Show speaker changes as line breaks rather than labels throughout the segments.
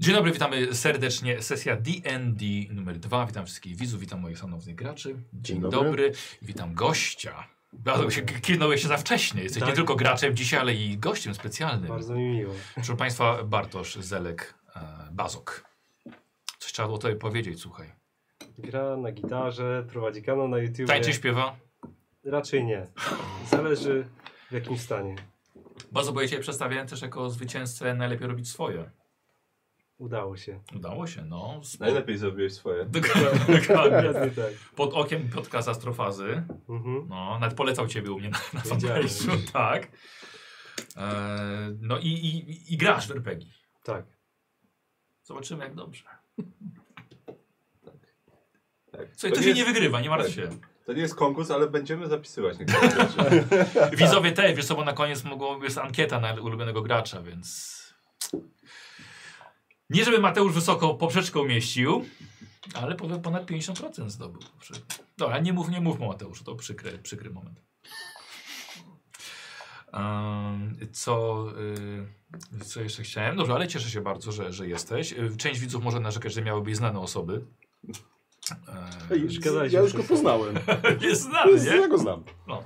Dzień dobry, witamy serdecznie. Sesja D&D numer dwa. Witam wszystkich widzów, witam moich szanownych graczy. Dzień
dobry.
Witam gościa. Bardzo się kilnąłeś się za wcześnie. Jesteś nie
Tak.
tylko graczem dzisiaj, ale i gościem specjalnym.
Bardzo mi miło.
Proszę Państwa, Bartosz Zelek, e, Bazok. Coś trzeba było tobie powiedzieć, słuchaj.
Gra na gitarze, prowadzi kanał na YouTube.
Tańczy, śpiewa.
Raczej nie. Zależy w jakim stanie.
Bazok, bo ja Cię przedstawiałem też jako zwycięzcę Najlepiej robić swoje.
Udało się.
Udało się, no. Sp-
Najlepiej zrobiłeś swoje.
Dokładnie.
Dokładnie tak.
Pod okiem Piotka Zastrofazy.
Mhm.
No, nawet polecał ciebie u mnie na, na
Wiedziałem.
fanpage'u, tak. Eee, no i, i, i grasz w RPG.
Tak.
Zobaczymy jak dobrze.
Tak.
Słuchaj, to
to, nie
się
jest, tak.
nie wygrywa, nie martw się.
to nie jest konkurs, ale będziemy zapisywać niektóre rzeczy.
Widzowie też, wiesz co, bo na koniec mogło, jest ankieta na ulubionego gracza, więc... Nie żeby Mateusz wysoko poprzeczkę umieścił, ale po- ponad 50% zdobył. poprzeczkę. Dobra, nie mów, nie mów Mateuszu, to przykry, przykry moment. Em, co, y, co jeszcze chciałem? Dobrze, ale cieszę się bardzo, że, że jesteś. Y, Część widzów może narzekać, że miały być znane osoby.
Ej,
Eee,
już gadaliśmy
ja już go
przed
poznałem.
jest
To
znany,
jest-
nie?
Ja go znam.
No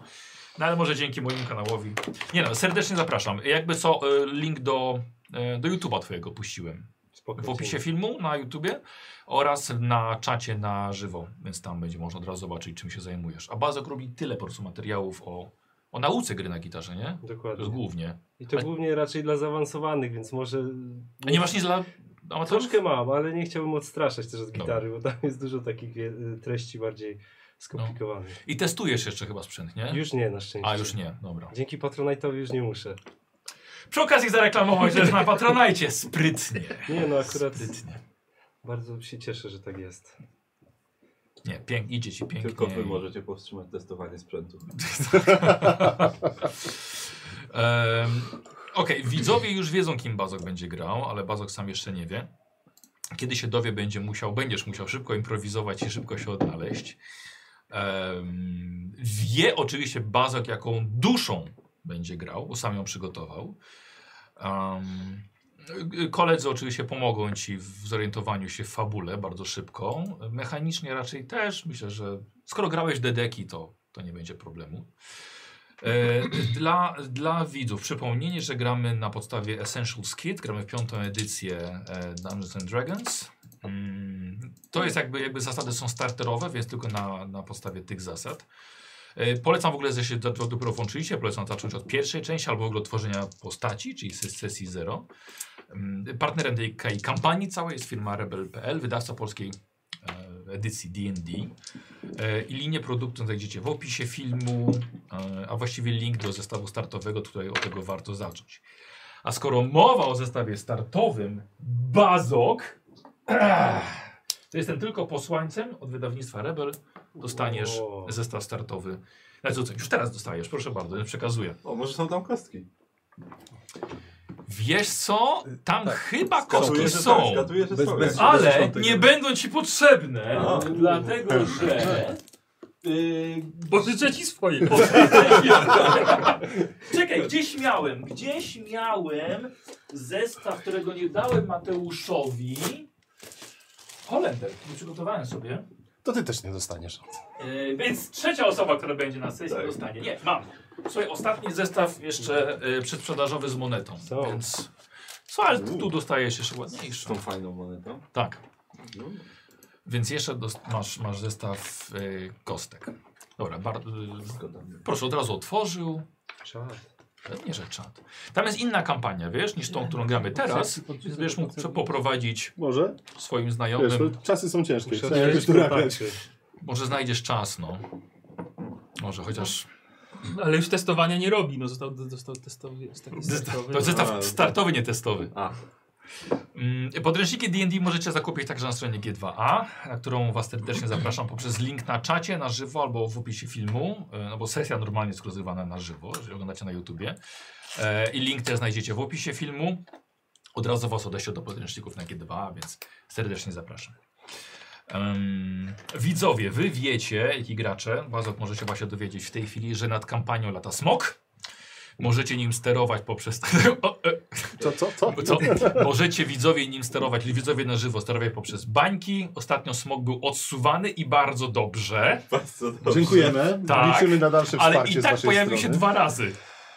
ale może dzięki mojemu kanałowi. Nie no, serdecznie zapraszam. Jakby co, e, link do, e, do YouTube'a twojego puściłem.
Spoko.
W opisie filmu na YouTubie oraz na czacie na żywo, więc tam będzie można od razu zobaczyć, czym się zajmujesz. A Bazok robi tyle po prostu materiałów o, o nauce gry na gitarze, nie? To jest
Dokładnie.
głównie.
I to
A-
głównie raczej dla zaawansowanych, więc może... No,
A nie masz nic dla amatorów?
Troszkę mam, ale nie chciałbym odstraszać też od
Dobra.
gitary, bo tam jest dużo takich wie- treści bardziej skomplikowanych.
I testujesz jeszcze chyba sprzęt, nie?
Już nie, na szczęście.
No. A, już nie, dobra.
Dzięki Patronite'owi już nie muszę.
Przy okazji zareklamować, że jest na Patronajcie. Sprytnie.
Nie no, akurat
Sprytnie.
bardzo się cieszę, że tak jest.
Nie, pięk, idzie ci pięknie.
Tylko wy
i-
możecie powstrzymać testowanie sprzętu.
Em, Okej, widzowie już wiedzą, kim Bazok będzie grał, ale Bazok sam jeszcze nie wie. Kiedy się dowie, będzie musiał, będziesz musiał szybko improwizować i szybko się odnaleźć. Em, wie oczywiście Bazok, jaką duszą będzie grał, bo sam ją przygotował. Um, koledzy oczywiście pomogą ci w zorientowaniu się w fabule bardzo szybko. Mechanicznie raczej też. Myślę, że skoro grałeś dedeki, to, to nie będzie problemu. E, dla, dla widzów przypomnienie, że gramy na podstawie Essentials Kit, gramy w piątą edycję e, Dungeons and Dragons. Mm, to jest jakby, jakby zasady są starterowe, więc tylko na, na podstawie tych zasad. E, polecam w ogóle, że się do- do- dopiero włączyliście, polecam zacząć od pierwszej części albo w ogóle od tworzenia postaci, czyli z sesji zero. Mm, partnerem tej k- kampanii całej jest firma Rebel.pl, wydawca polskiej e, edycji D&D. E, I linię produktu znajdziecie w opisie filmu, e, a właściwie link do zestawu startowego, tutaj od tego warto zacząć. A skoro mowa o zestawie startowym, Bazok, to jestem tylko posłańcem od wydawnictwa Rebel, dostaniesz
O.
zestaw startowy. Znaczy, co, już teraz dostajesz, proszę bardzo, ja przekazuję.
O, może są tam kostki.
Wiesz co, tam
Tak.
chyba
Zgaduję,
kostki
że
są.
tak, Zgaduję, że
Bez-
są.
bez-
jakieś.
Ale
Bez
nie będą ci potrzebne,
A.
dlatego że. Yy, pożyczę ci swoje. Czekaj, gdzieś miałem, gdzieś miałem zestaw, którego nie dałem Mateuszowi. Holender, który przygotowałem sobie.
To ty też nie dostaniesz.
Yy, więc trzecia osoba, która będzie na sesji,
Tak.
dostanie. Nie, mam. Słuchaj, ostatni zestaw jeszcze yy, przedsprzedażowy z monetą.
Co?
Więc. Co, ale tu dostajesz jeszcze ładniejszą.
Z tą fajną monetą.
Tak.
No.
Więc jeszcze dost- masz, masz zestaw y, kostek. Dobra, bar- y,
Zgoda.
proszę, od razu otworzył.
Czad.
Pewnie, że czat. Tam jest inna kampania, wiesz, niż tą, którą gramy teraz. Więc będziesz mógł prze- poprowadzić
Może?
swoim
Wiesz,
znajomym.
to czasy są ciężkie.
Muszę
Trzeba jakoś
odkryć
dorabiać.
kontakty.
Może znajdziesz czas, no. Może chociaż.
Ale już testowania nie robi, no został, został testowy, jest taki no. startowy.
To jest
A.
zestaw startowy, nie testowy.
A,
Mm, Podręczniki D&D możecie zakupić także na stronie G2A, na którą Was serdecznie zapraszam poprzez link na czacie, na żywo albo w opisie filmu, e, no bo sesja normalnie jest rozgrywana na żywo, jeżeli oglądacie na YouTubie. E, I link też znajdziecie w opisie filmu. Od razu Was odeślę do podręczników na G2A, więc serdecznie zapraszam. Em, widzowie, Wy wiecie, jak i gracze, Bazok może się właśnie dowiedzieć w tej chwili, że nad kampanią lata smok. Możecie nim sterować poprzez... o, e,
Co, co, co?
Co? Możecie widzowie nim sterować, widzowie na żywo sterować poprzez bańki. Ostatnio smog był odsuwany i bardzo dobrze,
Bardzo dobrze.
No, Dziękujemy.
Tak,
Liczymy na dalsze
ale
wsparcie
i tak
z waszej
pojawił
strony.
się dwa razy.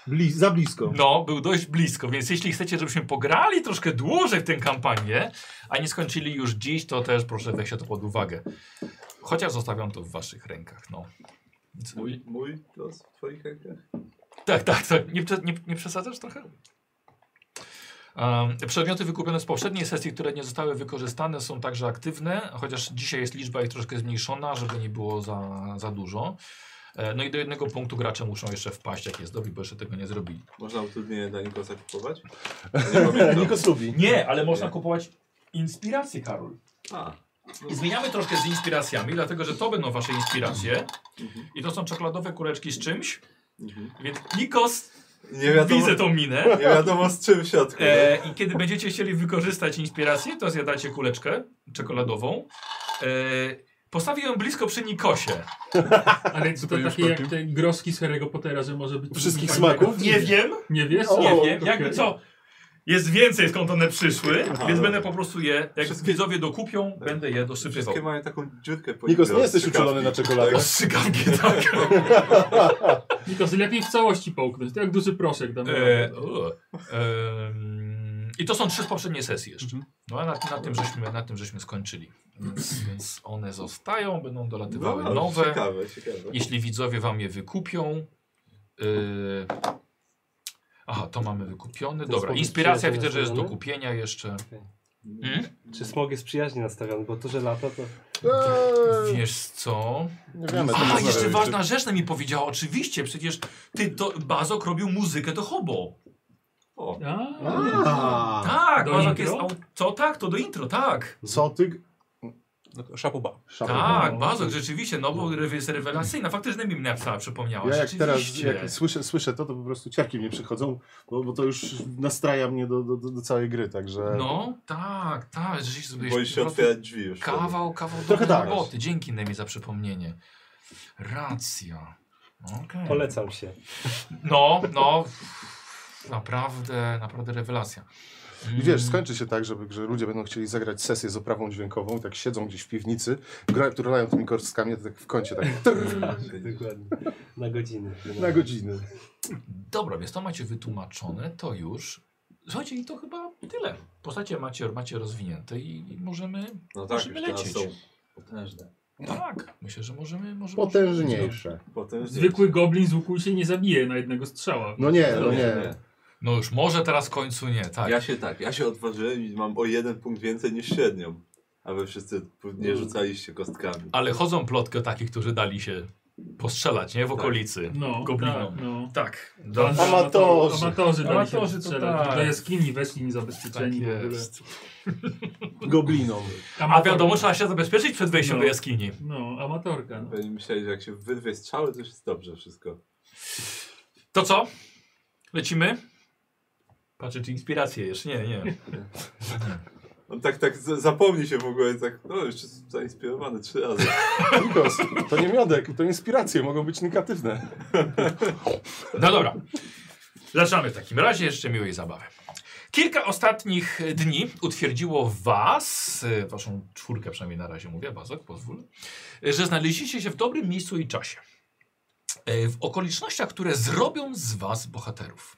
Bli za blisko.
No, był dość blisko, więc jeśli chcecie, żebyśmy pograli troszkę dłużej w tę kampanię, a nie skończyli już dziś, to też proszę weź to pod uwagę. Chociaż zostawiam to w waszych rękach, no. Więc-
Mój, mój los w twoich rękach?
Tak, tak, tak. Nie, prze- nie, nie przesadzasz trochę? Um, przedmioty wykupione z poprzedniej sesji, które nie zostały wykorzystane, są także aktywne, chociaż dzisiaj jest liczba ich troszkę zmniejszona, żeby nie było za, za dużo. E, No i do jednego punktu gracze muszą jeszcze wpaść, jak jest dobry, bo jeszcze tego nie zrobili.
Można utrudnienie dla Nikosa kupować? Nie pamiętam.
no, Nikos lubi.
Nie, ale można kupować inspiracje, Karol.
A,
I zmieniamy troszkę z inspiracjami, dlatego że to będą wasze inspiracje.
mhm,
I to są czekoladowe kureczki z czymś.
mhm.
Więc Nikos,
Nie wiadomo,
widzę tą minę.
nie wiadomo z czym w środku.
E, I kiedy będziecie chcieli wykorzystać inspirację, to zjadacie kuleczkę czekoladową. E, postawię ją blisko przy Nikosie.
Ale to
Zupełnie
takie jak
przypadkiem.
te groski z Harry'ego Pottera, że może być...
Wszystkich
tak-
smaków?
Nie wiem,
Nie wiesz?
O,
nie wiem.
okej.
Jakby co, jest więcej skąd one przyszły,
Aha,
więc
dobra.
będę po prostu je, jak
Wszystkie-
widzowie dokupią,
Tak.
będę je dosypywał.
Wszystkie mają taką dziurkę po
Nikos,
niebie
nie jesteś
od
uczulony na
strzykawki.
czekoladę.
Ostrzykawki, tak.
Nikos, lepiej w całości połknąć, to jak duży proszek damy.
E, o, em, I to są trzy z poprzedniej sesji jeszcze. No a na, na, tym, żeśmy, na tym żeśmy skończyli. Więc, więc one zostają, będą dolatywały
No,
nowe.
Ciekawe, ciekawe.
Jeśli widzowie wam je wykupią. Yy... Aha, to mamy wykupione.
Ten
Dobra,
sposób
inspiracja
przyjaźni
widzę, że jest do
nastawiony?
kupienia jeszcze. Mm?
Czy smog jest przyjaźnie nastawiony? Bo to, że lata, to...
Eee,
Wiesz co?
nie wiemy. to znaczy.
A,
można
jeszcze
robić.
ważna rzecz mi powiedziała, oczywiście, przecież ty to Bazok robił muzykę do hobo.
O,
A,
A,
Tak,
do
Bazok
intro?
jest. au- Co tak, to do intro, tak.
Co ty...
no, szapuba.
Tak, Bazok, rzeczywiście, no bo re- jest rewelacyjna. Faktycznie mi napisała, przypomniała.
Ja jak teraz
rzeczywiście.
jak słyszę, słyszę to, to po prostu ciarki mnie przychodzą, bo, bo to już nastraja mnie do, do, do do całej gry, także...
No, tak, tak. Rzeczywiście,
No
sobie
boisz się
po prostu-
otwierać drzwi już. wtedy.
Kawał, kawał
Trochę
Trochę
tak.
roboty. Dzięki Nemi za przypomnienie. Racja. Okej.
Polecam się.
No, no. Naprawdę, naprawdę rewelacja.
I
Mm.
wiesz, skończy się tak, żeby, że ludzie będą chcieli zagrać sesję z oprawą dźwiękową, tak siedzą gdzieś w piwnicy, gra, turlają tymi korstkami, to tak w kącie, tak trrr,
Dokładnie. Na godziny.
na godziny.
Mm, Dobra, więc to macie wytłumaczone, to już. Słuchajcie, i to chyba tyle. Postacie macie, macie rozwinięte i, i możemy.
No tak,
Musimy
już teraz są
lecieć.
potężne.
Tak, myślę, że możemy. możemy
Potężniejsze.
Potem
zwykły goblin z łuku się nie zabije na jednego strzała.
No nie, no nie.
No już może teraz w końcu nie, tak.
Ja się tak, ja się odważyłem i mam o jeden punkt więcej niż średnią. A wy wszyscy
Mm.
nie rzucaliście kostkami.
Ale chodzą plotki o takich, którzy dali się postrzelać, nie? W
Tak.
okolicy.
No,
Goblinom.
tak, no.
Tak. Dobrze.
Amatorzy.
Amatorzy, dali
Amatorzy,
się
to
strzelać.
tak.
Do jaskini weszli niezabezpieczeni.
Tak
w ogóle.
jest.
Goblinom.
A
Amator-
wiadomo, trzeba się zabezpieczyć przed wejściem
No.
do jaskini.
No, amatorka. No.
Pewnie myśleli, że jak się wyrwie strzały, to już jest dobrze wszystko.
To co? Lecimy? Patrzę, czy inspiracje jeszcze. Nie, nie.
On tak, tak z- zapomni się w ogóle, tak, no już jestem zainspirowany trzy razy.
Tak.
Nikos, to nie miodek, to inspiracje, mogą być negatywne.
No dobra. Zaczynamy w takim razie. Jeszcze miłej zabawy. Kilka ostatnich dni utwierdziło was, y, waszą czwórkę przynajmniej na razie mówię, Bazok, pozwól, y, że znaleźliście się w dobrym miejscu i czasie. Y, W okolicznościach, które zrobią z was bohaterów.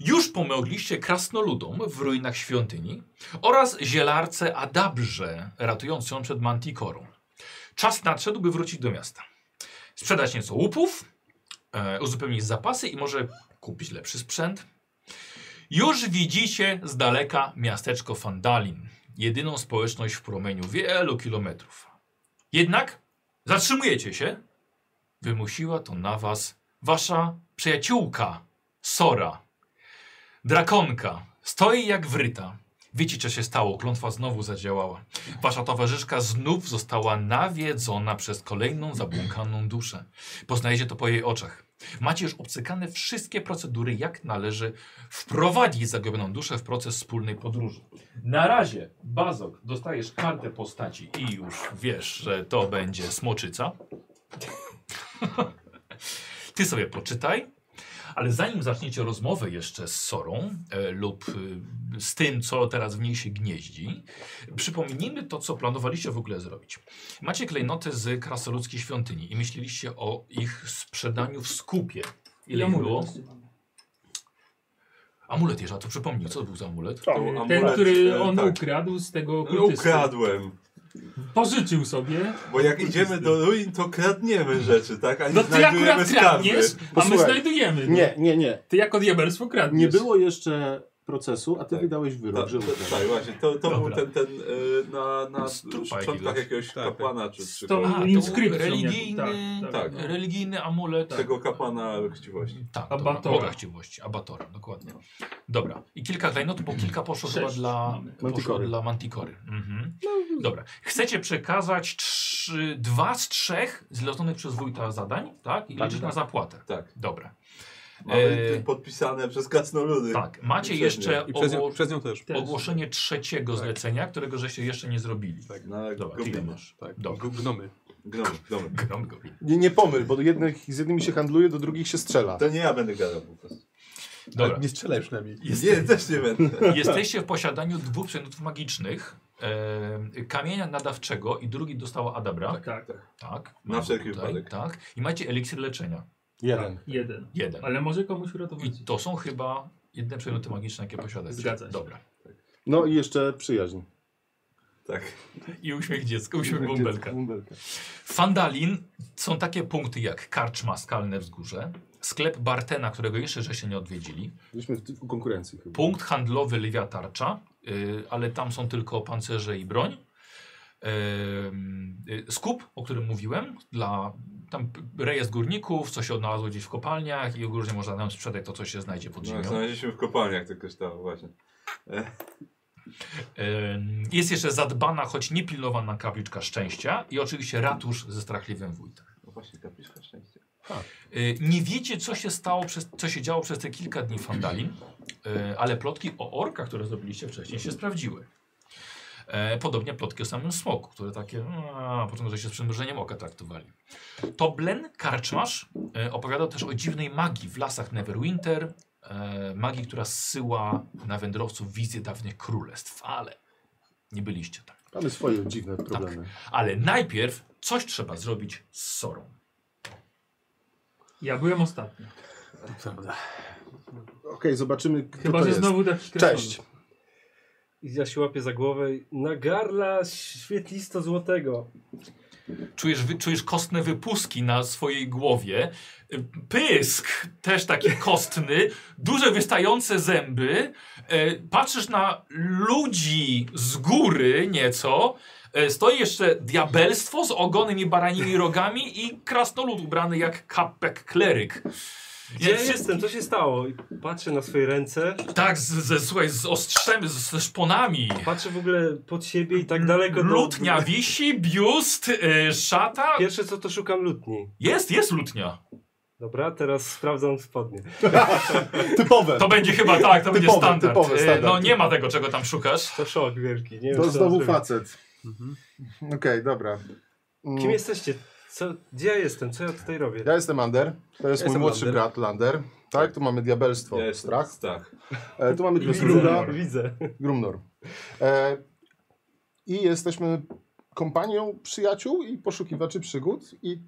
Już pomogliście krasnoludom w ruinach świątyni oraz zielarce Adabrze, ratując ją przed Mantikorą. Czas nadszedł, by wrócić do miasta. Sprzedać nieco łupów, e, uzupełnić zapasy i może kupić lepszy sprzęt. Już widzicie z daleka miasteczko Fandalin, jedyną społeczność w promieniu wielu kilometrów. Jednak zatrzymujecie się. Wymusiła to na was wasza przyjaciółka, Sora. Drakonka stoi jak wryta. Wiecie, co się stało. Klątwa znowu zadziałała. Wasza towarzyszka znów została nawiedzona przez kolejną zabłąkaną duszę. Poznajecie to po jej oczach. Macie już obcykane wszystkie procedury, jak należy wprowadzić zagubioną duszę w proces wspólnej podróży. Na razie, Bazok, dostajesz kartę postaci i już wiesz, że to będzie smoczyca. Ty sobie poczytaj. Ale zanim zaczniecie rozmowę jeszcze z Sorą e, lub e, z tym, co teraz w niej się gnieździ, przypomnijmy to, co planowaliście w ogóle zrobić. Macie klejnoty z krasoludzkiej świątyni i myśleliście o ich sprzedaniu w skupie. Ile ich było?
e,
Amulet jeszcze, a to przypomnij, co to był za amulet?
Był
Ten,
amulet,
który
e,
on
tak.
ukradł z tego okultysty.
Ukradłem.
Pożyczył sobie.
Bo jak idziemy do ruin, to kradniemy rzeczy, tak? A nie
No ty
znajdujemy
akurat
skarby.
kradniesz, a my
Posłuchaj.
znajdujemy. no.
Nie, nie, nie.
Ty jako diabelstwo kradniesz.
Nie było jeszcze procesu, a ty
Tak.
wydałeś wyrok,
Tak,
że
tak,
ukradł.
tak, właśnie. To, to był
Dobra.
ten, ten y, na, na
Strupa
szczątkach
jakiegoś.
jakiegoś
Tak,
kapłana czy, czy
Stąd
A, to
inskrypcją.
religijny-
jakby,
tak.
Religijny amulet.
tego kapłana chciwości.
Tak,
Abatora. No.
dobra, Boga chciwości, Abatora, dokładnie. Dobra, i kilka klejnotów, bo kilka poszło
Mm. Sześć
chyba dla
mamy. No,
poszło
Mantikory.
dla Mantikory. Mhm. Dobra, chcecie przekazać trzy, dwa z trzech zleconych przez wójta zadań, tak? I
Tak,
liczyć
tak.
na zapłatę.
Tak.
Dobra,
Mamy
E,
tu podpisane przez krasnoludy.
tak. Macie
Przez nią.
jeszcze
I przez nią,
ogło-
przez nią też.
Też.
ogłoszenie trzeciego zlecenia, którego żeście jeszcze nie zrobili.
Tak.
Na
Dobra, ty
gobliny.
masz.
Tak,
Dobra.
G- gnomy.
Gnomy, gnomy.
Grom, grom.
Nie, nie pomyl, bo do jednych, z jednymi się handluje, do drugich się strzela.
To nie ja będę gadał po prostu.
Dobra,
Ale Nie strzelaj przynajmniej.
Nie, też nie będę.
Jesteście w posiadaniu dwóch przedmiotów magicznych. E, kamienia nadawczego i drugi dostała Adabra.
Tak, tak,
Tak.
Na
mam
wszelki
tutaj,
wypadek.
Tak. I macie eliksir leczenia.
Jeden.
jeden.
Jeden.
Ale może komuś uratować.
I to są chyba jedne przedmioty magiczne, jakie posiadacie.
Zgadza się.
Dobra.
No i jeszcze przyjaźń.
Tak.
I uśmiech dziecka, uśmiech bąbelka.
Bąbelka.
W Fandalin są takie punkty jak karczma Skalne Wzgórze, sklep Bartena, którego jeszcze żeście nie odwiedzili,
Byliśmy w w konkurencji chyba.
punkt handlowy Lwia Tarcza, y, ale tam są tylko pancerze i broń. Ym, y, Skup, o którym mówiłem, dla tam p- rejestr górników, co się odnalazło gdzieś w kopalniach i ogólnie można nam sprzedać to, co się znajdzie pod
No,
ziemią.
znaleźliśmy w kopalniach to kryształy, właśnie.
Ym, Y, Jest jeszcze zadbana, choć niepilnowana kapliczka szczęścia i oczywiście ratusz ze strachliwym wójtem.
No właśnie, kapliczka szczęścia.
Yy, Nie wiecie, co się stało, przez, co się działo przez te kilka dni w Fandalin, yy, ale plotki o orkach, które zrobiliście wcześniej, się sprawdziły. E, Podobnie plotki o samym smoku, które takie, no, a, początku że się z przymrużeniem oka traktowali. Toblen, karczmarz, yy, opowiadał też o dziwnej magii w lasach Neverwinter, e, magii, która zsyła na wędrowców wizję dawnych królestw, ale nie byliście tam.
Mamy swoje dziwne problemy.
Ale najpierw coś trzeba zrobić z Sorą.
Ja byłem ostatni.
Okej, zobaczymy kto
Chyba,
to
że
jest.
znowu tak taki kresowy.
Cześć.
I ja się łapię za głowę. i Na garla świetlisto złotego.
Czujesz, wy, czujesz kostne wypuski na swojej głowie. Y, Pysk też taki kostny, duże wystające zęby. E, Patrzysz na ludzi z góry nieco. E, Stoi jeszcze diabelstwo z ogonem i baranimi rogami i krasnolud ubrany jak kapek kleryk.
Gdzie ja
Jest-
jestem? Co się stało? I patrzę na swoje ręce.
Tak, z, ze- słuchaj, z ostrzem, z, ze szponami.
Patrzę w ogóle pod siebie i
Mm,
tak daleko do...
Lutnia wisi, biust, y, szata.
Pierwsze co to szukam lutni.
Jest, jest lutnia.
Dobra, teraz sprawdzam spodnie.
Typowe.
To będzie chyba tak, to będzie
Typowy,
standard.
typowy
Y,
standard.
No nie ma tego, czego tam szukasz.
To szok wielki. Nie wiem,
To
co
znowu
mam zrobić.
facet.
Mhm.
Okej, dobra. Mm,
Kim jesteście? Co, gdzie ja jestem? Co ja tutaj robię?
Ja jestem Ander. To jest
Ja
mój
jestem
młodszy
Ander.
brat Lander. Tak, tu mamy diabelstwo,
Ja jestem
strach.
Strach.
E, tu mamy
Widzę,
Krasnoluda,
widzę.
Grumnor. E, I jesteśmy kompanią przyjaciół i poszukiwaczy przygód. I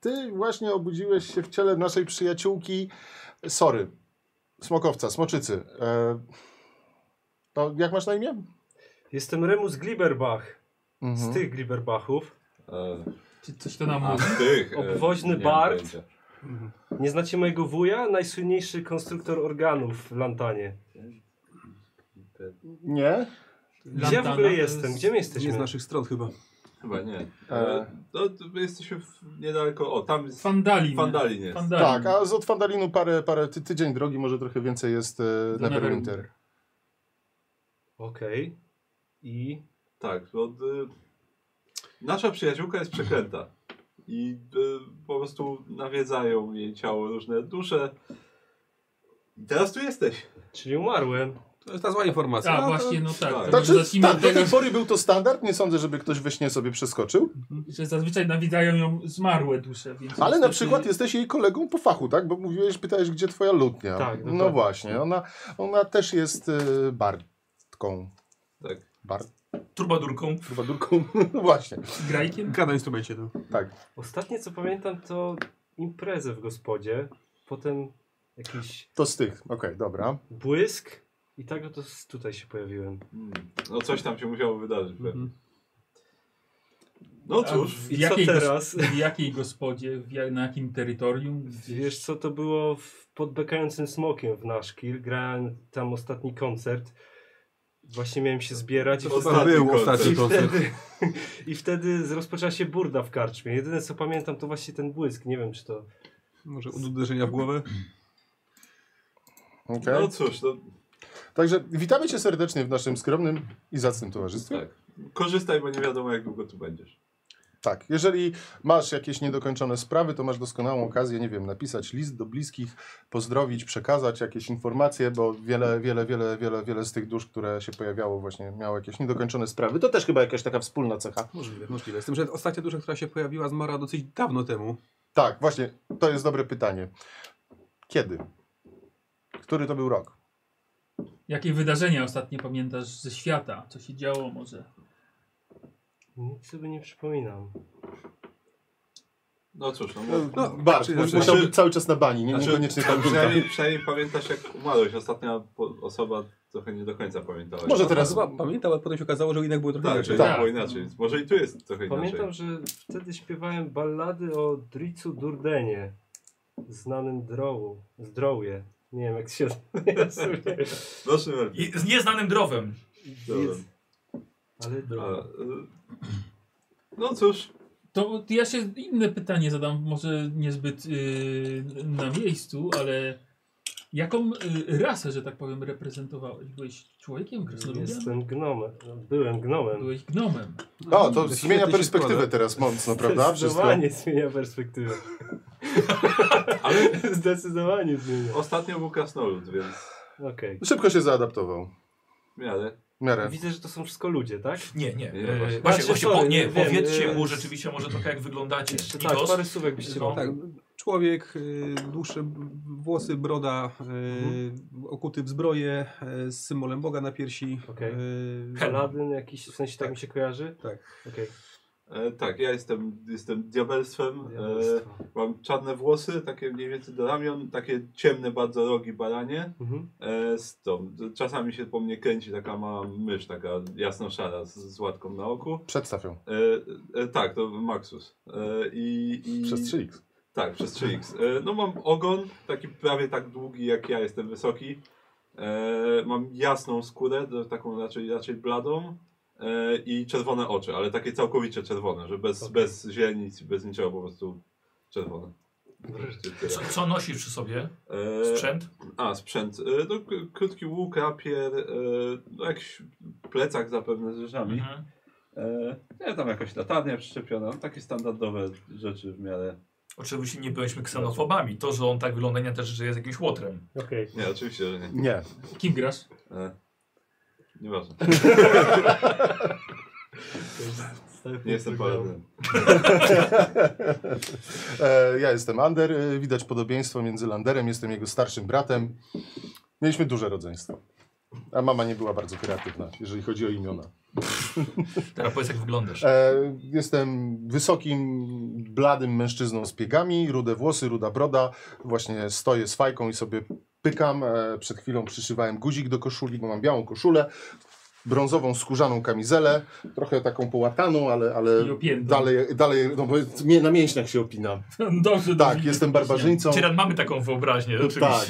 ty właśnie obudziłeś się w ciele naszej przyjaciółki Sory. Smokowca, Smoczycy. E, to jak masz na imię?
Jestem Remus Glieberbach.
Mhm.
Z tych Glieberbachów.
E,
Czy coś to nam
a
mówi?
z tych... e,
Obwoźny
nie mam
Bart.
pojęcia.
Nie znacie mojego wuja? Najsłynniejszy konstruktor organów w Lantanie.
Nie?
Gdzie w ogóle jestem? Gdzie my jesteśmy?
Nie z naszych stron chyba.
Chyba nie.
E.
E, to my jesteśmy w, niedaleko... O, tam jest
Fandalin.
Fandalin jest.
Fandalin.
Tak, a z od Fandalinu parę, parę ty, tydzień drogi, może trochę więcej jest e,
Do
Neverwinter.
Neverwinter.
Okej. I
Tak, bo... y, nasza przyjaciółka jest przeklęta. I y, po prostu nawiedzają jej ciało różne dusze. I teraz tu jesteś.
Czyli umarłem.
To jest ta zła informacja.
A,
No, to-
właśnie, no tak.
tak.
tak.
Znaczy,
Zacznijmy
tak,
od
do
tego,
tej pory był to standard, nie sądzę, żeby ktoś we śnie sobie przeskoczył,
że zazwyczaj nawiedzają ją zmarłe dusze. Więc
ale na
niestety-
przykład jesteś jej kolegą po fachu, tak? Bo mówiłeś, pytałeś, gdzie twoja lutnia.
Tak,
no
dokładnie.
właśnie, ona, ona też jest y, bartką.
Tak.
Bart,
Turbadurką.
trubadurką, no właśnie,
Grajkiem?
Gra na instrumencie, no.
tak.
Ostatnie co pamiętam to imprezę w gospodzie, potem jakiś
To z tych, okej, dobra.
błysk i tak oto s- tutaj się pojawiłem.
Mm. No coś tam się musiało wydarzyć. pewnie.
Mhm.
No
A
cóż,
w
I co
jakiej
teraz?
W jakiej gospodzie, w jak, na jakim terytorium? Gdzieś-
Wiesz co, to było w, pod bekającym smokiem w Nashville, grałem tam ostatni koncert. Właśnie miałem się zbierać i
To
wtedy-
Ostatni
był
koncert.
ostatni
I
koncert.
wtedy, I wtedy z- rozpoczęła się burda w karczmie. Jedyne co pamiętam to właśnie ten błysk. Nie wiem czy to.
Może od uderzenia w głowę?
Okej.
no cóż, no,
Także witamy cię serdecznie w naszym skromnym i zacnym towarzystwie.
Tak. korzystaj, bo nie wiadomo jak długo tu będziesz.
Tak, jeżeli masz jakieś niedokończone sprawy, to masz doskonałą okazję, nie wiem, napisać list do bliskich, pozdrowić, przekazać jakieś informacje, bo wiele, wiele, wiele, wiele, wiele z tych dusz, które się pojawiało właśnie, miało jakieś niedokończone sprawy. To też chyba jakaś taka wspólna cecha.
Możliwe, możliwe. Z tym, że ostatnia duża, która się pojawiła, zmarła dosyć dawno temu.
Tak, właśnie, to jest dobre pytanie. Kiedy? Który to był rok?
Jakie wydarzenia ostatnio pamiętasz ze świata? Co się działo może?
Nic sobie nie przypominam.
No cóż, no,
No,
no
No,
Bart,
znaczy,
musiał
znaczy-
być cały czas na bani, nie,
znaczy,
niekoniecznie tak tam
przynajmniej, przynajmniej pamiętasz jak umarłeś. Ostatnia po, osoba trochę nie do końca pamiętała.
Może
tak,
teraz-
Chyba pamiętał, ale potem się okazało, że jednak było trochę
tak,
inaczej.
tak,
Tak.
było inaczej. więc Może i tu jest trochę inaczej.
Pamiętam, że wtedy śpiewałem ballady o Dricu Durdenie. Znanym drołu. Zdrowie. Nie wiem jak się nazywa.
No, Szymer,
I, z nieznanym drowem.
dobra.
Ale
A, y, No cóż,
To ja się inne pytanie zadam, może niezbyt yy, na miejscu, ale jaką yy, rasę, że tak powiem, reprezentowałeś? Byłeś człowiekiem, krasnoludem?
jestem gnomem. Byłem gnomem.
Byłeś gnomem.
O, to
Świetnie
zmienia
się
perspektywę
składa.
teraz mocno, prawda? Wszystko.
Zdecydowanie zmienia perspektywę.
ale
Zdecydowanie zmienia.
ostatnio był krasnolud, więc
Okej.
Szybko się zaadaptował.
w miarę.
W miarę.
Widzę, że to są wszystko ludzie, tak?
Nie, nie. e,
Nie, właśnie.
właśnie,
Znaczy,
właśnie
sorry,
po, nie,
wiem,
powiedzcie
e,
mu rzeczywiście może trochę jak wyglądacie.
Jeszcze tak,
Nikos,
parę słówek byście
No.
no.
Tak, człowiek, y, dłuższe b- włosy, broda, y, okuty w zbroję, y, z symbolem Boga na piersi.
Okej.
y,
Paladyn jakiś, w sensie tak mi się kojarzy?
Tak.
Okej.
E, tak, ja jestem, jestem diabelstwem. E,
Diabelstwo.
mam czarne włosy, takie mniej więcej do ramion, takie ciemne bardzo rogi baranie.
Mhm.
E, z tą, czasami się po mnie kręci taka mała mysz, taka jasno-szara z, z łatką na oku.
Przedstaw ją.
E, e, tak, to Maxus. E, i, i,
Przez 3x.
Tak, przez 3x. E, No mam ogon, taki prawie tak długi jak ja jestem wysoki. E, mam jasną skórę, do- taką raczej, raczej bladą. E, I czerwone oczy, ale takie całkowicie czerwone, że bez,
Okej.
bez zielnic, bez niczego po prostu czerwone.
co, co nosisz przy sobie?
E,
Sprzęt?
A, sprzęt. E, no, k- krótki łuk, rapier, e, no, jakiś plecak zapewne z rzeczami.
Mhm.
E, ja tam jakaś latarnia przyczepiona, takie standardowe rzeczy w miarę.
Oczywiście nie byliśmy ksenofobami. To, że on tak wygląda, nie też, że jest jakimś łotrem.
Okej.
Nie, oczywiście, że nie.
Nie.
Kim grasz?
E, nieważne. Nie
Nie
jestem paladinem.
E, ja jestem Ander. e, Widać podobieństwo między Landerem, jestem jego starszym bratem. Mieliśmy duże rodzeństwo. A mama nie była bardzo kreatywna, jeżeli chodzi o imiona.
Teraz Tak, powiedz, jak wyglądasz.
E, jestem wysokim, bladym mężczyzną z piegami, rude włosy, ruda broda. Właśnie stoję z fajką i sobie pykam. E, przed chwilą przyszywałem guzik do koszuli, bo mam białą koszulę, brązową skórzaną kamizelę, trochę taką połataną, ale, ale
I opiętą.
dalej, dalej no bo mnie na mięśniach się opina.
No, Dobrze.
Tak,
dobrze.
jestem barbarzyńcą.
Tyran, mamy taką wyobraźnię, oczywiście.
Tak.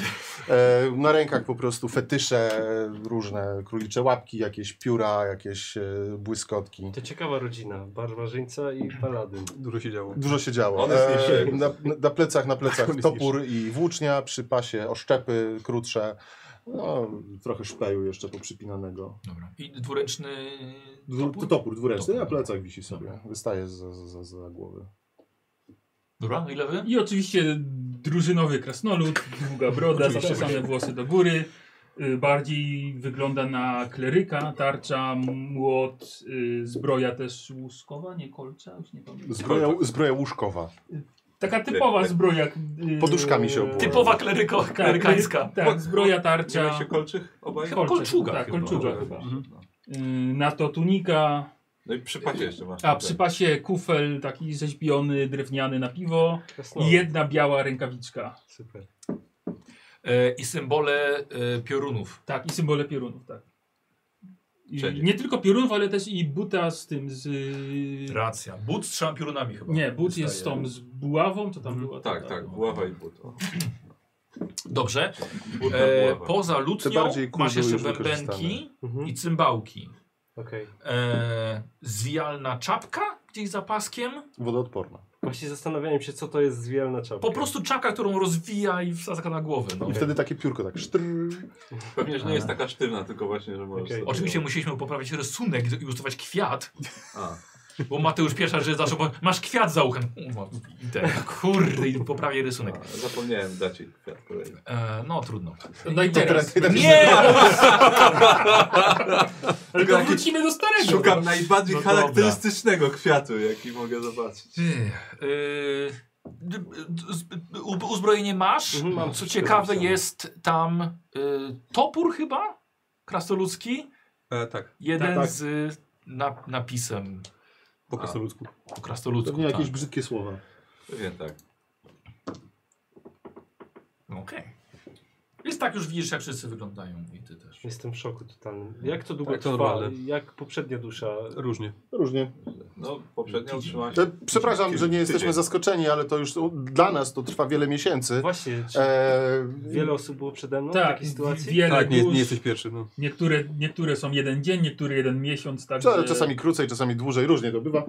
E, na rękach po prostu fetysze, e, różne królicze łapki, jakieś pióra, jakieś e, błyskotki.
To ciekawa rodzina. Barbarzyńca i paladyn.
Dużo się działo.
Dużo się działo. E,
On jest niższy.
na, na plecach, na plecach
On jest
topór i włócznia, przy pasie oszczepy krótsze, no, trochę szpeju jeszcze poprzypinanego.
Dobra. I dwuręczny
Dwu, topór?
topór?
dwuręczny
Topór.
na plecach wisi sobie, wystaje za, za, za, za głowy.
Dobra, no i lewy?
I oczywiście drużynowy krasnolud, długa broda,
Oczywiście.
zaczesane włosy do góry, Y, Bardziej wygląda na kleryka, tarcza, młot, y, zbroja też łuskowa, nie kolcza, już nie pamiętam.
Zbroja, zbroja łóżkowa.
Taka typowa zbroja. y,
Poduszkami się opłaca.
Typowa kleryko, klerykańska.
Tak, tak, zbroja, tarcza.
Miałeś się kolczych obaj?
Chyba kolczuga
Tak,
chyba.
kolczuga
Kolczych.
chyba.
Mhm.
Y, Na to tunika,
No i przy pasie jeszcze masz.
a przy pasie kufel taki rzeźbiony, drewniany na piwo
Jasno.
i jedna biała rękawiczka.
Super.
E, I symbole e, piorunów.
Tak, i symbole piorunów, tak. I
Wszędzie.
nie tylko piorunów, ale też i buta z tym, z... y,
Racja. But z trzema piorunami chyba.
Nie, but jest z
Wystaje.
tą, z buławą, co tam
Mhm.
było?
Tak, tak, buława i but. O,
Dobrze.
but na
E,
buławę.
poza
Te
lutnią
bardziej
masz
kurzu
jeszcze
już
bębenki
wykorzystane.
Mhm.
i cymbałki.
Okej.
E, zwijalna czapka gdzieś za paskiem.
Wodoodporna.
Właśnie zastanawiałem się, co to jest zwielna czapka.
Po prostu czapka, którą rozwija i wsadza na głowę. No.
I wtedy takie piórko tak sztr.
Pewnie, że nie jest taka sztywna, tylko właśnie, że możesz...
Okej.
sobie-
Oczywiście musieliśmy poprawić rysunek i ilustrować kwiat,
A,
bo Mateusz pierwsza rzecz zaczął, bo masz kwiat za uchem. Kurwa, I te, kurde, i poprawię rysunek.
a, zapomniałem dać jej kwiat kolejny.
E, no trudno.
No i teraz.
tak-
Nie!
Ale to wrócimy do starego.
Szukam najbardziej
No dobra.
charakterystycznego kwiatu, jaki mogę zobaczyć.
Ty, y, d- d- z- u- Uzbrojenie masz.
Mhm, mam
Co
wszystko
ciekawe,
napisane.
jest tam y, topór chyba? Krasnoludzki?
E, tak,
Jeden
Tak.
z y, na, napisem
po
A.
krasnoludzku.
po krasnoludzku.
Pewnie
tak.
jakieś brzydkie słowa.
Wiem tak.
No, Okej. Więc tak już widzisz, jak wszyscy wyglądają i ty też.
Jestem w szoku totalnym. Jak to długo
Tak, to
trwa?
normalne.
Jak poprzednia dusza?
Różnie.
Różnie.
No, poprzednio utrzymałem
E,
się.
Przepraszam, że nie jesteśmy
Tydzień.
zaskoczeni, ale to już dla nas to trwa wiele miesięcy.
Właśnie, czy
E,
wiele osób było przede mną w
Tak,
takiej sytuacji?
wiele
Tak, nie,
dusz.
nie jesteś pierwszy. No.
niektóre, niektóre są jeden dzień, niektóre jeden miesiąc, także
cza- czasami krócej, czasami dłużej, różnie to bywa.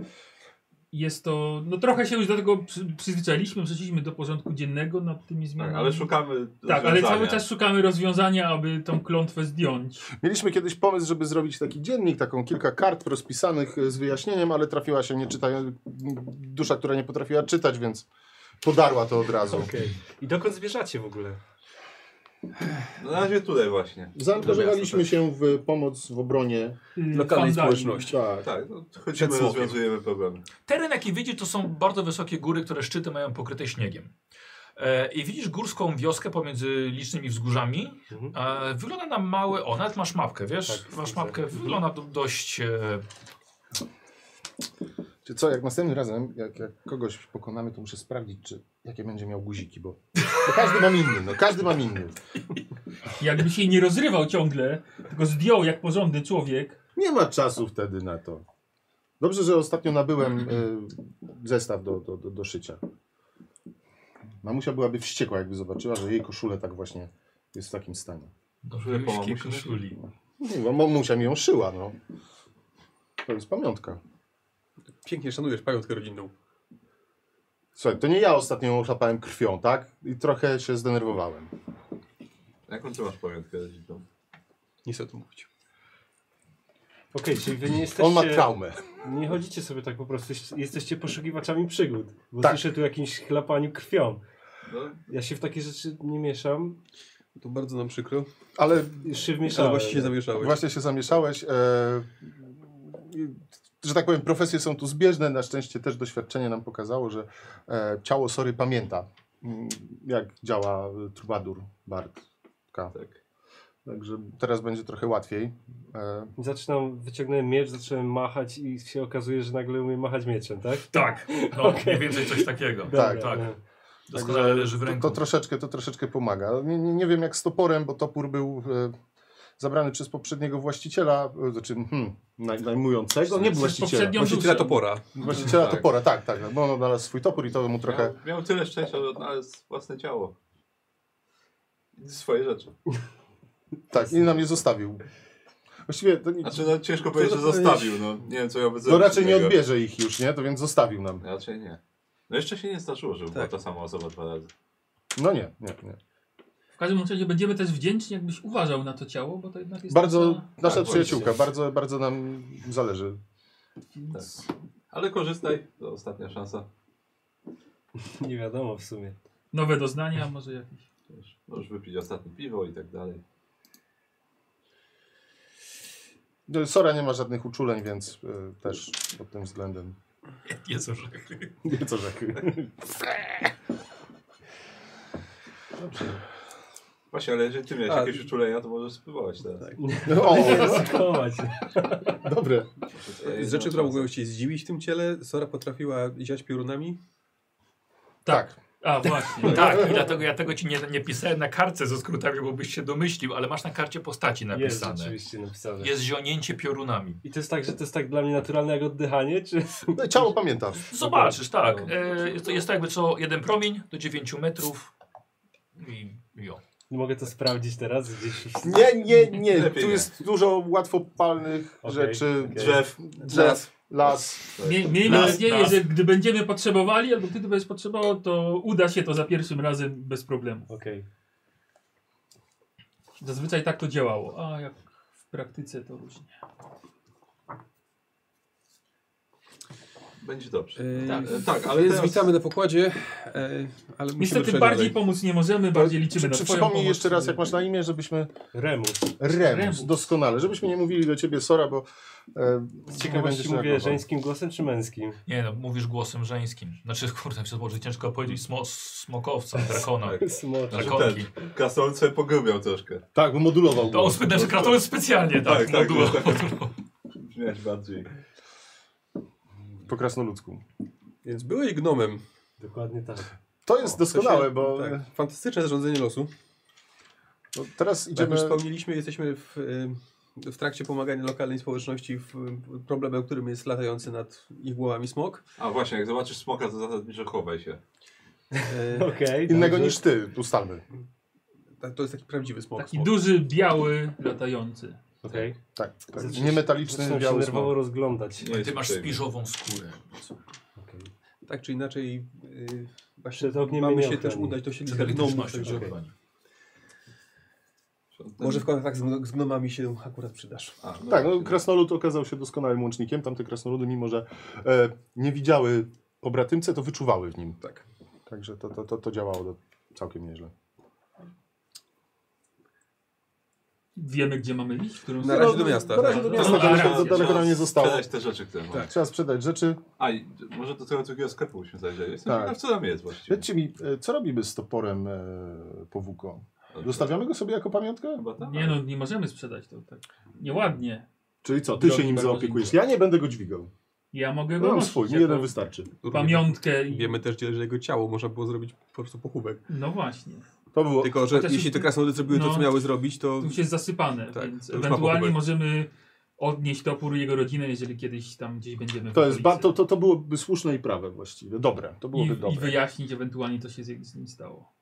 jest to, no trochę się już do tego przy, przyzwyczailiśmy, przeszliśmy do porządku dziennego nad tymi
Tak,
zmianami.
ale szukamy
Tak, ale
rozwiązania.
cały czas szukamy rozwiązania, aby tą klątwę zdjąć.
Mieliśmy kiedyś pomysł, żeby zrobić taki dziennik, taką kilka kart rozpisanych e, z wyjaśnieniem, ale trafiła się nie czytają, dusza, która nie potrafiła czytać, więc podarła to od razu.
Okej. I dokąd zmierzacie w ogóle?
No, na razie tutaj właśnie.
Zaangażowaliśmy
Do miasta
się w pomoc w obronie.
Yy, fandali.
Lokalnej społeczności.
Tak.
też. Tak, no,
Przed
chodzimy,
smokiem.
rozwiązujemy problemy.
Teren, jaki widzisz, to są bardzo wysokie góry, które szczyty mają pokryte śniegiem. E, I widzisz górską wioskę pomiędzy licznymi wzgórzami,
Mhm.
E, wygląda na małe. O, nawet masz mapkę, wiesz?
Tak,
masz
widzę.
mapkę,
Mhm.
wygląda do, dość. E,
Czy co, jak następnym razem, jak, jak kogoś pokonamy, to muszę sprawdzić, czy, jakie będzie miał guziki, bo bo każdy mam inny, no każdy mam inny.
Jakby się nie rozrywał ciągle, tylko zdjął jak porządny człowiek.
Nie ma czasu wtedy na to. Dobrze, że ostatnio nabyłem y, zestaw do, do, do, do szycia. Mamusia byłaby wściekła, jakby zobaczyła, że jej koszulę tak właśnie jest w takim stanie.
Dobrze, po mamusi.
koszuli.
Nie, bo mamusia mi ją szyła, no. To jest pamiątka.
Pięknie szanujesz pamiątkę rodzinną.
Słuchaj, to nie ja ostatnio ją szapałem krwią, tak? I trochę się zdenerwowałem.
Jaką ty masz pamiątkę rodzinną?
Nie chcę o tym mówić.
Okej, czyli wy nie jesteście...
On ma traumę.
Nie chodzicie sobie tak po prostu, jesteś- jesteście poszukiwaczami przygód. Bo
Tak.
słyszę tu jakimś chlapaniu krwią.
No,
Ja się w takie rzeczy nie mieszam.
To bardzo nam przykro,
Ale
Już się
ale
wmieszałem.
właśnie się zamieszałeś.
Właśnie się zamieszałeś. E, i- że tak powiem, profesje są tu zbieżne. Na szczęście też doświadczenie nam pokazało, że e, ciało Sory pamięta, mm, jak działa e, trubadur Bartka.
tak.
Także teraz będzie trochę łatwiej. E,
Zaczynam, wyciągnąłem miecz, zacząłem machać i się okazuje, że nagle umiem machać mieczem, tak?
Tak, no, mniej więcej coś takiego.
Tak,
tak.
no.
Doskonale
Także
leży w ręku.
To, to, troszeczkę, to troszeczkę pomaga. Nie, nie, nie wiem jak z toporem, bo topór był e, zabrany przez poprzedniego właściciela, e, znaczy hmm, naj, najmującego, nie
Przez
właściciela.
poprzednią
Właściciela
duszę.
topora.
Właściciela
Tak.
topora, tak, tak. Bo on odnalazł swój topór i to mu trochę...
Miał, miał tyle szczęścia, że odnalazł własne ciało. I swoje rzeczy.
Tak, i nam je zostawił. Właściwie to, nie,
Znaczy, no ciężko powiedzieć, że
Trudno
zostawił, no. Nie wiem, co ja bym
to
zrobił
raczej nie
innego.
odbierze ich już, nie? To więc zostawił nam.
Raczej nie. No jeszcze się nie zdarzyło, żeby była
Tak.
ta sama osoba dwa razy.
No nie, nie, nie.
W każdym razie będziemy też wdzięczni, jakbyś uważał na to ciało, bo to jednak jest
Bardzo,
nasza-
nasza
Tak,
przyjaciółka,
właśnie.
bardzo, bardzo nam zależy.
więc-
Ale korzystaj, to ostatnia szansa.
no, Nie wiadomo w sumie.
nowe doznania, może jakieś.
Wiesz, Możesz wypić ostatnie piwo i tak dalej.
No, Sora nie ma żadnych uczuleń, więc y, też pod tym względem
Nie są rzeczy.
nie co rzekł.
Właśnie, ale jeżeli ty miałeś
A,
jakieś uczulenia, to możesz spływać teraz.
Tak.
O,
Schować.
No, dobre.
Z rzeczy, która mogła się zdziwić w tym ciele, Sora potrafiła ziać piorunami.
Tak.
A właśnie.
Tak, i dlatego ja tego ci nie, nie pisałem na kartce ze skrótami, bo byś się domyślił, ale masz na karcie postaci
Jest
napisane. Jest,
rzeczywiście napisane.
zionięcie piorunami.
I to jest tak, że to jest tak dla mnie naturalne jak oddychanie, czy...
No, ciało pamięta.
Zobaczysz, tak.
No.
E, jest, to, jest to jakby co jeden promień do 9 metrów. I jo.
Mogę to sprawdzić teraz gdzieś.
Nie, nie, nie.
Lepiej
Tu
nie.
jest dużo łatwopalnych
Okej,
rzeczy.
okej.
Drzew.
Drzew, las.
Miej, miejmy
Las,
nadzieję,
las.
że gdy będziemy potrzebowali, albo gdy ty będziesz potrzebował, to uda się to za pierwszym razem bez problemu.
Okej.
Zazwyczaj tak to działało, a jak w praktyce to różnie.
Będzie dobrze.
E,
Tak.
E, tak, ale
Ale jest,
teraz...
witamy
witamy na pokładzie, e, ale musimy
Niestety
przejść
bardziej
dalej.
pomóc nie możemy, bardziej liczymy
Czy,
na e,
czy
twoją
przypomnij
pomoc.
jeszcze raz, jak masz na imię, żebyśmy...
Remus.
Remus,
Remus.
doskonale. Żebyśmy nie mówili do ciebie Sora, bo... E,
Z
nie będziesz
ciekawości mówię
reagował.
żeńskim głosem czy męskim?
Nie no, mówisz głosem żeńskim. Znaczy, kurde, mi się może ciężko powiedzieć smo, smokowca, drakona.
Smoczu.
Drakonki.
Gasol Znaczy, sobie pogrubiał troszkę.
Tak, bo modulował.
To on znaczy, kratołem specjalnie, tak.
Tak, tak,
moduło-
tak.
moduło.
Brzmiać bardziej.
Po krasnoludzku.
Więc byłeś gnomem.
Dokładnie tak.
To jest
To
doskonałe,
się-
bo
Tak, fantastyczne zarządzenie losu.
bo teraz
Jak Tak, już
idziemy...
wspomnieliśmy, jesteśmy w, y, w trakcie pomagania lokalnej społeczności w y, problemem, którym jest latający nad ich głowami smok.
A właśnie, jak zobaczysz smoka, to zasadniczo chowaj się.
E,
Okej.
Innego
dobrze.
niż ty, ustalmy.
tak, to jest taki prawdziwy smok.
Taki
smok.
duży, biały, latający.
Okej.
Tak, tak.
Zaczyna-
niemetaliczny
Zaczynam się
biały
nerwowo
smok.
rozglądać.
Nie jest
Ty masz
przyjemny.
spiżową skórę.
Okej.
Tak czy inaczej, y, właśnie
Przed ogniem
mamy
mnie
się
nie
też
ochroni.
udać do siebie
Cztery
gnomów.
gnomów,
Także
okej.
Może w kontaktach z, gno- z gnomami się akurat przydasz.
A, no
Tak, no,
właśnie.
krasnolud okazał się doskonałym łącznikiem. Tamte krasnoludy, mimo że e, nie widziały pobratymce, to wyczuwały w nim.
Tak.
Także to, to, to, to działało do, całkiem nieźle.
Wiemy, gdzie mamy iść, w którą
Na razie do miasta.
Na razie do
No,
miasta,
no,
daleko,
racja,
daleko nam nie zostało.
Sprzedać te rzeczy, które mam.
Tak.
Trzeba sprzedać rzeczy.
A, i może do tego drugiego sklepu byśmy zajrzeli. Jestem
Tak.
ciekaw, co tam jest właściwie.
Powiedzcie mi, e, co robimy z toporem e, powłóko? Zostawiamy go sobie jako pamiątkę?
Chyba tak?
Nie no, nie możemy sprzedać to tak. Nieładnie.
Czyli co, ty się nim zaopiekujesz? Ja nie będę go dźwigał.
Ja
No
mogę go
Mam
nosić
No, swój, mi
jako
tak.
jeden wystarczy.
pamiątkę. I...
Wiemy też, gdzie leży jego ciało. Można było zrobić po prostu pochówek.
No właśnie.
To było
Tylko, że
Chociaż
jeśli
już-
te krasnoludy zrobiły to,
no.
co miały zrobić, to...
Tu już jest zasypane,
Tak,
więc
to już ma
ewentualnie
pochówek.
możemy odnieść topór i jego rodzinę, jeżeli kiedyś tam gdzieś będziemy w
To, jest, ba-
okolicy.
to, to, to byłoby słuszne i prawe właściwie. Dobre. To byłoby
I, I
dobre.
wyjaśnić ewentualnie, co się z, z nim stało.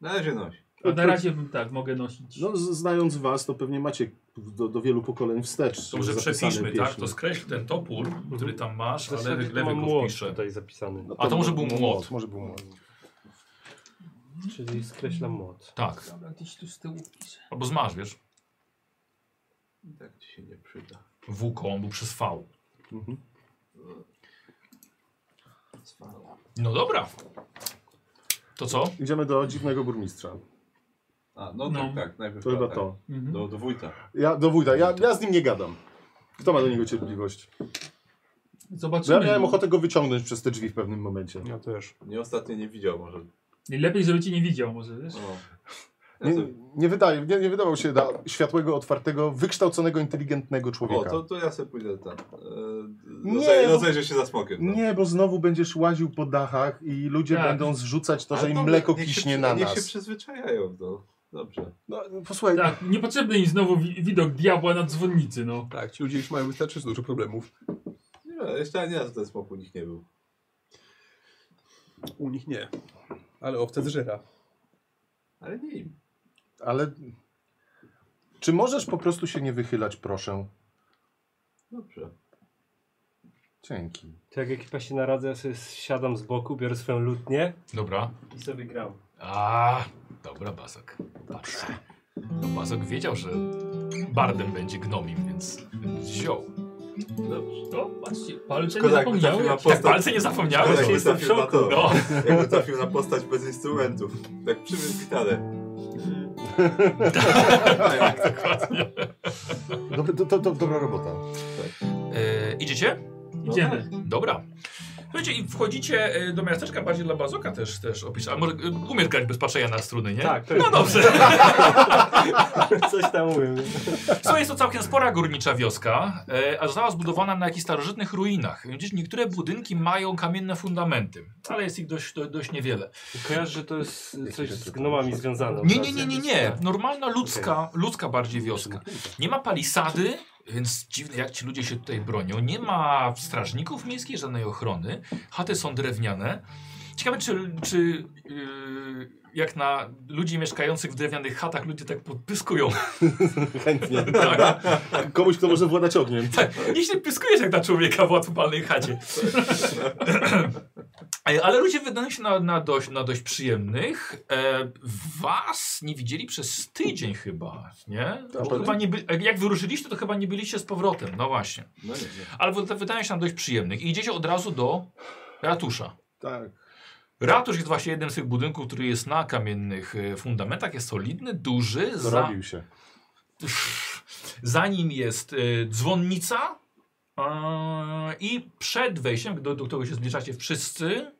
Na razie noś.
A na razie bym tak, mogę nosić.
No, z- znając was, to pewnie macie do, do wielu pokoleń wstecz.
To może
zapisane
przepiszmy, tak?
pieśni.
To skreśl ten topór, który tam masz,
W
ale
zasadzie
lewy,
tu
lewy
mam
go
młot
wpiszę.
tutaj zapisany.
No
A to może był młot.
Może był młot.
Czyli skreślam mod.
Tak.
Dobra, gdzieś tu z tyłu piszę.
Albo zmasz, wiesz?
I Tak ci się nie przyda.
Wuko, on był przez V.
Mhm.
No dobra. To co?
Idziemy do dziwnego burmistrza.
A, no,
No.
tak, tak. Najpierw
To chyba
tak.
to.
Mhm.
Do, do wójta.
Ja, do wójta. Ja, ja z nim nie gadam. Kto ma do niego cierpliwość? Bo
Zobaczymy.
ja miałem ochotę go wyciągnąć przez te drzwi w pewnym momencie.
Ja też.
Nie ostatnio nie widział może.
Lepiej, żeby cię nie widział może, wiesz?
O. Ja
Nie,
sobie-
nie, wydaje, nie, nie wydawał się na światłego, otwartego, wykształconego, inteligentnego
O,
człowieka.
to, tak, to ja sobie pójdę tam.
tak.
E,
Nie, no.
Rozej,
bo-
rozejrzę się za smokiem. tam.
Nie, bo znowu będziesz łaził po dachach i ludzie
Tak.
będą zrzucać to,
Ale
że im
dobra,
mleko
niech się
kiśnie
przy-
na
Niech się
nas.
przyzwyczajają, no. Dobrze.
No, posłuchaj,
Tak, niepotrzebny im znowu wi widok diabła na dzwonnicy, no.
Tak, ci ludzie już mają wystarczająco dużo problemów.
Nie, jeszcze ani razu ten smok u nich nie był.
U nich nie. Ale owce zżera.
Ale nie im.
ale czy możesz po prostu się nie wychylać, proszę?
Dobrze.
Dzięki.
To jak ekipa się naradza, ja sobie siadam z boku, biorę swoją lutnię
Dobra.
i sobie gram.
A, dobra, Basok. Dobrze. No, Basok wiedział, że bardem będzie gnomim, więc wziął.
Dobrze.
No,
To, patrzcie, palce nie
Szkoda, jakby
zapomniały.
trafił na
jak-
Tak,
Postać-
palce nie zapomniałeś.
Ale
się
jakby
jestem
trafił na
w szoku.
to.
No.
Jakby trafił na postać bez instrumentów. Tak przywiózł gitarę.
tak, dokładnie.
Dobre, to, to, to, dobra robota.
E, idziecie?
Idziemy.
Dobra. Słuchajcie, i wchodzicie e, do miasteczka bardziej dla Bazoka też, też opisać. A może e, umiesz grać bez patrzenia na struny, nie?
Tak, to
No
jest-
dobrze.
Coś tam mówię.
Słuchaj, jest to całkiem spora górnicza wioska, e, a została zbudowana na jakichś starożytnych ruinach. Widzisz, niektóre budynki mają kamienne fundamenty, ale jest ich dość, do, dość niewiele.
Kojarzę, że to jest coś z gnomami związane.
Nie, nie, nie, nie, nie. Normalna ludzka, ludzka bardziej wioska. Nie ma palisady, więc dziwne jak ci ludzie się tutaj bronią. Nie ma strażników miejskich, żadnej ochrony. Chaty są drewniane. Ciekawe, czy, czy yy, jak na ludzi mieszkających w drewnianych chatach ludzie tak podpyskują.
Chętnie.
Tak.
Komuś, kto może władać ogniem.
tak. Jeśli pyskujesz jak na człowieka w łatwopalnej chacie. E, Ale ludzie wydają się na, na, dość, na dość przyjemnych. E, was nie widzieli przez tydzień chyba, nie? Bo
pewnie.
chyba nie by, jak wyruszyliście, to chyba nie byliście z powrotem, no właśnie.
No nie, nie.
Ale wy- wydają się na dość przyjemnych. I idziecie od razu do ratusza.
Tak.
Ratusz jest właśnie jednym z tych budynków, który jest na kamiennych e, fundamentach. Jest solidny, duży. Za,
Zrobił się.
za nim jest y, dzwonnica yy, i przed wejściem, do, do którego się zbliżacie wszyscy,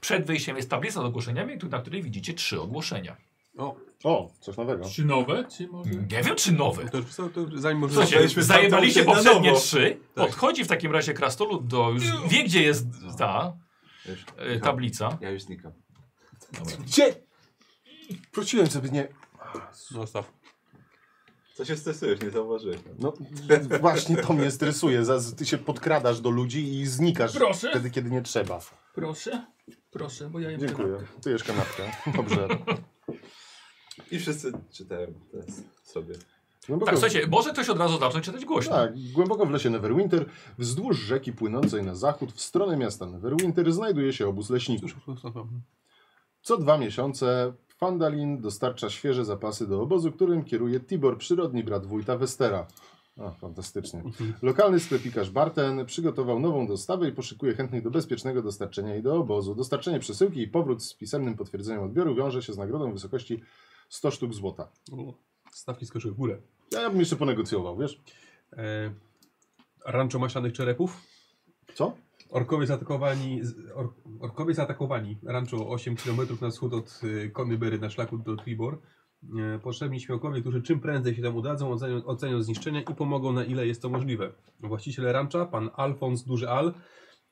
przed wejściem jest tablica z ogłoszeniami, tu- na której widzicie trzy ogłoszenia.
O,
O, coś
No.
nowego.
Czy nowe? Czy może...
Nie wiem, czy nowe.
to już wstał, to już zanim może...
Słuchajcie,
Zostaliśmy
zajebaliście
stamtąd na
poprzednie
nowo.
trzy,
Tak.
podchodzi w takim razie krastolud do, już wie gdzie jest ta
Już.
y, tablica.
Ja już znikam.
Dobra.
Gdzie? Wróciłem sobie, nie.
No, Zostaw.
Co się stresujesz, nie zauważyłeś.
No właśnie to mnie stresuje. Zaz- Ty się podkradasz do ludzi i znikasz
Proszę.
wtedy, kiedy nie trzeba.
Proszę, proszę, bo ja jem
Dziękuję. Ty jesz kanapkę. Dobrze.
I wszyscy czytają teraz sobie.
Głęboko,
Tak, słuchajcie, może ktoś od razu zacząć czytać głośno.
No tak, głęboko w lesie Neverwinter, wzdłuż rzeki płynącej na zachód w stronę miasta Neverwinter znajduje się obóz leśników.
Już zostawam.
Co dwa miesiące Fandalin dostarcza świeże zapasy do obozu, którym kieruje Tibor, przyrodni brat wójta Westera. O, fantastycznie. Lokalny sklepikarz Barten przygotował nową dostawę i poszykuje chętnych do bezpiecznego dostarczenia jej do obozu. Dostarczenie przesyłki i powrót z pisemnym potwierdzeniem odbioru wiąże się z nagrodą w wysokości 100 sztuk złota.
O, Stawki skoczyły w górę.
Ja bym jeszcze ponegocjował, wiesz?
E, rancho maślanych czerepów.
Co?
Orkowie zaatakowani, z- or, orkowie zaatakowani. Rancho 8 km na wschód od y, Konybery na szlaku do Tribor. E, potrzebni śmiałkowie, którzy czym prędzej się tam udadzą, ocenią, ocenią zniszczenia i pomogą na ile jest to możliwe. Właściciel rancha, pan Alfons Duży Al,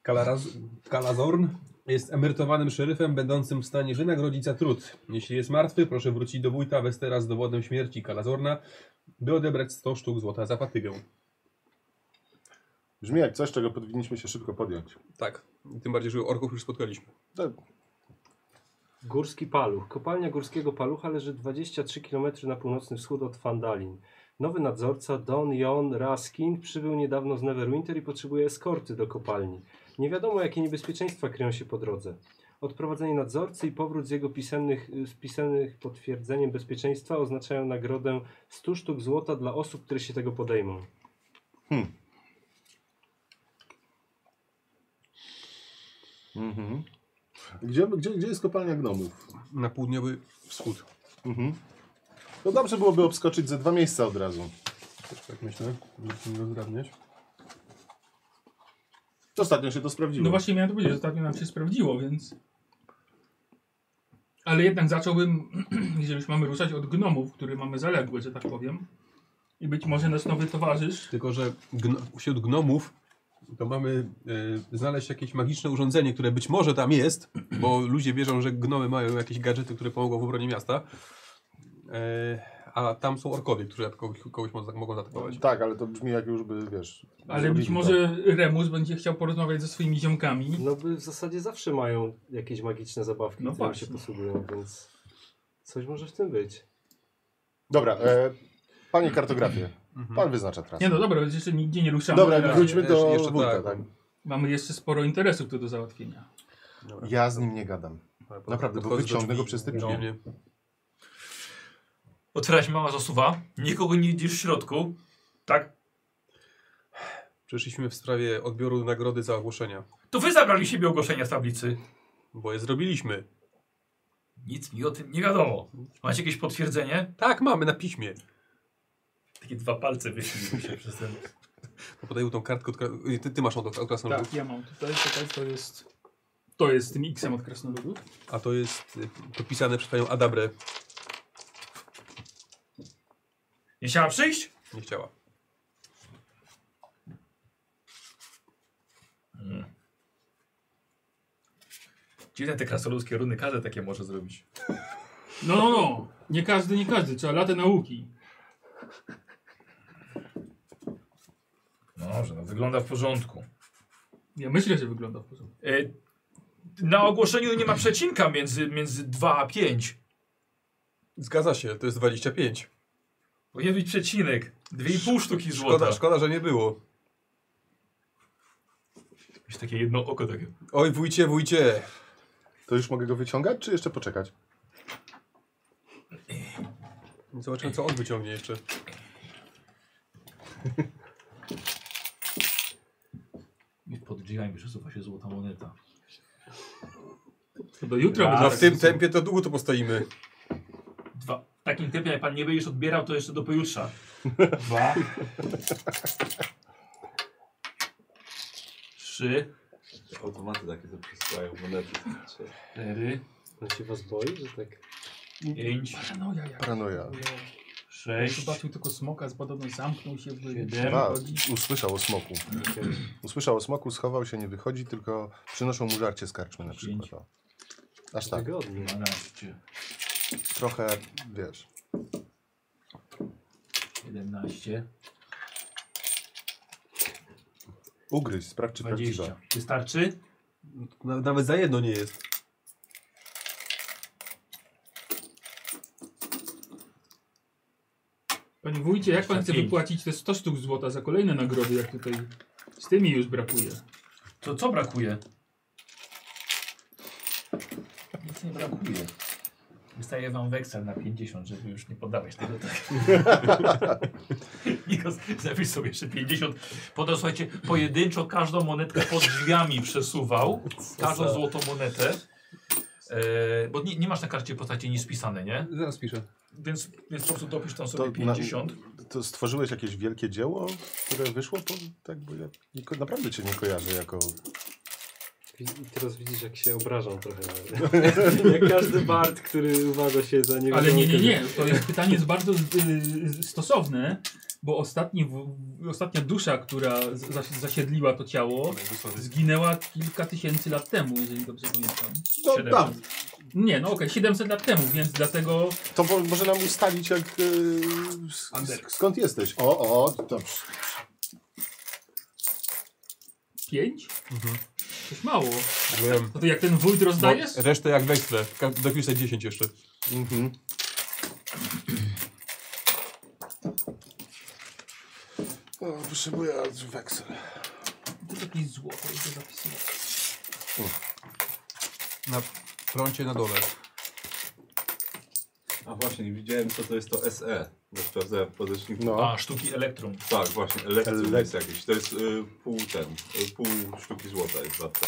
Kalaraz, Kalazorn, jest emerytowanym szeryfem, będącym w stanie wynagrodzić za trud. Jeśli jest martwy, proszę wrócić do wójta Westera z dowodem śmierci Kalazorna, by odebrać 100 sztuk złota za fatygę.
Brzmi jak coś, czego powinniśmy się szybko podjąć.
Tak. Tym bardziej, że orków już spotkaliśmy.
To-
Górski Paluch. Kopalnia Górskiego Palucha leży 23 km na północny wschód od Fandalin. Nowy nadzorca Don Jon Raskin przybył niedawno z Neverwinter i potrzebuje eskorty do kopalni. Nie wiadomo, jakie niebezpieczeństwa kryją się po drodze. Odprowadzenie nadzorcy i powrót z jego pisemnych, z pisemnych potwierdzeniem bezpieczeństwa oznaczają nagrodę 100 sztuk złota dla osób, które się tego podejmą.
Mhm. Gdzie, gdzie, gdzie jest kopalnia gnomów?
Na południowy wschód.
Mhm. To dobrze byłoby obskoczyć ze dwa miejsca od razu.
Też tak myślę, żeby się nie rozdrabniać.
Ostatnio się to sprawdziło.
No właśnie miałem to powiedzieć, że ostatnio nam się sprawdziło, więc... Ale jednak zacząłbym, jeżeli już mamy ruszać od gnomów, który mamy zaległy, że tak powiem. I być może nasz nowy towarzysz...
Tylko, że gno, wśród gnomów to mamy e, znaleźć jakieś magiczne urządzenie, które być może tam jest, bo ludzie wierzą, że gnomy mają jakieś gadżety, które pomogą w obronie miasta. E, a tam są orkowie, którzy atakować- kogoś mo- mogą zaatakować.
Tak, ale to brzmi jak już by, wiesz...
Ale
zrobili
być
to.
może Remus będzie chciał porozmawiać ze swoimi ziomkami.
No by w zasadzie zawsze mają jakieś magiczne zabawki,
No
no którymi
właśnie.
się posługują, więc coś może w tym być.
Dobra, e, panie kartografie, pan wyznacza trasę.
Nie no dobra, jeszcze nigdzie nie ruszamy.
Dobra,
Ale
wróćmy do
Jeszcze- jeszcze
wójta.
tak.
Tak.
Mamy jeszcze sporo interesów tu do załatwienia.
Ja z nim nie gadam. Naprawdę, bo
Podchodzę do
wyciągnę go
drzwi.
przez te
Nie,
drzwi.
nie.
Otwiera się mała zasuwa, nikogo nie widzisz w środku, tak?
Przeszliśmy w sprawie odbioru nagrody za ogłoszenia,
To wy zabrali siebie ogłoszenia z tablicy.
bo je zrobiliśmy.
Nic mi o tym nie wiadomo. Macie jakieś potwierdzenie?
Tak, mamy na piśmie.
Takie dwa palce wyśliły się przez ten...
Podaję tą kartkę, od, kra- ty, ty masz od, od krasnoludów.
Tak, ja mam tutaj, czekaj, to jest... To jest tym X-em od krasnoludów.
Tak.
A to jest y, podpisane przez panią Adabrę.
Nie chciała przyjść?
Nie chciała.
Dziwne te krasoludzkie runy, każdy takie może zrobić.
No, no, no. Nie każdy, nie każdy. Trzeba latę nauki.
No Dobrze, no wygląda w porządku.
Ja myślę, że wygląda w porządku.
E, na ogłoszeniu nie ma przecinka między, między 2 a 5.
Zgadza się, to jest 25.
Powinien być przecinek. Dwie i pół sztuki
Szkoda,
tak.
złota.
szkoda, że nie było.
Jakieś takie jedno oko takie.
Oj, wójcie, wójcie.
To już mogę go wyciągać, czy jeszcze poczekać?
Zobaczymy, co on wyciągnie jeszcze.
I pod drzwiami przesuwa się złota moneta.
To do jutra
No
będzie
w
tak
tym
wszystko.
tempie to długo tu postoimy.
Dwa. W takim tempie, jak pan nie będziesz odbierał, to jeszcze do pojutrze. Dwa. Trzy.
Automaty takie to przysyłają monety. znaczy.
Cztery.
On się was boi, że tak...
Pięć.
Paranoja jak.
Paranoja.
Sześć.
Zobaczył tylko smoka, z podobno zamknął się w
Siedem.
A,
chodzi.
usłyszał o smoku. Usłyszał o smoku, schował się, nie wychodzi, tylko przynoszą mu żarcie z karczmy na przykład.
Pięć.
O. Aż tak,
Wygodnie.
Dwanaście.
trochę, wiesz,
17,
ugryź, sprawdź czy prawdziwa.
20. Wystarczy?
Na- Nawet za jedno nie jest.
Panie wójcie, jak pan chce
Pięć.
wypłacić te 100 sztuk złota za kolejne nagrody, jak tutaj z tymi już brakuje?
To co brakuje? Nic nie brakuje. Wystaje wam weksel na 50, żeby już nie poddawać tego tak. Nikos, zapisz sobie jeszcze 50. Potem słuchajcie, pojedynczo każdą monetkę pod drzwiami przesuwał. Każdą
za-
złotą monetę. E, bo nie, nie masz na karcie postaci nic pisane, nie?
Zaraz piszę.
Więc, więc po prostu dopisz tam
To
sobie
na-
50.
To stworzyłeś jakieś wielkie dzieło, które wyszło? Bo, tak, bo ja nie, ko- naprawdę cię nie kojarzę jako...
I teraz widzisz, jak się obrażam trochę. jak każdy bard, który uważa się za nie
Ale nie, nie, nie. To jest pytanie jest bardzo y, stosowne, bo ostatni, w, ostatnia dusza, która z- zas, zasiedliła to ciało, zginęła kilka tysięcy lat temu, jeżeli dobrze pamiętam.
No,
Siedem.
tam,
Nie, no okej, 700 lat temu, więc dlatego
to mo- może nam ustalić jak... Yy, s-
Anderk.
skąd jesteś? O, o, dobrze.
5? Coś mało.
Wiem.
No to jak ten wójt rozdajesz?
Bo Resztę jak weksle. Ka- Dopiszę 10 jeszcze.
Mhm. O, potrzebuję weksel.
To jakieś złoto, to zapisywać.
Na froncie na dole.
A właśnie, nie widziałem co to jest to E. SE. Bo sprawdzałem w podręczniku.
No,
A, sztuki elektrum.
Tak, właśnie, elektrum
Ele-
jest jakieś. To jest y, pół ten, y, pół sztuki złota jest warta.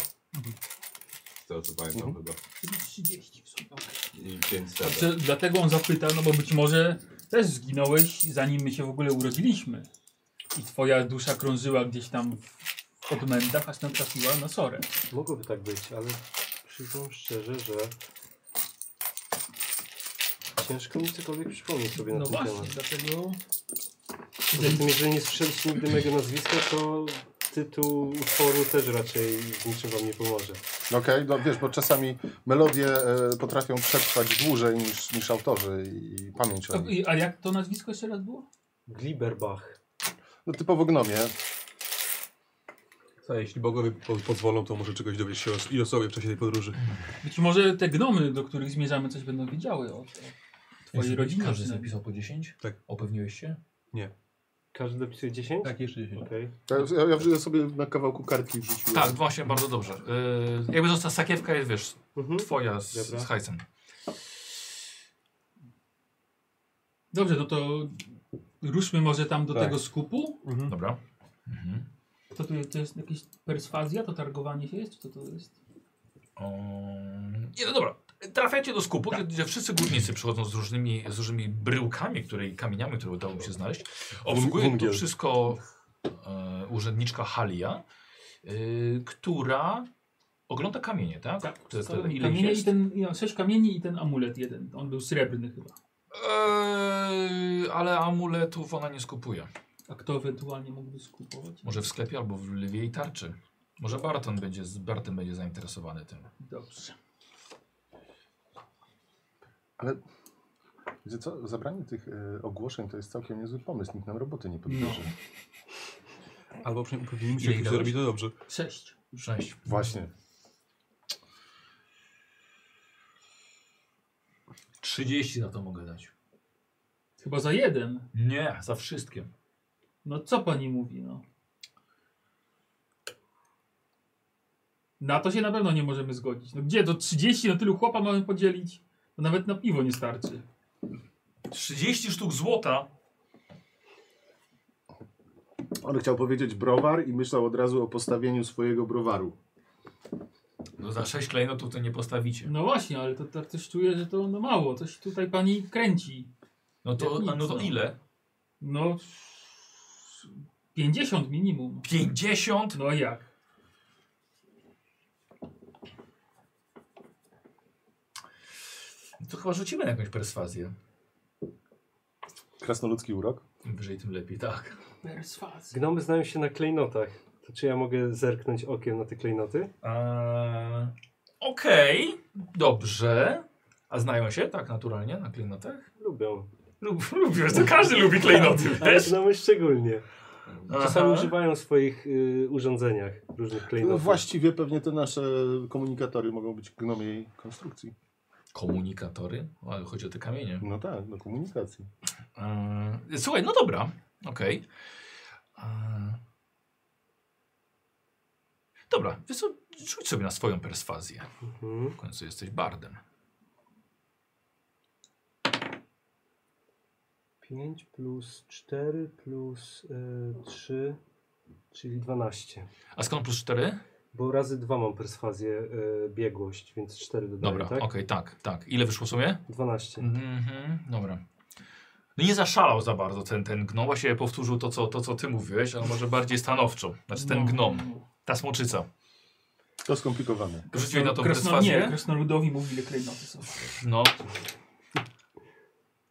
Z tego co pamiętam
Mhm.
chyba.
Czyli 30 w sumie.
I 5
Znaczy,
sreber.
dlatego on zapytał, no bo być może też zginąłeś, zanim my się w ogóle urodziliśmy. I twoja dusza krążyła gdzieś tam w odmędach, aż tam trafiła na sorę.
Mogłoby tak być, ale przyznam szczerze, że ciężko mi cokolwiek przypomnieć sobie na
No
ten
właśnie,
temat.
dlatego...
Poza tym, jeżeli nie słyszeliście nigdy mojego nazwiska, to tytuł utworu też raczej w niczym wam nie pomoże.
okej, no wiesz, bo czasami melodie e, potrafią przetrwać dłużej niż, niż autorzy i pamięć o
To,
nich.
i- a jak to nazwisko jeszcze raz było?
Glieberbach.
No typowo gnomie.
Co, jeśli bogowie po pozwolą, to może czegoś dowiesz się o, i o sobie w czasie tej podróży.
Być może te gnomy, do których zmierzamy, coś będą wiedziały o, o twojej rodzinie.
Każdy
przynajmniej.
zapisał po 10?
Tak.
Opewniłeś się?
Każdy dopisuje 10?
Tak, jeszcze 10.
Okej.
Ja, ja, ja sobie na kawałku kartki wrzuciłem.
Tak, właśnie, bardzo dobrze. Yy, jakby została sakiewka, jest, wiesz,
Mhm.
twoja z,
Dobra.
z hajsem.
Dobrze, no to ruszmy może tam do
Tak.
tego skupu.
Mhm.
Dobra. Mhm.
To tu to jest jakieś perswazja, to targowanie się jest? Czy to, to jest?
Um, nie, no dobra. Trafiacie do skupu,
Tak.
gdzie wszyscy górnicy przychodzą z różnymi, z różnymi bryłkami, które, i kamieniami, które udało mi się znaleźć. Obsługuje to
wungiel.
wszystko e, urzędniczka Halia, y, która ogląda kamienie, tak?
Tak,
To jest
to
to, ile ich
kamienie i
jest?
ten, ja, sześć kamieni i ten amulet jeden. On był srebrny chyba.
Eee, ale amuletów ona nie skupuje.
A kto ewentualnie mógłby skupować?
Może w sklepie albo w lwiej tarczy. Może Barton będzie, z- Barton będzie zainteresowany tym.
Dobrze.
Wiecie co? Zabranie tych e, ogłoszeń to jest całkiem niezły pomysł. Nikt nam roboty nie podbierze.
No.
Albo przynajmniej upewnimy się,
Ile
że
dałeś?
robi to dobrze.
Sześć.
Sześć.
Właśnie.
30 na to mogę dać.
Chyba za jeden.
Nie, za wszystkie.
No co pani mówi, no? Na to się na pewno nie możemy zgodzić. No gdzie do 30 na tylu chłopa mamy podzielić? To nawet na piwo nie starczy.
30 sztuk złota.
On chciał powiedzieć browar i myślał od razu o postawieniu swojego browaru.
No za 6 klejnotów to nie postawicie.
No właśnie, ale to tak też czuję, że to no mało. Coś tutaj pani kręci.
No to,
Jak nic,
no to
no.
ile?
No 50 minimum.
50?
No jak?
No To chyba rzucimy na jakąś perswazję.
Krasnoludzki urok?
Im wyżej, tym lepiej, tak.
Perswazja.
Gnomy znają się na klejnotach. To czy ja mogę zerknąć okiem na te klejnoty?
Eee, Okej, dobrze. A znają się tak naturalnie na klejnotach?
Lubią.
Lub, lubię, to każdy lubi klejnoty,
Ale
też.
gnomy szczególnie. Czasami
Aha.
używają w swoich y, urządzeniach różnych
No,
klejnotów.
właściwie pewnie te nasze komunikatory mogą być gnomiej konstrukcji.
Komunikatory? O, chodzi o te kamienie.
No tak, do komunikacji.
Eee, słuchaj, no dobra, okej. Eee, dobra, wiesz co, rzuć sobie na swoją perswazję.
Mhm.
W końcu jesteś bardem.
5 plus 4 plus y, 3, czyli 12.
A skąd plus 4?
Bo razy 2 mam perswazję y, biegłość, więc 4 dodaję,
Dobra,
tak?
okej, tak, tak. Ile wyszło w sumie?
12.
Mhm, dobra. No nie zaszalał za bardzo ten, ten gnom. Właściwie powtórzył to co, to, co ty mówiłeś, ale może bardziej stanowczo. Znaczy ten
No.
gnom, ta smoczyca.
To skomplikowane.
Rzuciłeś na tą
Krasno, No, nie,
perswazję?
krasnoludowi mówi, ile klejnoty są.
No,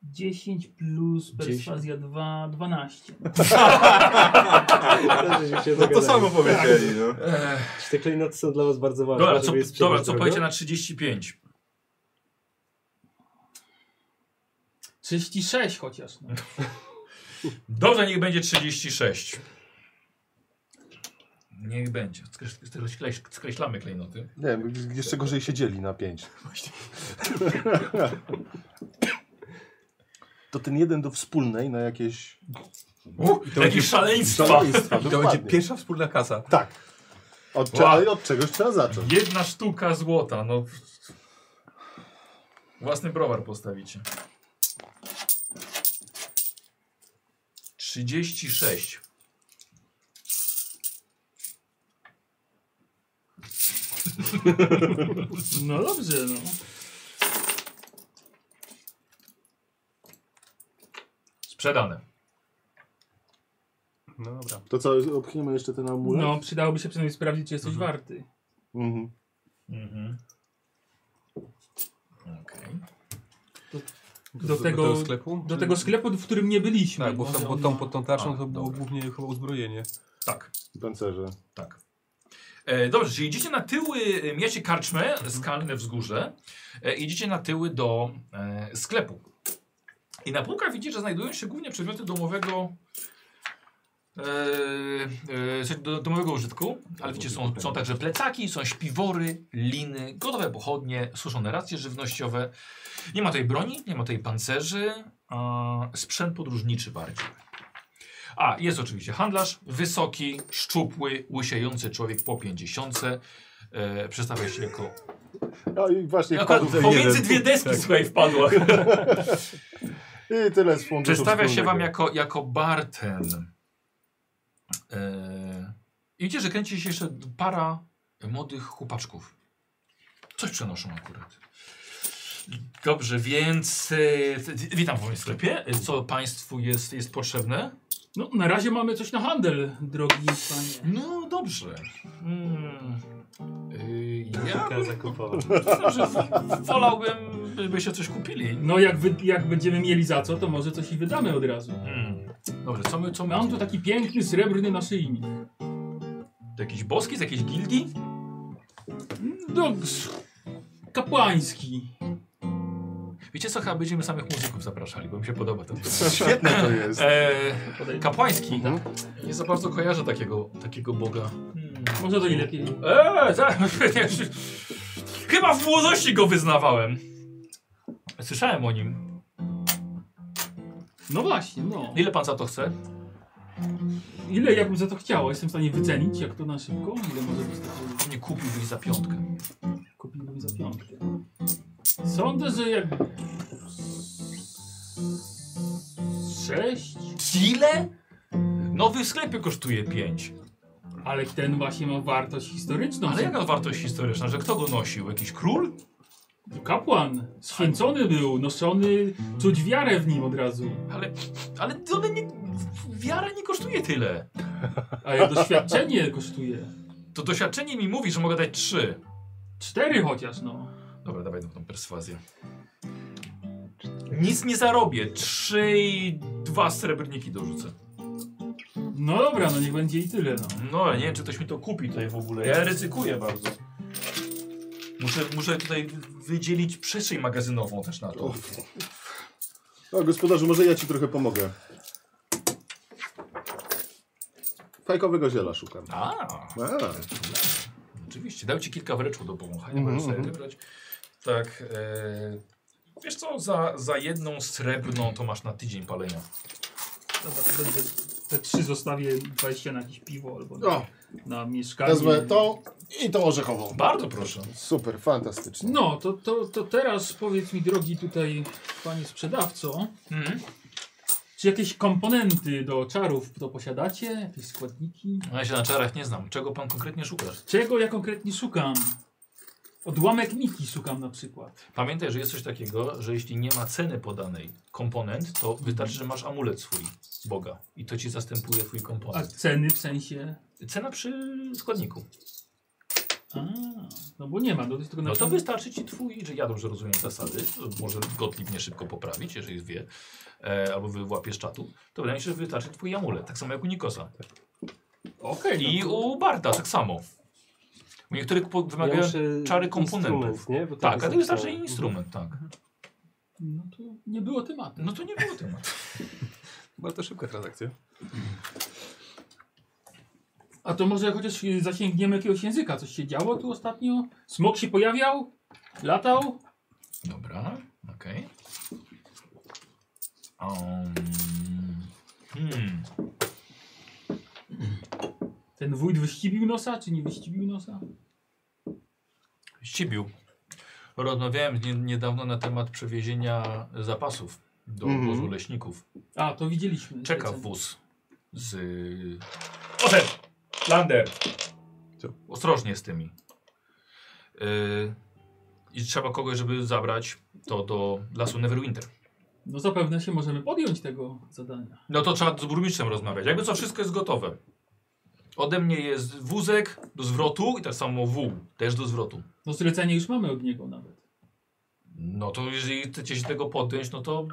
10 plus perswazja 2, 12.
No to samo powiedzieli, no.
Tak. Czy te klejnoty są dla was bardzo ważne?
dobra,
żeby
co,
je sprzedać
dobra, co
drogo?
powiecie na 35?
36 chociaż. No.
Dobrze, niech będzie 36. Niech będzie. Skreś- skreś- Skreślamy klejnoty.
Nie wiem, jeszcze gorzej siedzieli na pięć. To ten jeden do wspólnej na jakieś...
Jakieś szaleństwa.
szaleństwa,
I to
dokładnie.
będzie pierwsza wspólna kasa.
Tak. Od, cze-
Wow.
ale od czegoś trzeba zacząć.
Jedna sztuka złota, no. Własny browar postawicie. 36.
no dobrze, no.
Sprzedane.
No dobra.
To co, obchniemy jeszcze ten amulet?
No, przydałoby się przynajmniej sprawdzić, czy jesteś warty.
Mhm.
Mhm. Okej.
Do tego-
Do, tego, do tego sklepu?
Do tego sklepu, w którym nie byliśmy.
Tak, bo,
Może
tam, bo
on
tą,
ma-
pod tą tarczą
A,
to było
dobra.
głównie chyba uzbrojenie.
Tak,
Pancerze.
tak. E, dobrze, czyli idziecie na tyły, e, mijacie karczmę, skalne wzgórze. E, idziecie na tyły do e, sklepu. I na półkach widzicie, że znajdują się głównie przedmioty domowego. E, e, sorry, do, domowego użytku, ale wiecie, są, są także plecaki, są śpiwory, liny, gotowe pochodnie, suszone racje żywnościowe. Nie ma tej broni, nie ma tej pancerzy, a sprzęt podróżniczy bardziej. A, jest oczywiście handlarz, wysoki, szczupły, łysiejący człowiek po pięćdziesiątce. E, przedstawia się jako
No i właśnie
Akurat
wpadł ten
Pomiędzy
jeden. Tak.
dwie deski
Tak.
słuchaj wpadła.
I tyle z funduszu
Przedstawia się
wspólnego.
wam jako, jako Barten. E, i widzicie, że kręci się jeszcze para młodych chłopaczków. Coś przenoszą akurat. Dobrze, więc e, w- witam w moim sklepie. E, Co Państwu jest, jest potrzebne?
No, na razie mamy coś na handel, drogi panie.
No dobrze. Mm. E, ja
Kilka zakupowań.
myślę, że w- wolałbym, byście coś kupili.
No, jak, wy, jak będziemy mieli za co, to może coś i wydamy od razu.
Mm. Dobrze, co my, co my?
Mam tu taki piękny, srebrny naszyjnik.
To jakiś boski z jakiejś gildii?
No, s- kapłański.
Wiecie co, chyba będziemy samych muzyków zapraszali, bo mi się podoba ten
Świetne to jest.
e, Kapłański.
Mhm.
Nie za bardzo kojarzę takiego, takiego boga.
Może to i lepiej.
Eee, za- Chyba w młodości go wyznawałem. Słyszałem o nim.
No właśnie, no.
Ile pan za to chce?
Ile jakbym za to chciała? Jestem w stanie wycenić, jak to na szybko. Ile może być takiego?
Nie kupiłbyś za piątkę.
Kupiłbym za piątkę. Sądzę, że jak... Sześć?
Ile? Nowy w sklepie kosztuje pięć.
Ale ten właśnie ma wartość historyczną.
Ale jaka wartość historyczna, że kto go nosił? Jakiś król?
Kapłan. Święcony był, noszony. Czuć wiarę w nim od razu.
Ale, ale one nie, wiara nie kosztuje tyle.
A jak doświadczenie kosztuje?
To doświadczenie mi mówi, że mogę dać trzy.
Cztery chociaż, no.
Dobra, dawaj tą perswazję. Nic nie zarobię. Trzy i dwa srebrniki dorzucę.
No dobra, no niech będzie i tyle, no.
No ale nie wiem, czy ktoś mi to kupi tutaj w ogóle. Ja ryzykuję bardzo. Muszę, muszę tutaj wydzielić przestrzeń magazynową też na to.
O. O, gospodarzu, może ja ci trochę pomogę. Fajkowego ziela szukam.
A,
A.
bez problemu. Oczywiście. Dał ci kilka wreczów do powąchania,
Mhm,
możesz sobie
mhm.
wybrać. Tak. E, wiesz co, za, za jedną srebrną to masz na tydzień palenia.
Dobra, to będę te trzy zostawię 20 na jakieś piwo albo na,
O,
na mieszkanie.
No, wezmę tą i tą orzechową.
Bardzo proszę.
Super, fantastycznie.
No, to, to, to teraz powiedz mi, drogi tutaj panie sprzedawco,
Mhm.
czy jakieś komponenty do czarów to posiadacie? Jakieś składniki?
No Ja się na czarach nie znam. Czego pan konkretnie szukasz?
Czego ja konkretnie szukam? Odłamek niki szukam na przykład.
Pamiętaj, że jest coś takiego, że jeśli nie ma ceny podanej komponent, to wystarczy, że masz amulet swój Boga i to ci zastępuje twój
A
komponent.
ceny w sensie...
Cena przy składniku.
A, no bo nie ma, no to jest tylko na
No to wystarczy ci twój, że ja dobrze rozumiem zasady, może Gottlieb mnie szybko poprawić, jeżeli wie, e, albo wyłapie z czatu, to wydaje mi się, że wystarczy twój amulet, tak samo jak u Nikosa.
Okej, no
I u Barda tak samo. U niektórych po- wymagają
muszę
czary komponentów.
instrument, nie? Bo
Tak,
tego
a to wystarczy
zapisałem.
instrument, tak.
No to nie było tematu.
No to nie było tematu.
Bardzo szybka transakcja.
A to może chociaż y, zasięgniemy jakiegoś języka. Coś się działo tu ostatnio? Smok się pojawiał? Latał?
Dobra, okej. Um, hmm.
Ten wójt wyścibił nosa, czy nie wyścibił nosa?
Ścibił. Rozmawiałem nie, niedawno na temat przewiezienia zapasów do
Mhm.
obozu leśników.
A, to widzieliśmy.
Czeka
Recen-
wóz z... Otem! Lander!
Co?
Ostrożnie z tymi. Yy, I trzeba kogoś, żeby zabrać to do lasu Neverwinter.
No zapewne się możemy podjąć tego zadania.
No to trzeba z burmistrzem rozmawiać. Jakby co, wszystko jest gotowe. Ode mnie jest wózek do zwrotu i tak samo wół też do zwrotu.
No zlecenie już mamy od niego nawet.
No to jeżeli chcecie się tego podjąć, no to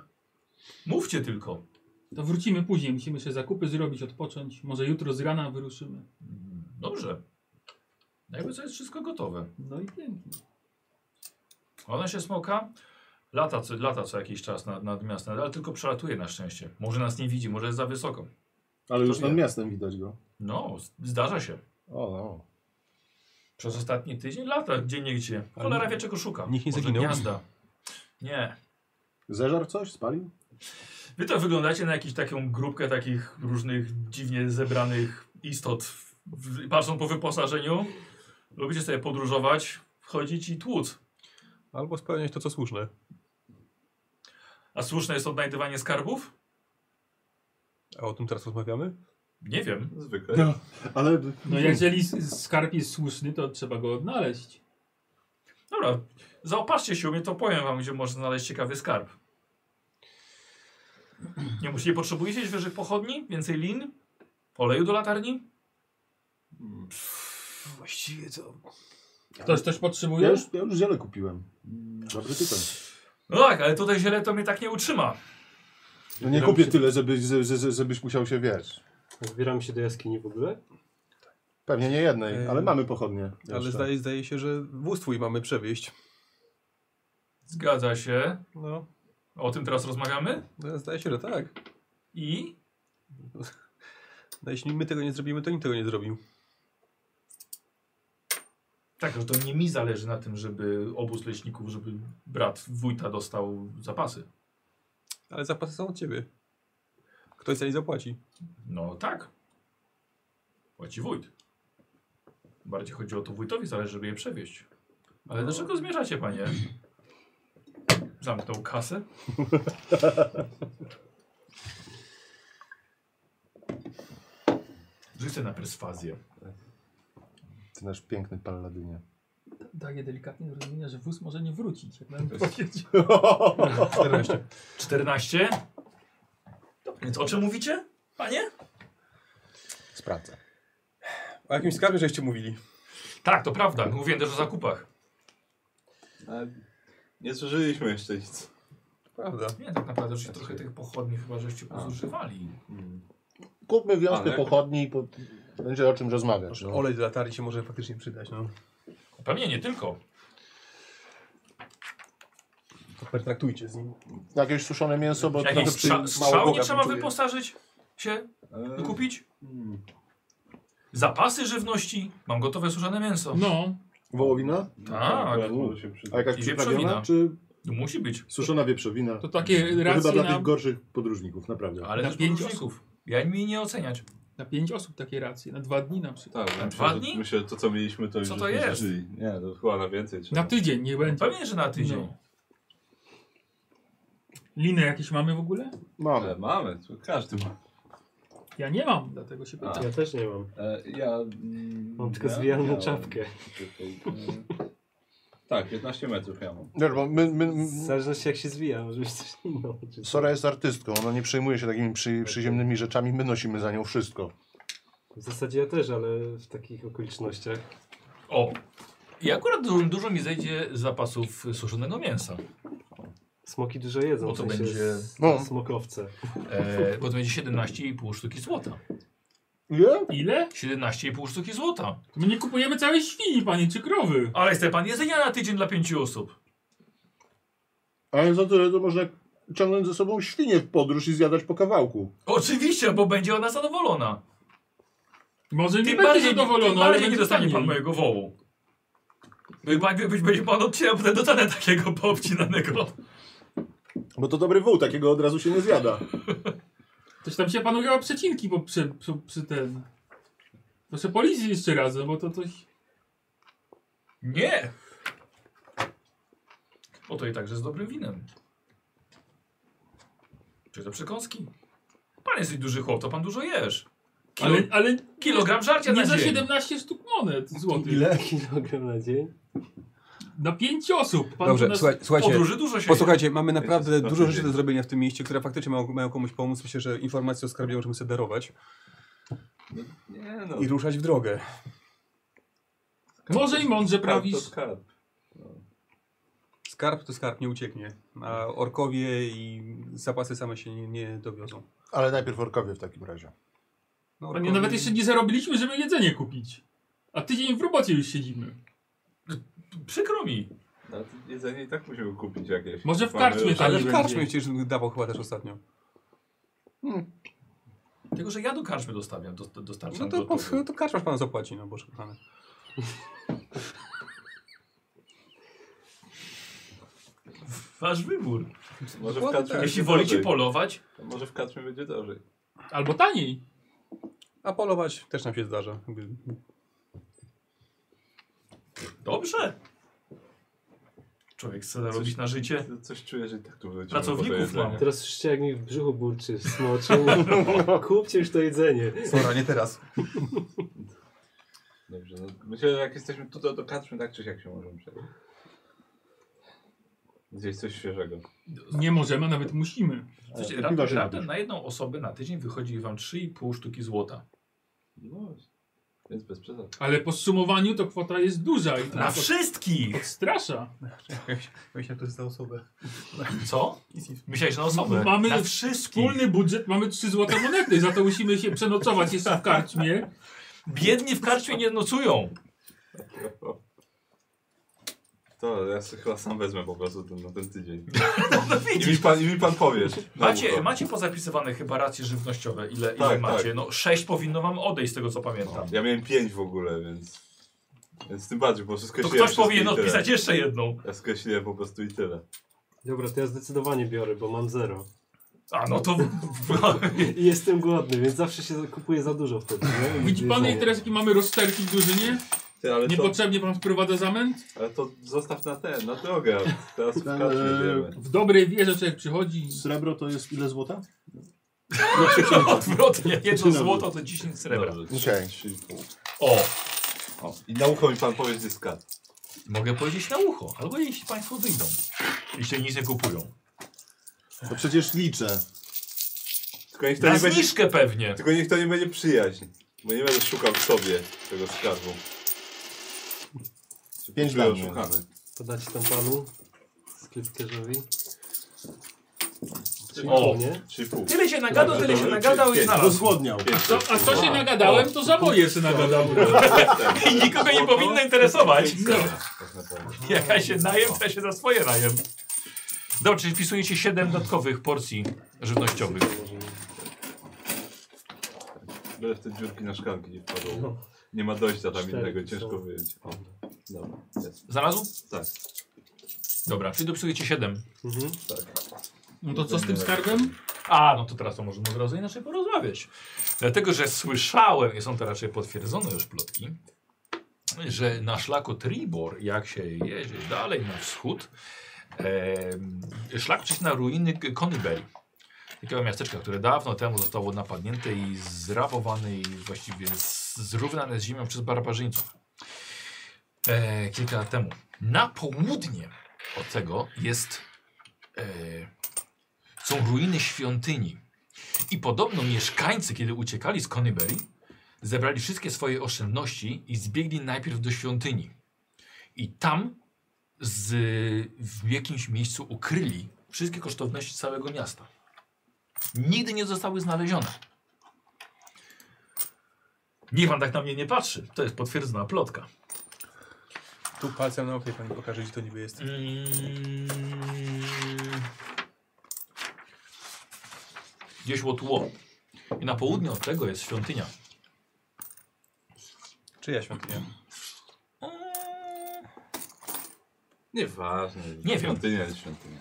mówcie tylko.
To wrócimy później. Musimy jeszcze zakupy zrobić, odpocząć. Może jutro z rana wyruszymy.
Dobrze. Jakby co, jest wszystko gotowe.
No i pięknie.
Ona się smoka, lata co, lata co jakiś czas nad, nad miastem, ale tylko przelatuje na szczęście. Może nas nie widzi, może jest za wysoko.
Ale już
To
nad
wie.
miastem widać go.
No, z- zdarza się.
O, no.
Przez ostatni tydzień lata gdzie nie gdzie. Cholera wie czego szuka.
nikt nie
Może
zaginął?
Gniazda. Nie.
Zeżar coś? Spalił?
Wy to wyglądacie na jakąś taką grupkę takich różnych dziwnie zebranych istot. W- w- Patrzą po wyposażeniu, lubicie sobie podróżować, chodzić i tłuc.
Albo spełniać to, co słuszne.
A słuszne jest odnajdywanie skarbów?
A o tym teraz rozmawiamy?
Nie wiem.
no. Zwykle.
Ale no
Mhm. No jeżeli s- skarb jest słuszny, to trzeba go odnaleźć.
Dobra, Zaopatrzcie się u mnie, to powiem wam, gdzie można znaleźć ciekawy skarb. Nie, mus- nie potrzebujecie świeżych pochodni? Więcej lin? Oleju do latarni?
Właściwie to...
Ktoś coś potrzebuje?
Ja już, ja już ziele kupiłem. Na krytykę.
No tak, ale tutaj źle to mnie tak nie utrzyma.
No nie
Ja
kupię
muszę-
tyle, żeby, ze- ze- ze- żebyś musiał się wiesz.
Zbieramy się do jaskini w ogóle?
Pewnie nie jednej,
Ej.
ale mamy pochodnie.
Ale
jeszcze.
zdaje, zdaje się, że wóz twój mamy przewieźć.
Zgadza się.
No,
O tym teraz rozmawiamy?
no, zdaje się, że tak.
I?
No, jeśli my tego nie zrobimy, to nikt tego nie zrobił.
Tak, że to nie mi zależy na tym, żeby obóz leśników, żeby brat wójta dostał zapasy.
Ale zapasy są od ciebie. Ktoś za nie zapłaci.
No tak. Płaci wójt. Bardziej chodzi o to wójtowi zależy, żeby je przewieźć. Ale do czego zmierzacie, panie? Zamknął kasę? Rzucę na perswazję.
Ty nasz piękny paladynie.
Daje delikatnie do zrozumienia, że wóz może nie wrócić. Jak nawet powiedzieć.
14.
14? Więc o czym mówicie, panie?
Sprawdzę.
O jakimś skarbie żeście mówili?
Tak, to prawda. Mówiłem też o zakupach.
Ale Nie zużyliśmy jeszcze nic.
Prawda.
Nie, tak naprawdę już trochę tych pochodni chyba żeście pozużywali.
Mm.
Kupmy wiązkę
Ale-
pochodni i po... będzie o czym rozmawiać. No.
Olej do latarni się może faktycznie przydać, no.
Pewnie nie tylko.
To pertraktujcie z nim.
Jakieś suszone mięso, bo
Jakieś
trochę przy...
strza
mało
strzał nie
Boga
trzeba
wyczuję.
wyposażyć się,
E,
kupić?
hmm.
mm.
Zapasy żywności. Mam gotowe suszone mięso.
No,
Wołowina?
Tak.
Akurat No, może się przydać.
A jakaś
I wieprzowina.
przyprawiona? Czy
Musi być.
suszona wieprzowina?
to
To,
takie
chyba
racje
dla tych
na,
gorszych podróżników, naprawdę.
Ale
Na
też
pięć
podróżników. Ja mi nie oceniać.
na pięć osób takie racje, na dwa dni na przykład.
Tak, myślę,
dwa
że-
dni?
Myślę, że to co mieliśmy to już
Co to
żeśmy
jest?
zużyli. Nie, to chyba na więcej
Tak.
trzeba.
Na tydzień nie będzie.
Pewnie, że na tydzień.
No. Linę jakieś mamy w ogóle?
Mamy.
Ale mamy, to każdy ma.
Ja nie mam, dlatego się pytam.
A.
Ja też nie mam.
E, ja... Mm,
Mam tylko
ja
zwijaną
miałem
czapkę.
tylko, e, Tak, 15 metrów ja mam.
Wiesz, bo my, my,
W
my...
zależności jak się zwija, może być coś innego. czy-
Sora jest artystką, ona nie przejmuje się takimi przy, przyziemnymi rzeczami, my nosimy za nią wszystko.
W zasadzie ja też, ale w takich okolicznościach.
O! I akurat dużo, dużo mi zejdzie zapasów suszonego mięsa.
Smoki dużo jedzą.
Bo
w
to
sensie
będzie-
s-
No.
Smokowce.
E, bo to będzie 17,5 sztuki złota.
Nie?
Ile?
17,5 sztuki złota.
To my nie kupujemy całej świni, panie, czy krowy.
Ale chce pan jedzenia na tydzień dla pięciu osób.
Ale za tyle to można ciągnąć ze sobą świnie w podróż i zjadać po kawałku.
Oczywiście, bo będzie ona zadowolona.
Może nie
Tym
będzie
bardziej,
zadowolony,
tym
ale
bardziej
będzie
nie dostanie
taniej.
pan mojego wołu. Być- Być będzie pan odcinał dotanę takiego poobcinanego.
Bo to dobry wół, takiego od razu się nie zjada.
Coś tam się panu grało przecinki, bo przy, przy, przy ten... Proszę policji jeszcze raz, no bo to coś...
Nie! Bo to i także z dobrym winem. Czy to przekąski? Pan jest duży chłop, to pan dużo jesz. Kilo,
Ale, ale
kilogram żarcia
nie
na
za
dzień.
17 sztuk monet złotych.
Ile kilogram na dzień?
Na 5 osób. Pan
Dobrze,
do nas-
słuchaj, słuchajcie.
Podróży dużo się
Posłuchajcie, mamy
To
naprawdę
jest
dużo
znaczy,
straszny
rzeczy do
dzień.
zrobienia w tym mieście, które faktycznie mają, mają komuś pomóc. Myślę, że informacje o skarbie możemy sobie darować
Nie no,
i ruszać w drogę.
Może i mądrze
skarb Tak, to
prawisz.
skarb.
Skarb to skarb nie ucieknie, a orkowie i zapasy same się nie, nie dowiozą.
Ale najpierw orkowie w takim razie.
No,
Panie, nawet jeszcze nie zarobiliśmy, żeby jedzenie kupić. A tydzień w robocie już siedzimy.
je. Przykro mi.
No, to jedzenie i tak musimy kupić jakieś.
Może w
Mamy
karczmie
już-
tak.
Ale
nie
w karczmie
będzie.
przecież dawał chyba też ostatnio.
Tylko, że ja do karczmy dostawiam, do, dostarczam.
No to,
do,
po- to karczmarz pan zapłaci, no boże kochany.
Wasz wybór.
Może w karczmie
Jeśli
będzie
wolicie
drożej.
polować,
Może w karczmie będzie drożej.
Albo taniej.
A polować też nam się zdarza. Jakby
dobrze. Człowiek chce zarobić na życie.
Co- Coś czuję, że i tak tu wrócimy.
Pracowników
po to jedzenie.
mam.
Teraz słyszycie jak mi w brzuchu burczy w smoczu. Kupcie już to jedzenie.
Sora, nie teraz.
Dobrze, no, myślę, że jak jesteśmy tutaj, to karczmy tak czy siak się możemy przejść. Zjeść coś świeżego.
Nie możemy, a nawet musimy.
Słuchajcie,
Takim
raptem,
razie
raptem
napisz.
na jedną osobę na tydzień wychodzi wam 3,5 sztuki złota.
No właśnie. Więc bez przesady.
Ale po sumowaniu to kwota jest duża i to
Na
nas
wszystkich!
odstrasza.
Myślałem, że to jest na osobę.
Co?
Nic, nic.
Myślałeś na osobę?
Mamy
na wszystkich!
Wspólny budżet mamy 3 złote monety, za to musimy się przenocować jeszcze w karczmie.
Biedni w karczmie nie nocują.
To ja sobie chyba sam wezmę po prostu ten, na ten tydzień.
No
I mi
widzisz.
pan, i mi pan powiesz. na
Macie,
ucho.
macie pozapisywane chyba racje żywnościowe, ile, ile
Tak, No.
macie. No 6 powinno wam odejść z tego co pamiętam.
Ja miałem pięć w ogóle, więc... Więc tym bardziej, bo wszystko
To ktoś powinien odpisać jeszcze jedną.
Ja skreśliłem po prostu i tyle.
Dobra, to ja zdecydowanie biorę, bo mam zero.
A no to...
I jestem głodny, więc zawsze się kupuję za dużo wtedy. nie?
Widzi pan
Jedzenie.
i teraz jaki mamy rozterki w drużynie?
Ty, ale, to,
Niepotrzebnie pan wprowadza zamęt?
ale to zostaw na ten, na drogę. Teraz w każdym
Eee,
wiemy.
W dobrej wierze człowiek przychodzi.
Srebro to jest ile złota?
Odwrotnie, jedno złoto to 10 srebra.
Dobrze,
Okej.
trzy i pół.
O!
O, I na ucho mi pan powie, gdzie jest kat.
Mogę powiedzieć na ucho, albo jeśli państwo wyjdą. Jeśli nic nie kupują.
To przecież liczę.
Tylko niech to
Na
nie będzie...
zniżkę pewnie.
Tylko niech to nie będzie przyjaźń. Bo nie będę szukał w sobie tego skarbu. Czy
Pięć
później
dla mnie.
oszukamy?
Podać tam panu, sklepkarzowi.
O.
Nie?
Trzy i pół.
Tyle się nagadał, tyle się nagadał i znalazł.
Rozgłodniał.
Pięć
Co, a co się nagadałem, to za moje się nagadałem.
no,
I nikogo nie powinno interesować.
No.
tak naprawdę.
Jak ja się najem, to ja się za swoje najem. Dobrze, czyli wpisujecie 7 dodatkowych porcji żywnościowych.
Byle w te dziurki na szklanki nie wpadło.
No.
Nie ma dojścia tam
Cztery
innego,
są.
ciężko wyjąć. O, Dobra, jest.
Znalazł?
Tak,
Dobra, czyli dopisujecie 7.
Mhm.
tak.
No to co z tym skarbem?
A, no to teraz to możemy drodze inaczej porozmawiać. Dlatego, że słyszałem, i są to raczej potwierdzone już plotki, że na szlaku Tribor, jak się jeździ dalej na wschód, e, szlak przejdzie na ruiny K- Conyberry. Takiego miasteczka, które dawno temu zostało napadnięte i zrabowane i właściwie z- zrównane z ziemią przez barbarzyńców. E, kilka lat temu. Na południe od tego jest e, są ruiny świątyni. I podobno mieszkańcy, kiedy uciekali z Conyberry, zebrali wszystkie swoje oszczędności i zbiegli najpierw do świątyni. I tam z, w jakimś miejscu ukryli wszystkie kosztowności całego miasta. Nigdy nie zostały znalezione. Niech pan tak na mnie nie patrzy. To jest potwierdzona plotka.
Tu palcem na oknie pani pokaże, gdzie to niby jest.
Mm. Gdzieś było tło. I na południe od tego jest świątynia.
Czyja świątynia?
Nieważne.
Nie wiem.
Świątynia jest świątynia.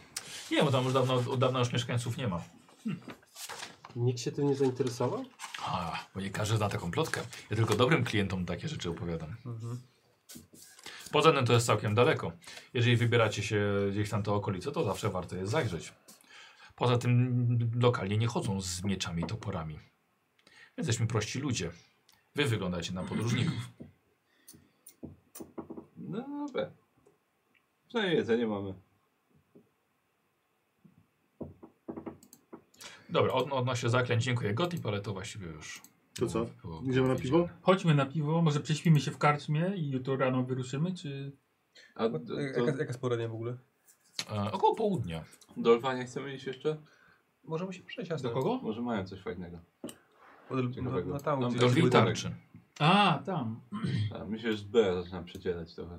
Nie, bo tam już dawno, od dawna już mieszkańców nie ma.
Nikt się tym nie zainteresował?
A, bo nie każdy zna taką plotkę. Ja tylko dobrym klientom takie rzeczy opowiadam. Poza tym to jest całkiem daleko. Jeżeli wybieracie się gdzieś tam to okolice, to zawsze warto jest zajrzeć. Poza tym lokalnie nie chodzą z mieczami i toporami. My Jesteśmy prości ludzie. Wy wyglądacie na podróżników.
No dobra. Przynajmniej jedzenie mamy.
Dobra, od, odnośnie zaklęć dziękuję Gotip, ale to właściwie już...
To co?
było
Idziemy na
powiedziane.
piwo?
Chodźmy na piwo, może prześpimy się w karczmie i jutro rano wyruszymy, czy...
A do,
Jaka, jaka spora dnia w ogóle?
E, około południa.
do Lwania chcemy iść jeszcze?
Możemy się przejść,
Do kogo?
Może mają coś fajnego.
No,
Ciekawego.
no tam,
Tam
gdzie...
Do lwiej
były targi.
tarczy.
A, tam.
A, mi się już B zaczyna przecierać trochę.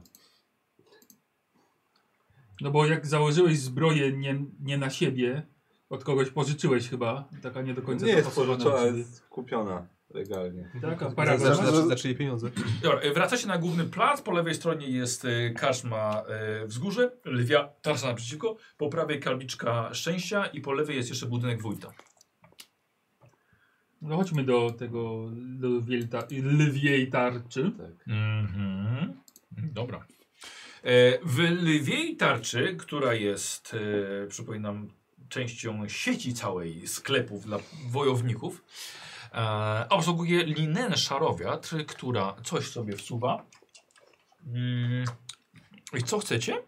No bo jak założyłeś zbroję nie, nie na siebie, od kogoś pożyczyłeś chyba, taka nie do końca
Nie jest
dopasowana
pożyczona,
do ciebie.
jest kupiona legalnie.
Tak, a
Za, za,
paragon
za, za czyje pieniądze?
Dobra, e, wracacie na główny plac. Po lewej stronie jest e, karczma e, wzgórze, lwia tarcza naprzeciwko, po prawej kalbiczka szczęścia i po lewej jest jeszcze budynek wójta.
No chodźmy do tego lwiej, ta, lwiej tarczy.
Tak.
Mhm. Dobra. E, W lwiej tarczy, która jest, e, przypominam, częścią sieci całej sklepów dla wojowników, e, obsługuje linen szarowiatr, która coś sobie wsuwa. Mm. I co chcecie?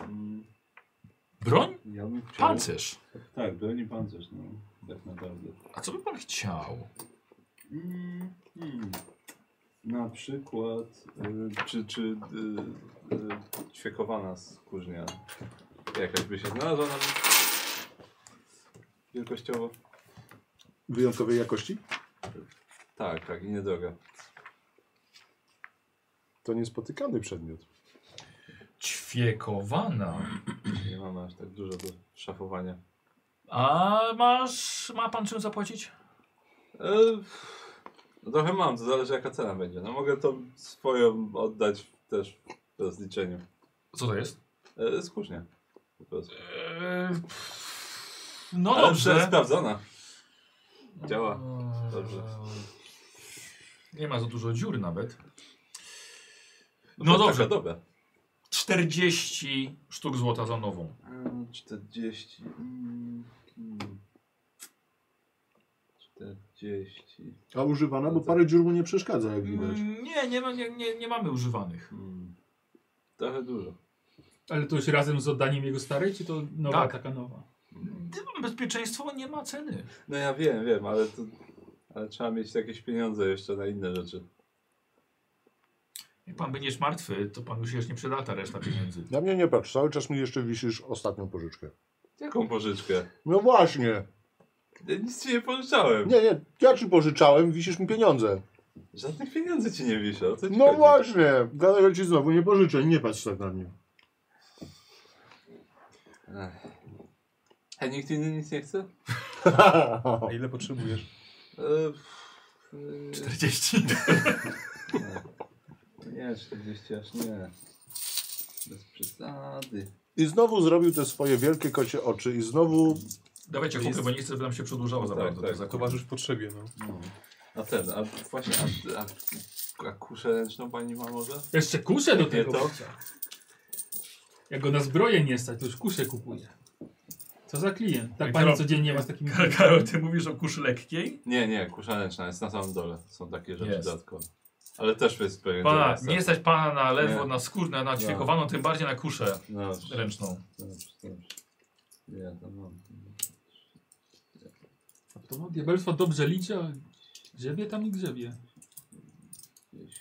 Mm,
Broń?
Ja bym chciał...
Pancerz.
Tak, broni pancerz, no. Tak naprawdę.
A co by pan chciał?
Mm, mm. Na przykład...
hmm. Y, Czy, czy y, y, ćwiekowana skórznia jakaś by się znalazła nam wielkościowo?
Wyjątkowej jakości?
Tak, tak i niedroga.
To niespotykany przedmiot.
Ćwiekowana.
Nie mamy aż tak dużo do szafowania.
A masz, ma pan czym zapłacić?
E, no trochę mam, to zależy jaka cena będzie. No mogę to swoją oddać też w rozliczeniu.
Co to jest?
E, skórznia. Po prostu.
Eee, No
E, Ale dobrze.
dobrze.
sprawdzona. Działa. Dobrze.
Nie ma za dużo dziur nawet. No
To jest
dobrze.
Taka dobra.
40 sztuk złota za nową.
E, 40. Mm, mm. 40.
A używana, bo parę dziur mu nie przeszkadza, jak widać.
Mm, Nie, nie, ma- nie, nie, nie mamy używanych.
Mm. Trochę dużo.
Ale to już razem z oddaniem jego starej, czy to nowa,
Tak.
taka nowa?
Bezpieczeństwo nie ma ceny.
No ja wiem, wiem, ale to. Ale trzeba mieć jakieś pieniądze jeszcze na inne rzeczy.
Jak pan będziesz martwy, to pan już jeszcze nie przyda ta reszta pieniędzy.
Na mnie nie patrz, cały czas mi jeszcze wisisz ostatnią pożyczkę.
Jaką pożyczkę?
No właśnie.
Ja nic ci nie pożyczałem.
Nie, nie, ja ci pożyczałem, wisisz mi pieniądze.
Żadnych pieniędzy ci nie wiszę. O co ci
No
chodzi?
właśnie, dlatego ci znowu nie pożyczę, nie patrz tak na mnie.
Ech. A nikt inny nic nie chce?
A ile potrzebujesz?
E, pff, e,
40.
Nie, 40 aż nie. Bez przesady.
I znowu zrobił te swoje wielkie kocie oczy i znowu...
Dawajcie kupę, bo nie chcę, żeby nam się przedłużało za
Tak,
bardzo.
tak,
No to zakup.
Towarzysz w potrzebie, no.
No. A ten, a właśnie, a, a, a kuszę ręczną pani ma może?
Jeszcze kuszę do tego.
to?
babcia. Jak go na zbroję nie stać, to już kuszę kupuje. Co za klient. Tak
Ej,
pani
Karol-
codziennie ma z takimi...
tak.
Karol, ty mówisz o kuszy lekkiej?
Nie, nie, kusza ręczna jest na samym dole. Są takie rzeczy
Jest.
dodatkowe. Ale też jest pewien
Pana,
drobiazg,
nie
tak.
stać pana na lewo,
Nie.
na skórę, na ćwiekowaną, tym bardziej na kuszę
No, dobrze,
ręczną.
dobrze, dobrze. Ja to mam.
To no, diabelstwo dobrze liczy, a grzebie tam i grzebie.
10.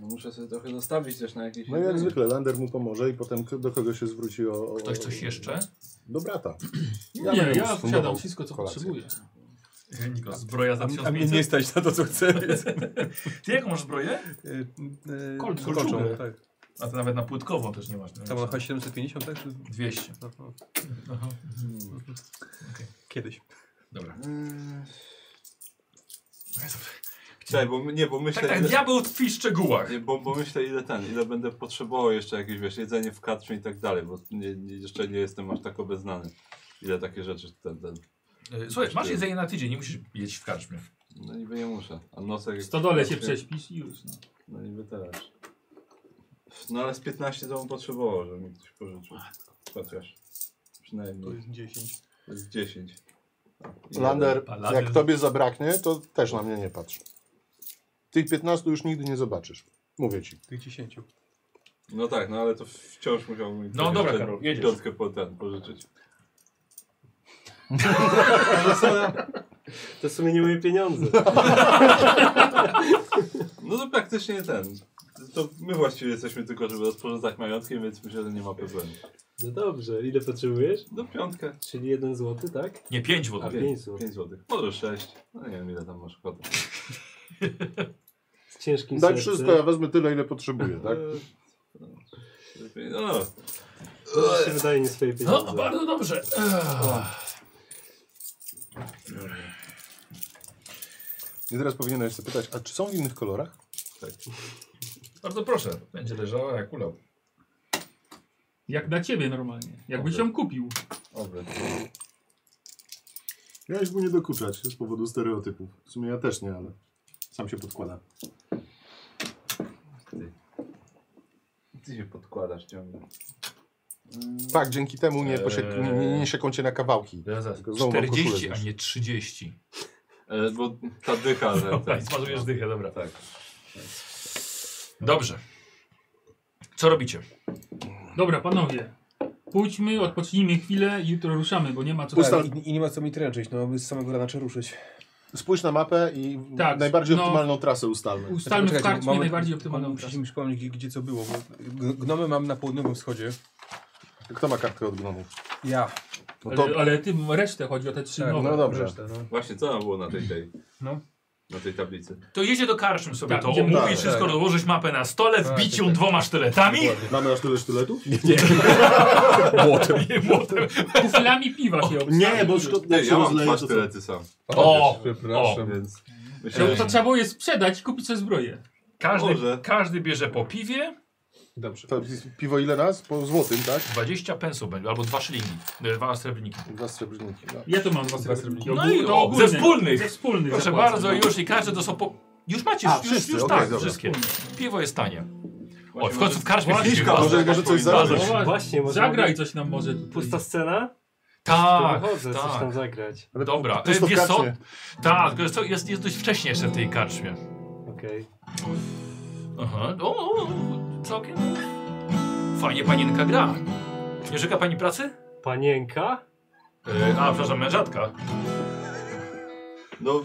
No muszę sobie trochę zostawić też na jakieś...
No i jak
jedzenie.
zwykle, Lander mu pomoże i potem k- do kogoś się zwróci o... o
Ktoś coś jeszcze?
Do brata.
Nie,
będę już
ja
fundował
posiadam wszystko, co
kolację.
potrzebuję.
Nikos, zbroja za
A mnie nie
1500.
stać na to, co chcę, więc...
Ty jaką masz zbroję?
y, y,
Kolcz-
kolczugę.
tak.
A to nawet na płytkową też nie masz.
Tam na 750, tak?
200.
No, no.
Aha.
Kiedyś.
Dobra.
Mm. Czekaj, bo my- nie, bo myślę...
Tak, tak,
ile-
diabeł tkwi w szczegółach.
Nie, bo, bo myślę ile ten, ile będę potrzebował jeszcze jakieś wiesz, jedzenie w katrze i tak dalej, bo nie, nie, jeszcze nie jestem aż tak obeznany. Ile takie rzeczy ten, ten.
Y, Słuchaj, masz jedzenie na tydzień, nie musisz jeść w karczmie.
No niby nie muszę. A nosek.
W stodole się
właśnie-
prześpisz i już. No.
No niby teraz. No ale z 15 to bym potrzebował, żeby mi ktoś pożyczył. Chociaż.
To
Przynajmniej
jest 10.
to jest 10. I
Lander,
Paladyn.
jak tobie zabraknie, to też na mnie nie patrz. Tych 15 już nigdy nie zobaczysz. Mówię ci.
Tych 10.
jeden. No tak, no ale to wciąż musiałbym.
No dobra, Karol, jedziesz.
Piątkę po ten pożyczyć.
To w sumie nie moje pieniądze.
No to praktycznie ten. To my właściwie jesteśmy tylko, żeby rozporządzać majątkiem, więc myślę, że nie ma problemu.
No dobrze, ile potrzebujesz?
Do piątkę.
Czyli jeden złoty, tak?
Nie, 5
A
wodą.
pięć złotych.
5 zł. Może 6. No nie wiem ile tam masz ochotę.
Z ciężkim
Daj
sercem.
Tak,
E,
wszystko, ja wezmę tyle, ile potrzebuję, tak?
Eee, No,
To mi się wydaje nie swoje pieniądze.
No, bardzo dobrze. Ech.
I teraz powinieneś zapytać, a czy są w innych kolorach?
Bardzo proszę, będzie leżała jak ulał.
Jak na ciebie normalnie. Jakbyś ją kupił.
oby.
Miałeś mu nie dokuczać z powodu stereotypów. W sumie ja też nie, ale sam się podkłada.
Ty się podkładasz ciągle.
Tak, dzięki temu nie, posiek-
Eee.
nie, nie, nie sieką cię na kawałki. Tylko znowu mam koszulę
40, a
gdzieś.
nie 30.
E, bo ta dycha, że
Dobra, i
ten,
smarujesz dychę, dobra.
Tak.
Dobrze. Co robicie?
Dobra, panowie. Pójdźmy, odpocznijmy chwilę i jutro ruszamy, bo nie ma co...
Ustal-
Tak, i, I nie ma co mi tręczyć, no z samego rana trzeba ruszyć.
Spójrz na mapę i
Tak,
najbardziej
no.
optymalną trasę ustalmy.
Ustalmy w
Poczekajcie,
karczmie
moment,
najbardziej optymalną
Musicie
trasę.
mi przypomnieć, gdzie, gdzie co było. Bo g- gnomy mam na południowym wschodzie. Tak,
Kto ma kartkę od gnomu?
Ja.
No to
Ale, ale ty resztę chodzi o te trzy
Tak,
nowe.
no dobrze.
Resztę, no.
Właśnie, co tam było na tej, tej,
No.
na tej tablicy?
To jedzie do karczmy sobie
Tak,
to,
idziemy
omówisz
dalej.
wszystko, dołożysz mapę na stole,
Tak,
wbić
tak,
ją
tak.
dwoma sztyletami,
mamy aż tyle sztyletów?
Młotem.
i młotem.
Kuflami piwa się obstawi.
Nie, bo szko-
Nie,
jak się
ja mam
rozleje,
dwa
to co?
sztylety sam,
O!
Przepraszam.
więc myślę,
To,
że
to trzeba było je sprzedać i kupić sobie zbroję.
Każdy,
Może.
każdy bierze po piwie,
Dobrze.
To piwo ile nas? Po złotym, tak?
20 pensów będzie, albo dwa szylingi, e, dwa srebrniki.
Dwa srebrniki. No.
Ja to mam dwa srebrniki.
No
Ogólnie-
i
to
o,
ogólnie.
ze wspólnych.
Ze wspólnych.
Proszę
zapłacę,
bardzo,
no.
już i każdy to są po... Już macie,
A,
już,
wszyscy,
już
okej,
tak,
dobra.
wszystkie. Piwo jest tanie. O,
Właśnie
w końcu w karczmie
Właśnie,
się
może-
baza.
Może, może coś
Powinno-
zarobić.
No właśnie,
Właśnie, może
Zagraj
mogę-
coś nam może tutaj.
Pusta scena?
Tak,
to wychodzę, coś tam
tak.
zagrać.
Ale
Dobra,
to jest
e,
to w
wiesz co?
karcie.
Tak, tylko jest, co, jest, jest dość wcześnie jeszcze w tej karczmie.
Okej.
Aha, o, o, o, całkiem... Fajnie panienka gra. Nie rzeka pani pracy?
Panienka?
E, a, przepraszam, mężatka.
No,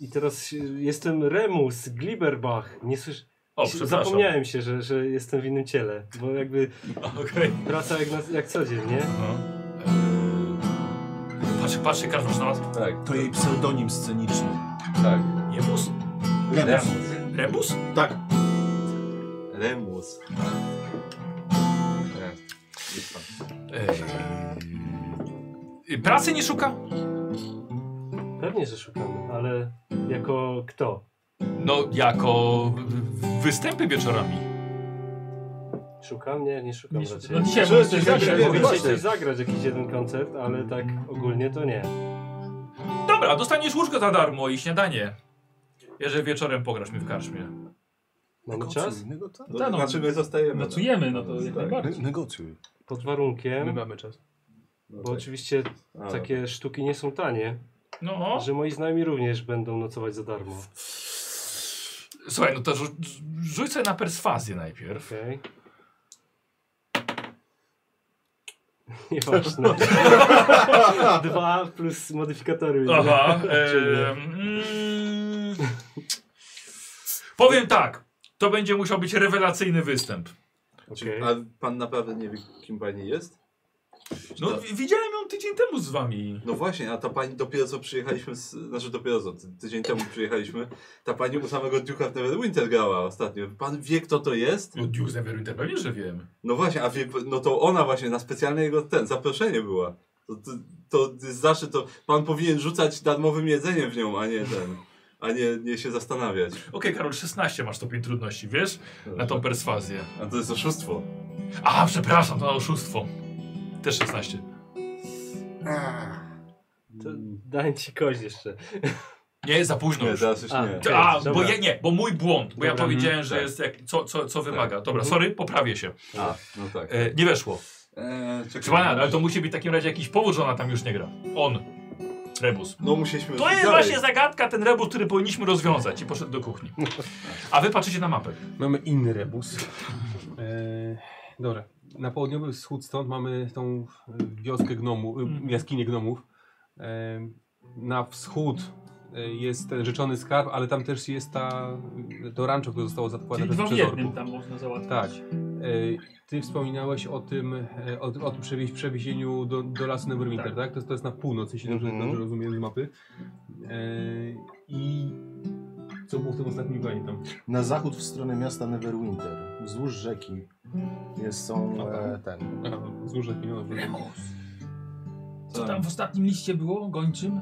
I teraz y, jestem Remus Glibberbach. Nie słysz...
O, przepraszam.
Zapomniałem się, że, że jestem w innym ciele, bo jakby
Okej.
praca jak, na, jak co dzień, nie?
No. Eee, Patrzcie, patrzcie, każdy już na nas.
tak,
To jej pseudonim sceniczny.
tak.
Jemus?
Remus.
Rebus?
Tak.
Remus. Tak.
Eee, pracy nie szuka?
Pewnie, że szukamy, ale jako kto?
No, jako w- występy wieczorami.
Szukam? Nie, nie szukam
Nie,
raczej.
No dzisiaj
Czy-
możesz
czy
coś
zagraj,
zagrać.
nie,
Mogę
właśnie.
chcieć coś zagrać, jakiś jeden koncert, ale tak ogólnie to nie.
Dobra, dostaniesz łóżko za darmo i śniadanie. Jeżeli wieczorem pograsz mi w karczmie.
Mamy czas?
Negocjuj, nego- tak.
No,
Tak, no.
znaczy my zostajemy.
Nocujemy, no to jak
Tak.
najbardziej.
Negocjuj.
Pod
My
warunkiem,
mamy czas.
No
bo
tak.
oczywiście
A,
takie sztuki nie są tanie,
No.
że moi znajomi również będą nocować za darmo.
Słuchaj, no to rzu rzuć sobie na perswazję najpierw.
Okej. Nieważne. Dwa plus modyfikatory.
Aha.
Czyli-
em, mm, powiem tak. To będzie musiał być rewelacyjny występ.
Okej.
A pan naprawdę nie wie, kim pani jest?
No, wi- widziałem ją tydzień temu z wami.
No właśnie, a ta pani dopiero co przyjechaliśmy, z, znaczy dopiero co, ty- tydzień temu przyjechaliśmy, ta pani u samego Duke'a w Neverwinter grała ostatnio. Pan wie, kto to jest?
No, Duke Neverwinter, pewnie, że wiem.
No właśnie, a wie, no to ona właśnie na specjalne jego ten, zaproszenie była. To, to, to jest zawsze to, pan powinien rzucać darmowym jedzeniem w nią, a nie ten, a nie, nie się zastanawiać.
Okej, Karol, 16 masz stopień trudności, wiesz? Na tą perswazję.
A to jest oszustwo.
A, przepraszam, to na oszustwo. Też 16.
To Dałem ci kość jeszcze.
Nie, za późno
Nie,
No już.
teraz już
A.
nie.
Okej,
A, bo
dobra.
ja, nie, bo mój błąd, bo ja
Dobra,
powiedziałem, że
tak.
jest jak, co, co, co wymaga. Dobra, sorry, poprawię się.
A, no tak.
E, nie weszło.
Eee, czekaj.
Przypomnę, ale to musi być w takim razie jakiś powód, że ona tam już nie gra. On. Rebus.
No musieliśmy...
To jest
dalej.
właśnie zagadka, ten rebus, który powinniśmy rozwiązać i poszedł do kuchni. A wy patrzycie na mapę.
Mamy inny rebus. E, dobra. Na południowy wschód stąd mamy tą e, wioskę gnomów,
Mhm.
jaskinię gnomów. E, na wschód e, jest ten rzeczony skarb, ale tam też jest ta, to rancho, które zostało
Czyli
zatopane
dwa
przez
w
przez
jednym
orków.
tam można załatwić.
Tak. E, Ty wspominałeś o tym, e, o, tym- o tym przewieź, przewiezieniu do, do lasu Neverwinter, tak? To, jest- to jest na północ, jeśli dobrze,
Mhm.
dobrze rozumiem z mapy. E, I co było w tym ostatnim pamiętam?
Na zachód w stronę miasta Neverwinter, wzdłuż rzeki, jest, są
No
e,
tak.
ten.
Aha, złóż lepiej, no dobrze.
Co
tak.
tam w ostatnim liście było? Gończym?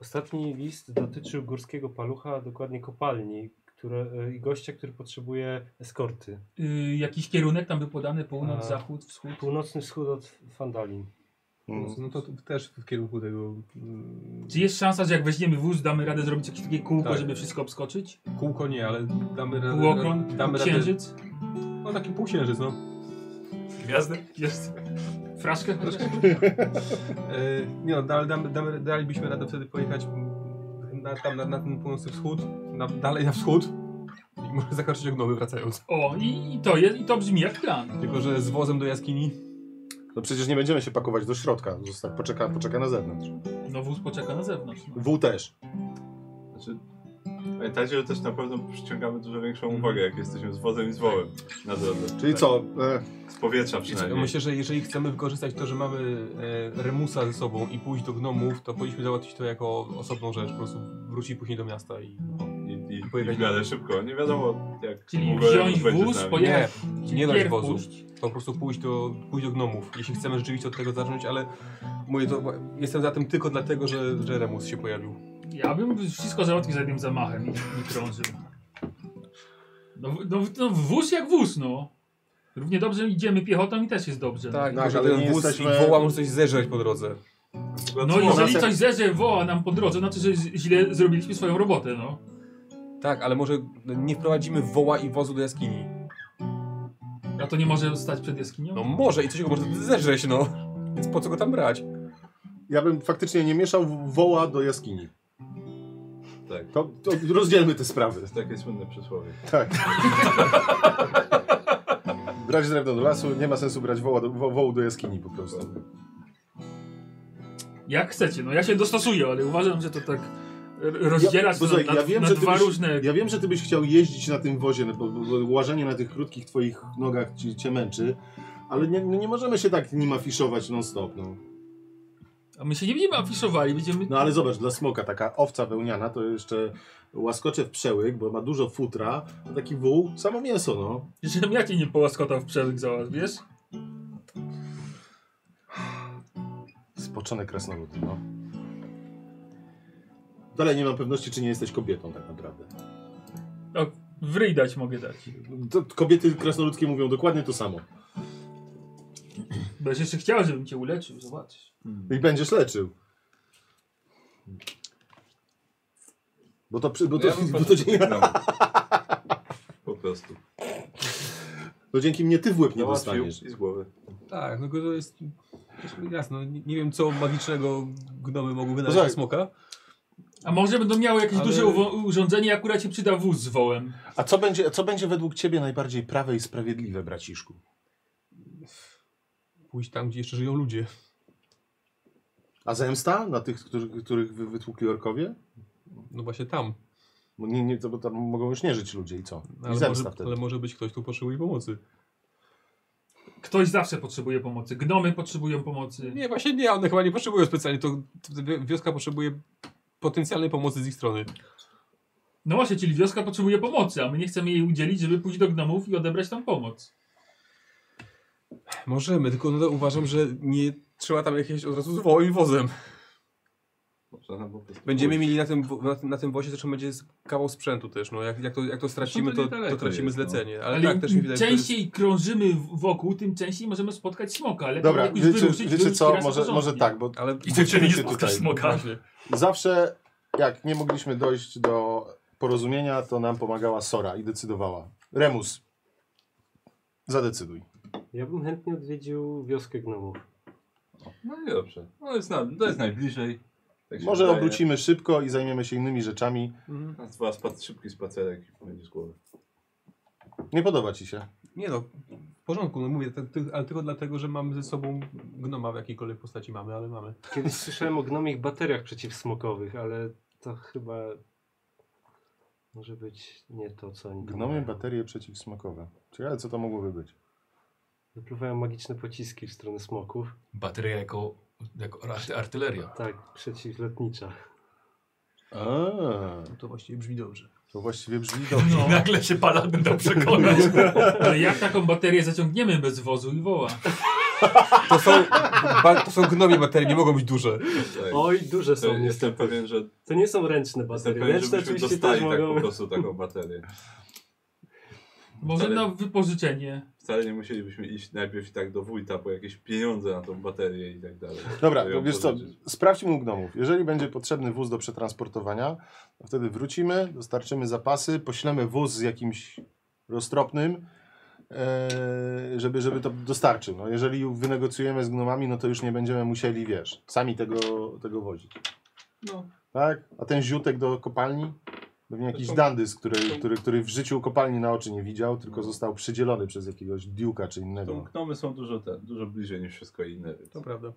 Ostatni list dotyczył górskiego palucha, a dokładnie kopalni które, e, i gościa, który potrzebuje eskorty.
Yy, jakiś kierunek tam był podany? Północ,
E,
A.
zachód, wschód?
Północny wschód od Fandalin.
Mm.
No to t- też w kierunku tego mm,
Czy jest szansa, że jak weźmiemy wóz, damy radę zrobić jakieś takie kółko,
Tak.
żeby wszystko obskoczyć?
kółko nie, ale damy radę.
Półokrąg,
damy radę-
księżyc?
No taki półksiężyc, no.
Gwiazdy?
Jest. Fraszkę? chociaż?
E, nie no, ale damy, damy, dalibyśmy radę wtedy pojechać mm, na, tam na, na ten północny wschód, na, dalej na wschód i może zakończyć ognowy wracając.
O, i, i to jest, i to brzmi jak plan.
Tylko, że z wozem do jaskini
No przecież nie będziemy się pakować do środka. Zostaw, poczeka, poczeka na zewnątrz.
No wóz poczeka na zewnątrz. No.
Wół też.
Znaczy, pamiętajcie, że też na pewno przyciągamy dużo większą uwagę, jak jesteśmy z wozem i z wołem na drodze.
Czyli
Tak.
co? E,
Z powietrza
Ja
przynajmniej.
myślę, że jeżeli chcemy wykorzystać to, że mamy e, Remusa ze sobą i pójść do gnomów, to powinniśmy załatwić to jako osobną rzecz. Po prostu wrócić później do miasta i...
No, I, i,
Pojechać-
i w miarę szybko. Nie wiadomo, jak
Czyli
długo Remus
wziąć
będzie z
wóz,
nami.
pojechać.
Nie, nie dać
pierw
wozu.
puść.
Po prostu pójść do, pójść do gnomów, jeśli chcemy rzeczywiście od tego zacząć, ale mówię to, jestem za tym tylko dlatego, że, że Remus się pojawił.
Ja bym wszystko załatwił za jednym zamachem i nie krążył. No, w- no, w- no wóz jak wóz, no. Równie dobrze idziemy piechotą i też jest dobrze. no.
Tak,
Tak,
tylko że
ale
ten
nie
wóz
jesteśmy-
i woła może coś zeżreć po drodze.
No jeżeli coś zerze woła nam po drodze, znaczy, że z- źle zrobiliśmy swoją robotę, no.
Tak, ale może nie wprowadzimy woła i wozu do jaskini.
A to nie może stać przed jaskinią?
No może i coś go może zeżreć, no. Więc po co go tam brać?
ja bym faktycznie nie mieszał woła do jaskini.
Tak.
To, to rozdzielmy te sprawy.
To jest takie słynne przysłowie.
Tak. brać drewno do lasu, nie ma sensu brać woła do, wo, wołu do jaskini po prostu.
Jak chcecie, no ja się dostosuję, ale uważam, że to tak r- rozdzielać
bo
to
słuchaj,
na,
ja wiem,
na
że ty
dwa
byś-
różne...
Ja wiem, że ty byś chciał jeździć na tym wozie, no bo, bo, bo łażenie na tych krótkich twoich nogach ci, cię męczy, ale nie, no nie możemy się tak nim afiszować non-stop. No.
A my się nie będziemy afiszowali, będziemy...
no ale zobacz, dla smoka taka owca wełniana to jeszcze łaskocze w przełyk, bo ma dużo futra, a taki wół, samo mięso, no.
Żebym ja cię nie połaskotał w przełyk załatw, wiesz?
Spoczone krasnolud, no. Dalej nie mam pewności, czy nie jesteś kobietą tak naprawdę.
No, wryj dać mogę dać.
To kobiety krasnoludkie mówią dokładnie to samo.
Będziesz jeszcze chciał, żebym cię uleczył, zobacz.
I będziesz leczył. Bo to, przy- bo to,
Ja bym
bo to, dzięki,
No. Po prostu.
to dzięki mnie ty w łeb nie
Załatwił i
dostaniesz.
z głowy.
Tak, no to jest... Jasno, nie nie wiem co magicznego gnomy mogłyby dać
Posłuchaj.
na smoka.
A może będą miały jakieś
Ale-
duże uwo- urządzenie i akurat się przyda wóz z wołem.
A co będzie, co będzie według ciebie najbardziej prawe i sprawiedliwe, braciszku?
Pójść tam, gdzie jeszcze żyją ludzie.
A zemsta na tych, których, których wy- wytłukli orkowie?
No właśnie tam.
Bo, nie, nie, to, bo tam mogą już nie żyć ludzie i co? I
Ale
zemsta
może,
wtedy.
ale może być ktoś, kto potrzebuje pomocy.
Ktoś zawsze potrzebuje pomocy, gnomy potrzebują pomocy.
Nie, właśnie nie, one chyba nie potrzebują specjalnie. To to wi- wioska potrzebuje potencjalnej pomocy z ich strony.
No właśnie, czyli wioska potrzebuje pomocy, a my nie chcemy jej udzielić, żeby pójść do gnomów i odebrać tam pomoc.
Możemy, tylko no, to uważam, że nie trzeba tam jakiegoś od razu z wołem i wozem.
Można tam po prostu
Będziemy
pójść.
mieli na tym, wo- na, tym- na tym wozie zresztą będzie z- kawał sprzętu też. No, jak, jak, to, jak to stracimy, to, to
niedaleko
tracimy
jest, no.
zlecenie. Ale,
Ale,
tak też mi
im
widać. że to jest-
częściej krążymy w- wokół, tym częściej możemy spotkać smoka. Ale
Dobra,
jakoś
wiecie,
wyruszyć,
wiecie
wyruszyć
co,
raz
może,
porządnie.
może tak, bo
Ale no
I ty nie
Wróćcie
spotkasz
tutaj.
smoka.
zawsze jak nie mogliśmy dojść do porozumienia, to nam pomagała Sora i decydowała. Remus, zadecyduj.
Ja bym chętnie odwiedził wioskę gnomów.
No i dobrze. No jest na, to jest najbliżej. Tak się
Może
wydaje.
obrócimy szybko i zajmiemy się innymi rzeczami.
Mhm.
Raz, Dwa spad, szybki spacerek i będzie z głowy.
Nie podoba ci się?
nie no, w porządku, no mówię, to, ty- ale tylko dlatego, że mamy ze sobą gnoma w jakiejkolwiek postaci mamy, ale mamy.
Kiedyś słyszałem o gnomich bateriach przeciwsmokowych, ale to chyba może być nie to, co oni tam
Gnomy
mają.
baterie przeciwsmokowe. Ciekawe, co to mogłoby być.
Wypływają magiczne pociski w stronę smoków.
Bateria jako, jako arty- artyleria.
Tak, przeciwlotnicza.
A,
No to właściwie brzmi dobrze.
to właściwie brzmi dobrze.
No,
Nagle się paladyn dał przekonać.
ale jak taką baterię zaciągniemy bez wozu i woła?
To są, ba, to są gnomie baterie, nie mogą być duże.
Tak.
Oj, duże
To
są
jestem
niestety.
pewien, że
To nie są ręczne
jestem
baterie.
pewien,
Ręczne
żebyśmy
oczywiście też
dostali tak po
mogą.
prostu taką baterię.
Może
Wcale-
na wypożyczenie.
Wcale nie musielibyśmy iść najpierw i tak do wójta po jakieś pieniądze na tą baterię i tak dalej.
Dobra,
To ją
wiesz co,
pożyczyć.
sprawdźmy u gnomów. Jeżeli będzie potrzebny wóz do przetransportowania, to wtedy wrócimy, dostarczymy zapasy, poślemy wóz z jakimś roztropnym, e, żeby, żeby to dostarczył. No, jeżeli wynegocjujemy z gnomami, no to już nie będziemy musieli, wiesz, sami tego, tego wozić.
No.
Tak? A ten ziutek do kopalni? Pewnie jakiś dandys, który, który, który w życiu kopalni na oczy nie widział, tylko został przydzielony przez jakiegoś diuka czy
Tą
innego.
gnomy są dużo, te, dużo bliżej niż wszystko inne. Więc.
To prawda.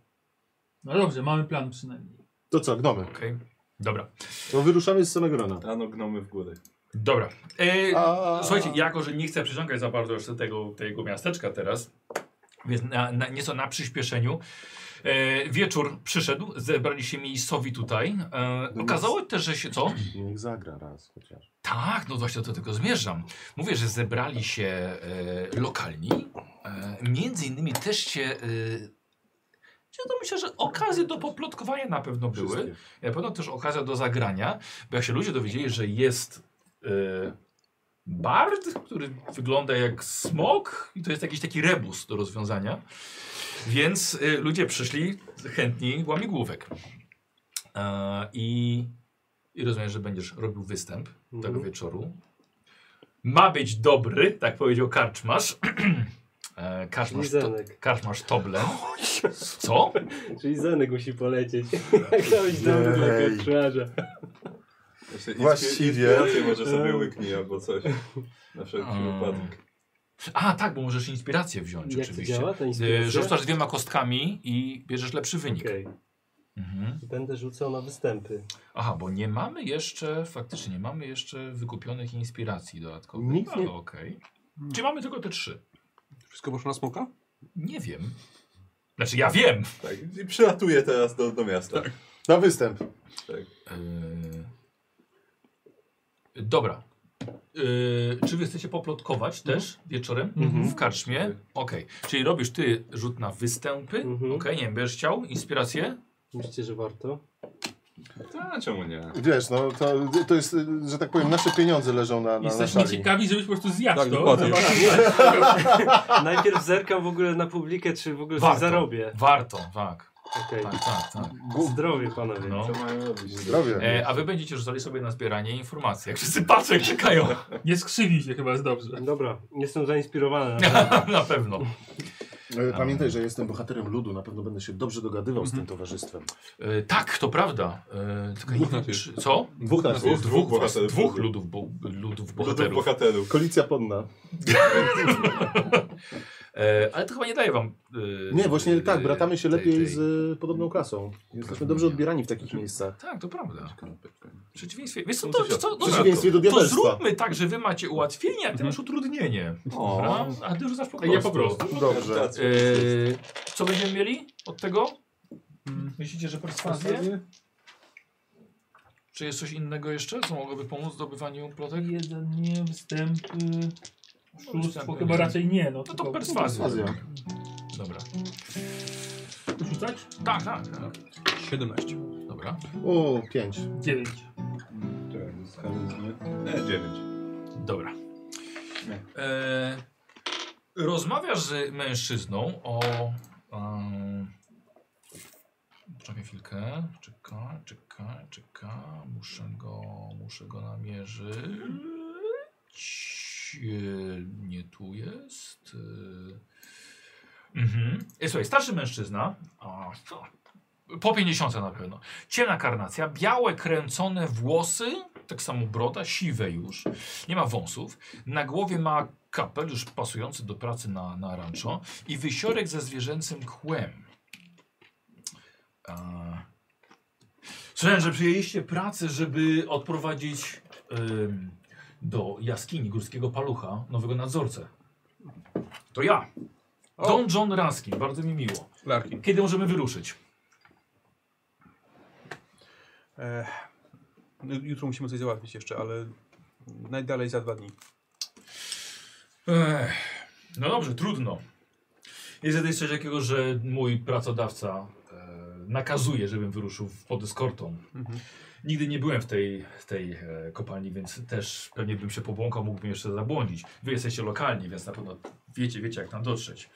No dobrze, mamy plan przynajmniej.
To co, gnomy?
Okej. Dobra.
To wyruszamy z samego rana.
Rano gnomy w góry.
Dobra. E,
A-
Słuchajcie, jako że nie chcę przyciągać za bardzo jeszcze tego, tego miasteczka teraz, więc na, na, nieco na przyspieszeniu. E, wieczór przyszedł, zebrali się miejscowi tutaj. E, okazało też, że się co?
Niech zagra raz chociaż.
Tak, no właśnie do tego zmierzam. Mówię, że zebrali się e, lokalni. E, między innymi też się. E, czy to myślę, że okazje do poplotkowania na pewno były. Na pewno E, też okazja do zagrania, bo jak się ludzie dowiedzieli, że jest e, bard, który wygląda jak smok, i to jest jakiś taki rebus do rozwiązania. Więc e, ludzie przyszli chętni łamigłówek. E, I i rozumiem, że będziesz robił występ
Tak,
Mhm.
tego wieczoru. Ma być dobry, tak powiedział karczmarz. E, karczmarz, to,
Lizenek.
karczmarz Toblen. Co?
Czyli Zenek musi polecieć.
Tak.
Jak to być dobry dla
Jej.
Piotrarza.
Właśnie
Właściwie.
Znaczy, Inspirację może sobie łyknij albo coś. Na wszelki
Mm.
wypadek.
A, tak, bo możesz inspirację wziąć
Jak to
oczywiście.
działa ta
E,
inspiracja?
Rzucasz dwiema kostkami i bierzesz lepszy wynik.
Okej.
Mhm.
Będę rzucał na występy.
Aha, bo nie mamy jeszcze, faktycznie nie mamy jeszcze wykupionych inspiracji dodatkowych.
Nikt
Ale
nie-
okej.
Hmm.
Czy mamy tylko te trzy?
Wszystko poszło na smoka?
Nie wiem. Znaczy ja wiem.
Tak. I przylatuję teraz do, do miasta.
Na występ.
Yy, Dobra. Yy, czy wy chcecie poplotkować
Mhm.
też wieczorem w karczmie? Okej. Czyli robisz ty rzut na występy.
Mhm.
Okej, nie wiem, będziesz chciał? Inspirację?
Myślicie, że warto?
A czemu nie?
Wiesz, no to, to jest, y, że tak powiem, nasze pieniądze leżą na, na, na
Jesteśmy
szali.
ciekawi, żebyś po prostu zjadł
Tak,
to.
dokładnie.
Najpierw zerkam w ogóle na publikę, czy w ogóle
Warto.
coś zarobię.
Warto, tak.
Okej.
Tak, tak, tak.
Zdrowie panowie.
No.
Co mają robić?
Zdrowie.
E, a wy będziecie rzucali sobie na zbieranie informacji. Jak wszyscy patrzą, jak czekają.
Nie skrzywi się chyba, jest dobrze.
Dobra, jestem zainspirowany.
na pewno.
E, Pamiętaj, że jestem bohaterem ludu, na pewno będę się dobrze dogadywał z tym
Mhm.
towarzystwem.
E, tak, to prawda. E, tylko nie
Dwóch
wiem,
nas jest.
czy, co?
Dwóch nas
Dwóch,
jest.
Dwóch, was,
bohaterów.
dwóch ludów, bo, ludów
Bohaterów.
bohaterów.
bohaterów.
Koalicja ponna.
E, ale to chyba nie daje wam... e,
Nie, właśnie
e,
tak, bratamy się
tej-
lepiej
tej-
z y, podobną klasą. Jesteśmy dobrze odbierani w takich miejscach.
Tak, to prawda. W przeciwieństwie. Wiesz co, to,
No to
to,
się-
co,
W
dobra,
przeciwieństwie do
to, to
diabelstwa.
zróbmy tak, że wy macie ułatwienie, a ty masz utrudnienie. Dobra? A ty rzucasz po
A
prostu.
ja po prostu.
Dobrze.
Eee, co będziemy mieli od tego? Myślicie, że perswazję? Czy jest coś innego jeszcze, co mogłoby pomóc w zdobywaniu plotek?
Jeden nie, występ,
No, występy
oszustwo,
nie.
chyba raczej nie. No,
No to
tylko-
perswazja.
Perswazja.
Dobra.
Rzucać?
Tak, tak, tak.
17.
Dobra.
O, pięć.
Dziewięć.
Czekaj, z charyzmy.
Nie, E, dziewięć.
Dobra.
Nie.
E, rozmawiasz z mężczyzną o. Um, czekaj chwilkę. Czekaj, czekaj, czekaj. Muszę go, muszę go namierzyć. E, nie tu jest. E, mhm. E, słuchaj, starszy mężczyzna. A, co? Po 50 na pewno. Ciemna karnacja, białe kręcone włosy, tak samo broda, siwe już. Nie ma wąsów. Na głowie ma kapelusz pasujący do pracy na, na rancho i wysiorek ze zwierzęcym kłem. A... Słyszałem, że przyjęliście pracę, żeby odprowadzić ym, do jaskini górskiego palucha nowego nadzorcę. To ja. Don John Raskin, bardzo mi miło.
Larkin.
Kiedy możemy wyruszyć?
E, no, jutro musimy coś załatwić jeszcze, ale najdalej za dwa dni.
Ech, no dobrze, trudno. Jest tutaj coś takiego, że mój pracodawca e, nakazuje, żebym wyruszył w- pod eskortą. Nigdy nie byłem w tej, w tej e, kopalni, więc też pewnie bym się pobłąkał, mógłbym jeszcze zabłądzić. Wy jesteście lokalni, więc na pewno wiecie, wiecie jak tam dotrzeć.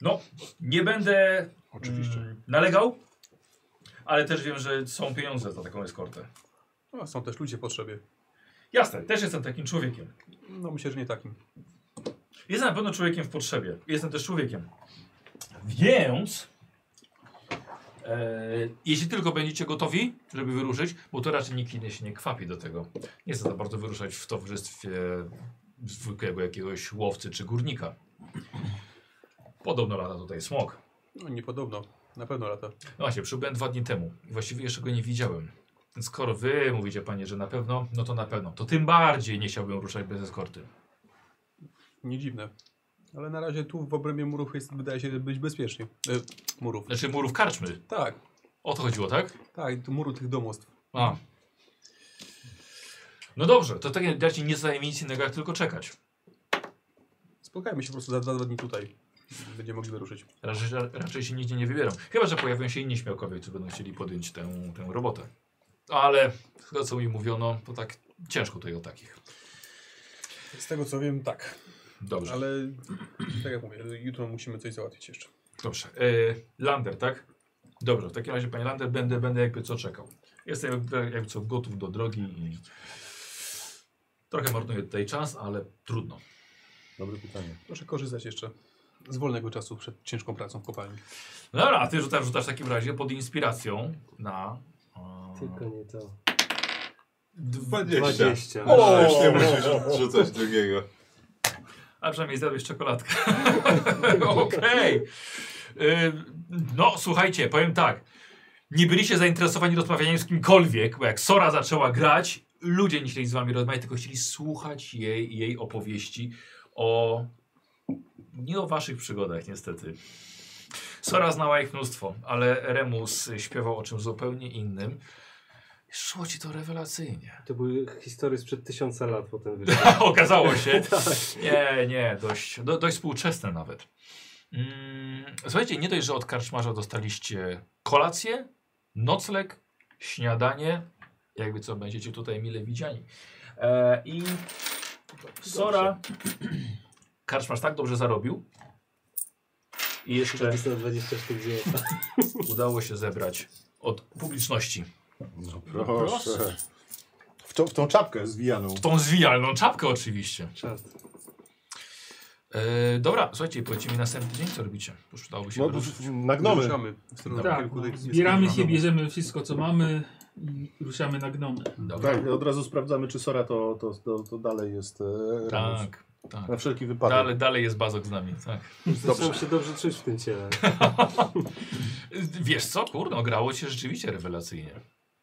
No, nie będę
Oczywiście.
mm, nalegał, ale też wiem, że są pieniądze za taką eskortę.
No, są też ludzie w potrzebie.
Jasne, też jestem takim człowiekiem.
No myślę, że nie takim.
Jestem na pewno człowiekiem w potrzebie. Jestem też człowiekiem. Więc E, jeśli tylko będziecie gotowi, żeby wyruszyć, bo to raczej nikt inny się nie kwapi do tego. Nie chce za bardzo wyruszać w towarzystwie zwykłego jakiegoś łowcy czy górnika. Podobno lata tutaj smok.
No niepodobno. Na pewno lata.
No właśnie, przybyłem dwa dni temu i właściwie jeszcze go nie widziałem. Więc skoro wy mówicie, panie, że na pewno, no to na pewno. To tym bardziej nie chciałbym ruszać bez eskorty.
Nie dziwne. Ale na razie tu w obrębie murów jest, wydaje się być bezpiecznie. E, murów.
Znaczy murów karczmy.
Tak,
O to chodziło, tak?
tak, tu muru tych domostw.
A. No dobrze, to w takim razie nie zdaje mi nic innego, jak tylko czekać.
Spotkajmy się po prostu za dwa, dwa dni tutaj. Będziemy mogli wyruszyć.
Raczej, ra- raczej się nigdzie nie wybieram. Chyba, że pojawią się inni śmiałkowie, którzy będą chcieli podjąć tę, tę robotę. Ale z tego, co mi mówiono, to tak ciężko tutaj o takich.
Z tego co wiem, tak.
Dobrze,
Ale tak jak mówię, jutro musimy coś załatwić jeszcze.
dobrze. E, Lander, tak? Dobrze, w takim razie, panie Lander, będę, będę jakby co czekał. Jestem jakby, jakby co gotów do drogi i trochę marnuję tutaj czas, ale trudno.
Dobre pytanie.
Proszę korzystać jeszcze z wolnego czasu przed ciężką pracą w kopalni.
No Dobra, a ty rzucasz, rzucasz w takim razie pod inspiracją na... e,
Tylko nie to.
20.
20.
O, już nie musisz rzucać drugiego.
A przynajmniej zjadłeś czekoladkę. Okej. Y, No, słuchajcie, powiem tak. Nie byliście zainteresowani rozmawianiem z kimkolwiek, bo jak Sora zaczęła grać, ludzie nie chcieli z wami rozmawiać, tylko chcieli słuchać jej, i jej opowieści o... Nie o waszych przygodach, niestety. Sora znała ich mnóstwo, ale Remus śpiewał o czymś zupełnie innym. Szło ci to rewelacyjnie.
To były historie sprzed tysiąca lat potem wyszły.
Okazało się. Nie, nie, dość, do, dość współczesne nawet. Mm, słuchajcie, nie dość, że od karczmarza dostaliście kolację, nocleg, śniadanie, jakby co, będziecie tutaj mile widziani. E, I Sora, karczmarz tak dobrze zarobił i jeszcze
420 sztuk złota.
udało się zebrać od publiczności
No proszę. W, to, w tą czapkę zwijaną.
tą zwijalną czapkę oczywiście.
Czad.
E, dobra, słuchajcie, polecimy następny dzień, co robicie? Już udałoby się
No,
wyruszyć.
nagnąmy.
Ruszamy w stronę
Tak,
kilku
no,
tych-
zbieramy
jest
się,
kilku domów.
bierzemy wszystko co mamy i ruszamy na gnomy.
Dobra.
Tak, od razu sprawdzamy, czy Sora to, to, to, to dalej jest e, Remus.
Tak, tak.
Na wszelki wypadek.
Dalej, dalej jest bazok z nami, tak.
Zacząłem się dobrze czuć w tym ciele.
Wiesz co, kurde, grało cię rzeczywiście rewelacyjnie.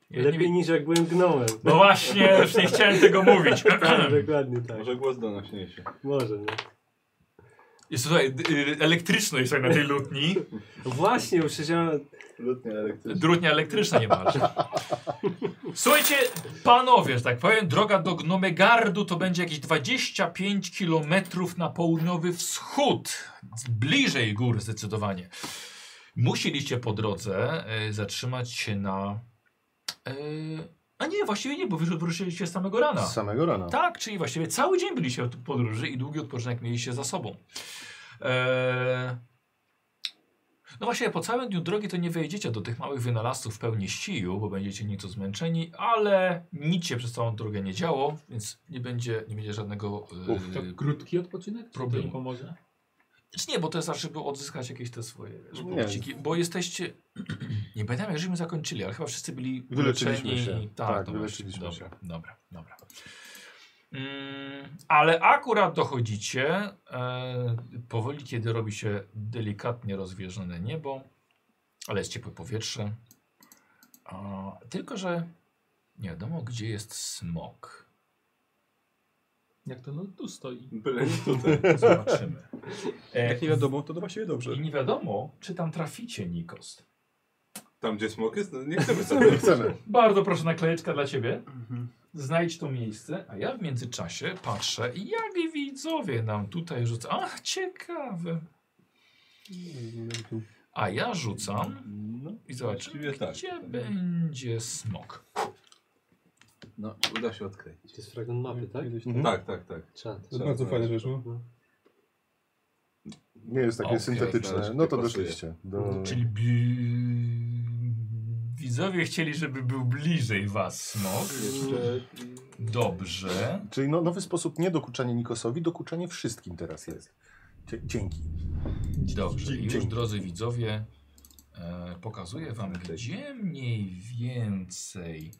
Ja nie...
Lepiej
wi-
niż jak byłem gnomem.
No właśnie, już nie chciałem tego mówić.
Tak, dokładnie tak.
Może głos donośniejszy.
Może, nie?
I Słuchaj, d- y, elektryczność tak na tej lutni.
Właśnie, już siedziałem...
Lutnia elektryczna.
Drutnia elektryczna niemalże. Słuchajcie, panowie, że tak powiem, droga do Gnomegardu to będzie jakieś 25 km na południowy wschód. Bliżej gór zdecydowanie. Musieliście po drodze e, zatrzymać się na... e, a nie, właściwie nie, bo wy wyruszyliście z samego rana.
Z samego rana.
Tak, czyli właściwie cały dzień byliście w podróży i długi odpoczynek mieliście za sobą. Eee... No właśnie, po całym dniu drogi to nie wejdziecie do tych małych wynalazców w pełni ściju, bo będziecie nieco zmęczeni, ale nic się przez całą drogę nie działo, więc nie będzie, nie będzie żadnego... Yy...
To krótki odpoczynek? Czy to
Problemu.
im pomoże?
Znaczy nie, bo to jest aż, żeby odzyskać jakieś te swoje wiesz,
No Nie.
punkciki, bo jesteście... Nie pamiętam, jak żeśmy zakończyli, ale chyba wszyscy byli
Wyleczyliśmy
uleczeni
się.
i-
Tak,
to
wyleczyliśmy
dobra,
się.
Dobra, dobra. Mm, ale akurat dochodzicie e, powoli, kiedy robi się delikatnie rozwieżone niebo, ale jest ciepłe powietrze. A, tylko, że nie wiadomo, gdzie jest smok.
Jak to no tu stoi?
Byle nie tutaj.
Zobaczymy. E,
Jak nie wiadomo, to, to właściwie dobrze.
I nie wiadomo, czy tam traficie, Nikos.
Tam gdzie smok jest, no nie chcemy sobie.
Chcemy.
Bardzo proszę, naklejeczka dla ciebie. Znajdź to miejsce, a ja w międzyczasie patrzę, jak widzowie nam tutaj rzucą. Ach, ciekawe. A ja rzucam
No,
i zobaczymy,
Właściwie tak.
gdzie będzie smok.
no, uda się odkryć.
To jest fragment mapy, tak?
Kiedyś
Mhm.
Tak, tak, tak.
Czad.
To bardzo fajne wyszło.
No.
Nie jest takie
Okej,
syntetyczne.
znaleźć
No
nie
to
pasuje.
doszliście. Do...
Mhm. Czyli bi- widzowie chcieli, żeby był bliżej was smok.
Jeszcze...
Dobrze.
Czyli no, nowy sposób nie dokuczania Nikosowi, dokuczanie wszystkim teraz jest. Dzie- Dzięki.
Dobrze. I już, drodzy widzowie, e, E, pokazuję wam, gdzie mniej więcej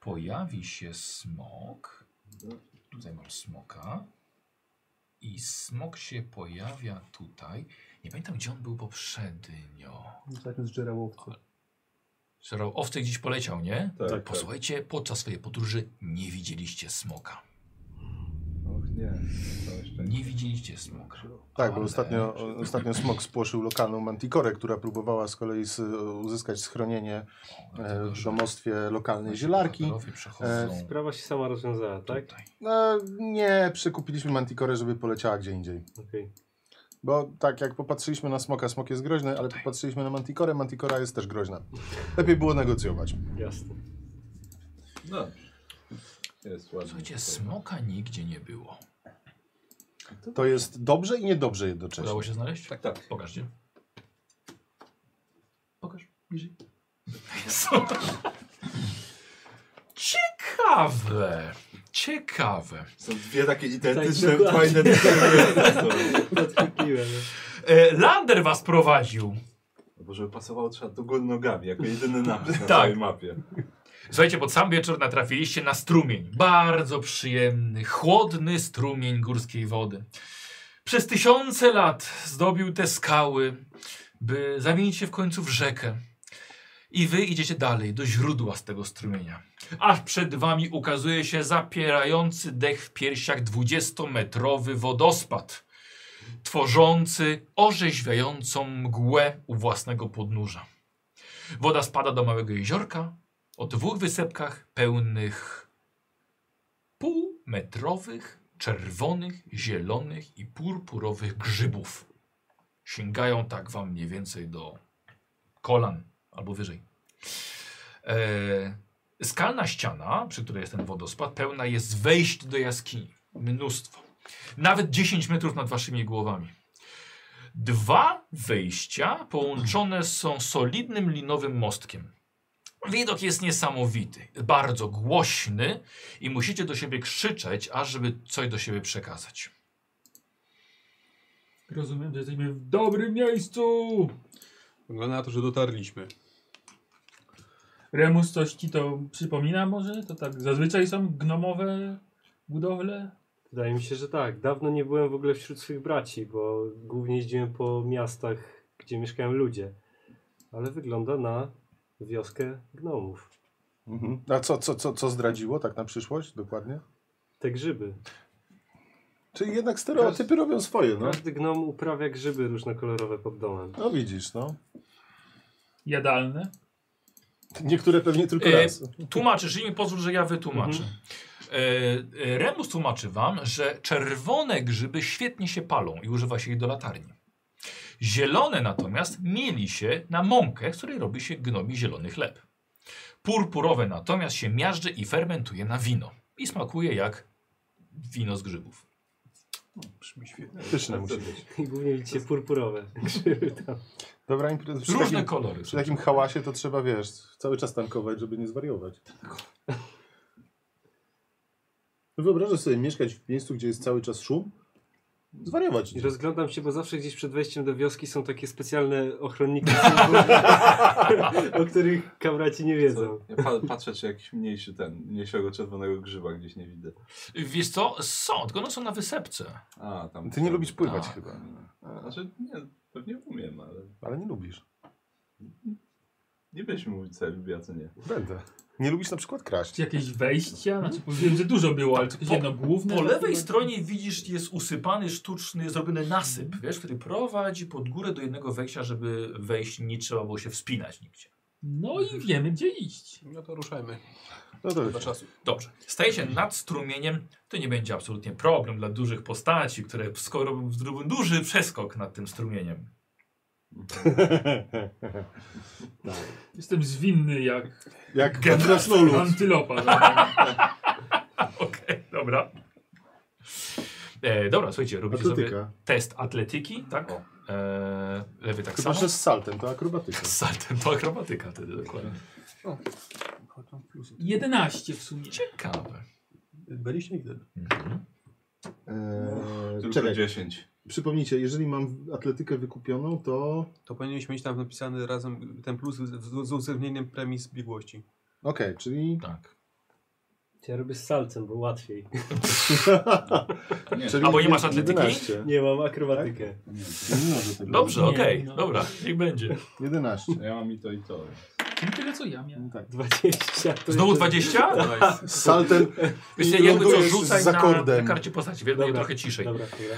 pojawi się smok. Tutaj mam smoka. I smok się pojawia tutaj. Nie pamiętam, gdzie on był poprzednio.
Tak jest żerawowcy.
Szerał owce gdzieś poleciał, nie?
Tak, tak.
Posłuchajcie, podczas swojej podróży nie widzieliście smoka.
Och nie, całe szczęście.
Nie widzieliście smoka.
E,
Tak, bo
Ale-
ostatnio, ostatnio smok spłoszył lokalną mantikorę, która próbowała z kolei z, uzyskać schronienie e, w domostwie lokalnej zielarki.
bohaterowie przechodzą
Sprawa się sama rozwiązała, tak?
tutaj.
No, nie, przekupiliśmy mantikorę, żeby poleciała gdzie indziej.
Okej.
Bo tak jak popatrzyliśmy na smoka, smok jest groźny, ale popatrzyliśmy na mantikorę, mantikora jest też groźna. Lepiej było negocjować.
Jasne.
No dobrze. Jest ładnie.
Słuchajcie, smoka nigdzie nie było.
To jest dobrze i niedobrze jednocześnie.
Udało się znaleźć?
Tak, tak.
Pokażcie. Pokaż bliżej. Ciekawe. Ciekawe.
Są dwie takie identyczne,
Tak, dokładnie.
fajne decyzje.
Podkupiłem.
E, Lander was prowadził.
Bo żeby pasowało trzeba do góry nogami, jako jedyny napis na
Tak.
całej mapie.
Słuchajcie, pod sam wieczór natrafiliście na strumień. Bardzo przyjemny, chłodny strumień górskiej wody. Przez tysiące lat zdobił te skały, by zamienić się w końcu w rzekę. I wy idziecie dalej, do źródła z tego strumienia. Aż przed wami ukazuje się zapierający dech w piersiach 20-metrowy wodospad, tworzący orzeźwiającą mgłę u własnego podnóża. Woda spada do małego jeziorka, o dwóch wysepkach pełnych półmetrowych, czerwonych, zielonych i purpurowych grzybów. Sięgają tak wam mniej więcej do kolan albo wyżej. E, skalna ściana, przy której jest ten wodospad, pełna jest wejść do jaskini. Mnóstwo. Nawet 10 metrów nad waszymi głowami. Dwa wejścia połączone są solidnym linowym mostkiem. Widok jest niesamowity, bardzo głośny i musicie do siebie krzyczeć, aż żeby coś do siebie przekazać.
Rozumiem, że jesteśmy w dobrym miejscu.
Wygląda na to, że dotarliśmy.
Remus coś ci to przypomina może? To tak zazwyczaj są gnomowe budowle?
Wydaje mi się, że tak. Dawno nie byłem w ogóle wśród swych braci, bo głównie jeździłem po miastach, gdzie mieszkają ludzie. Ale wygląda na wioskę gnomów.
Mhm. A co, co, co, co zdradziło tak na przyszłość dokładnie?
Te grzyby.
Czyli jednak stereotypy robią swoje, no.
Każdy gnom uprawia grzyby różnokolorowe pod domem.
No widzisz, no.
Jadalne?
Niektóre pewnie tylko
E,
raz.
Tłumaczysz im, pozwól, że ja wytłumaczę. E, e, Remus tłumaczy wam, że czerwone grzyby świetnie się palą i używa się ich do latarni. Zielone natomiast mieli się na mąkę, z której robi się gnomi zielony chleb. Purpurowe natomiast się miażdży i fermentuje na wino. I smakuje jak wino z grzybów.
Pyszne musi być.
I głównie widzicie purpurowe grzyby tam.
Dobra impreza. Przy,
Różne
takim,
kolory.
przy takim hałasie to trzeba, wiesz, cały czas tankować, żeby nie zwariować.
Tak.
No Wyobrażasz sobie mieszkać w miejscu, gdzie jest cały czas szum? Zwariować.
I
Roz...
rozglądam się, bo zawsze gdzieś przed wejściem do wioski są takie specjalne ochronniki, o których kamraci nie wiedzą.
Co? Ja pa patrzę, czy jakiś mniejszy ten, mniejszego czerwonego grzyba gdzieś nie widzę.
Wiesz co? Są, tylko one są na wysepce.
A, tam.
Ty nie lubisz pływać
Tak.
chyba,
A, Znaczy, nie, pewnie umiem, ale
ale nie lubisz.
nie byśmy mówić, co ja lubię, a co nie.
Będę. Nie lubisz na przykład kraść.
Czy jakieś wejścia? Znaczy powiedziałem, że dużo było, ale czy jakieś
Po-
jedno główne?
Po lewej stronie widzisz, jest usypany, sztuczny, zrobiony nasyp, wiesz, który prowadzi pod górę do jednego wejścia, żeby wejść, nie trzeba było się wspinać nigdzie.
No i wiemy gdzie iść.
No to ruszajmy.
No to
Do czasu.
Dobrze, stajecie nad strumieniem, to nie będzie absolutnie problem dla dużych postaci, które skoro zrobią duży przeskok nad tym strumieniem.
Jestem zwinny jak
Jak
Gen-
Gendrasnolu.
antylopa. tak?
Okej, dobra. E, dobra, słuchajcie, robicie sobie
Akrobatyka.
test atletyki, tak? E, lewy tak
Chyba,
samo.
że z saltem, to akrobatyka.
Z saltem to akrobatyka wtedy dokładnie.
11 w sumie.
Ciekawe.
Byliśmy jeden.
Mhm.
Eee,
Tylko
czekaj,
10.
przypomnijcie, jeżeli mam atletykę wykupioną, to...
To powinieneś mieć tam napisany razem ten plus z, z, z uwzględnieniem premii z biegłości.
Okej, czyli...
Tak.
Ja robię z salcem, bo łatwiej.
Nie,
czyli
A bo nie masz atletyki?
11.
Nie mam akrobatykę.
nie,
Mimo, że tego-
Dobrze,
Nie,
okej,
no.
dobra, niech będzie.
11.
Ja mam i to i to.
Czyli tyle co ja miałem.
No Tak.
20. to
Znowu
jeszcze-
20?
Z saltem
Wiesz, jakby co
Lądujesz
rzucaj
z
na, na
akordem.
karcie postaci, wiele
Dobra.
trochę ciszej.
Dobra, chwila.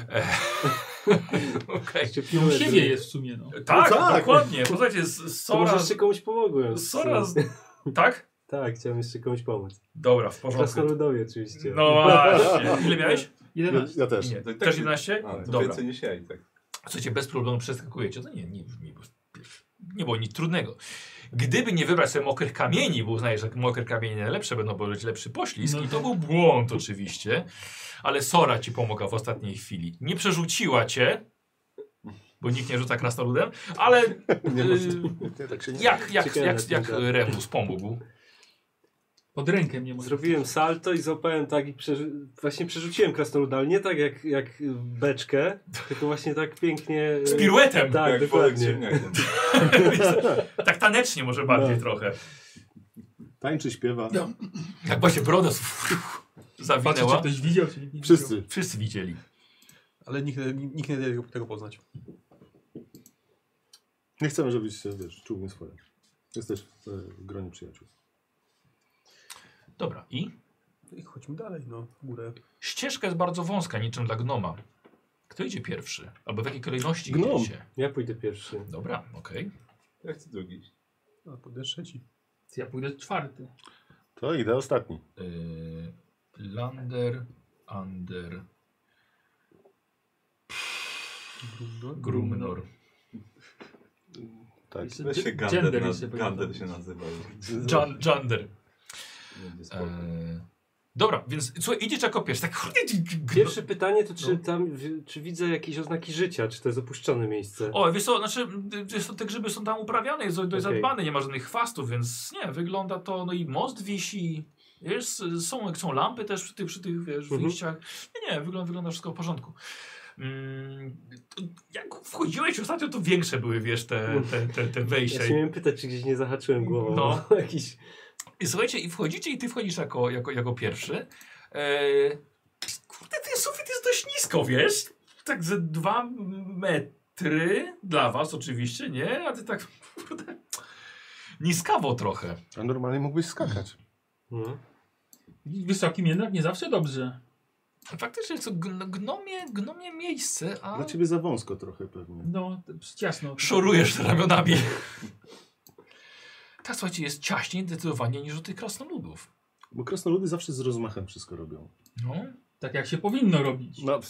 Okej.
Jeszcze piłem.
No siebie jest w sumie, no.
Tak,
No tak.
dokładnie. Posłuchajcie, z-
To może
Sora...
jeszcze komuś pomogłem.
Sora... z- Tak?
Tak, chciałem jeszcze komuś pomóc.
Dobra, w porządku.
Krasnoludowie oczywiście.
No właśnie. Ile miałeś?
11.
Ja też.
No
Nie. Też 11?
Ale tak to
Dobra.
więcej niż ja i tak.
Słuchajcie, bez problemu przeskakujecie. To nie, nie brzmi, bo nie było nic trudnego. Gdyby nie wybrać sobie mokrych kamieni, bo uznajesz, że mokre kamienie najlepsze będą, bo będzie lepszy poślizg
No.
i to był błąd oczywiście, ale Sora ci pomogła w ostatniej chwili. Nie przerzuciła cię, bo nikt nie rzuca krasnoludem, ale
Nie
y,
Tak się nie...
jak, jak,
Ciekawe,
jak, jak
ciekawe.
Remus pomógł?
Pod rękę mnie może.
Zrobiłem salto i złapałem tak i przerzu- właśnie przerzuciłem krasnoluda, ale nie tak jak, jak beczkę, tylko właśnie tak pięknie...
Z piruetem!
Tak,
jak Wolek z
dokładnie.
ziemniakiem.
tak tanecznie może bardziej
No.
trochę.
Tańczy, śpiewa.
Jak właśnie brodę
Patrzę, czy
zawinęła.
ktoś widział, czy nikt nie widział.
Wszyscy.
Wszyscy widzieli.
Ale nikt, nikt nie daje tego, tego poznać.
Nie chcemy, żebyś się, wiesz, czuł nieswojo. Jesteś w e, gronie przyjaciół.
Dobra, i?
I chodźmy dalej, no, w górę.
Ścieżka jest bardzo wąska, niczym dla gnoma. Kto idzie pierwszy? Albo w jakiej kolejności
Gnom.
idziecie?
Ja pójdę pierwszy.
Dobra, okej.
Ja chcę drugi. iść.
A pójdę trzeci.
Ja pójdę czwarty.
To idę ostatni.
Yy, lander, Under, Grumnor.
Tak.
Jeszcze
Weź się
dzie-
Gander,
jeszcze
naz-
powinien
Gander
być.
się nazywał.
Jan, Jander.
Będzie
Yy,
spoko.
dobra, więc słuchaj, idziesz jako pierwszy. Tak, kurde, g- g-
Pierwsze pytanie to
No.
czy tam, w- czy widzę jakieś oznaki życia, czy to jest opuszczone miejsce?
O, wiesz co, znaczy, y, wiesz co, te grzyby są tam uprawiane, jest dość
Okej.
zadbane, nie ma żadnych chwastów, więc nie, wygląda to, no i most wisi, wiesz, są, są lampy też przy tych, przy tych wiesz,
Mhm.
wyjściach. Nie, nie, wygląda, wygląda wszystko w porządku. Mm, to jak wchodziłeś ostatnio, to większe były, wiesz, te, te, te, te wejścia.
Ja się miałem pytać, czy gdzieś nie zahaczyłem głową.
No.
No. Jakiś...
I słuchajcie, i wchodzicie i ty wchodzisz jako, jako, jako pierwszy. E, kurde, ten sufit jest dość nisko, wiesz? Tak ze dwa metry dla was oczywiście, nie? A ty tak, kurde, niskawo trochę.
A normalnie mógłbyś skakać.
No.
Wysokim jednak nie zawsze dobrze.
Faktycznie jest to gn- gnomie, gnomie miejsce, a
Dla ciebie za wąsko trochę pewnie.
No, to jest ciasno.
szorujesz ramionami. tak, słuchajcie, jest ciaśniej zdecydowanie niż u tych krasnoludów.
Bo krasnoludy zawsze z rozmachem wszystko robią.
No.
Tak jak się powinno robić.
No,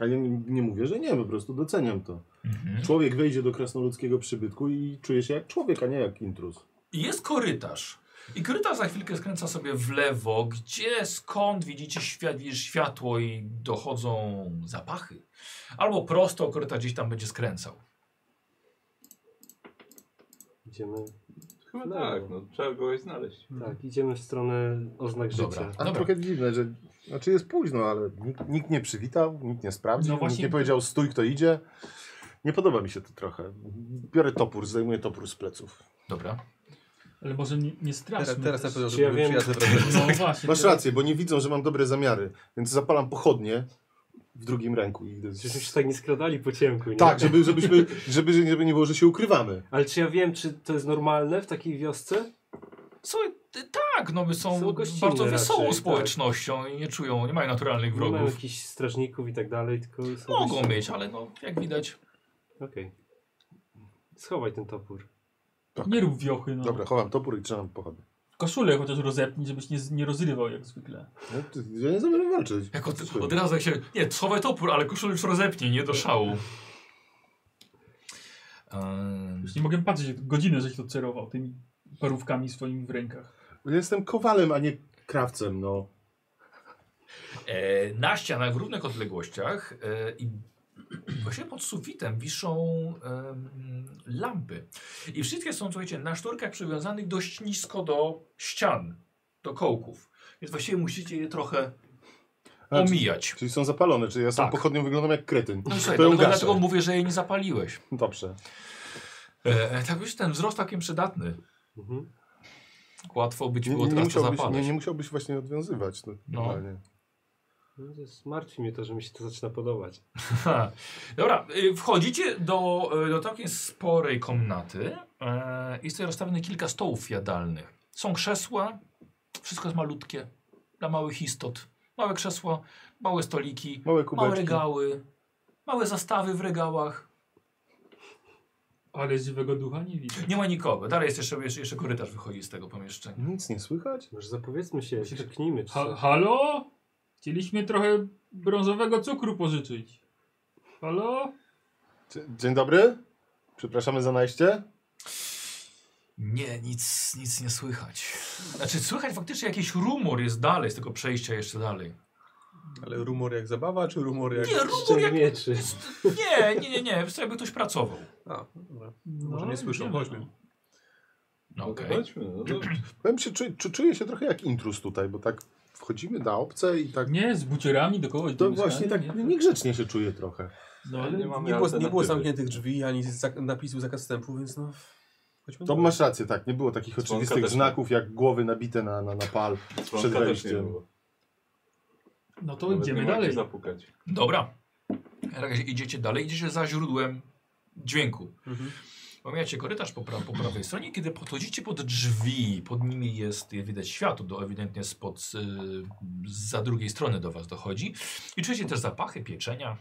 a ja nie, nie mówię, że nie, po prostu doceniam to.
Mhm.
Człowiek wejdzie do krasnoludzkiego przybytku i czuje się jak człowiek, a nie jak intruz.
I jest korytarz. I korytarz za chwilkę skręca sobie w lewo, gdzie skąd widzicie świat, widzisz światło i dochodzą zapachy. Albo prosto korytarz gdzieś tam będzie skręcał.
Idziemy,
Chyba
No.
tak, no trzeba kogoś znaleźć.
tak, idziemy w stronę oznak
Dobra.
życia.
Ale
Dobra.
trochę dziwne, że... Znaczy jest późno, ale nikt, nikt nie przywitał, nikt nie sprawdził,
No
nikt
właśnie-
nie powiedział stój, kto idzie. Nie podoba mi się to trochę. Biorę topór, zdejmuję topór z pleców.
Dobra.
Ale może nie, nie
Teraz,
straszmy.
teraz na
Czy
pewno, żeby
ja
ja
wiem?
przyjazne wrażenie.
No właśnie.
Masz
teraz-
rację, bo nie widzą, że mam dobre zamiary, więc zapalam pochodnie w drugim ręku. I idę...
Żebyśmy się tak nie skradali po ciemku, nie?
Tak, żeby, żebyśmy, żeby, żeby nie było, że się ukrywamy.
Ale czy ja wiem, czy to jest normalne w takiej wiosce?
Słuchaj, ty- tak, no my są,
Są gościnne
bardzo wesołą
raczej, tak.
społecznością i nie czują, nie mają naturalnych
Nie mają
wrogów.
jakichś strażników i tak dalej, tylko są...
Mogą
gościnni.
mieć, ale no, jak widać.
Okej. Schowaj ten topór.
Nie rób wiochy, no.
Dobra, chowam topór i trzymam pochodnie.
Koszulę chociaż rozepnij, żebyś nie, z- nie rozrywał jak zwykle.
No, ty- Ja nie zamierzam walczyć.
Jak od, od razu jak się. Nie, schowaj topór, ale koszulę już rozepnij, nie do szału. Ehm,
Już nie mogę patrzeć, godzinę żeś to cerował tymi parówkami swoimi w rękach.
Ja no, jestem kowalem, a nie krawcem, no.
E, na ścianach w równych odległościach e, i właśnie pod sufitem wiszą em, lampy. I wszystkie są, słuchajcie, na szturkach przywiązanych dość nisko do ścian, do kołków. Więc właściwie musicie je trochę
Znaczy-
omijać.
Czyli są zapalone, czyli ja sam
Tak.
pochodnią wyglądam jak kretyn.
No i słuchaj,
To ją
no,
gaszę.
dlatego mówię, że jej nie zapaliłeś.
Dobrze.
E, tak już ten wzrost takim przydatny.
Mhm.
Łatwo być
Nie,
było
nie, nie,
teraz to
musiałbyś, nie,
zapalać.
nie musiałbyś właśnie odwiązywać. No,
No.
normalnie.
No, to jest- Martwi mnie to, że mi się to zaczyna podobać.
Ha. Dobra, y, wchodzicie do, y, do całkiem sporej komnaty. E, Jest tutaj rozstawione kilka stołów jadalnych. Są krzesła, wszystko jest malutkie, dla małych istot. Małe krzesła, małe stoliki,
Małe
małe
kubeczki.
regały, małe zastawy w regałach.
Ale żywego ducha nie widzę.
Nie ma nikogo. Dalej jest jeszcze, jeszcze, jeszcze korytarz wychodzi z tego pomieszczenia.
Nic nie słychać?
Może zapowiedzmy się, krzyknijmy czy
Ha,
coś.
halo? Chcieliśmy trochę brązowego cukru pożyczyć. Halo?
Dzie- Dzień dobry. Przepraszamy za najście.
Nie, nic, nic nie słychać. Znaczy słychać faktycznie jakiś rumor jest dalej z tego przejścia jeszcze dalej.
Ale rumor jak zabawa, czy rumor jak...
Nie, rumor
Czy
jak...
mieczy.
Nie, nie, nie, nie. Wystarczy jakby ktoś pracował.
A, dobra.
No,
Może nie słyszą,
wiem.
chodźmy.
No, okej.
Chodźmy, no dobrze.
Powiem się, czu, czu, czuję się trochę jak intrus tutaj, bo tak wchodzimy na obce i tak...
Nie, z buciorami do kogoś.
To
do
właśnie
mieszkania,
tak
nie?
niegrzecznie się czuję trochę.
No, ale
nie mamy
Nie było, nie było
alternatywy.
zamkniętych drzwi, ani zak- napisu zakaz wstępu, więc no... Chodźmy
To
dalej.
masz rację, tak. Nie było takich
Dzwonka
oczywistych
też nie.
znaków jak głowy nabite na, na, na pal.
Dzwonka też nie
wejściem.
było.
no to
Nawet
idziemy
nie ma gdzie
dalej.
zapukać.
Dobra. W takim razie Idziecie dalej, idziecie za źródłem dźwięku.
Mhm.
Pomijacie korytarz po, pra po prawej stronie, kiedy podchodzicie pod drzwi, pod nimi jest, je widać światło, do, ewidentnie spod, y, za drugiej strony do was dochodzi. I czujecie też zapachy pieczenia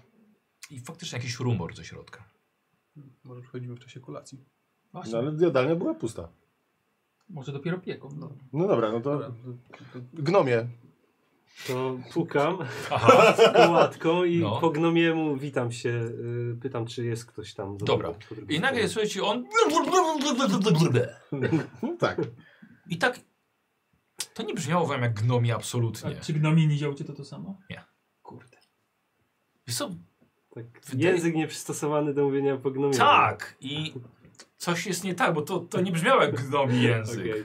i faktycznie jakiś rumor ze środka.
Może przychodzimy w czasie kolacji.
Właśnie,
No ale jadalnia była pusta.
Może dopiero pieką. No.
No dobra, no
Dobra.
to... Gnomie.
To pukam
Aha,
z kołatką i
No.
po gnomiemu witam się, y, pytam czy jest ktoś tam. za
Dobra.
drugą- po drugiej
I nagle
stronie.
słuchajcie, on...
No tak.
I tak... To nie brzmiało wam jak gnomi
A
absolutnie.
czy gnomie nie działcie to to samo?
Kurde. Wiesz co,
Tak,
Wydaje-
Język nieprzystosowany do mówienia po gnomiemu.
Tak, i coś jest nie tak, bo to, to nie brzmiało jak gnomi język.
Okej.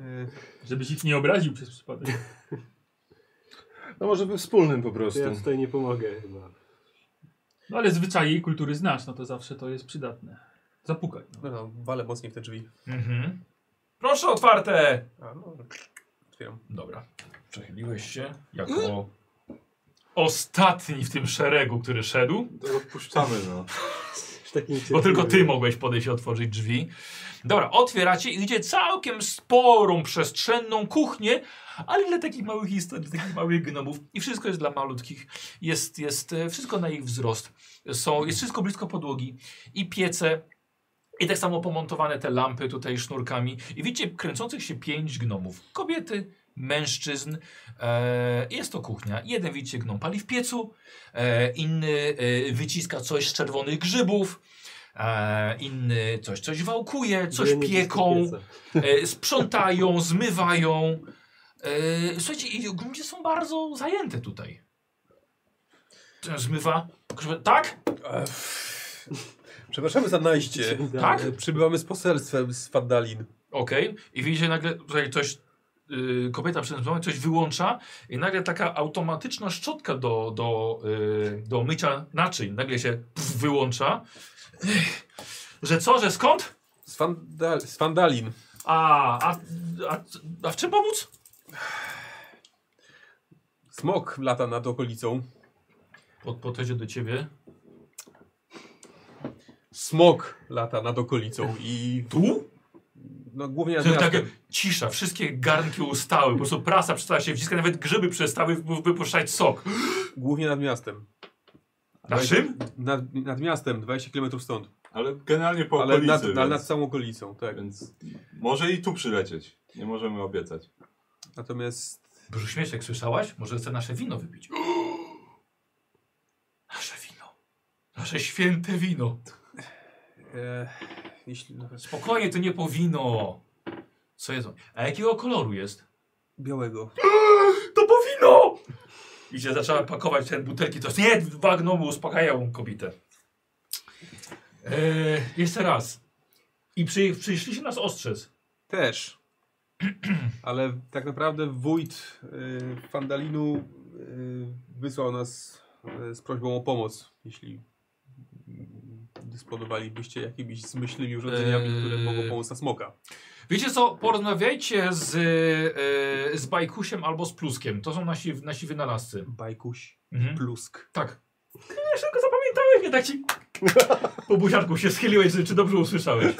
E,
Żebyś ich nie obraził przez przypadek.
No może we wspólnym po
To
prostu.
ja tutaj nie pomogę chyba.
No ale zwyczaje i kultury znasz, no to zawsze to jest przydatne. Zapukaj. No.
Dobra, walę mocniej w te drzwi.
Mhm. Proszę otwarte!
A, no dobra. Otwieram.
Dobra, przechyliłeś się jako ostatni w tym szeregu, który szedł,
To rozpuszczamy, no.
Już taki
bo
niecierpliwy.
tylko ty mogłeś podejść i otworzyć drzwi. Dobra, otwieracie i idzie całkiem sporą, przestrzenną kuchnię, ale dla takich małych istot, dla takich małych gnomów i wszystko jest dla malutkich. Jest, jest e, wszystko na ich wzrost. Są, jest wszystko blisko podłogi i piece. I tak samo pomontowane te lampy tutaj sznurkami. I widzicie kręcących się pięć gnomów. Kobiety, mężczyzn. E, jest to kuchnia. Jeden widzicie gnom pali w piecu, e, inny e, wyciska coś z czerwonych grzybów, e, inny coś, coś wałkuje, coś
Dzielnie
pieką
blisko pieca.
e, sprzątają, zmywają. E, słuchajcie, i ludzie są bardzo zajęte tutaj. Ten zmywa. krzywe- Tak?
E, Przepraszamy za najście.
Tak?
E, Przybywamy z poselstwem z Fandalin.
Okej. I widzicie nagle tutaj coś. y, Kobieta przed zmywą coś wyłącza i nagle taka automatyczna szczotka do, do, y, do mycia naczyń nagle się pff, wyłącza. Ech, Że co, że skąd?
Z, Fandal z Fandalin.
A, a, a, a w czym pomóc?
Smok lata nad okolicą.
Pod, podchodzi do ciebie.
Smok lata nad okolicą i
Tu?
no, głównie nad
tak
To jest taka
miastem.
cisza, wszystkie garnki ustały, po prostu prasa przestała się wciskać, nawet grzyby przestały wy- wypuszczać sok.
Głównie nad miastem.
Na czym?
Nad, nad miastem, 20 km stąd.
Ale generalnie po
ale,
okolicy,
nad,
więc,
ale nad całą okolicą, tak.
więc może i tu przylecieć. Nie możemy obiecać.
Natomiast
Boże śmieszek, słyszałaś? Może chce nasze wino wypić. Nasze wino. Nasze święte wino.
e, jeśli no,
Spokojnie, to nie po wino. Co jedzą? A jakiego koloru jest?
białego.
To po wino! I się zaczęła pakować te butelki. To nie, wagną, uspokajają kobietę. Eee, jeszcze raz. I przy, przyszliście nas ostrzec.
Też. Ale tak naprawdę wójt y, Fandalinu
e, wysłał nas e, z prośbą o pomoc, jeśli mm, dysponowalibyście jakimiś zmyślnymi urządzeniami,
Eee.
które mogą pomóc na smoka.
Wiecie co, porozmawiajcie z, e, z Bajkusiem albo z Pluskiem. To są nasi, nasi wynalazcy.
Bajkuś,
Mhm.
plusk.
Tak. Ja szybko zapamiętałeś mnie, tak ci po buziarku się schyliłeś, że- czy dobrze usłyszałeś.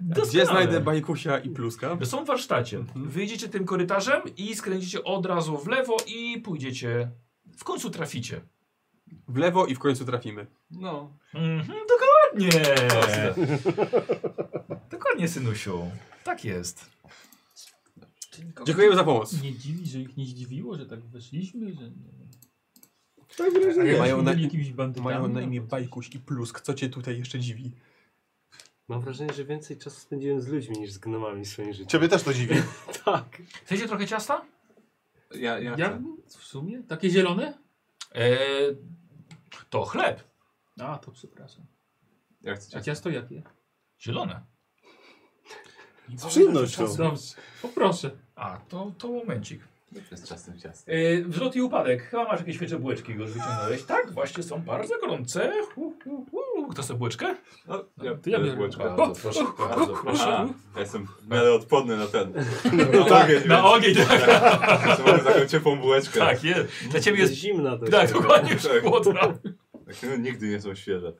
Gdzie
Doskonale.
znajdę Bajkusia i pluska?
Są w warsztacie. Wyjdziecie tym korytarzem i skręcicie od razu w lewo i pójdziecie. W końcu traficie.
W lewo i w końcu trafimy.
No.
Mhm, dokładnie. dokładnie, synusiu. Tak jest.
Dziękujemy za pomoc.
Nie dziwi, że ich nie zdziwiło, że tak weszliśmy, że nie wiem.
A nie,
Mają
mają, na,
byli jakimiś bandytami.
mają na imię
no to-
Bajkuś i plusk. Co cię tutaj jeszcze dziwi?
Mam wrażenie, że więcej czasu spędziłem z ludźmi niż z gnomami w swoim życiu.
Ciebie też to dziwi.
Tak.
Chcecie trochę ciasta?
Ja, ja,
Ja
chcę.
w sumie? Takie zielone?
E, to chleb.
A, to przepraszam.
ja chcę
A
cię.
ciasto jakie?
Zielone.
Z przyjemnością.
Dobrze, poproszę.
A, to, to momencik.
Z ciastem ciastem.
E, wzlot i upadek. Chyba masz jakieś świeże bułeczki, już wyciągnąłeś. Tak, właśnie są bardzo gorące. Hu, hu, hu. Kto sobie bułeczkę?
No, ja,
to ja
biorę
biorę.
bułeczkę.
Bardzo proszę, bardzo proszę.
A, ja jestem w miarę odporny na ten. No Na
tak,
ogień,
Na ogień, tak,
więc Mogę taką ciepłą bułeczkę.
tak jest. Dla ciebie
Jest
jest...
zimna dość.
Tak, dokładnie już
Tak.
chłodna.
Tak, no, nigdy nie są świeże.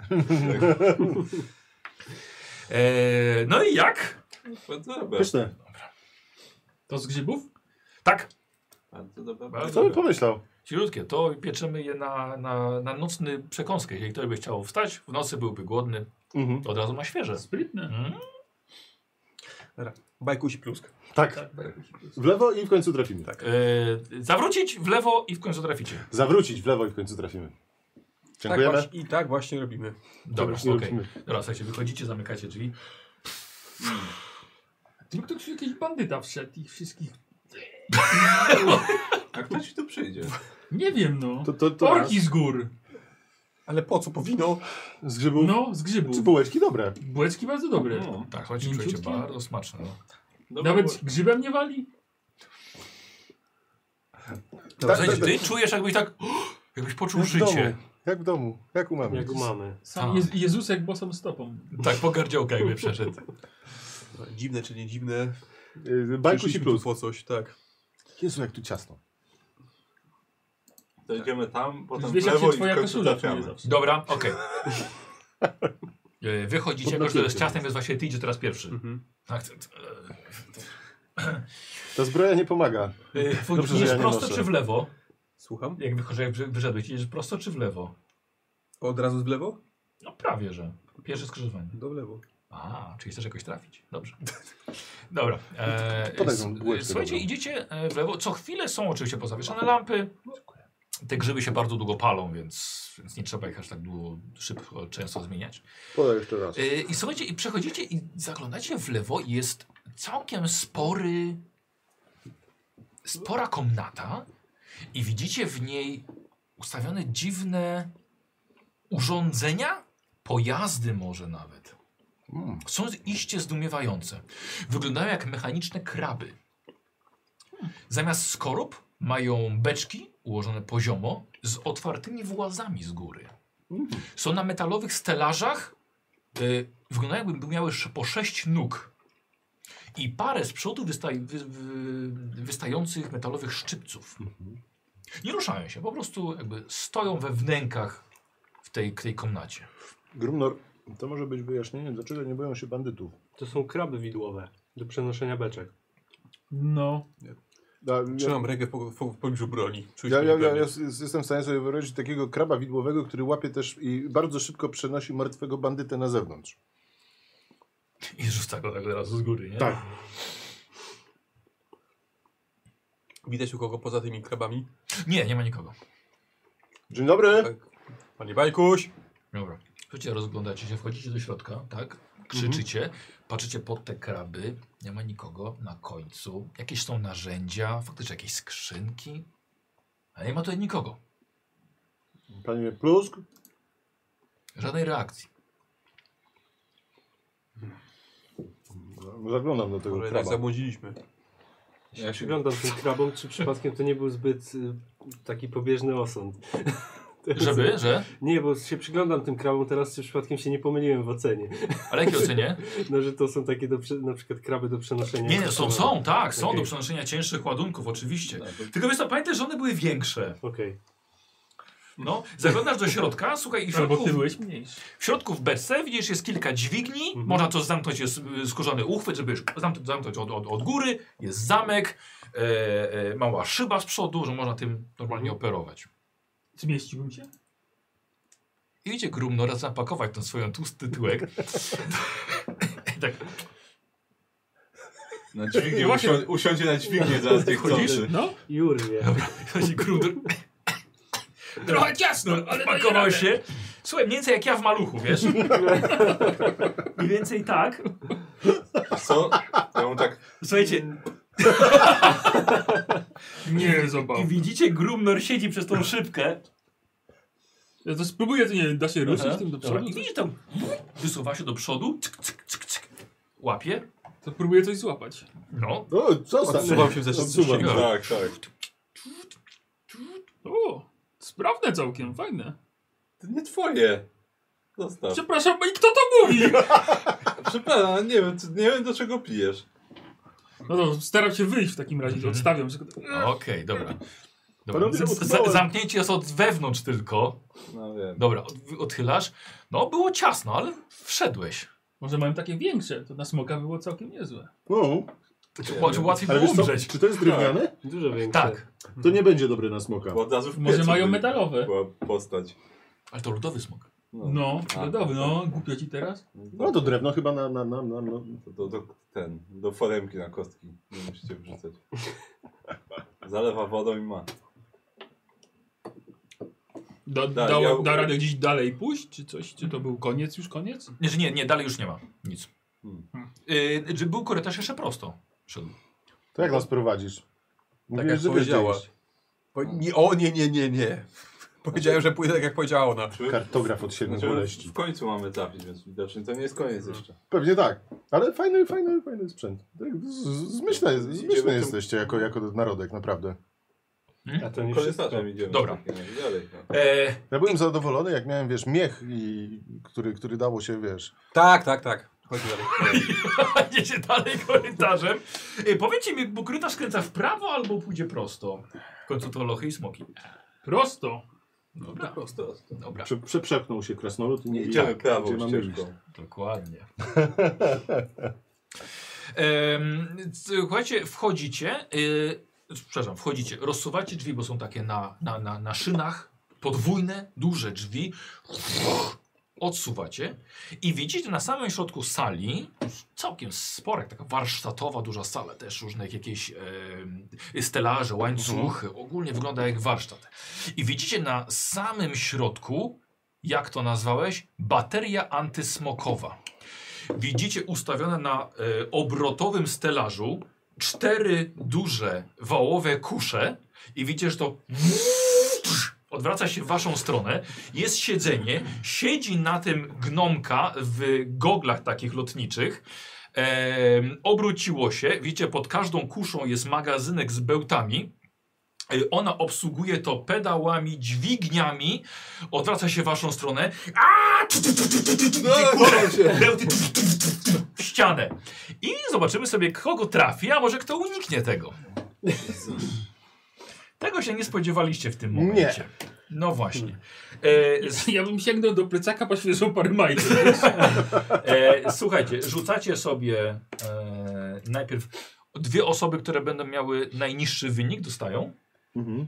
E, no i jak?
Bardzo dobre.
Pyszne.
To z grzybów?
Tak,
Bardzo dobre.
Kto by pomyślał?
cielutkie. To pieczemy je na, na, na nocny przekąskę. Jeżeli ktoś by chciał wstać, w nocy byłby głodny,
Mhm.
to od razu ma świeże.
Sprytne.
Mm.
Bajkuś i plusk.
Tak. W lewo i w końcu trafimy. Tak.
E, zawrócić w lewo i w końcu traficie.
Zawrócić w lewo i w końcu trafimy.
Tak
Dziękujemy.
właśnie, I tak właśnie robimy.
Dobra,
Właśnie
okej.
robimy.
Dobra, słuchajcie, wychodzicie, zamykacie drzwi.
Tylko ktoś jakiś bandyta wszedł ich wszystkich.
A kto ci tu przyjdzie?
Nie wiem no.
To, to, to
Orki z gór.
Ale po co powinno?
z grzybów.
No, z grzybów.
Czy bułeczki dobre?
Bułeczki bardzo dobre.
No,
Tak, słuchajcie, czujecie
Mięciutkie?
bardzo smaczne. No.
Nawet grzybem nie wali?
Tak,
Słuchajcie,
tak,
No ty czujesz jakbyś tak... Jakbyś poczuł
Jak w domu.
życie.
Jak w domu. Jak u mamy.
Jak u mamy.
Sam
A.
Jez Jezusek bosą stopą.
Tak, po gardziołkach jakby przeszedł.
No, Dziwne czy nie dziwne.
Y, Bajkuś i
przyszliśmy
plus.
tu Po coś, tak.
Jezu, jak tu ciasno.
To idziemy tam,
Już
potem w
wiesz jak się
lewo i w
twoja
końcu
koszula czuje
trafiamy.
zawsze.
Dobra, okej. E, Wychodzicie,
Pod
jako że to jest
napięciem.
ciastem, więc właśnie ty idzie teraz pierwszy.
Mhm.
Tak, to- to-
Ta zbroja nie pomaga.
e, e,
Dobrze, że
idziesz
ja nie
prosto
noszę.
czy w lewo?
Słucham?
Jak wychodzę, jak wyszedłeś, idziesz prosto czy w lewo?
Od razu w lewo?
No prawie, że. Pierwsze skrzyżowanie.
Do w lewo.
A, czyli chcesz jakoś trafić. Dobrze. Dobra. E,
Podaj
s-
tą bułeczkę
słuchajcie,
dobrą.
idziecie e, w lewo. Co chwilę są oczywiście pozawieszane lampy. Te grzyby się bardzo długo palą, więc, więc nie trzeba ich aż tak długo, szybko, często zmieniać.
Podaj jeszcze raz.
E, I słuchajcie, i przechodzicie i zaglądacie w lewo i jest całkiem spory, spora komnata i widzicie w niej ustawione dziwne urządzenia, pojazdy może nawet.
Mm.
Są iście zdumiewające. Wyglądają jak mechaniczne kraby. Zamiast skorup mają beczki ułożone poziomo z otwartymi włazami z góry. Są na metalowych stelażach. Y, wyglądają jakby miały sz- po sześć nóg. I parę z przodu wystaj, wy, wy, wystających metalowych szczypców. Nie ruszają się, po prostu jakby stoją we wnękach w tej, tej komnacie.
Grumnor, to może być wyjaśnienie, dlaczego nie boją się bandytów.
To są kraby widłowe do przenoszenia beczek.
No.
A, ja,
Trzymam rękę w po- po- w pobliżu broni. Czuję
ja,
się
ja, ja,
pewnie.
ja s- jestem w stanie sobie wyobrazić takiego kraba widłowego, który łapie też i bardzo szybko przenosi martwego bandytę na zewnątrz.
I rzuca go tak od razu z góry, nie?
Tak.
Widać u kogo poza tymi krabami?
Nie, nie ma nikogo.
Dzień dobry.
Tak. Panie Bajkuś!
Dobra. Słuchajcie, rozglądacie się, wchodzicie do środka, tak? Krzyczycie, patrzycie pod te kraby, nie ma nikogo na końcu. Jakieś są narzędzia, faktycznie jakieś skrzynki, ale nie ma tutaj nikogo.
Panie Plusk.
Żadnej reakcji.
Zaglądam do tego
Może jednak
No, kraba.
tak zabłądziliśmy.
Ja się
Przyglądam tym krabom, czy przypadkiem to nie był zbyt y, taki pobieżny osąd.
Żeby, że?
Nie, bo się przyglądam tym krabom teraz, czy przypadkiem się nie pomyliłem w ocenie.
Ale jakie ocenie?
No, że to są takie do, prze- na przykład kraby do przenoszenia.
Nie, nie, są, są, tak, są
Okej.
do przenoszenia cięższych ładunków, oczywiście. Tylko wiesz co, pamiętaj, że one były większe.
Okej.
No, zaglądasz do środka, słuchaj, i w
Albo
środku,
Tak, ty byłeś mniejszy.
w środku w beczce widzisz, jest kilka dźwigni,
Mhm.
można to zamknąć, jest y, skórzany uchwyt, żeby już zamknąć, zamknąć od, od, od góry, jest zamek, e, e, mała szyba z przodu, że można tym normalnie operować.
Zmieściłbym się?
I idzie grumno raz zapakować tą swoją tłusty tyłek. I tak,
na dźwignię, usią, usiądzie na dźwignię zaraz niechcący.
No,
Jurwie.
chodzi grumno. Trochę ciasno, ale pakował się. Słuchaj, mniej więcej jak ja w maluchu, wiesz? Mniej więcej tak.
Co? Ja mu tak,
Słuchajcie,
nie zobacz.
I widzicie, Grumnor siedzi przez tą szybkę.
Ja to spróbuję, to nie wiem, da się ruszyć
Aha.
tym do
Dobra.
przodu.
I widzicie tam, wysuwa się do przodu, cyk, cyk, cyk, cyk. łapie,
To próbuję coś złapać.
no,
O, zostań.
Odsuwam się ze
Odsuwam.
ścieżki.
tak, tak.
O, sprawne całkiem, fajne.
To nie twoje. Zostaw.
Przepraszam, i kto to mówi?
Przepraszam, nie wiem, nie wiem do czego pijesz.
No to staram się wyjść w takim razie,
Mhm.
że odstawiam. że-
okej, dobra. dobra.
Panowie,
Z, z,
utknąłem.
zamknięcie jest od wewnątrz tylko.
No wiem.
Dobra, od, odchylasz. No, było ciasno, ale wszedłeś.
Może mają takie większe, to na smoka było całkiem niezłe.
O,
Czy, czy łatwiej
No, ale
było
wiesz co,
umrzeć.
czy to jest drewniane?
Dużo większe.
Tak,
To nie będzie dobre na smoka.
Bo od razu w
Może
piecu
mają
by-
metalowe.
Była postać.
ale to lodowy smok.
No,
A.
no dobra, no, głupio ci teraz.
No to drewno chyba na... na, na, na, na.
To do, do, ten, do foremki na kostki. Nie musicie wrzucać. Zalewa wodą i ma.
Da,
Da,
dało,
ja-
da radę gdzieś dalej pójść, czy coś? Czy to był koniec, już koniec?
Nie, że nie, nie, dalej już nie ma nic.
Hmm.
Yy, że był korytarz jeszcze prosto. Szedł.
To jak nas prowadzisz?
Tak
Mówiłeś,
jak
że wiesz, gdzie
powiedziała.
iść.
Po, nie, o nie, nie, nie, nie. Powiedziałem, że pójdę tak jak powiedziała ona.
Czy-
Kartograf od siedmiu
Znaczy,
boleści.
w końcu mamy trafić, więc widocznie to nie jest koniec jeszcze.
Pewnie tak. Ale fajny, fajny, fajny sprzęt. Tak, z- z- Zmyślne,
Idziemy
zmyślne
tym-
jesteście jako, jako narodek, naprawdę.
A to nie wszystko.
Korytarzem idziemy.
Dobra.
Tak, no, dalej, no.
E,
Ja byłem zadowolony, jak miałem, wiesz, miech, i, który, który dało się, wiesz.
Tak, tak, tak. Chodź dalej.
Idziecie dalej korytarzem. E, powiedzcie mi, bo korytarz kręca w prawo albo pójdzie prosto. W końcu to lochy i smoki.
Prosto.
Dobra, prosto. Dobra,
Prze, przeprzepnął się krasnolud i nie
Nie idziemy
tak,
prawą
gdzie mamy iść.
ścieżką.
dokładnie. Em, słuchajcie, wchodzicie. E, przepraszam, wchodzicie. Rozsuwacie drzwi, bo są takie na, na, na, na szynach. Podwójne, duże drzwi. Odsuwacie i widzicie na samym środku sali całkiem spora, jak taka warsztatowa, duża sala, też różne jakieś e, stelaże, łańcuchy. Ogólnie wygląda jak warsztat. I widzicie na samym środku, jak to nazwałeś, bateria antysmokowa. Widzicie ustawione na e, obrotowym stelażu cztery duże wałowe kusze i widzicie, że to odwraca się w waszą stronę. Jest siedzenie, siedzi na tym gnomka w goglach takich lotniczych. Em, obróciło się, widzicie, pod każdą kuszą jest magazynek z bełtami. E, Ona obsługuje to pedałami, dźwigniami, odwraca się w waszą stronę. Aaa! Tu, tu, tu, tu, tu, tu, tu,
Kocham się.
Bełty tu, tu, tu, tu, w ścianę. I zobaczymy sobie, kogo trafi, a może kto uniknie tego. Tego się nie spodziewaliście w tym momencie. No właśnie. E, s-
Ja bym sięgnął do plecaka po świeżą parę majtek.
e, słuchajcie, rzucacie sobie e, najpierw dwie osoby, które będą miały najniższy wynik, dostają.
Mhm.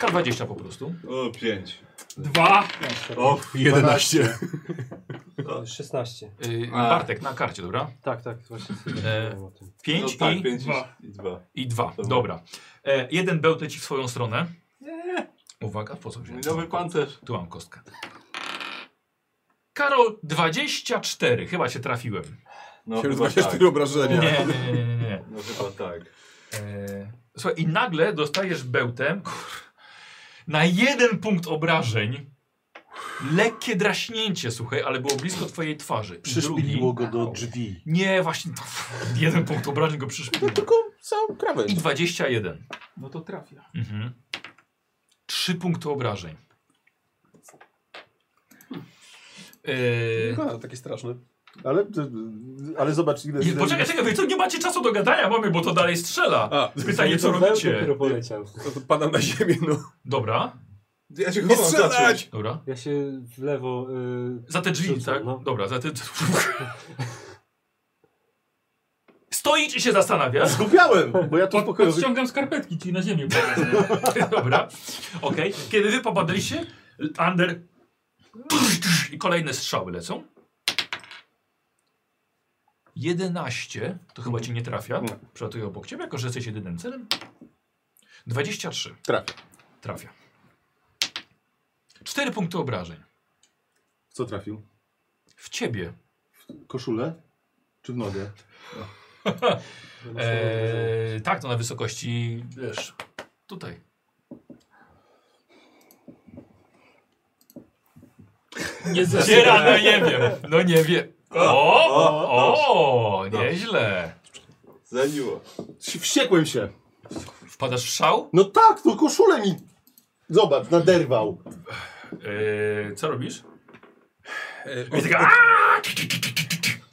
K20 po prostu.
O, pięć.
Dwa.
O,
11.
16.
E,
A.
Bartek na karcie, dobra?
Tak, tak, właśnie sobie
E,
o tym.
no,
5
tak,
i,
pięć
dwa.
i, i dwa.
i 2.
Dobra.
Dobra. E, jeden bełt leci w swoją stronę. Uwaga, po co
Mój
wziąłem?
nowy pancerz.
Tu mam kostkę. Karol 24, chyba się trafiłem.
No chyba tak.
24 obrażenia.
Nie, nie, nie, nie. nie, nie.
No chyba tak.
Eee, słuchaj, i nagle dostajesz bełtem kur, na jeden punkt obrażeń. Lekkie draśnięcie, słuchaj, ale było blisko twojej twarzy. I drugi-
Przyszpiliło go do drzwi.
Nie, właśnie. Jeden punkt obrażeń go przyszpiliło.
No, Tylko
Sam krawędź.
I 21.
No to trafia.
Mhm. Trzy punkty obrażeń. Eee,
A, takie straszne.
Ale, ale zobacz, ile...
nie, poczekaj, czekaj, wy co, nie macie czasu do gadania, mamy, bo to dalej strzela. Pytanie, co robicie?
Dopiero poleciał.
No to padam na ziemię, no.
Dobra,
Ja się
Nie
chowam za
strzelać!
czymś.
dobra.
Ja się w lewo... Y,
Za te drzwi,
Rzucam,
tak?
no.
Dobra, za te... Stoisz i się zastanawiasz.
Zgubiałem, bo ja tu
Pod,
pokoju...
podciągam skarpetki, czyli na ziemię. kładę.
Dobra, okej. Kiedy wy popadliście, Under... I kolejne strzały lecą. 11, to chyba ci nie trafia.
Nie.
Przelatuję obok ciebie, jako że jesteś jedynym celem. 23.
Trafia.
Trafia. 4 punkty obrażeń.
Co trafił?
W ciebie.
Koszulę? Czy w nogę?
Eee, tak, to na wysokości, wiesz, tutaj.
Nie
Ciera, no nie wiem, no nie wiem. O, o, o, nieźle.
Zaniło.
Wściekłem się.
Wpadasz w szał?
No tak, no koszulę mi... Zobacz, naderwał.
Eee, co robisz?
E,
I
od,
taka, "Aaa!"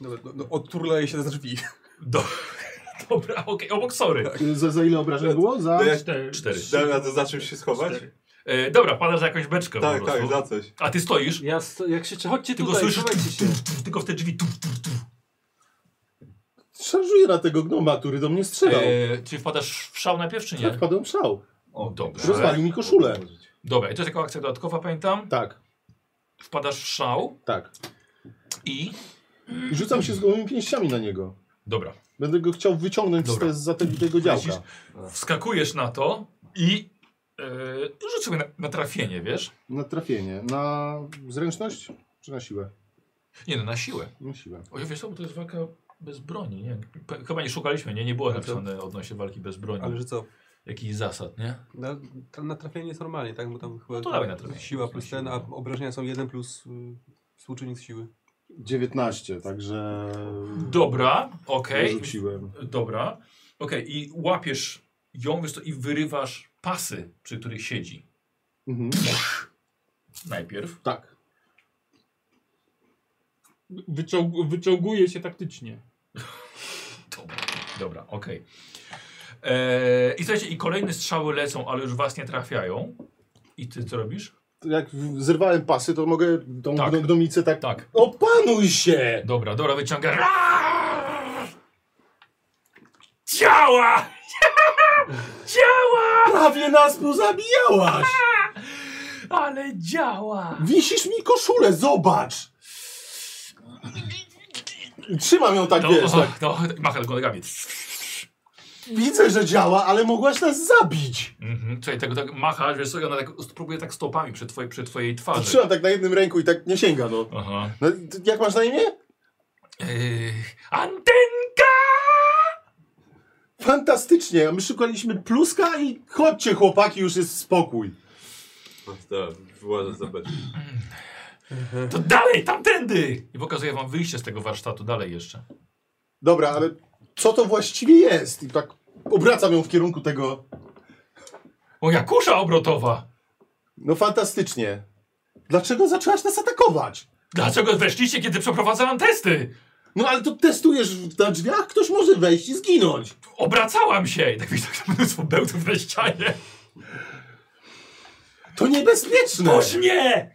no, no, no, odturlaję się za drzwi.
Do, dobra, okej, obok, sorry.
Za, za ile obrażeń było? Za...
To ja
Cztery.
Cztery.
dałem radę za czymś się schować?
Cztery.
Eee, dobra, padasz za jakąś beczkę
Tak,
po
tak,
prostu.
za coś.
A ty stoisz,
ja sto, jak się... Chodźcie
ty go
tutaj,
słyszysz,
chowajcie się.
tylko w te drzwi. Tu, tu, tu.
Szarżuję na tego gnoma, który do mnie strzelał.
Eee, czy wpadasz w szał najpierw, czy
Tak,
nie?
wpadłem w szał.
O, dobrze.
Rozwalił mi koszulę.
Dobra, i to jest jako akcja dodatkowa, pamiętam.
Tak,
Wpadasz w szał
tak.
i...
I rzucam się z gołymi pięściami na niego.
Dobra.
Będę go chciał wyciągnąć z
Dobra.
te, za te, tego
Lecisz?
działka.
Wskakujesz na to i yy, rzuć sobie na, na trafienie, wiesz?
Na trafienie. Na zręczność czy na siłę?
Nie no, na siłę.
Na siłę.
O, ja wiesz co, bo to jest walka bez broni, nie? Pe- Chyba nie szukaliśmy, nie? Nie było napisane odnośnie walki bez broni.
Ale że co?
Jakichś zasad, nie?
Na, tra- na trafienie jest normalnie, tak? Bo tam chyba
to dawaj na trafienie.
siła plus
Na
ten, a
siłę.
obrażenia są 1 plus y, współczynnik siły.
19, także.
Dobra, okej.
Rzuciłem.
Dobra. Okej, i łapiesz ją wiesz co, i wyrywasz pasy, przy których siedzi.
Mhm.
Najpierw.
Tak.
Wyciąg wyciąguje się taktycznie.
Dobra, dobra okej. Eee, I słuchajcie, i kolejne strzały lecą, ale już was nie trafiają. I ty co robisz?
To Jak w- zerwałem pasy, to mogę tą
Tak.
tak. gnomicę tak.
Tak.
Opanuj się!
Dobra, dobra, wyciąga. Działa! działa!
Prawie nas pozabijałaś!
Ale działa!
Wisisz mi koszulę, zobacz! Trzymam ją tak,
No,
wiesz, tak.
no, machel kolegami.
Widzę, że działa, ale mogłaś nas zabić!
Mhm, Słuchaj, tego tak machasz, wiesz co, i ona tak próbuje tak stopami przy, twoje, przy twojej twarzy.
Trzymam tak na jednym ręku i tak nie sięga, no.
Aha.
no ty- jak masz na imię?
Yy, antenka!
Fantastycznie, a my szukaliśmy pluska i chodźcie chłopaki, już jest spokój.
No, tak, wyłażę za beczkę.
To dalej, tamtędy! I pokazuję wam wyjście z tego warsztatu dalej jeszcze.
Dobra, ale co to właściwie jest? I tak obracam ją w kierunku tego.
Moja kusza obrotowa!
No fantastycznie. Dlaczego zaczęłaś nas atakować?
Dlaczego weszliście, kiedy przeprowadzałam testy?
No ale to testujesz w- na drzwiach, ktoś może wejść i zginąć.
Obracałam się! I tak wiesz, tak mnóstwo bełtów na ścianie.
To niebezpieczne.
Puść mnie!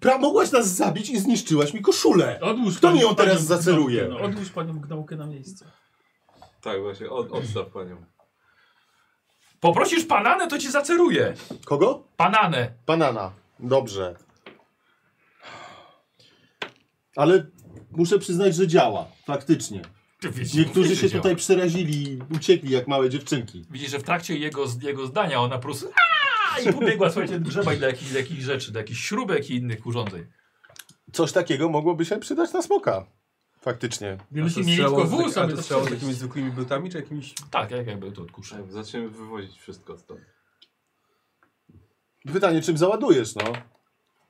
Pra mogłaś nas zabić i zniszczyłaś mi koszulę.
Odłóż
Kto
panią-
mi ją teraz
panią
zaceruje?
Gnałkę, No, odłóż panią gnałkę na miejsce.
Tak, właśnie, od, odstaw panią.
Poprosisz pananę, to ci zaceruję.
Kogo?
Pananę.
Banana. Dobrze. Ale muszę przyznać, że działa. Faktycznie.
Ty wiesz,
No,
Niektórzy
wiesz,
się
działa.
tutaj przerazili i uciekli jak małe dziewczynki.
Widzisz, że w trakcie jego, jego zdania ona po prostu "Aaa!" i pobiegła, słuchajcie, grzebać do jakichś, do jakichś rzeczy, do jakichś śrubek i innych urządzeń.
Coś takiego mogłoby się przydać na smoka. Faktycznie.
Wielki
to
mielisko
strzało z-
wół sobie
a to strzało z
zastrzelać.
jakimiś zwykłymi butami, czy jakimiś...
Tak, jak jakby to odkuszę.
Tak, zaczniemy wywozić wszystko stąd.
Pytanie, czym załadujesz, no?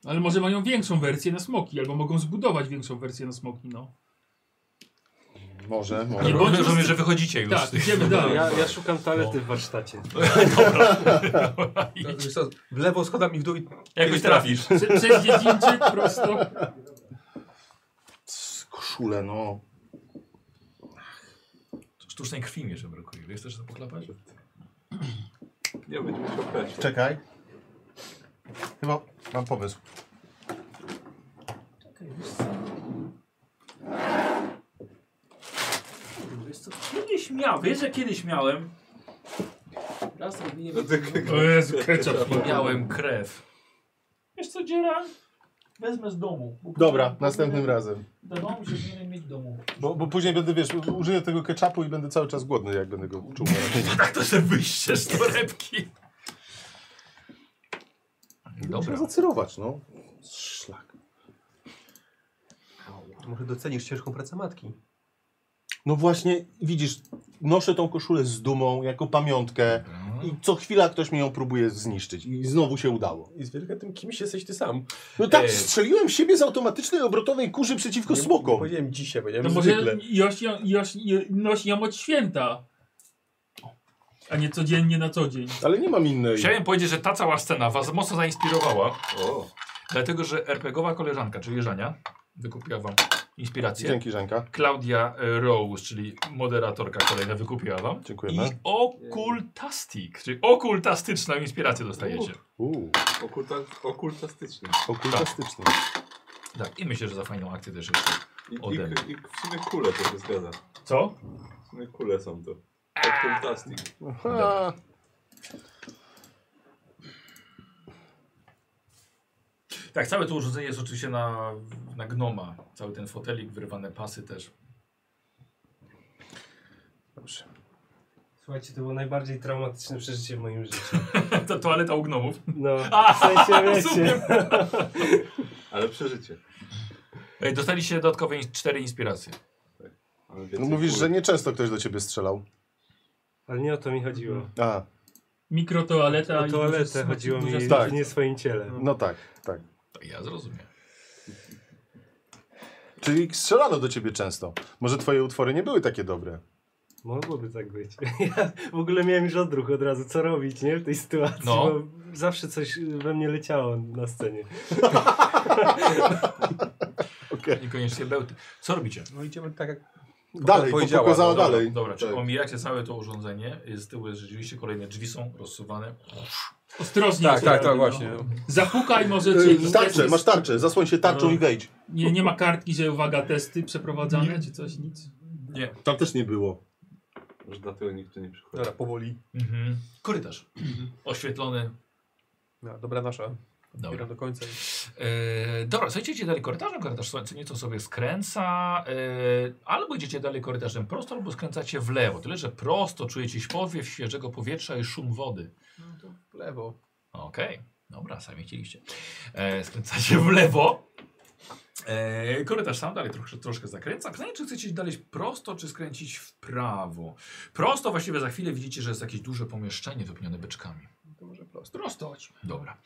Ale może mają większą wersję na smoki, albo mogą zbudować większą wersję na smoki, no.
Może, może.
Nie bądź-
Rozumiem, że wychodzicie już. z
Tak,
tych-
idziemy dalej.
Ja, ja szukam toalety
No.
w warsztacie.
Idź.
No, Wiesz co, W lewo schodami w dół i
Jakoś trafisz.
Prze, przez dziedzińczyk prosto.
Koszule, no.
Sztucznej krwi mi jeszcze brakuje. Wiesz też to poklapać?
Nie będzie musiał peć.
Czekaj. Chyba mam pomysł.
Wiesz co, kiedyś miałem, wiesz, że kiedyś miałem. Raz robiłem.
No
tak,
ty-
O Jezu, ketchup.
Miałem krew.
Wiesz co, Dziera? Wezmę z domu. bo-
Dobra, następnym razem.
Do domu, że powinienem mieć w domu.
Bo, bo później będę, wiesz, użyję tego ketchupu i będę cały czas głodny, jak będę go czuł.
Tak to sobie wyjście z torebki. Dobra.
Muszę zacyrować, no. Szlak.
Może docenisz ciężką pracę matki.
No właśnie, widzisz, noszę tą koszulę z dumą, jako pamiątkę. I co chwila ktoś mi ją próbuje zniszczyć. I znowu się udało.
I z wielka tym kimś jesteś ty sam.
No tak,
Ej.
strzeliłem siebie z automatycznej obrotowej kurzy przeciwko
Nie
smokom.
powiedziałem dzisiaj,
To
No
No
powiedziałem
może
zwykle.
Joś, ją- Joś, je- nosi ją od święta. A nie codziennie na co dzień.
Ale nie mam innej.
Chciałem powiedzieć, że ta cała scena was mocno zainspirowała,
O,
dlatego że RPGowa koleżanka, czyli Żania, wykupiła wam inspirację.
Dzięki, Żanka.
Klaudia e, Rose, czyli moderatorka kolejna, wykupiła wam. I
Dziękujemy.
okultastik, czyli okultastyczną inspirację dostajecie.
Uuu,
okulta, okultastycznie.
okultastyczne.
Tak, i myślę, że za fajną akcję też jeszcze.
I, i,
Ode mnie.
i w sumie kule to się zgadza.
Co?
W sumie kule są to. Okultastik.
Aha.
Tak, całe to urządzenie jest oczywiście na, na gnoma. Cały ten fotelik, wyrwane pasy też.
Słuchajcie, to było najbardziej traumatyczne przeżycie w moim życiu.
Ta toaleta u gnomów.
No, w sensie
rozumiem.
wiecie.
Ale przeżycie.
Ej, dostaliście dodatkowe ins- cztery inspiracje.
Mamy
No
więcej
mówisz,
kul.
że nieczęsto ktoś do ciebie strzelał.
Ale nie o to mi chodziło.
A,
Mikrotoaleta.
O
i
toaletę
dużo-
chodziło mi
dużo
w
tak.
nie swoim ciele.
no tak, tak.
To ja zrozumiem.
Czyli strzelano do ciebie często. Może twoje utwory nie były takie dobre.
Mogłoby tak być. Ja w ogóle miałem już odruch od razu, co robić, nie? W tej sytuacji,
No.
bo zawsze coś we mnie leciało na scenie.
Niekoniecznie bełty. Co robicie?
No idziemy tak jak...
Dalej, po-
powiedziała,
pokazała
no dobra,
dalej.
Dobra, czy
Tak.
omijacie całe to urządzenie. Z tyłu jest rzeczywiście kolejne drzwi są rozsuwane.
Ostrożnie.
Tak, tak,
akurat,
tak,
no.
właśnie.
Zapukaj może
Y,
cię.
Tarczę, masz tarczę, zasłoń się tarczą
No.
i wejdź.
Nie, nie ma kartki, że uwaga, testy przeprowadzane czy coś, nic.
Tam też nie było.
Może dlatego nikt tu nie przychodzi.
Dobra, powoli.
Mhm. Korytarz. Oświetlony.
No, dobra nasza.
Dobra.
Dobra. do końca.
E, dobra, słuchajcie, idziecie dalej korytarzem, korytarz słońce nieco sobie skręca, e, albo idziecie dalej korytarzem prosto, albo skręcacie w lewo. Tyle, że prosto czujecie powiew świeżego powietrza i szum wody.
No to w lewo.
Okej, dobra, sami chcieliście. E, skręcacie w lewo. E, korytarz sam dalej troszkę, troszkę zakręca. Pytanie, czy chcecie iść dalej prosto, czy skręcić w prawo? Prosto właściwie za chwilę widzicie, że jest jakieś duże pomieszczenie wypełnione beczkami.
To może prosto.
Prosto chodźmy. Dobra.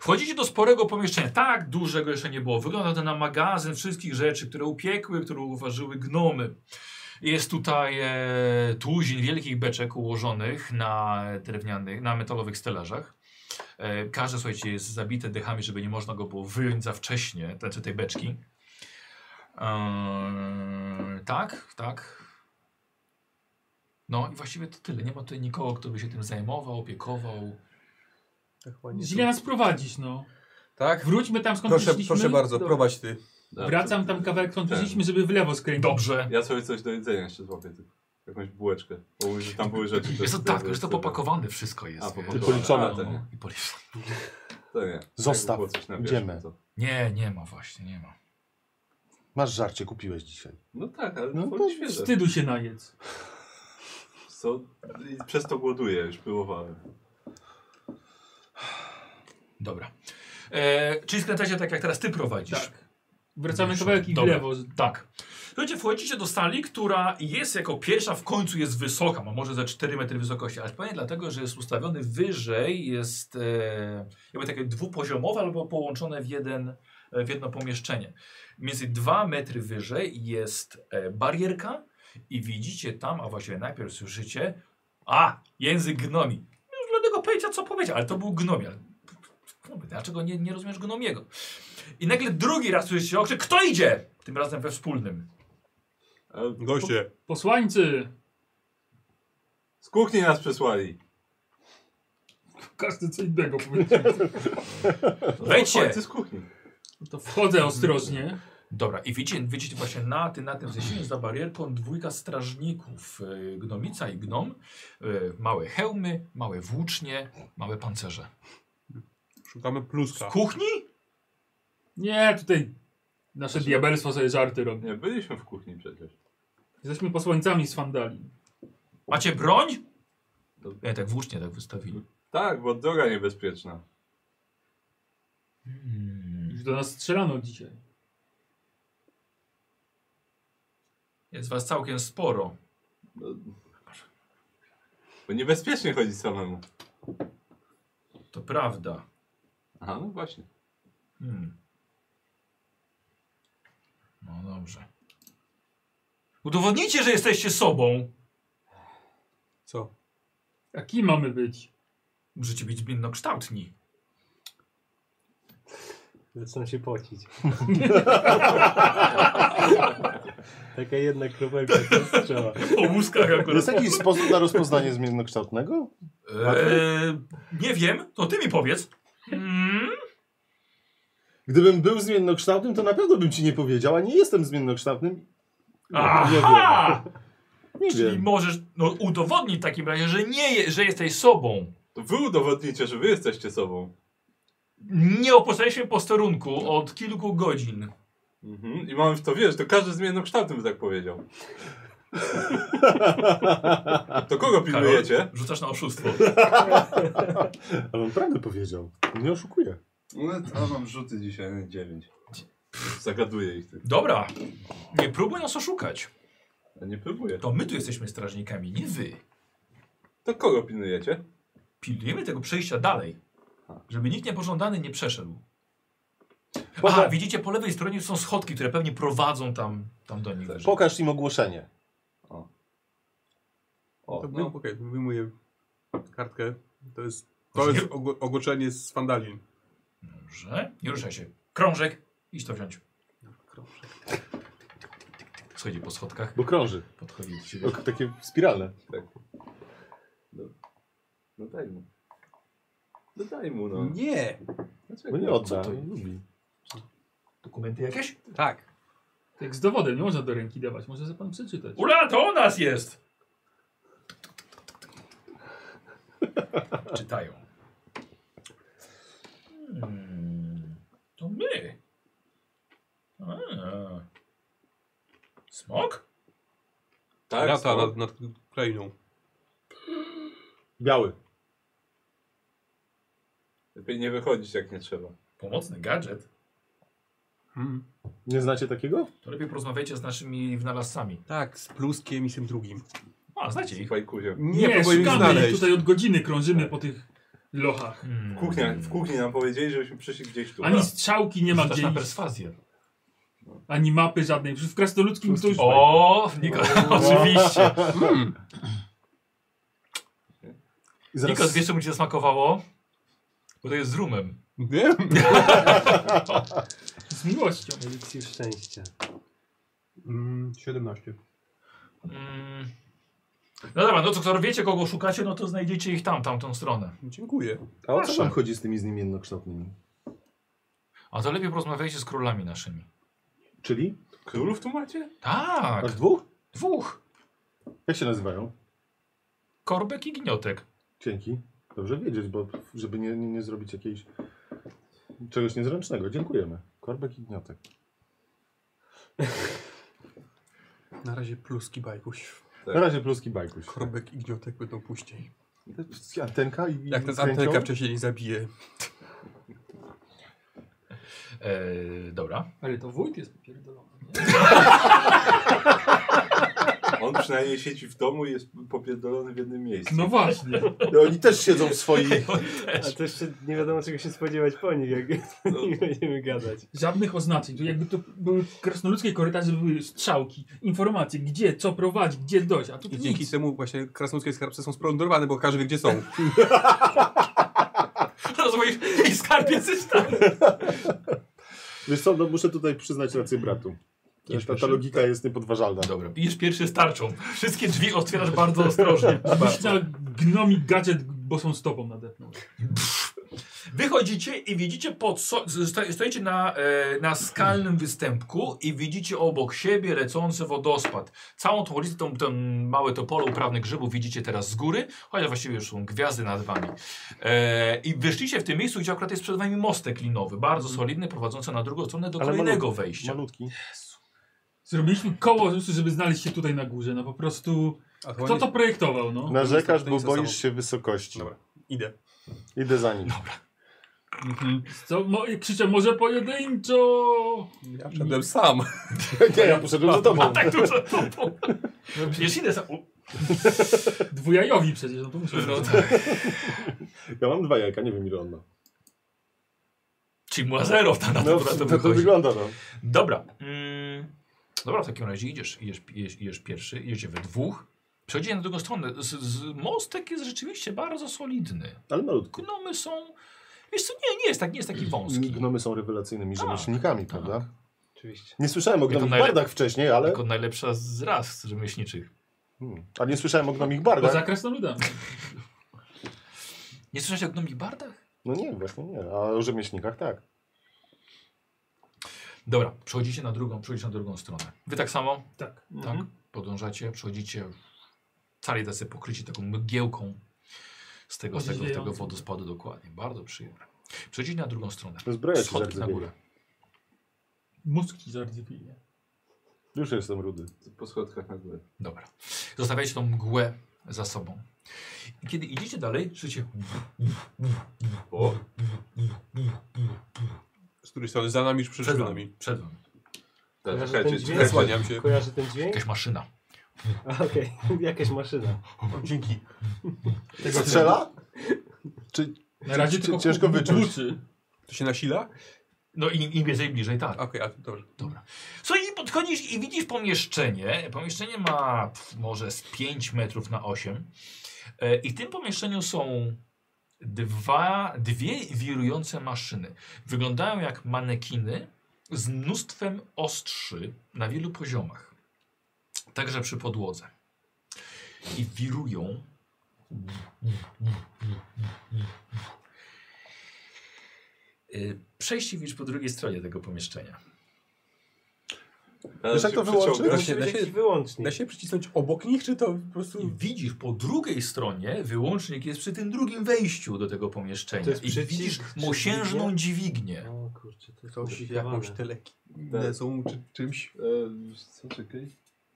Wchodzicie do sporego pomieszczenia. Tak dużego jeszcze nie było. Wygląda to na magazyn wszystkich rzeczy, które upiekły, które uważyły gnomy. Jest tutaj e, tuzin wielkich beczek ułożonych na drewnianych, na metalowych stelażach. E, każde, słuchajcie, jest zabite dechami, żeby nie można go było wyjąć za wcześnie, znaczy tej beczki. Eee, tak, tak. No i właściwie to tyle. Nie ma tutaj nikogo, kto by się tym zajmował, opiekował.
To chyba nie
Źle
tu.
nas prowadzisz, no.
Tak?
Wróćmy tam skąd
Proszę,
przyszliśmy.
proszę bardzo, prowadź ty.
Dobra.
Wracam tam kawałek skąd
Tak.
przyszliśmy, żeby w lewo skręcić.
Dobrze.
Ja sobie coś do jedzenia jeszcze złapię. tylko Jakąś bułeczkę. Bo mówisz, że tam były rzeczy.
Jest to
które-
tak, już to
które-
popakowane wszystko jest.
A,
wiesz.
popakowane. tak.
policzone.
A, to nie.
No, i policzone.
To nie.
Zostaw,
Jakby było coś na wierzchu,
idziemy.
to-
Nie, nie ma właśnie, nie ma.
Masz żarcie, kupiłeś dzisiaj.
No tak, ale
No
no,
to
to świeże.
Wstydu się najedz.
Co? I przez to głoduję, już pyłowałem.
Dobra. E, czyli skręcacie tak, jak teraz ty prowadzisz.
Tak. Wracamy
Dobrze.
kawałek i w
Dobra.
lewo.
Tak. Słuchajcie, wchodzicie do sali, która jest jako pierwsza, w końcu jest wysoka, ma może ze 4 metry wysokości, ale pewnie dlatego, że jest ustawiony wyżej, jest e, jakby takie dwupoziomowe albo połączone w, jeden, e, w jedno pomieszczenie. Między 2 metry wyżej jest e, barierka, I widzicie tam, a właściwie najpierw słyszycie, a, język gnomi. Już dlatego powiedział, co powiedział, ale to był gnomie. Ale Kurwa, Dlaczego nie, nie rozumiesz gnomiego? I nagle drugi raz słyszycie okrzyk, kto idzie? Tym razem we wspólnym.
E,
Goście,
Posłańcy!
Z kuchni nas przysłali.
Każdy co innego powiedział.
Wejdźcie!
Chodźcie z kuchni.
To wchodzę ostrożnie.
Dobra, i widzicie, widzicie właśnie na, tym, na tym zesieniu za barierką dwójka strażników, e, gnomica i gnom, e, małe hełmy, małe włócznie, małe pancerze.
szukamy pluska.
Kuchni?
Nie, tutaj nasze diabelstwo sobie żarty robi.
Nie, byliśmy w kuchni przecież.
Jesteśmy posłańcami z Fandali.
Macie broń? Nie, tak włócznie tak wystawili.
Tak, bo droga niebezpieczna.
Hmm.
Już do nas strzelano dzisiaj.
Jest was całkiem sporo.
Bo niebezpiecznie chodzić samemu.
To prawda.
Aha, no właśnie.
Hmm. No dobrze. Udowodnijcie, że jesteście sobą.
Co?
Jaki mamy być?
Możecie być zmiennokształtni.
Zaczynam się pocić. Taka jedna kropelka to strzała.
Po łuskach
Jest
akurat.
jakiś sposób na rozpoznanie zmiennokształtnego?
Eee, nie wiem, to ty mi powiedz. Mm?
Gdybym był zmiennokształtnym, to na pewno bym ci nie powiedział, a nie jestem zmiennokształtnym. Nie wiem.
Aha!
Nie
Czyli
wiem.
możesz no, udowodnić w takim razie, że nie, je- że jesteś sobą.
To wy udowodnicie, że wy jesteście sobą.
Nie opuszczaliśmy posterunku od kilku godzin.
Mhm. I mamy w to wierzyć. To każdy zmiennym kształtem by tak powiedział. to kogo pilnujecie?
Rzucasz na oszustwo.
Ale on prawdę powiedział. Nie oszukuję.
No, a mam rzuty dzisiaj 9.
Zagaduję ich. tylko.
Dobra, nie próbuj nas oszukać.
Ja nie próbuję.
To my tu jesteśmy strażnikami, nie wy.
To kogo pilnujecie?
Pilnujemy tego przejścia dalej, żeby nikt niepożądany nie przeszedł.
Poza-
Aha, widzicie, po lewej stronie są schodki, które pewnie prowadzą tam, tam do nich.
Pokaż im ogłoszenie.
O,
To
no.
no. Okej, wyjmuję kartkę. To jest, to jest ogło- ogłoszenie z Fandalin.
Dobrze, nie ruszaj się. Krążek, idź to wziąć. Schodzi po schodkach,
Bo krąży.
podchodzi do ciebie.
O, Takie spiralne.
no daj mu. No daj mu, no.
Nie!
Bo
Dlaczego?
nie odda.
to
Lubi.
Dokumenty jakieś?
Tak.
Tak z dowodem, nie można do ręki dawać, może sobie pan przeczytać.
Ula, to o nas jest! Czytają. Hmm, to my. A. Smok?
Tak,
Lata
spoko.
nad, nad krainą.
Biały.
Lepiej nie wychodzić jak nie trzeba.
Pomocny gadżet.
Hmm.
Nie znacie takiego?
To lepiej porozmawiajcie z naszymi wynalazcami.
Tak, z pluskiem i z tym drugim.
A, znacie
I
ich.
fajkuzie.
Nie, nie
próbuję ich
szukamy ich tutaj od godziny, krążymy po tych lochach.
Hmm.
W kuchni, w kuchni nam powiedzieli, żebyśmy przyszli gdzieś tu.
Ani strzałki nie ma
Rzucasz
gdzie
na
iść,
perswazję.
ani mapy żadnej. W krasnoludzkim to już...
O, Niko, oczywiście.
Hmm.
I
Niko, wiesz co mu cię smakowało? Bo to jest z rumem.
Wiem.
Z miłością.
Eliksir szczęścia.
Mm, 17.
Mm. No dobra, no to skoro wiecie kogo szukacie, no to znajdziecie ich tam, tamtą stronę.
Dziękuję.
A o co wam chodzi z tymi z nimi jednokształtnymi?
A to lepiej porozmawiajcie z królami naszymi.
Czyli?
Królów tu macie?
Tak,
Aż dwóch?
dwóch.
Jak się nazywają?
Korbek i gniotek.
Dzięki. Dobrze wiedzieć, bo żeby nie, nie, nie zrobić jakiejś czegoś niezręcznego. Dziękujemy. Korbek i gniotek.
Na razie pluski bajkuś.
Tak.
Na razie pluski bajkuś.
Korbek i gniotek będą później.
Antenka i
Jak ta
z chęcią?
antenka wcześniej nie zabije.
Eee, dobra. E,
Ale to wójt jest popierdolony. nie?
On przynajmniej siedzi w domu i jest popierdolony w jednym miejscu.
No właśnie.
No, oni też siedzą w swoich.
A to jeszcze nie wiadomo czego się spodziewać po nich, jak nie będziemy gadać.
Żadnych oznaczeń. To jakby to były krasnoludzkie korytarze, były strzałki, informacje, gdzie, co prowadzi, gdzie dojść. A tu
I dzięki
nic.
temu właśnie krasnoludzkie skarbce są splądrowane, bo każdy wie gdzie są.
Rozumiesz? I skarbie coś tam.
Wiesz co, no muszę tutaj przyznać rację bratu. Ta, ta logika jest niepodważalna.
Dobra, idziesz pierwszy z tarczą. Wszystkie drzwi otwierasz bardzo ostrożnie.
Musisz na gnomi gadżet, bo są z tobą nadepnął.
Wychodzicie i widzicie pod so sto- stoicie na, e, na skalnym występku i widzicie obok siebie lecący wodospad. Całą tą ulicę, tą, tą małe to pole uprawne grzybów widzicie teraz z góry, chociaż właściwie już są gwiazdy nad wami. E, I wyszliście w tym miejscu, gdzie akurat jest przed wami mostek linowy, bardzo solidny, prowadzący na drugą stronę do
Ale
kolejnego wejścia.
Malutki.
Zrobiliśmy koło, żeby znaleźć się tutaj na górze. No po prostu...
A
Kto to projektował, no?
Narzekasz,
to
bo
jest to
boisz
samo.
się wysokości.
Dobra. Idę.
Idę za nim.
Mhm. Co? Mo krzyczę, może pojedynczo!
Ja wszedłem sam.
Nie, ja poszedłem za tobą.
Tak dużo to to- Przecież idę za... u-
Dwujajowi przecież, no to muszę
No
zrobić.
tak.
Ja mam dwa jajka, nie wiem ile on ma.
Ci Muazerów tam na
No,
to,
to,
to
to,
wychodzi.
wygląda no.
Dobra. Mm, dobra, w takim razie idziesz, idziesz, idziesz, idziesz pierwszy, idziecie we dwóch. Przechodzicie na drugą stronę. Z, z, mostek jest rzeczywiście bardzo solidny.
Ale malutko.
Gnomy są... Wiesz co, nie, nie jest, tak, nie jest taki wąski.
Gnomy są rewelacyjnymi
Tak,
rzemieślnikami,
tak.
prawda?
Oczywiście.
Nie słyszałem o
to
gnomich
najle-
bardach wcześniej, ale...
Jako najlepsza z ras rzemieślniczych.
Hmm. A nie słyszałem o gnomich
Poza
bardach?
krasnoludami.
Nie słyszałeś o gnomich bardach?
No nie, właśnie nie. A o rzemieślnikach tak.
Dobra, przechodzicie na drugą, przechodzicie na drugą stronę. Wy tak samo?
Tak.
Tak, podążacie, przechodzicie cali tacy pokryci taką mgiełką z tego, z tego, z tego
Odziewającą.
wodospadu dokładnie. Bardzo przyjemne. Przechodzicie na drugą stronę.
Zbroja ci
Schodki na górę.
zardzewienia.
Mózgi zardzewienia.
Już jestem rudy.
Po schodkach na górę.
Dobra. Zostawiacie tą mgłę za sobą. I kiedy idziecie dalej, słyszycie
O,
Z której strony za nami już
przed
przyszedł
wami.
nami.
Przed wami.
tak,
Kojarzy
czekajcie,
ten dźwięk?
czekajcie.
Zasłaniam się.
Kojarzy ten dźwięk?
jakaś maszyna.
A, Okej, jakaś maszyna.
Dzięki.
Strzela?
Na razie
Cię-
tylko
ciężko
hu-
wyczuć.
huczy.
To się nasila?
No i im więcej bliżej, tak.
A, Okej, a dobrze.
Dobra. Słuchaj, i podchodzisz i widzisz pomieszczenie. Pomieszczenie ma pff, może z 5 metrów na 8. E, I w tym pomieszczeniu są dwa, dwie wirujące maszyny. Wyglądają jak manekiny z mnóstwem ostrzy na wielu poziomach. Także przy podłodze. I wirują. E, Przejście widzisz po drugiej stronie tego pomieszczenia.
Teraz
jak
No, się
to wyłączyć?
przyciągnę.
się- da
Musi być
się-
jakiś wyłącznik.
Da się przycisnąć obok nich, czy to po
I
prostu...
widzisz po drugiej stronie, wyłącznik jest przy tym drugim wejściu do tego pomieszczenia.
To jest No.
I
przycisk
widzisz
czy
mosiężną dźwignię.
O kurczę, to jest
Jakąś,
skomplikowane.
jakąś telekinezą czy czymś.
E, co, czekaj.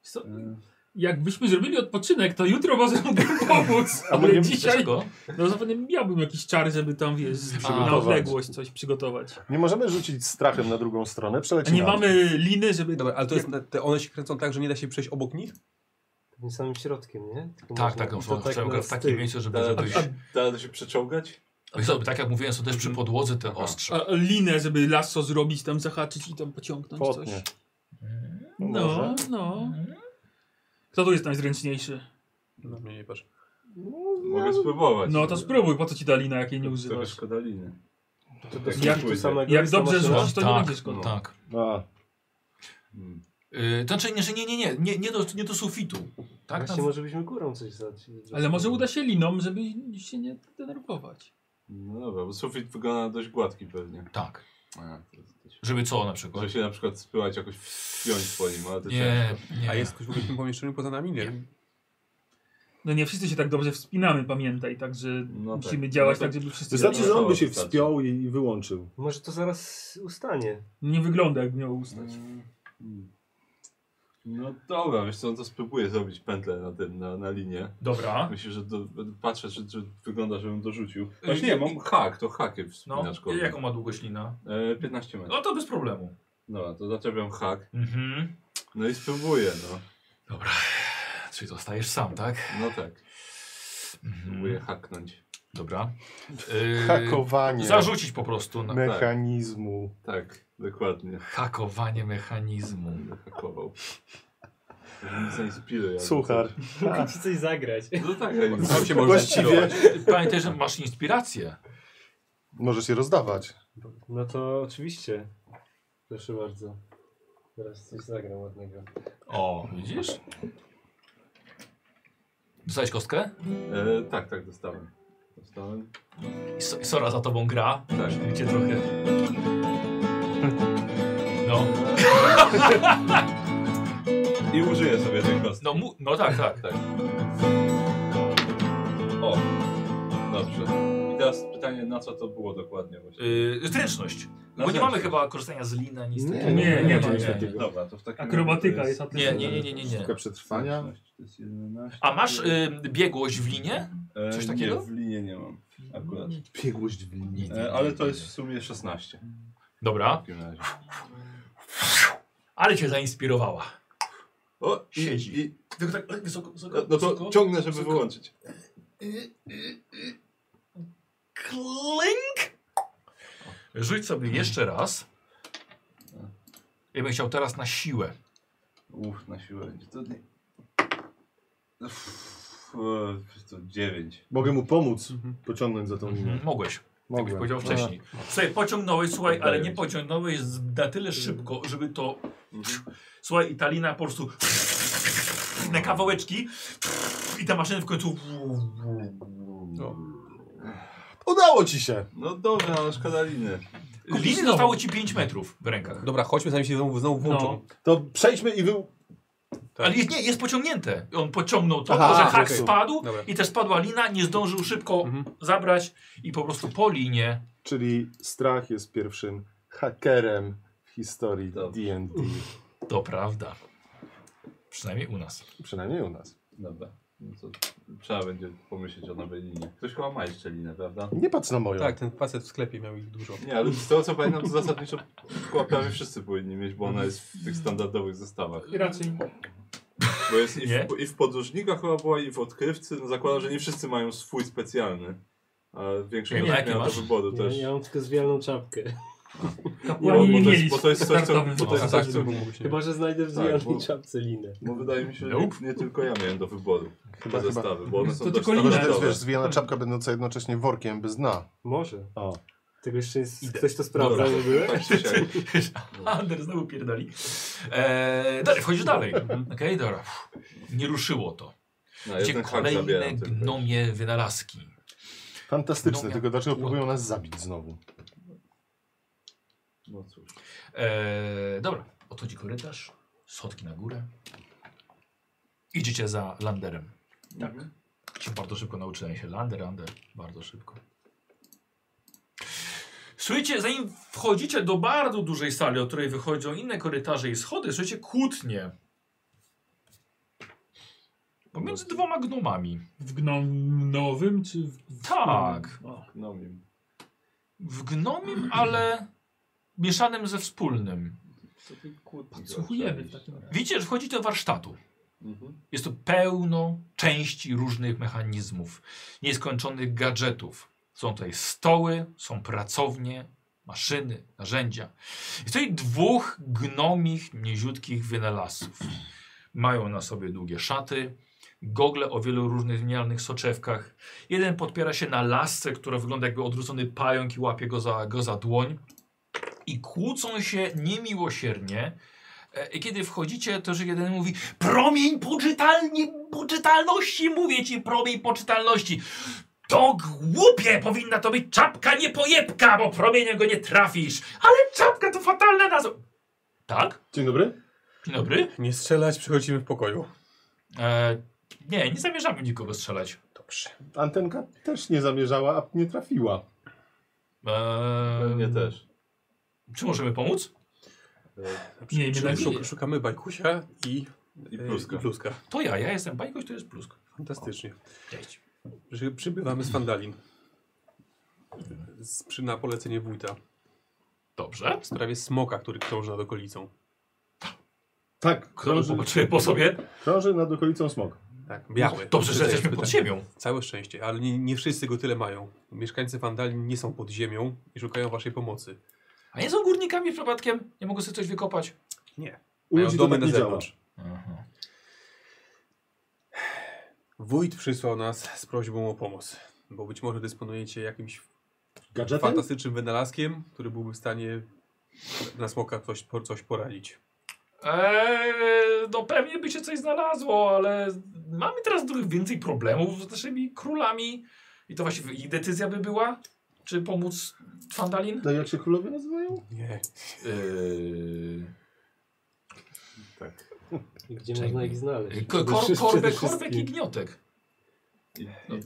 Co?
E,
Jakbyśmy zrobili odpoczynek, to jutro może mógłbym pomóc.
A mogę-
Ale dzisiaj...
Dlaczego?
No zapewne miałbym jakiś czar, żeby tam, wiesz,
Przygotować.
na odległość coś przygotować.
Znaczy
Nie możemy rzucić strachem na drugą stronę,
A
przelecimy.
nie mamy liny, żeby...
Dobra, ale to jest, te one się kręcą tak, że nie da się przejść obok nich?
Tym samym środkiem, nie? Tylko
Tak,
można-
tak,
i
no,
to
są tak w
na
takim
styk.
miejscu, żeby
Da,
żebyś...
da, da się przeciągać?
Wiesz co, Tak jak mówiłem, są też przy podłodze te ostrze.
A, linę, żeby lasso zrobić, tam zahaczyć i tam pociągnąć
Potnie.
coś.
Może.
No, no. Kto tu jest najzręczniejszy?
Na No, mnie nie patrz.
Mogę spróbować.
No to spróbuj, po co ci ta lina, jak jej nie
Trochę
używasz?
szkoda liny.
To do
Jak
skutku
pójdzie?
samego
Jak
jest ta
dobrze
maszyna.
złożysz, to nie
tak,
będzie szkoda.
Tak.
A,
Hmm.
Yy, to znaczy, nie, że nie, nie, nie, nie, nie, do, nie do sufitu. Tak?
Właśnie
Tam-
może byśmy górą coś zadać.
Ale może uda się liną, żeby się nie denerwować.
No dobra, bo sufit wygląda dość gładki pewnie.
Tak.
A, to jest dość...
Żeby co na przykład?
Może się na przykład spyłać jakoś w piąć po nim, ale to
Nie, nie.
A jest ktoś w ogóle w tym pomieszczeniu poza nami? Nie.
No nie wszyscy się tak dobrze wspinamy, pamiętaj, także
No tak.
musimy działać
No
tak,
to-
żeby wszyscy...
Wystarczy,
działali.
że on by się
Wystarczy.
wspiął i- i wyłączył.
Może to zaraz ustanie.
No Nie wygląda, jak miał ustać.
Mm. No dobra, wiesz co, no to spróbuję zrobić pętlę na tym, na, na linię.
Dobra.
Myślę, że do, patrzę, czy, czy wygląda, żebym dorzucił. Właśnie nie, mam hak, to hakiem
Y, No,
wspinaczką.
jaką ma długość lina?
E, 15 metrów.
No to bez problemu.
Dobra, to zaczepiam hak.
Mhm.
No i spróbuję, no.
Dobra. Czyli zostajesz sam, tak?
No tak, próbuję
Mhm.
haknąć.
Dobra. Yy,
Hakowanie
Zarzucić po prostu. Na...
mechanizmu.
Tak, dokładnie.
Hakowanie mechanizmu.
Będę hakował. Może mi zainspiruje. albo
Suchar.
Mogę ci coś zagrać.
coś. No tak, ale
Sam się może
Właściwie
Pamiętaj, że masz inspirację.
możesz je rozdawać.
No to oczywiście. Proszę bardzo. Teraz coś zagram ładnego.
O, widzisz? Dostałeś kostkę?
e, tak, tak, dostałem. Dostałem.
I so- i Sora za tobą gra.
Tak.
I cię trochę... No,
I użyję sobie tej kostki.
no, mu... no tak, tak.
O, dobrze. I teraz pytanie, na co to było dokładnie właśnie?
Yy, zręczność.
Na
Bo nie mamy
zręczność.
chyba korzystania z lina, nic
Nie,
takiego.
nie,
nie, nie ma
nie,
nic
nie.
takiego.
Dobra, to w takim
Akrobatyka
razie
jest
to
atletyczna.
Nie, nie, nie, nie, nie.
Sztuka przetrwania.
To jest 11.
A masz y, biegłość w linie?
E,
Coś takiego?
Nie, w linie nie mam akurat.
Biegłość w linii.
E, ale to jest w sumie 16 w
Dobra.
takim razie.
Ale cię zainspirowała.
O, i,
Siedzi.
I,
Tylko tak e, wysoko, wysoko,
no to
wysoko.
ciągnę, żeby
Suko.
wyłączyć.
Klink! Rzuć sobie jeszcze raz. Ja bym chciał teraz na siłę.
Uff, na siłę będzie trudniej. Uff, e, to 9.
Mogę mu pomóc pociągnąć za tą
Mhm.
linię.
Mogłeś, jakbyś
Mhm. Mogłem. No.
powiedział wcześniej. Słuchaj, pociągnąłeś, słuchaj, ale nie pociągnąłeś z- na tyle szybko, żeby to...
Mhm.
Słuchaj, i ta lina po prostu... Na kawałeczki i ta maszyna w końcu...
A, Udało ci się!
No dobra, ale szkoda liny.
Liny zostało ci 5 metrów w
No
rękach.
Dobra, chodźmy, zanim się znowu, znowu włączą.
No.
To przejdźmy i wy...
Ale jest, nie, jest pociągnięte. On pociągnął to,
tak. Aha,
że hak
okej. Mhm.
spadł
Dobra.
i też spadła lina, nie zdążył szybko zabrać i po prostu po linie
Czyli strach jest pierwszym hakerem w historii
Dobrze.
D&D.
To prawda. Przynajmniej u nas.
Przynajmniej u nas.
Dobra. No to trzeba będzie pomyśleć o nowej linie. Ktoś chyba ma jeszcze linę, prawda?
Nie patrz na moją.
Tak, ten facet w sklepie miał ich dużo.
Nie, ale z tego co pamiętam, to zasadniczo chyba prawie wszyscy powinni mieć, bo ona jest w tych standardowych zestawach.
Raczej.
Bo jest i
Nie?
w, i w podróżnikach chyba była, i w odkrywcy. No zakładam, że nie wszyscy mają swój specjalny. A większość
Nie,
osób
jakie
miała do
masz?
wyboru
Ja,
też.
ja mam tylko zwialną czapkę.
Bo,
Kapłani nie
bo, to
mieli
jest, bo to jest coś, co...
startowych
Bo to jest
tak,
zasad.
coś, co
Chyba, że znajdę w zwialnej
Tak, bo-
czapce linę.
bo wydaje mi się, że
Nope.
nie, nie tylko ja miałem do wyboru
Chyba,
te
chyba.
zestawy, bo one
To
są dość
tylko lina.
Chyba, że to jest,
standardowe.
wiesz, zwijana czapka będąca jednocześnie workiem bez dna.
Może.
O.
Tego jeszcze jest,
Idę.
ktoś to sprawdza
Dobra.
w ogóle?
Tak czy siak.
Ander znowu pierdoli. Eee, dalej, wchodzisz dalej. Okej, dobra. Uff, Nie ruszyło to.
No,
Gdzie
jeden hak
kolejne
zabieram. tylko.
gnomie wynalazki.
Fantastyczne,
No, ja-
tylko dlaczego próbują nas zabić znowu?
No cóż.
Eee, dobra, odchodzi korytarz, schodki na górę. Idziecie za landerem.
Tak.
Się bardzo szybko nauczyłem się. Lander, lander, bardzo szybko. Słuchajcie, zanim wchodzicie do bardzo dużej sali, o której wychodzą inne korytarze i schody, słuchajcie, kłótnie. Pomiędzy dwoma gnomami.
W gnomowym czy w... w
Tak.
O.
Gnomim.
W gnomim, ale mieszanym ze wspólnym.
Co ty kłótni
Podsłuchujemy
zaczęliście?
tak.
w takim razie.
Widzicie, że wchodzicie do warsztatu.
Mhm.
Jest tu pełno części różnych mechanizmów, nieskończonych gadżetów. Są tutaj stoły, są pracownie, maszyny, narzędzia. Jest tutaj dwóch gnomich, niziutkich wynalazców. Mają na sobie długie szaty, gogle o wielu różnych zmienialnych soczewkach. Jeden podpiera się na lasce, która wygląda jakby odwrócony pająk i łapie go za, go za dłoń. I kłócą się niemiłosiernie, E, I kiedy wchodzicie, to że jeden mówi Promień poczytalni, poczytalności, mówię ci, promień poczytalności. To głupie powinna to być czapka, nie pojebka, bo promieniem go nie trafisz. Ale czapka to fatalna nazwa. Tak?
Dzień dobry.
Dzień dobry.
Nie strzelać, przychodzimy w pokoju.
E, nie, nie zamierzamy nikogo strzelać.
Dobrze.
Antenka też nie zamierzała, a nie trafiła.
E,
Pewnie No, też.
Czy możemy pomóc?
Nie, nie
Szuk-
tak
szuk- Szukamy bajkusia i,
I
e,
pluska.
i pluska.
To ja, ja jestem bajkoś, to jest plusk.
Fantastycznie.
Cześć.
Przy, przybywamy z Fandalin. Z, przy, na polecenie wójta.
Dobrze.
W sprawie smoka, który krąży nad okolicą.
Tak,
Kto
krąży,
zobaczy po sobie?
krąży nad okolicą smog.
Tak, biały.
No, Dobrze, że
Tutaj
jesteśmy
jest
pod
pytanie.
ziemią.
Całe szczęście, ale nie, nie wszyscy go tyle mają. Mieszkańcy Wandalii nie są pod ziemią i szukają waszej pomocy.
A nie są górnikami przypadkiem? Nie mogą sobie coś wykopać.
Nie.
U
Mają
ludzi to
domy
tak
na
nie działa.
zewnątrz. Wójt przysłał nas z prośbą o pomoc, bo być może dysponujecie jakimś
Gadżetem?
fantastycznym wynalazkiem, który byłby w stanie na smoka coś, po- coś poranić.
Eee, no pewnie by się coś znalazło, ale mamy teraz trochę więcej problemów z naszymi królami. I to właściwie ich decyzja by była, czy pomóc Fandalin?
Tak jak się królowie nazywają?
Nie.
E, Eee,
I Gdzie
Czekaj.
można ich znaleźć?
Ko-
Przede
kor,
wszystkim-
korbek,
przede
korbek i
wszystkim.
gniotek.
I,
No.
i,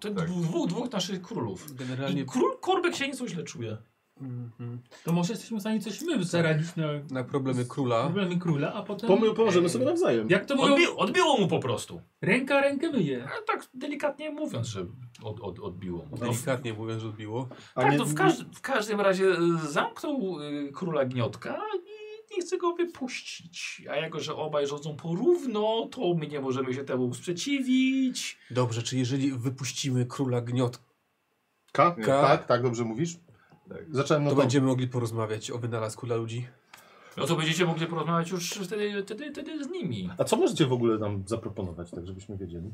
To
Tak.
dwóch, dwóch naszych królów. I
Generalnie
król korbek się nieco źle czuje.
mhm.
To może jesteśmy w stanie coś my zaradzić na
na problemy króla
problemy króla, a potem...
Pomy- Pomożemy sobie nawzajem.
Jak to mówią?
Odbi odbiło mu po prostu.
Ręka rękę myje.
A tak delikatnie mówiąc, że od, od, odbiło mu. No, w,
delikatnie mówiąc odbiło.
A
tak,
nie,
to w, każdy, w każdym razie y, zamknął y, króla gniotka i nie chce go wypuścić. A jako, że obaj rządzą porówno, to my nie możemy się temu sprzeciwić.
Dobrze, czy jeżeli wypuścimy króla gniot,
K?
K.
Tak, tak, dobrze mówisz.
Tak.
Zacząłem no
to
to.
będziemy mogli porozmawiać o wynalazku dla ludzi?
No to będziecie mogli porozmawiać już wtedy, wtedy, wtedy z nimi.
A co możecie w ogóle nam zaproponować, tak żebyśmy wiedzieli?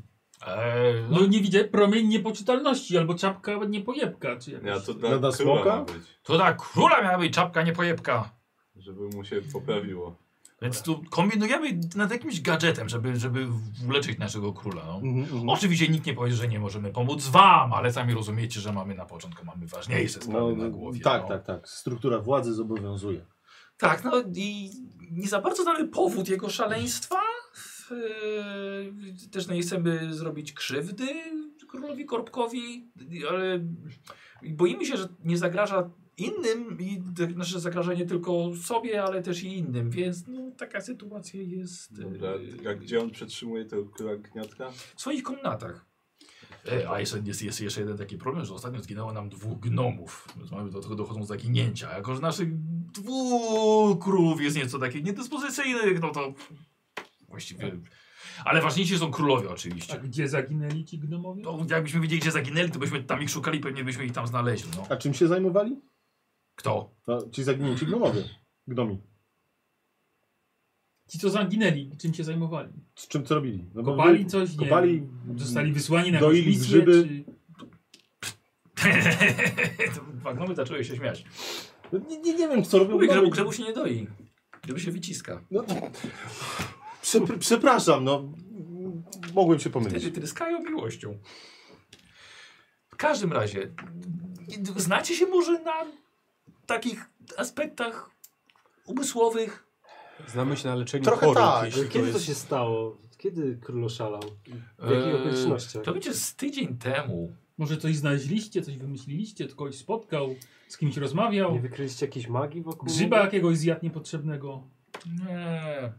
Eee, no,
No nie widzę, promień niepoczytalności albo czapka niepojebka, czy jakoś.
Ja to dla
Lada
króla
smoka?
ma być,
to tak, króla miała być czapka, nie pojebka.
żeby mu się poprawiło.
Więc tu kombinujemy nad jakimś gadżetem, żeby, żeby uleczyć naszego króla. No.
Mhm.
Oczywiście nikt nie powie, że nie możemy pomóc wam, ale sami rozumiecie, że mamy na początku mamy ważniejsze sprawy na głowie.
tak,
no.
tak, tak. Struktura władzy zobowiązuje.
Tak, no i nie za bardzo znamy powód jego szaleństwa. Yy, Też nie chcemy zrobić krzywdy królowi Korbkowi, ale boimy się, że nie zagraża innym i te- nasze zagrażenie tylko sobie, ale też i innym, więc no, taka sytuacja jest yy,
Dobra, a gdzie on przetrzymuje tego króla gniatka?
w swoich komnatach. E, a jeszcze, jest, jest jeszcze jeden taki problem, że ostatnio zginęło nam dwóch gnomów. Więc mamy do tego dochodzą zaginięcia. Jako, że naszych dwóch królów jest nieco takich niedyspozycyjnych, no to właściwie... Ale ważniejsi są królowie
A
oczywiście.
tak, gdzie zaginęli ci gnomowie?
No, jakbyśmy wiedzieli, gdzie zaginęli, to byśmy tam ich szukali, pewnie byśmy ich tam znaleźli. No.
A czym się zajmowali?
Kto?
No, ci zaginięci gnomowie. Gnomi.
Ci co zaginęli, czym się zajmowali?
Z czym co robili? No, bo
Kopali
wy-
coś? Nie.
kopali-
Zostali wysłani na
doili
jakąś misję,
grzyby.
czy...
Dwa gnomy zaczęły się śmiać.
No, nie, nie, nie wiem, co robią
Mówi, grzebu,
gnomi.
grzebu się nie doi. Grzebu się wyciska.
No, to... Przepr- przepraszam, no. Mogłem się pomylić.
Wtedy tryskają miłością. W każdym razie, znacie się może na takich aspektach umysłowych?
Znamy się na leczeniu
Trochę
chorób,
tak.
jeśli to
No, Kiedy to
jest...
się stało? Kiedy król oszalał? W jakich
Eee,
okolicznościach?
To będzie z tydzień temu.
Może coś znaleźliście, coś wymyśliliście, kogoś spotkał, z kimś rozmawiał.
Nie wykryliście jakiejś magii wokół?
Grzyba
niego?
jakiegoś zjadł niepotrzebnego.
Nie.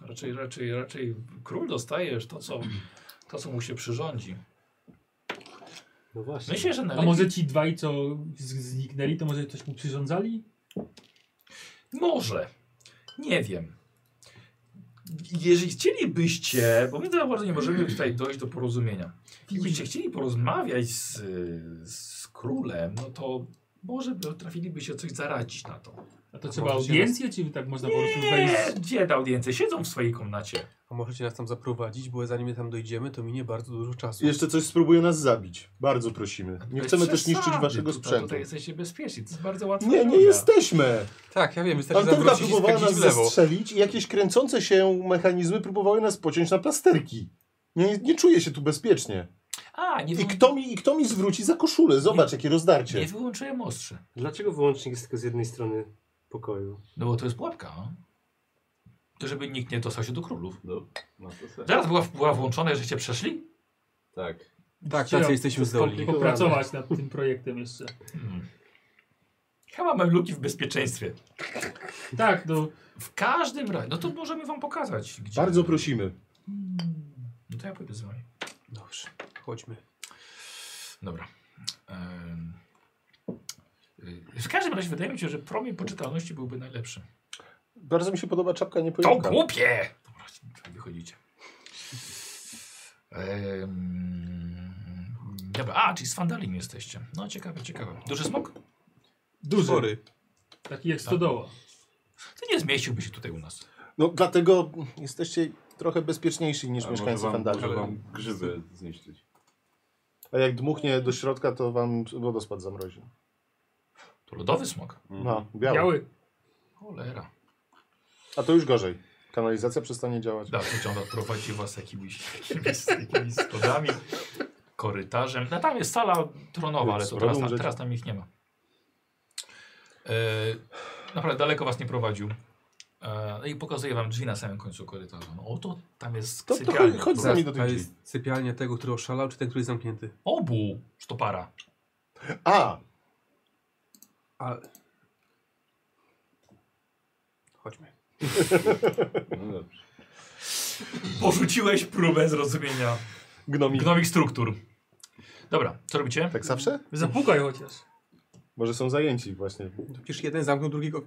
Raczej, raczej, raczej król dostajesz to, co, to, co mu się przyrządzi.
No właśnie.
Myślę, że
A
najlepiej...
może ci dwaj, co z- zniknęli, to może coś mu przyrządzali?
Może. Nie wiem. Jeżeli chcielibyście, bo my za bardzo nie możemy tutaj dojść do porozumienia. Gdybyście chcieli porozmawiać z, z królem, no to może by trafilibyście coś zaradzić na to.
A to trzeba
może się
audiencję, czy tak można po prostu wejść?
Nie, gdzie dał więcej? Siedzą w swojej komnacie.
A możecie nas tam zaprowadzić, bo zanim tam dojdziemy, to minie bardzo dużo czasu.
Jeszcze coś spróbuje nas zabić. Bardzo prosimy. Nie
Bez
chcemy też
przesady,
niszczyć waszego
tutaj-
sprzętu.
Tutaj jesteście bezpieczni, to jest bardzo łatwo.
Nie, nie
droga.
jesteśmy!
Tak, ja wiem, wystarczy
Antyna
zawrócić i
próbowała
skręcić
nas
w lewo.
zastrzelić i jakieś kręcące się mechanizmy próbowały nas pociąć na plasterki. Nie, nie czuję się tu bezpiecznie.
A, nie,
I
wy...
kto mi, i kto mi zwróci za koszulę? Zobacz, jakie
nie
rozdarcie.
wyłączyłem ostrze.
Dlaczego wyłącznik jest tylko z jednej strony pokoju?
No bo to jest pułapka. no. To żeby nikt nie dostał się do królów.
No, ma to sens.
Zaraz była, była włączona, żeście przeszli?
Tak.
Tak,
Trzeba
tacy jesteśmy zdolni.
skomplikowane.
Popracować nad tym projektem jeszcze.
Hmm. Chyba mam luki w bezpieczeństwie.
Tak, no,
W każdym razie, no to możemy wam pokazać. Gdzie...
Bardzo prosimy.
No to ja pójdę z wami.
Dobrze, chodźmy.
Dobra. Em, y, W każdym razie wydaje mi się, że promień poczytalności byłby najlepszy.
Bardzo mi się podoba czapka
To
niepojemka.
głupie! Dobra, tak wychodzicie. Em, dobra, a, czyli z Fandalim jesteście. No ciekawe, ciekawe. Duży smok?
Duży.
Spory. Tak.
Taki jak stodoła.
To nie zmieściłby się tutaj u nas.
No dlatego jesteście trochę bezpieczniejsi niż
A
mieszkańcy
może wam-
Fandali.
Może wam grzyby zniszczyć.
A jak dmuchnie do środka, to wam wodospad zamrozi.
To lodowy smok.
Mhm.
No, biały.
Biały.
Cholera.
A to już gorzej. Kanalizacja przestanie działać.
Dalej wyciąga, prowadzi was jakimiś, jakimiś, jakimiś schodami, korytarzem. No tam jest sala tronowa, ale to teraz, tam, teraz tam ich nie ma. E, naprawdę daleko was nie prowadził. E, no i pokazuję wam drzwi na samym końcu korytarza. No oto tam jest
To- to
sypialnia.
chodź- chodź
która-
za nami do tych
A
drzwi.
jest sypialnia tego, który oszalał, czy ten, który jest zamknięty?
Obu sztopara.
A!
A... Chodźmy.
No dobrze.
Porzuciłeś próbę zrozumienia
Gnomi.
gnomich struktur. Dobra, co robicie?
Tak zawsze?
Zapukaj chociaż.
Może są zajęci właśnie.
To przecież jeden zamknął drugiego.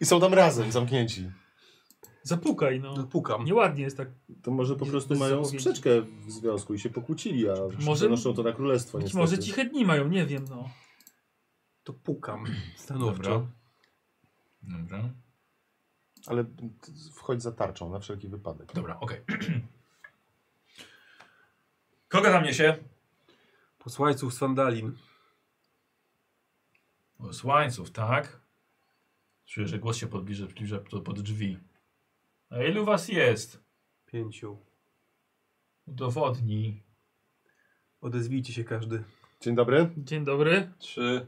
I są tam razem zamknięci.
Zapukaj, no.
No, pukam.
Nieładnie jest tak.
To może po
Bez-
prostu
bez
mają
zapowiedzi.
sprzeczkę w związku i się pokłócili, a
Może-
może... przenoszą to na królestwo
Być
niestety.
może ciche dni mają, nie wiem, no.
To pukam.
Dobra.
Stanowczo.
Dobra.
Ale ty wchodź za tarczą na wszelki wypadek.
Dobra, okej. Kogo tam niesie?
Posłańców z Fandalin.
Słańców, tak? Czuję, że głos się podbliża, podbliża pod, pod drzwi. A ilu was jest?
Pięciu.
Udowodnij.
Odezwijcie się każdy.
Dzień dobry.
Dzień dobry.
Trzy.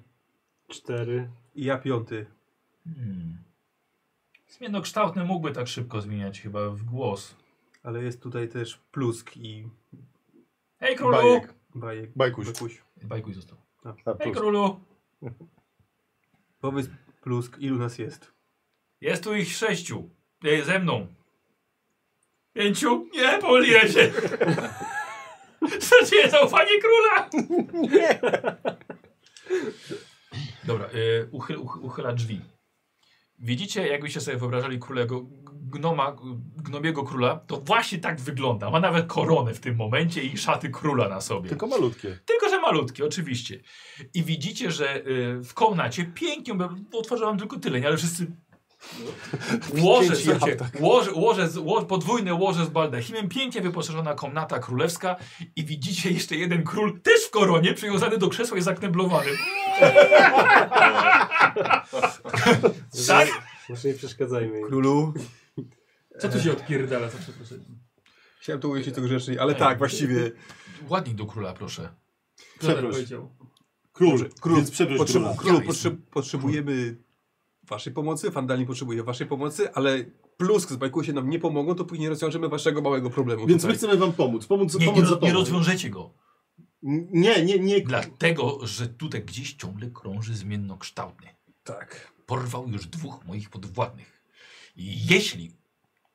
Cztery.
I ja piąty.
Hmm. Zmienokształtny mógłby tak szybko zmieniać chyba w głos.
Ale jest tutaj też plusk i
Hej królu!
Bajek.
bajek.
Bajkuś.
Bekuś.
Bajkuj został.
A,
Hej
plus.
królu!
Powiedz plusk, ilu nas jest?
Jest tu ich sześciu. E, ze mną. Pięciu? Nie, pomyliłem się. Straciłem zaufanie króla. Dobra, y, uchyl, uch, uchyla drzwi. Widzicie, jakbyście sobie wyobrażali królego, gnoma, gnomiego króla, to właśnie tak wygląda. Ma nawet koronę w tym momencie i szaty króla na sobie.
Tylko malutkie.
Tylko, że malutkie, oczywiście. I widzicie, że y, w komnacie pięknie, bo otworzę wam tylko tyle, nie? ale wszyscy łoże,
Pięć
słuchajcie,
jabłek. tak.
łoże, łoże, z- ło, podwójne łoże z baldachimem, pięknie wyposażona komnata królewska i widzicie jeszcze jeden król, też w koronie, przywiązany do krzesła i zakneblowany. tak?
Może nie przeszkadzajmy im.
Królu.
Co
E.
tu się odpierdala za przeproszeniem?
Chciałem to ujeść tego rzeczy, ale
Ej.
tak, właściwie.
Ładniej do króla, proszę.
Kto tak
Przeproś.
powiedział?
Król, król, więc przeproś
Potrze
króla.
król,
Ja
potrze potrzebujemy waszej pomocy, Fandalin potrzebuje waszej pomocy, ale plusk z bajku się nam nie pomogą, to później rozwiążemy waszego małego problemu.
Więc my
tutaj.
chcemy wam pomóc. Pomóc,
Nie, nie,
pomóc za
roz- nie
pomóc.
rozwiążecie go,
nie, nie, nie.
dlatego, że tutaj gdzieś ciągle krąży zmiennokształtny.
Tak.
porwał już dwóch moich podwładnych. I jeśli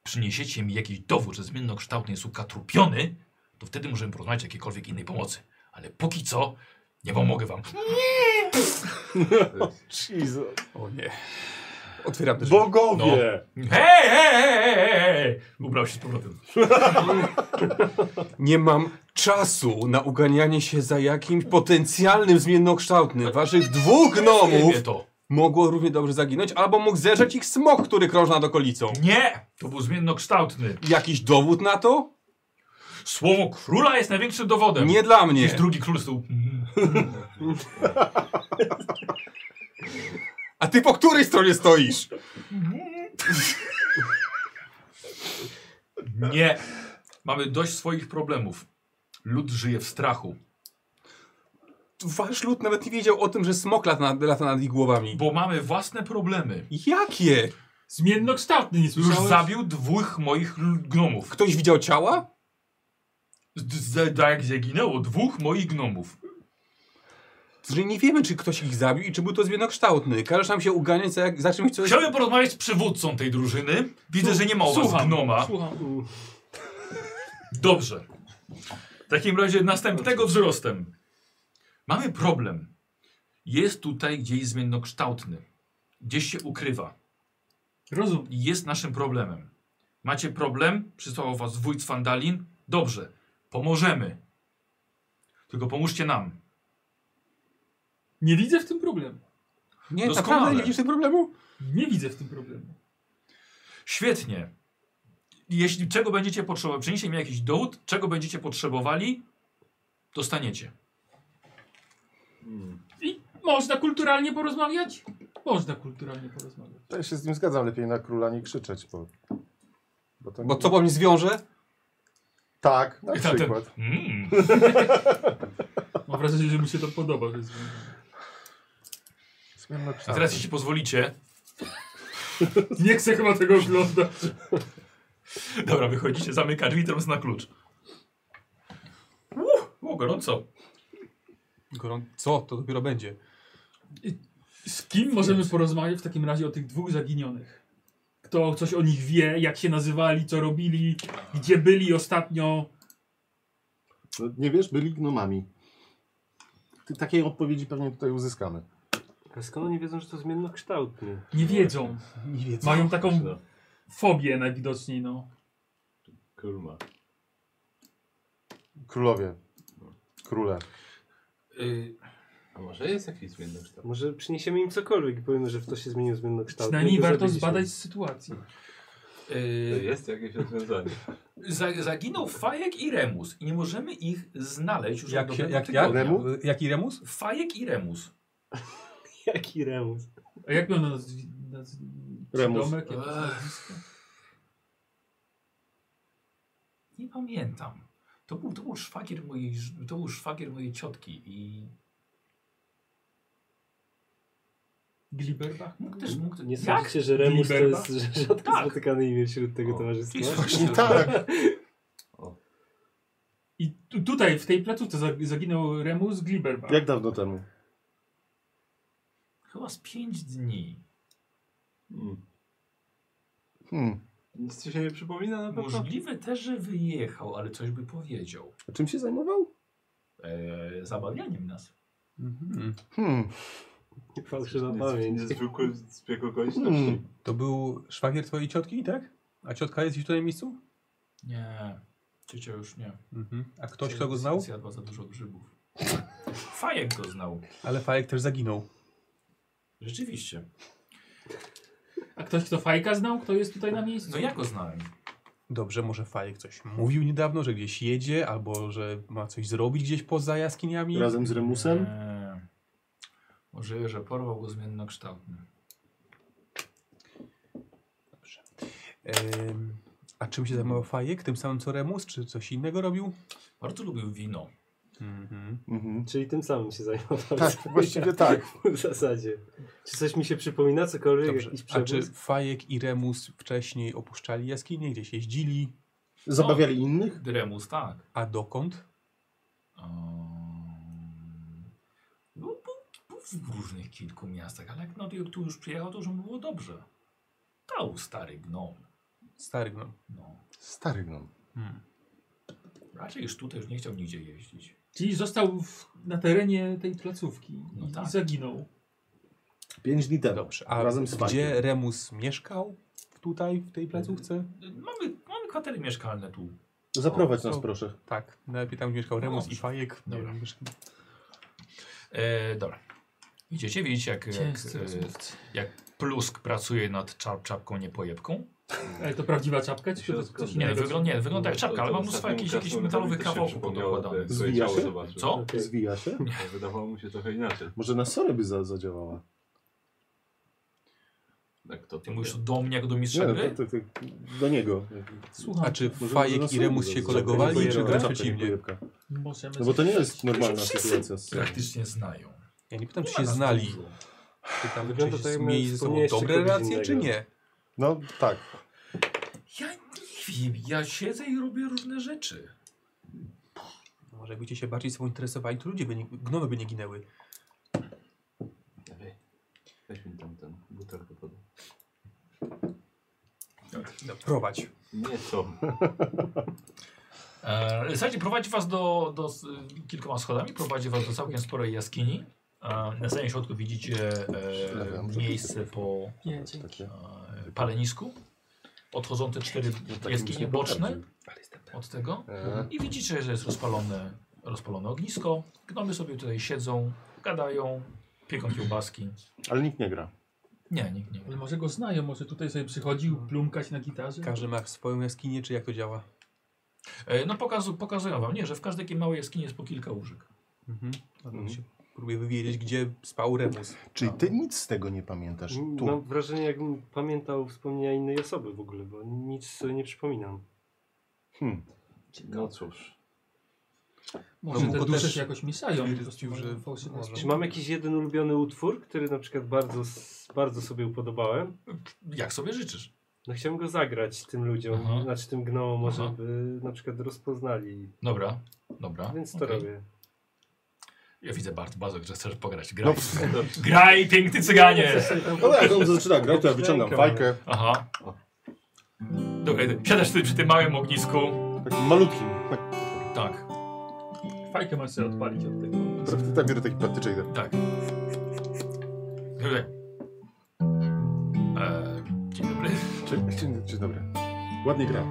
przyniesiecie mi jakiś dowód, że zmiennokształtny jest ukatrupiony, to wtedy możemy porozmawiać o jakiejkolwiek innej pomocy. Ale póki co nie pomogę wam.
Jezu.
O nie. Otwieram też.
No.
Bogowie!
Hej, hej, hej, hej, hej! Ubrał się z powrotem.
Nie mam czasu na uganianie się za jakimś potencjalnym zmiennokształtnym. Waszych dwóch gnomów
Nie to.
mogło równie dobrze zaginąć, albo mógł zerzeć ich smok, który krąży nad okolicą.
Nie! To był zmiennokształtny.
Jakiś dowód na to?
Słowo króla jest największym dowodem.
Nie dla
Jakiś
mnie.
drugi król z tyłu.
A ty po której stronie stoisz?
Nie. Mamy dość swoich problemów. Lud żyje w strachu.
Wasz lud nawet nie wiedział o tym, że smok lata nad, lata nad ich głowami.
Bo mamy własne problemy.
Jakie?
Zmiennokształtny, nie
Już
słyszałeś?
zabił dwóch moich l- gnomów.
Ktoś widział ciała?
Z- z- da- Jak zaginęło dwóch moich gnomów.
Że nie wiemy, czy ktoś ich zabił i czy był to zmiennokształtny. Każesz nam się uganiać za, jak, za czymś, co jest...
Chciałem porozmawiać z przywódcą tej drużyny. Widzę, że nie ma u was
Słucham,
gnoma.
słucham.
Dobrze. W takim razie następnego wzrostem. Mamy problem. Jest tutaj gdzieś zmiennokształtny. Gdzieś się ukrywa.
Rozum.
Jest naszym problemem. Macie problem? Przysłał was wójt z Fandalin? Dobrze, pomożemy. Tylko pomóżcie nam.
Nie widzę w tym problemu.
Nie,
Doskonale.
naprawdę nie widzisz tego problemu?
Nie widzę w tym problemu.
Świetnie. Jeśli czego będziecie potrzebowali, przyniesie mi jakiś dowód, czego będziecie potrzebowali, dostaniecie.
I można kulturalnie porozmawiać? Można kulturalnie porozmawiać.
Ja się z nim zgadzam, lepiej na króla nie krzyczeć, bo... Bo, to
Bo co po mnie zwiąże?
Tak, na
I tamten-
przykład.
Mm.
Mam wrażenie, że mu się to podoba. że jest-
Zmiana
I teraz jeśli pozwolicie,
Nie chcę chyba tego oglądać.
dobra, wychodzicie, zamyka drzwi, teraz na klucz. Uuu, gorąco.
Goron, co? To dopiero będzie.
Z kim możemy porozmawiać w takim razie o tych dwóch zaginionych? Kto coś o nich wie, jak się nazywali, co robili, gdzie byli ostatnio?
No, Nie wiesz, byli gnomami. Ty- Takiej odpowiedzi pewnie tutaj uzyskamy.
Ale skąd oni wiedzą, że to zmiennokształtny?
Nie wiedzą.
Nie wiedzę.
Mają taką
No,
fobię najwidoczniej, no.
kurma.
Królowie. Króle.
Y,
A może jest jakiś zmienny kształt?
Może przyniesiemy im cokolwiek i powiemy, że w to się zmienił zmiennokształtny.
Przynajmniej
i go
warto
zabiliśmy.
zbadać sytuację.
To
y,
Jest jakieś rozwiązanie.
za, zaginął Fajek i Remus i nie możemy ich znaleźć już
Jak,
od
się,
dobrego
jak, jak,
tygodnia.
Remu?
jaki remus?
Fajek i Remus.
Jaki remus.
A jak miał nazwisko? Naz...
Remus.
przydomek, jak
Ech.
nazwisko?
Nie pamiętam. To był, to był, szwagier, mojej, ż- to był szwagier mojej ciotki i
Gliberbach?
mógł też... Mógł,
Nie
jak?
sądzicie, że remus to
Liberba?
jest rzadko
Tak.
spotykane imię wśród tego
O,
towarzystwa?
jest
I tak,
I tu, tutaj, w tej placówce za- zaginął Remus Gliberbach.
jak dawno temu?
Chyba z pięć dni.
Hmm.
Hmm.
Nic ci się nie przypomina na pewno?
Możliwe też, że wyjechał, ale coś by powiedział.
A Czym się zajmował?
Eee, zabawianiem nas.
Mhm.
Hmm.
Nie patrzę na pamięć.
Niezwykły zbieg okoliczności.
hmm.
To był szwagier twojej ciotki, tak? A ciotka jest gdzieś tutaj w miejscu?
Nie, ciocia już nie.
Mhm. A ktoś,
Ciocia
kto go znał?
Zjadła za dużo grzybów. Fajek go znał.
Ale Fajek też zaginął.
Rzeczywiście.
A ktoś, kto Fajka znał? Kto jest tutaj na miejscu?
No ja go znałem.
Dobrze, może Fajek coś mówił niedawno, że gdzieś jedzie, albo że ma coś zrobić gdzieś poza jaskiniami.
Razem z Remusem?
Eee, możliwe, że porwał go zmiennokształtny.
Em, a czym się zajmował Fajek? Tym samym co Remus? Czy coś innego robił?
Bardzo lubił wino.
Mhm.
Mhm.
Czyli tym samym się zajmował.
Tak, właściwie tak.
W zasadzie. Czy coś mi się przypomina, cokolwiek,
Dobrze.
jakiś
A
przewóz?
czy Fajek i Remus wcześniej opuszczali jaskinie, gdzieś jeździli?
Zabawiali innych?
Dyremus, tak.
A dokąd?
Um, no, był, był w różnych kilku miastach, ale jak no, jak tu już przyjechał, to już mu było dobrze. Dał stary gnom.
Stary gnom.
No.
Stary gnom.
Hmm.
Raczej już tutaj już nie chciał nigdzie jeździć.
Czyli został w, na terenie tej placówki
No
i,
tak.
i zaginął.
Pięć dni temu.
Dobrze. A
Razem z
gdzie
Fajkiem.
Remus mieszkał? Tutaj, w tej placówce?
Mamy, mamy kwatery mieszkalne tu.
Zaprowadź
O,
nas,
to-
proszę.
Tak. Najlepiej tam gdzie mieszkał Remus i
dobrze.
Fajek. Nie
Dobra.
wiem,
E, dobra. Idziecie, widzicie jak, jak, e, jak Plusk pracuje nad czap, czapką niepojebką?
Ale to prawdziwa czapka? Czy
Się
to
rozkojarzy.
coś
Nie, no,
Nie,
wygląda, nie, wygląda jak
To-
czapka,
to
ale ma mnóstwo
ostatniemu
jakichś jakich
Krasnoludowi
metalowych
też się
kawałków
przypomniało,
podokładanych.
jak
Zwija
swoje
się?
ciało zobaczył.
Co?
Okej.
Zwija się?
To Wydawało mu się trochę inaczej.
Może na sorę by za, zadziałała.
Jak Tak, to,
Ty
to
mówisz
wie.
do mnie jak do
Nie,
mistrza
no,
gry?
to, to, to, do niego.
Słucham,
A czy
Może na
Fajek i
sorę
Remus
by
się
za-
kolegowali,
zadziałała.
czy
Czapka
wręcz przeciwnie?
niepojebka.
możemy...
No bo to nie jest normalna
Wszyscy
sytuacja. z-
Praktycznie znają.
Ja nie pytam, czy
Nie ma
się
nas
znali.
dużo.
Pytam,
Wygląda
czy
to, jakby
mieli ze sobą
wspomniałeś
dobre
czegoś
relacje, czy
innego.
nie?
No tak.
Ja nie wiem, ja siedzę i robię różne rzeczy.
Może jakbyście się bardziej sobą interesowali, to ludzie by nie, gnomy by nie ginęły.
Weź mi tam ten butelkę podaj.
No, prowadź.
Nie to.
E, słuchajcie, prowadzi was do, do s- kilkoma schodami, prowadzi was do całkiem sporej jaskini. E, na samym środku widzicie e,
Lewy, a może
miejsce po
Nie, dzięki.
Takie.
e, palenisku. odchodzą te cztery jaskinie boczne od tego. I widzicie, że jest rozpalone, rozpalone ognisko. Gnomy sobie tutaj siedzą, gadają, pieką kiełbaski.
Ale nikt nie gra.
Nie, nikt nie wie.
Ale może go znają, może tutaj sobie przychodził plumkać na gitarze.
Każdy ma swoją jaskinię, czy jak to działa?
E, No pokazu, pokazują wam, nie, że w każdej takiej małej jaskini jest po kilka łóżek.
Mhm. Się próbuję wywiedzieć, gdzie spał Remus.
Czyli ty nic z tego nie pamiętasz. Tu.
Mm, Mam wrażenie, jakbym pamiętał wspomnienia innej osoby w ogóle, bo nic sobie nie przypominam.
Hmm.
No cóż.
Może
mu
te
go
dusze
też
się jakoś misają. po
stwierdził,
prostu
że
fałszywe
może.
są.
Czy mam jakiś jeden ulubiony utwór, który na przykład bardzo, s- bardzo sobie upodobałem?
Jak sobie życzysz?
No chciałem go zagrać tym ludziom,
Aha.
znaczy tym gnomom, może
Aha.
by na przykład rozpoznali.
Dobra, dobra.
Więc to
okej.
robię.
Ja widzę bardzo, bardzo, że chcesz pograć. Graj, graj piękny cyganie!
No jak on zaczyna grać, to ja wyciągam fajkę.
Aha. Dobra, siadasz ty przy tym małym ognisku.
Takim malutkim.
Tak,
Fajkę masz sobie odpalić od tego.
Prawda, tam biorę taki patyczek. tak.
tak. Dobra. Eee, dzień dobry.
Czy, czy, czy dobre? Ładnie gra.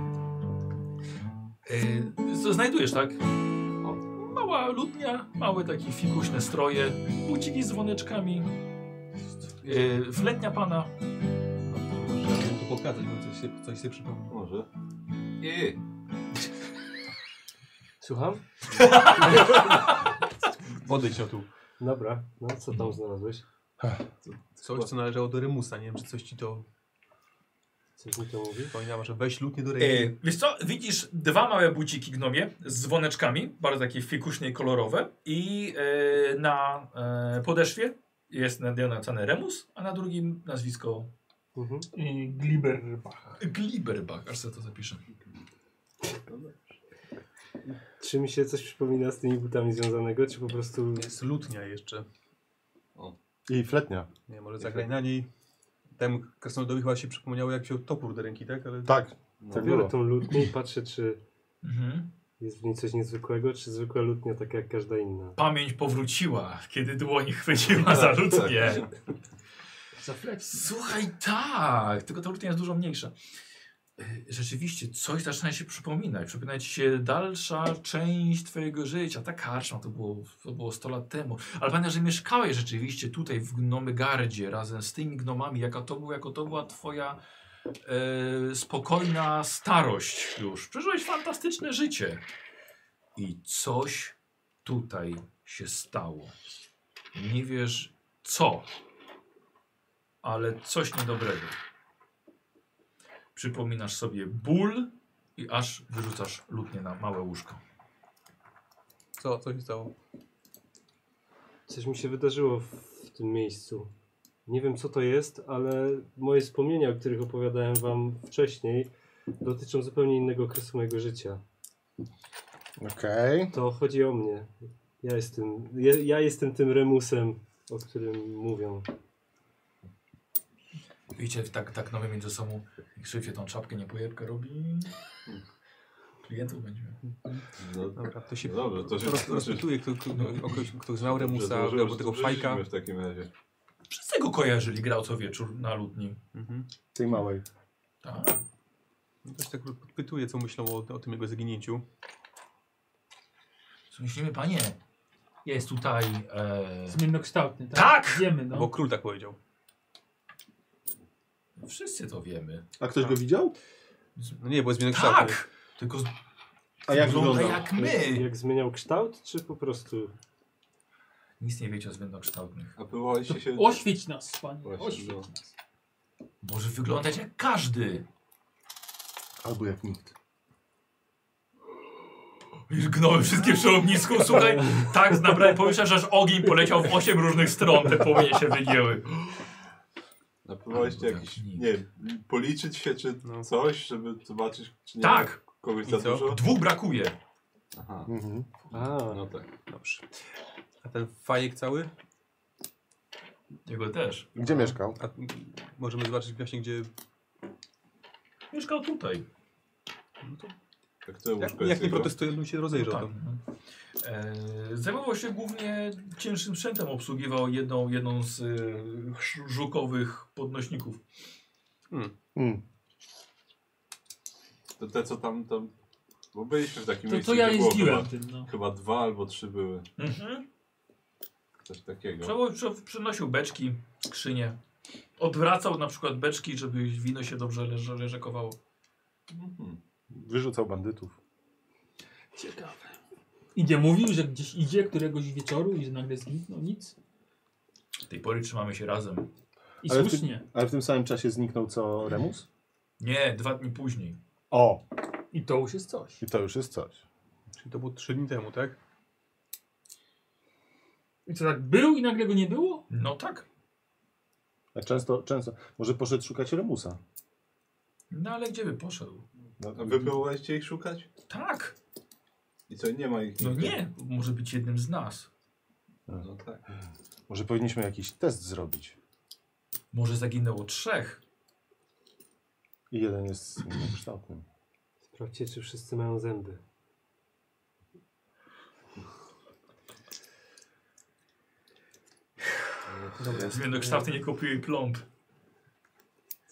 Eee, co znajdujesz, tak? O, mała ludnia, małe takie fikuśne stroje, buciki z dzwoneczkami, eee, fletnia pana.
Chciałem to pokazać, bo coś się, coś się przypomniało.
Może.
I
Słucham?
Odejdź o tu.
Dobra, no co tam znalazłeś?
Coś, co należało do Remusa, nie wiem, czy coś ci to
Coś mi to mówi?
przypominało, że weź lutnię do ręki.
Eee, wiesz co, widzisz dwa małe buciki gnomie z dzwoneczkami, bardzo takie fikuśnie i kolorowe i eee, na eee, podeszwie jest napisane Remus, a na drugim nazwisko
Mhm.
I Gliberbach.
Gliberbach, aż sobie to zapiszę.
Czy mi się coś przypomina z tymi butami związanego, czy po prostu...
Jest lutnia jeszcze.
I fletnia.
Nie, może zagraj na niej. Temu krasnoludowi chyba się przypomniało, jak wziął topór do ręki, tak? Ale
Tak.
To
No
Tak
biorę
było.
tą lutnię i patrzę, czy
Mhm.
jest w niej coś niezwykłego, czy zwykła lutnia, taka jak każda inna.
Pamięć powróciła, kiedy dłoń chwyciła za lutnię.
Za flex.
Słuchaj, tak, tylko ta lutnia jest dużo mniejsza. Y, Rzeczywiście, coś zaczyna się przypominać. Przypomina ci się dalsza część twojego życia. Ta karczma, to było, to było 100 lat temu. Ale pamiętaj, że mieszkałeś rzeczywiście tutaj w Gnomygardzie razem z tymi gnomami, jaka to, był, jako to była twoja e, spokojna starość już. Przeżyłeś fantastyczne życie. I coś tutaj się stało. Nie wiesz co, ale coś niedobrego. Przypominasz sobie ból i aż wyrzucasz lutnię na małe łóżko.
co, co się stało?
Coś mi się wydarzyło w, w tym miejscu. Nie wiem co to jest, ale moje wspomnienia, o których opowiadałem wam wcześniej, dotyczą zupełnie innego okresu mojego życia.
Okej.
To chodzi o mnie. Ja jestem, ja, ja jestem tym remusem, o którym mówią.
Widzicie, tak, tak nowy między sobą i krzywie tą czapkę, nie pojebkę robi. Klientów będziemy.
No,
Dobra, to się
no dobrze, to się
roz- rozpytuje, kto, kto, o kogoś, kto znał Remusa,
Dobrze,
albo tego fajka.
W takim razie.
Wszyscy go kojarzyli, grał co wieczór na lutni.
Mhm.
Tej małej.
Tak.
No Też tak pytuje, co myślą o, o tym jego zaginięciu.
Co myślimy, panie? Jest tutaj... E...
Zmiennokształtny, tak?
Tak!
Wiemy, no.
Bo król tak powiedział.
Wszyscy to wiemy.
A ktoś go widział?
No nie, bo jest zmiennokształtny.
Tak! Tylko z-
A jak
wygląda
wyglądał?
jak my.
Jak zmieniał kształt, czy po prostu...
Nic nie wiecie o zmiennokształtnych.
A próbowaliście się...
Oświeć nas, panie.
Właśnie,
Oświeć
no.
nas.
Może wyglądać jak każdy.
Albo jak nikt.
Już gnoły wszystkie przy ognisku, słuchaj, tak nabrałem powietrza, że aż ogień poleciał w osiem różnych stron, te płomienie się wygięły.
A próbowaliście
Albo
jakiś,
tak, nikt.
nie wiem, policzyć się czy
No.
coś, żeby zobaczyć, czy nie
Tak,
ma kogoś
I
za
co?
dużo?
dwóch brakuje.
Aha,
Mhm.
A,
no tak.
Dobrze. A ten fajek cały?
Jego też.
Gdzie mieszkał?
A, możemy zobaczyć właśnie, gdzie...
Mieszkał tutaj.
No to,
Tak to
jak,
łóżko
jak
jest
nie
jego?
protestuje, ludzie
No
się rozejrzą.
Tak.
to-
mhm. Eee, zajmował się głównie cięższym sprzętem, obsługiwał jedną, jedną z e, y, żukowych podnośników.
Mm.
Te, te co tam, tam... Bo byliśmy w takim
To,
miejscu,
to ja
gdzie było chyba,
jeździłem tym, no.
chyba dwa albo trzy były.
Mhm.
Coś takiego.
Przewo- prze- Przenosił beczki, skrzynie. Odwracał na przykład beczki, żeby wino się dobrze leż- leżakowało.
Mhm.
Wyrzucał bandytów.
Ciekawe.
I nie mówił, że gdzieś idzie któregoś wieczoru i że nagle zniknął, nic.
Tej pory trzymamy się razem.
I
Ale ty-
słusznie.
Ale w tym samym czasie zniknął co Remus?
Nie, dwa dni później.
O,
I to już jest coś.
i to już jest coś.
Czyli to było 3 dni temu, tak?
I co tak był i nagle go nie było?
No tak.
A często, często. Może poszedł szukać Remusa.
No ale gdzie by poszedł?
No,
A wy próbowaliście ich szukać?
Tak.
I co, nie ma ich?
No nie, może być jednym z nas.
No tak.
Może powinniśmy jakiś test zrobić.
Może zaginęło trzech.
I jeden jest niekształtnym.
Sprawdźcie, czy wszyscy mają zęby.
Zmienokształty no nie kopiuj plomb.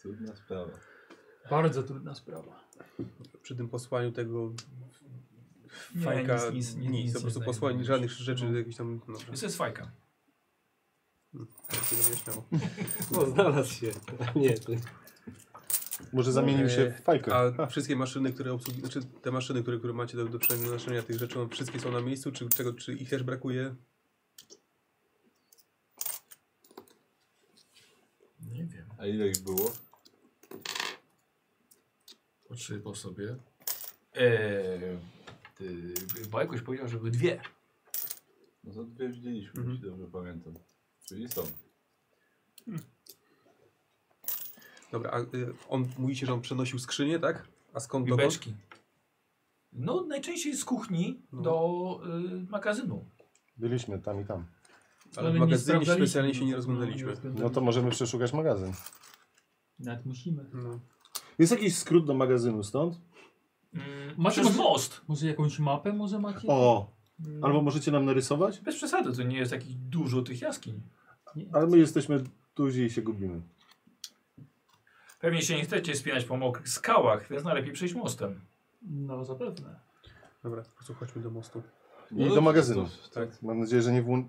Cudna sprawa.
Bardzo trudna sprawa.
Przy tym posłaniu tego
Nie,
fajka
nic- nic-
nic,
nic- nic
po
nie
prostu
znajdę.
posłanie żadnych rzeczy,
No.
jakichś tam, no,
To jest fajka.
się wyjaśniało.
O, znalazł się. Nie, to
Może zamienił się w fajkę.
A wszystkie maszyny, które obsługi, znaczy te maszyny, które, które macie do, do przenoszenia tych rzeczy, one wszystkie są na miejscu, czy, czego, czy ich też brakuje?
Nie wiem.
A ile ich było?
Oczy po sobie. Eee, ty, Bajkoś powiedział, że były dwie.
No to dwie widzieliśmy,
Mhm.
jeśli dobrze pamiętam. Czyli są.
Dobra, a y, on mówi się, że on przenosił skrzynię, tak? A skąd
I
dokąd?
beczki. No najczęściej z kuchni
No.
do y, magazynu.
Byliśmy tam i tam.
Ale
Ale
w
nie
magazynie
sprawdzaliśmy,
specjalnie się
no.
nie rozglądaliśmy.
No to możemy przeszukać magazyn.
Nawet musimy.
No.
Jest jakiś skrót do magazynu stąd?
Mm,
Macie
przez
może-
most.
Może jakąś mapę może macie?
O!
Mm,
Albo możecie nam narysować?
Bez przesady, to nie jest takich dużo tych jaskiń.
nie.
Ale my jesteśmy duzi i się gubimy.
Pewnie się nie chcecie spinać po mokrych skałach, więc najlepiej przejść mostem.
No zapewne.
Dobra, po prostu chodźmy do mostu.
I
No
do magazynu.
To, tak.
Mam nadzieję, że nie włą...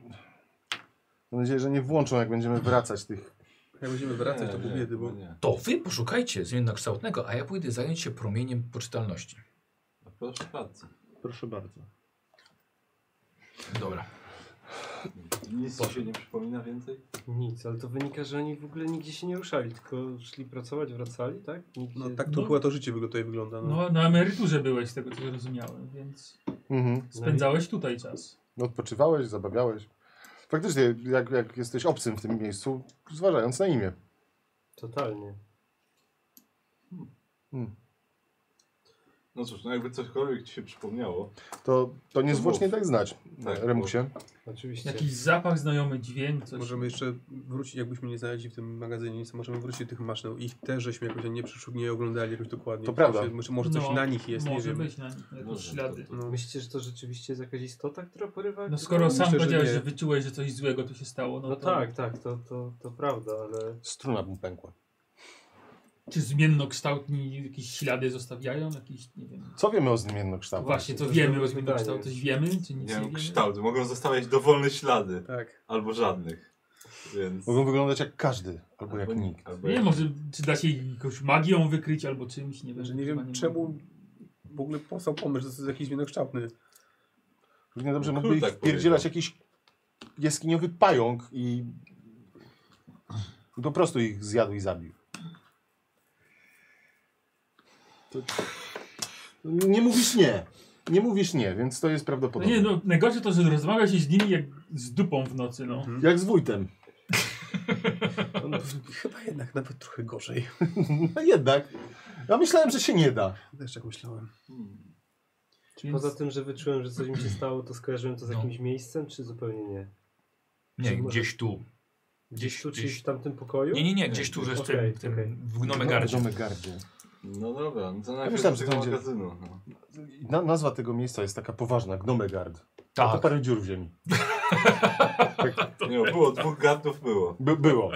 Mam nadzieję, że nie włączą, jak będziemy wracać tych.
Jak będziemy wracać, Tak. to
Nie,
pół
nie,
biedy, bo...
Nie.
To wy poszukajcie zmiennokształtnego, a ja pójdę zająć się promieniem poczytalności.
A No proszę bardzo.
Proszę bardzo.
Dobra.
Nic ci się nie przypomina więcej?
nic, ale to wynika, że oni w ogóle nigdzie się nie ruszali, tylko szli pracować, wracali, tak? Nigdzie...
No tak to
No.
chyba to życie wygo- tutaj wygląda. No.
No na emeryturze byłeś z tego co zrozumiałem, więc
Mhm. No,
spędzałeś tutaj czas.
Odpoczywałeś, zabawiałeś. Faktycznie, jak, jak jesteś obcym w tym miejscu, zważając na imię.
Totalnie.
No cóż, no jakby cokolwiek ci się przypomniało.
To, to niezwłocznie
mów.
daj znać,
Tak,
Remusie.
Oczywiście.
Jakiś zapach znajomy, dźwięk, coś.
Możemy jeszcze wrócić, jakbyśmy nie znaleźli w tym magazynie nic, to możemy wrócić do tych maszyn. Ich też żeśmy jakoś nie przeszuk, nie oglądali jakoś dokładnie.
To prawda.
Może- Może, może coś
No,
na nich jest, nie
Może
wiem.
być na nich, jakieś
Może,
ślady.
No.
Myślicie, że to rzeczywiście jest jakaś istota, która porywa?
No skoro sam
że
powiedziałeś,
nie.
że wyczułeś, że coś złego tu się stało, no,
No
to...
tak, tak, to, to, to prawda, ale...
Struna mu pękła.
Czy zmiennokształtni jakieś ślady zostawiają? Jakieś, nie wiem...
Co wiemy o zmiennokształtach?
Właśnie, to
to
wiemy
było
o zmiennokształtach.
pytanie.
Coś wiemy, czy
Nie
nic nie,
wiem,
wiemy?
kształt. Mogą zostawiać dowolne ślady.
Tak.
Albo żadnych. Więc...
Mogą wyglądać jak każdy, albo jak nikt.
Albo
Nie, może czy da się jakąś magią wykryć albo czymś, nie No wiem.
Znaczy, nie
chyba
wiem czemu w ogóle powstał pomysł, że to jest jakiś zmienokształtny.
Równie dobrze
No,
mógłby ich
król tak
wpierdzielać
powiedział.
jakiś jaskiniowy pająk i... i po prostu ich zjadł i zabił. To... Nie mówisz nie. Nie mówisz nie, więc to jest
No
prawdopodobne.
nie, no najgorsze to, że rozmawia się z nimi jak z dupą w nocy, no.
Jak z wójtem.
No, chyba jednak nawet trochę gorzej.
No jednak. Ja myślałem, że się nie da.
Też tak myślałem.
Hmm.
Więc
Poza tym, że wyczułem, że coś mi się stało, to skojarzyłem to z
No.
jakimś miejscem, czy zupełnie nie?
Nie,
Czy może-
gdzieś tu.
Gdzieś tu,
gdzieś-
gdzieś w tamtym pokoju?
Nie, nie, nie, gdzieś tu, że w
Okej,
tym, w
okej.
tym w Gnomegardzie.
Domegardzie.
No dobra, no to najpierw
myślałem,
do
że
tego
to będzie-
magazynu. No.
Na, nazwa tego miejsca jest taka poważna, Gnomegard. Tak. To
Tak,
parę dziur w ziemi.
Nie, było, no, dwóch gardów było.
By, było.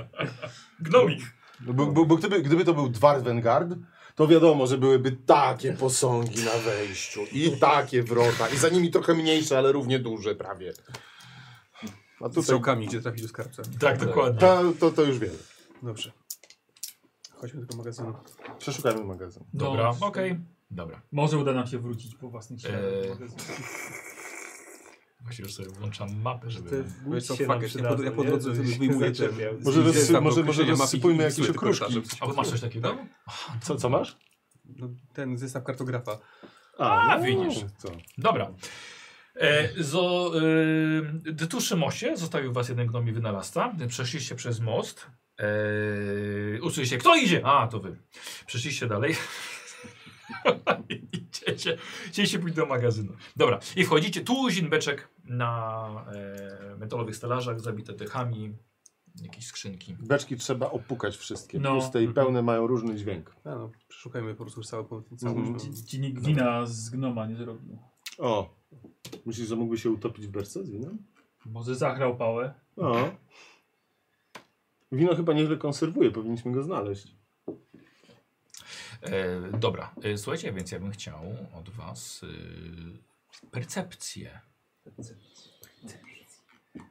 gnomik.
No, bo, bo, bo gdyby, gdyby to był Dwarvengard, to wiadomo, że byłyby takie posągi na wejściu i takie wrota i za nimi trochę mniejsze, ale równie duże prawie. A
Z
tutaj
strzałkami, gdzie trafi do skarbca.
Tak, dokładnie.
to, to, to już wiemy.
Dobrze. Chodźmy do tego magazynu.
Przeszukajmy magazyn.
No,
Dobra, okej. Dobra.
Może uda nam się wrócić po własnych siłach.
Eee. Właśnie już sobie włączam mapę, żeby...
Wiesz co,
się
fuck
nam
it, ja po, ja po
przydadzą,
drodze
nie?
sobie
Żebyś
wyjmuję
się
te...
zaczepiał.
Może
gdzieś
rozsy-
tam
może- może
określenia mapy
rozsypujmy
i
jakieś
wpisuję te
okruszki.
korytarze.
A bo masz coś takiego? Tak.
Co, co masz?
No, ten zestaw kartografa.
A, widzisz.
no Co?
Dobra. E, zo, e, d- tuż przy moście zostawił was jeden gnomi wynalazca. Przeszliście przez most. E, usłyszeliście, kto idzie? A, to wy. Przeszliście dalej. Idziecie, chcieliście pójść do magazynu. Dobra, i wchodzicie. Tuzin beczek na e, metalowych stelażach, zabite dychami, jakieś skrzynki.
Beczki trzeba opukać wszystkie.
No.
Puste i pełne mają różny dźwięk.
A no, przeszukajmy po prostu już cały, cały
Mhm.
już-
Ci, ci nikt wina z gnoma nie zrobił.
O. Myślisz, że mógłby się utopić w berce z winem?
Może zachrał pałę.
O. Wino chyba nieźle konserwuje, powinniśmy go znaleźć.
E, dobra, e, słuchajcie, więc ja bym chciał od was e, percepcję.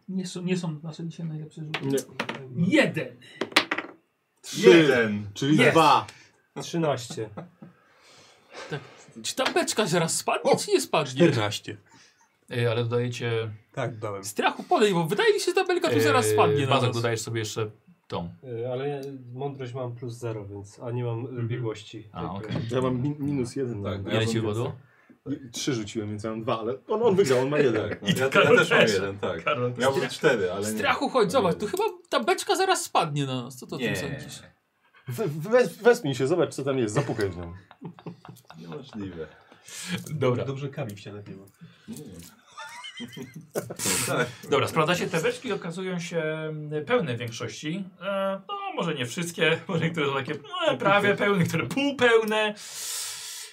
Nie są, nie są nasze dzisiaj najlepsze rzuty.
Nie.
Jeden!
Trzy,
Jeden.
czyli
Jest.
dwa.
13.
Czy ta beczka zaraz spadnie, czy nie spadnie?
14.
E, ale dodajecie...
Tak, dałem.
Strachu podaj, bo wydaje mi się, że ta belka tu zaraz
e,
spadnie na
Bazak,
nas.
dodajesz sobie jeszcze tą.
Y, Ale ja mądrość mam plus 0, więc. A nie mam y, biegłości.
A,
Tak,
okej.
Ja mam min minus jeden.
Tak,
na-
ja
Ile ci
mam
wypadło?
I- Trzy rzuciłem, więc ja mam dwa, ale on, on wygrał, on ma jeden.
No, ja, ja
Karol
też mam
też.
jeden, tak.
Karol,
Miałbym cztery, ale nie.
Strachu, chodź, zobacz, tu chyba ta beczka zaraz spadnie na nas. Co to o tym
Nie.
sądzisz?
We, we, wezmij się, zobacz co tam jest, zapukaj w nią.
Niemożliwe.
Dobra,
Dobrze kami w ścianach nie ma.
dobra, sprawdzacie te beczki, okazują się mm, pełne w większości. E, no, może nie wszystkie, może niektóre są takie e, prawie pełne, niektóre półpełne.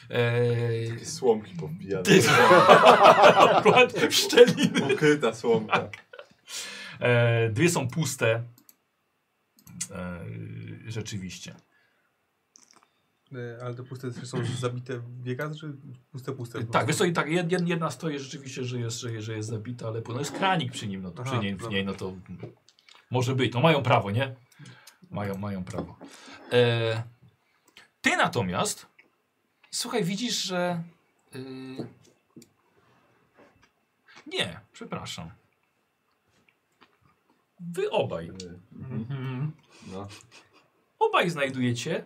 E,
Słomki pobijane.
dokład szczeliny.
Ukryta słomka.
E, dwie są puste. E, rzeczywiście.
E, Ale te puste są zabite w biegach, czy puste, puste? po
Tak,
prostu?
wiesz co, i tak jed, jed- jedna stoi rzeczywiście, że jest, że jest, że jest zabita, ale no jest kranik przy nim, no to
Aha,
przy niej, w
dobra.
niej, no to może być. No mają prawo, nie? Mają, mają prawo. E, ty natomiast, słuchaj, widzisz, że... y, nie, przepraszam. Wy obaj,
Mhm.
No.
obaj znajdujecie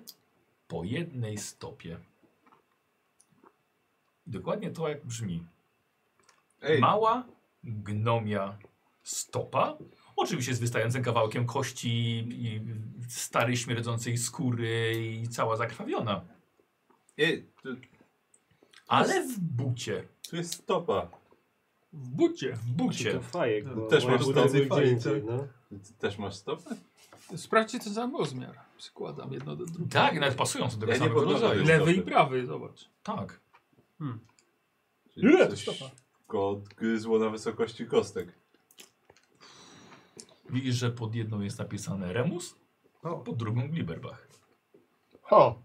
po jednej stopie. Dokładnie to jak brzmi.
Ej,
Mała gnomia stopa. Oczywiście z wystającym kawałkiem kości, i starej śmierdzącej skóry i cała zakrwawiona.
ej tu,
Ale w bucie.
tu jest stopa.
W bucie. W
Czy to
bucie.
fajek, bo
Też
moje
masz
buty
tacy
były
fajki,
gdzie indziej, no.
Ty też masz stopę?
Sprawdźcie ten sam rozmiar. Przykładam jedno do drugiego.
Tak, nawet pasują do tego
Ja nie
samego
podnoszę
rodzaju.
tego.
Lewy i prawy, zobacz.
Tak.
Ile? Go odgryzło na wysokości kostek.
Widzisz, że pod jedną jest napisane Remus,
O.
pod drugą Glibberbach.
O,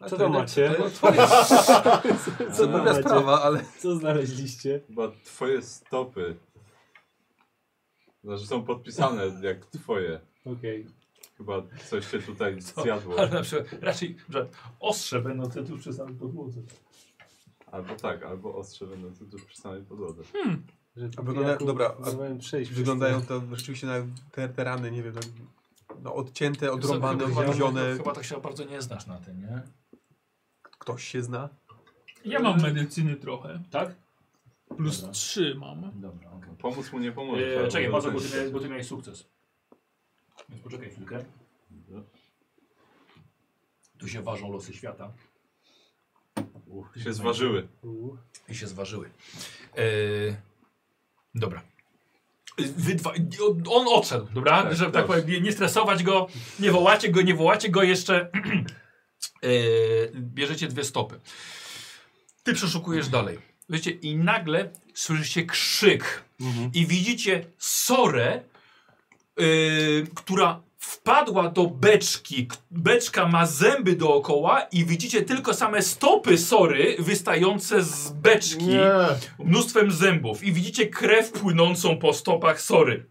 A
Co
to
tam
jednak-
macie?
to- to jest- Co
tam
dobra
macie?
sprawa, ale...
Co znaleźliście?
Chyba twoje stopy. Znaczy są podpisane jak twoje.
Okej.
Chyba coś się tutaj zjadło.
Ale na przykład raczej że ostrze będą te tu przy samym podłodze.
Albo tak, albo ostrze będące tu przy samej podłodze.
Że
A wygląda-
Jakub
dobra, a
próbowałem przejść przez
Wyglądają to rzeczywiście na te, te rany, nie wiem, tak, no, odcięte, odrąbane,
Chyba- chyba-
odgryzione.
Chyba tak się bardzo nie znasz na tym, nie?
Ktoś się zna?
Ja mam medycyny trochę.
Tak?
Plus
Dobra.
trzy mam.
Dobra, okej.
Pomóc mu nie pomoże.
Eee,
Trzeba
czekaj,
było
Mazur, bo,
ten-
ty miałeś- bo ty miałeś sukces. Więc poczekaj chwilkę. Tu się ważą losy świata.
Uch, się zważyły.
U,
I się zważyły. Eee, dobra. Wy dwa, on- on odszedł, dobra?
Tak,
Żeby tak
dobrze.
powiem, nie, nie stresować go, nie wołacie go, nie wołacie go jeszcze. Eee, bierzecie dwie stopy. Ty przeszukujesz dalej. Wiecie, i nagle słyszycie Mhm. krzyk i widzicie sorę, yy, która wpadła do beczki. K- Beczka ma zęby dookoła i widzicie tylko same stopy sory wystające z beczki mnóstwem zębów. I widzicie krew płynącą po stopach sory.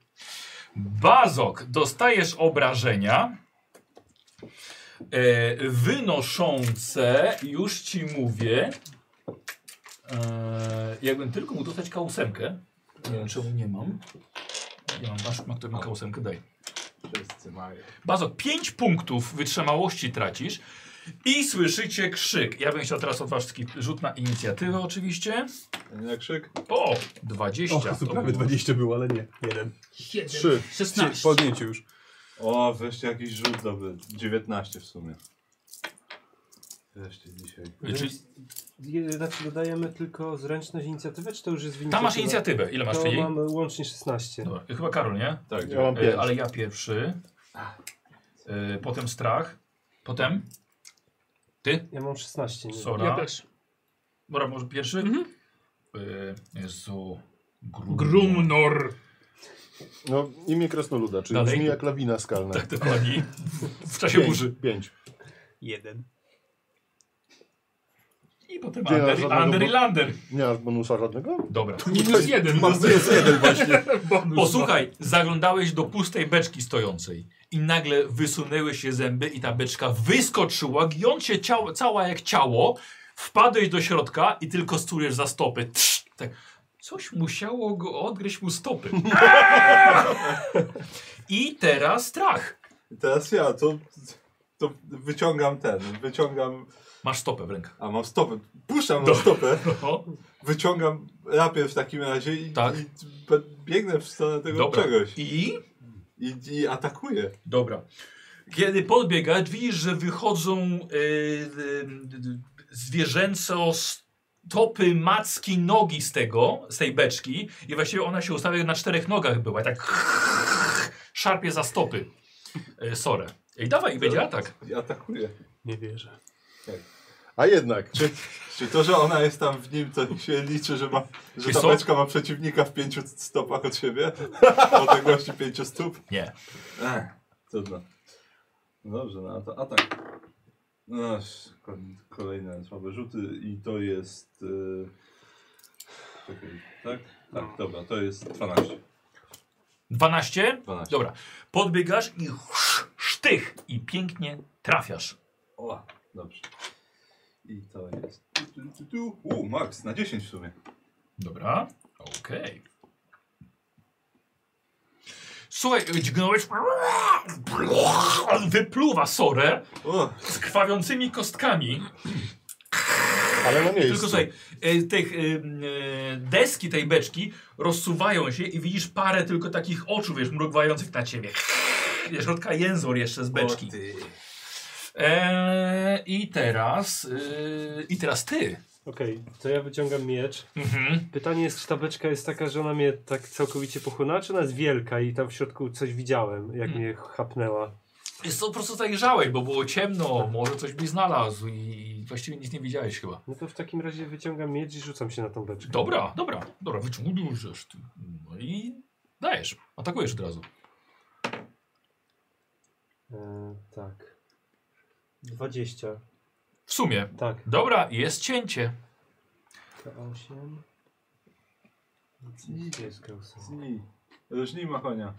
Bazok, dostajesz obrażenia e, wynoszące, już ci mówię, e, jakbym tylko mógł dostać kałusemkę, nie wiem czemu nie mam. Ja mam, masz, ma, kto ma kałusemkę, daj.
Wszyscy mają.
Bazok, 5 punktów wytrzymałości tracisz i słyszycie krzyk. Ja bym chciał teraz od was wszystkich rzut na inicjatywę oczywiście.
Jak krzyk?
O, 20.
O,
to
tu prawie
było.
20 było, ale nie. Jeden.
Jeden.
Trzy.
16.
Podjęciu już.
O, wreszcie jakiś rzut dobry. 19 w sumie. Wreszcie dzisiaj.
Czy,
Je- Znaczy dodajemy tylko zręczność inicjatywę, czy to już jest w
Tam masz
inicjatywie?
inicjatywę. Ile masz
to
czyli?
mamy łącznie 16.
Dobra, chyba Karol, nie?
Tak,
Ja mam
E,
pięć.
Ale ja pierwszy. E, potem strach. Potem
Ja mam 16. Nie?
Sora.
Ja też.
Dobra, może pierwszy?
Mhm.
E, Jezu. Grum.
Grumnor.
No, imię Krasnoluda, czyli
Dalej.
brzmi jak lawina skalna.
Tak dokładnie. W czasie
Pięć,
burzy.
Pięć.
Jeden.
I potem
Nie ma
Under,
żadnego
under i
bo-
Lander.
Nie masz bonusa żadnego?
Dobra.
Nie jest jeden.
Masz minus jeden właśnie.
No
Bonus.
Posłuchaj, zaglądałeś do pustej beczki stojącej i nagle wysunęły się zęby i ta beczka wyskoczyła, giąc się ciało, cała jak ciało, wpadłeś do środka i tylko sturujesz za stopy. Trz, tak. Coś musiało go odgryźć mu stopy. I teraz strach.
I Teraz ja to, to wyciągam ten, wyciągam,
Masz stopę w rękach.
a mam stopę, puszczam
Do-
na stopę,
No.
wyciągam rapier w takim razie i,
Tak.
i b- biegnę w stronę tego
Dobra.
czegoś
I
i, i atakuję.
Dobra. Kiedy podbiegasz, widzisz, że wychodzą y, zwierzęco stopy, macki, nogi z tego, z tej beczki i właściwie ona się ustawia na czterech nogach była i tak szarpie za stopy y, sorę. I dawaj, i będzie atak.
I atakuję.
Nie wierzę.
A jednak.
Czy, czy to, że ona jest tam w nim, to się liczy, że, ma, że
Wiesz
ta
co?
beczka ma przeciwnika w pięciu stopach od siebie? O odległości pięciu stóp?
Nie.
Ech, trudno. No Dobrze, no a to atak. No, sz- ko- kolejne słabe rzuty i to jest... Yy... Czekaj, tak? Tak, dobra, to jest 12.
12?
12.
Dobra. Podbiegasz i sztych i pięknie trafiasz.
O, dobrze. I to jest... Tu, tu, tu, tu. U, max, na 10 w sumie.
Dobra, okej. Słuchaj, dźgnąłeś, wypluwa sorę
O,
z krwawiącymi kostkami.
Ale na miejscu.
Tylko słuchaj, e, tych e, e, deski tej beczki rozsuwają się i widzisz parę tylko takich oczu, wiesz, mrugających na ciebie. Ze środka jęzor jeszcze z beczki. E, I teraz, e, i teraz ty.
Okej, to ja wyciągam miecz.
Mhm.
Pytanie jest, czy ta beczka jest taka, że ona mnie tak całkowicie pochłonęła, czy ona jest wielka i tam w środku coś widziałem, jak
Mm.
mnie chapnęła.
Jest to po prostu zajrzałeś, bo było ciemno, może coś byś znalazł i właściwie nic nie widziałeś chyba.
No to w takim razie wyciągam miecz i rzucam się na tą beczkę.
Dobra, dobra, dobra, wyciągniesz ty. No i dajesz, atakujesz od razu.
E, tak. 20.
W sumie.
Tak.
Dobra, jest cięcie.
K8. Gdzie jest Krausa?
znij. Różnij machonia.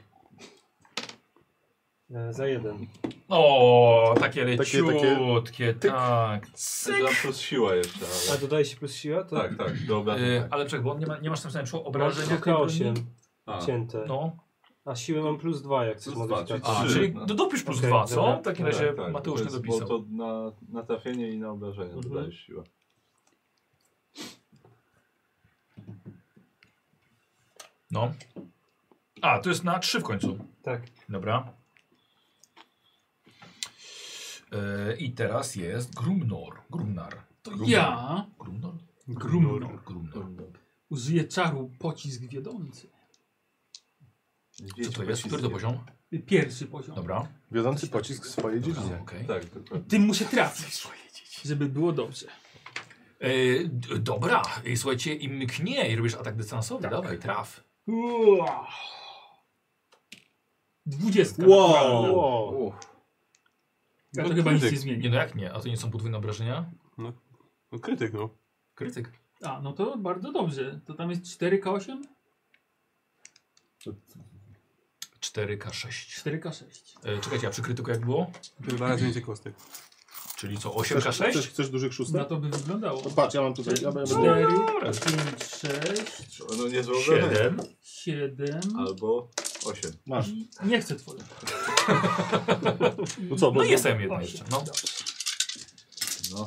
E, za jeden.
O, takie
Takie- takie-
leciutkie,
tyk.
tak.
Tam plus siła jeszcze,
A
ale...
dodaje się plus siła? To
Tak, tak, dobra.
Y,
tak.
ale czekaj, bo nie, ma, nie masz tam samego
Obrażenia
obrażenia. tej broni?
K8
A,
cięte.
No,
A siłę mam plus dwa, jak coś
Plus
mogę
dwa,
wciąć.
a,
Trzy.
czyli do, dopisz plus
Okej,
dwa, co?
dobra.
W takim
tak,
razie
tak,
Mateusz nie
to jest- bo
dopisał.
to na, na trafienie i na obrażenie
Mhm.
dodajesz siłę.
No. A, to jest na trzy w końcu.
Tak.
Dobra. Y, I teraz jest Grumnor. Grumnar.
To
Grumnor.
ja
Grumnor?
Grumnor.
Grumnor.
użyję czaru pocisk wiodący.
Co to jest? Który to poziom?
Pierwszy poziom.
Dobra.
Wiodący pocisk w swojej dziedzinie.
Okej.
Tak, dokładnie.
Tym muszę trafić, żeby było dobrze.
E, d- dobra, Ej, słuchajcie, i Tak. mknie i robisz atak dystansowy. Dawaj, traf.
Uaa. Dwudziestka.
Wow.
naturalna.
Wow.
Ja to chyba nic nie zmieni.
Nie no jak nie? A to nie są podwójne obrażenia?
No, no krytyk no.
Krytyk.
A, no to bardzo dobrze. To tam jest 4K8?
4K6.
4K6.
E, czekajcie, a przy krytyku jak było?
Dwa razy więcej kostek.
Czyli co,
Chcesz,
8K6?
chcesz, chcesz dużych szóstek?
Na
No.
to by wyglądało.
To patrz, ja mam tutaj. Ja, ja będę...
4,
dobra.
5, 6,
No nie złożone.
7.
7.
Albo 8.
Masz.
Nie chcę twoje.
No co,
No
bo
jestem jedno
Osiem.
jeszcze. No.
No.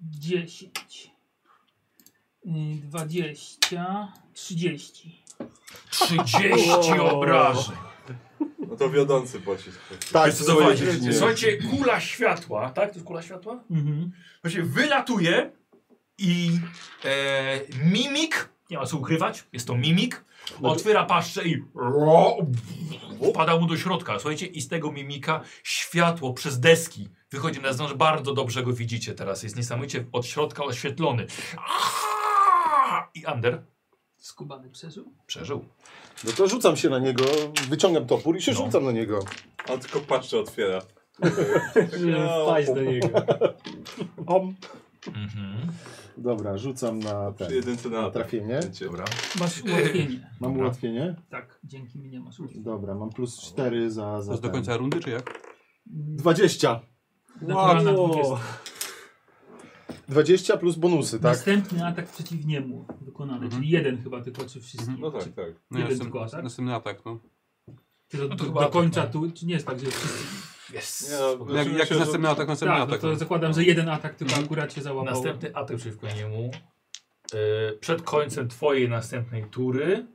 10. y, 20, 30.
30 obrażeń.
No to wiodący pocisk.
Tak,
Zdecydowanie.
słuchajcie,
Słuchajcie, kula światła, tak? To jest kula światła?
Mhm.
Właśnie wylatuje i e, mimik, nie ma co ukrywać, jest to mimik, otwiera paszczę i wpada mu do środka. Słuchajcie, i z tego mimika światło przez deski wychodzi na zewnątrz. Bardzo dobrze go widzicie teraz. Jest niesamowicie od środka oświetlony. Aaaa! I Ander
Skubany przeżył?
przeżył.
No to rzucam się na niego, wyciągam topór i się
No.
rzucam na niego.
On tylko patrzy, otwiera. No.
Wpaść do niego.
Tak.
Om.
Mhm.
Dobra, rzucam na ten,
Przy jedynce na
na
atak.
trafienie.
Dobra.
Masz ułatwienie.
Mam
Dobra.
ułatwienie?
Tak, dzięki mnie masz ułatwienie.
Dobra, mam plus 4 za,
To
za
jest do
ten.
końca rundy, czy jak? No,
20.
Naturalna
Wow.
20.
20 plus bonusy, tak?
Następny atak przeciw niemu wykonany, czyli jeden chyba tylko, czy wszystkich.
No tak, tak.
No,
Jeden
następ-
tylko atak?
Następny atak, no.
Czy do,
No to
do,
chyba
do
atak,
końca
no.
tu, czy nie jest tak, że wszyscy...
Jest.
Nie, no,
Jak,
znaczy,
jak
że-
następny atak, następny
Tak, no
atak.
to zakładam, że jeden atak tylko akurat się załapał.
Mhm. Następny atak przeciwko niemu. Yy, przed końcem twojej następnej tury.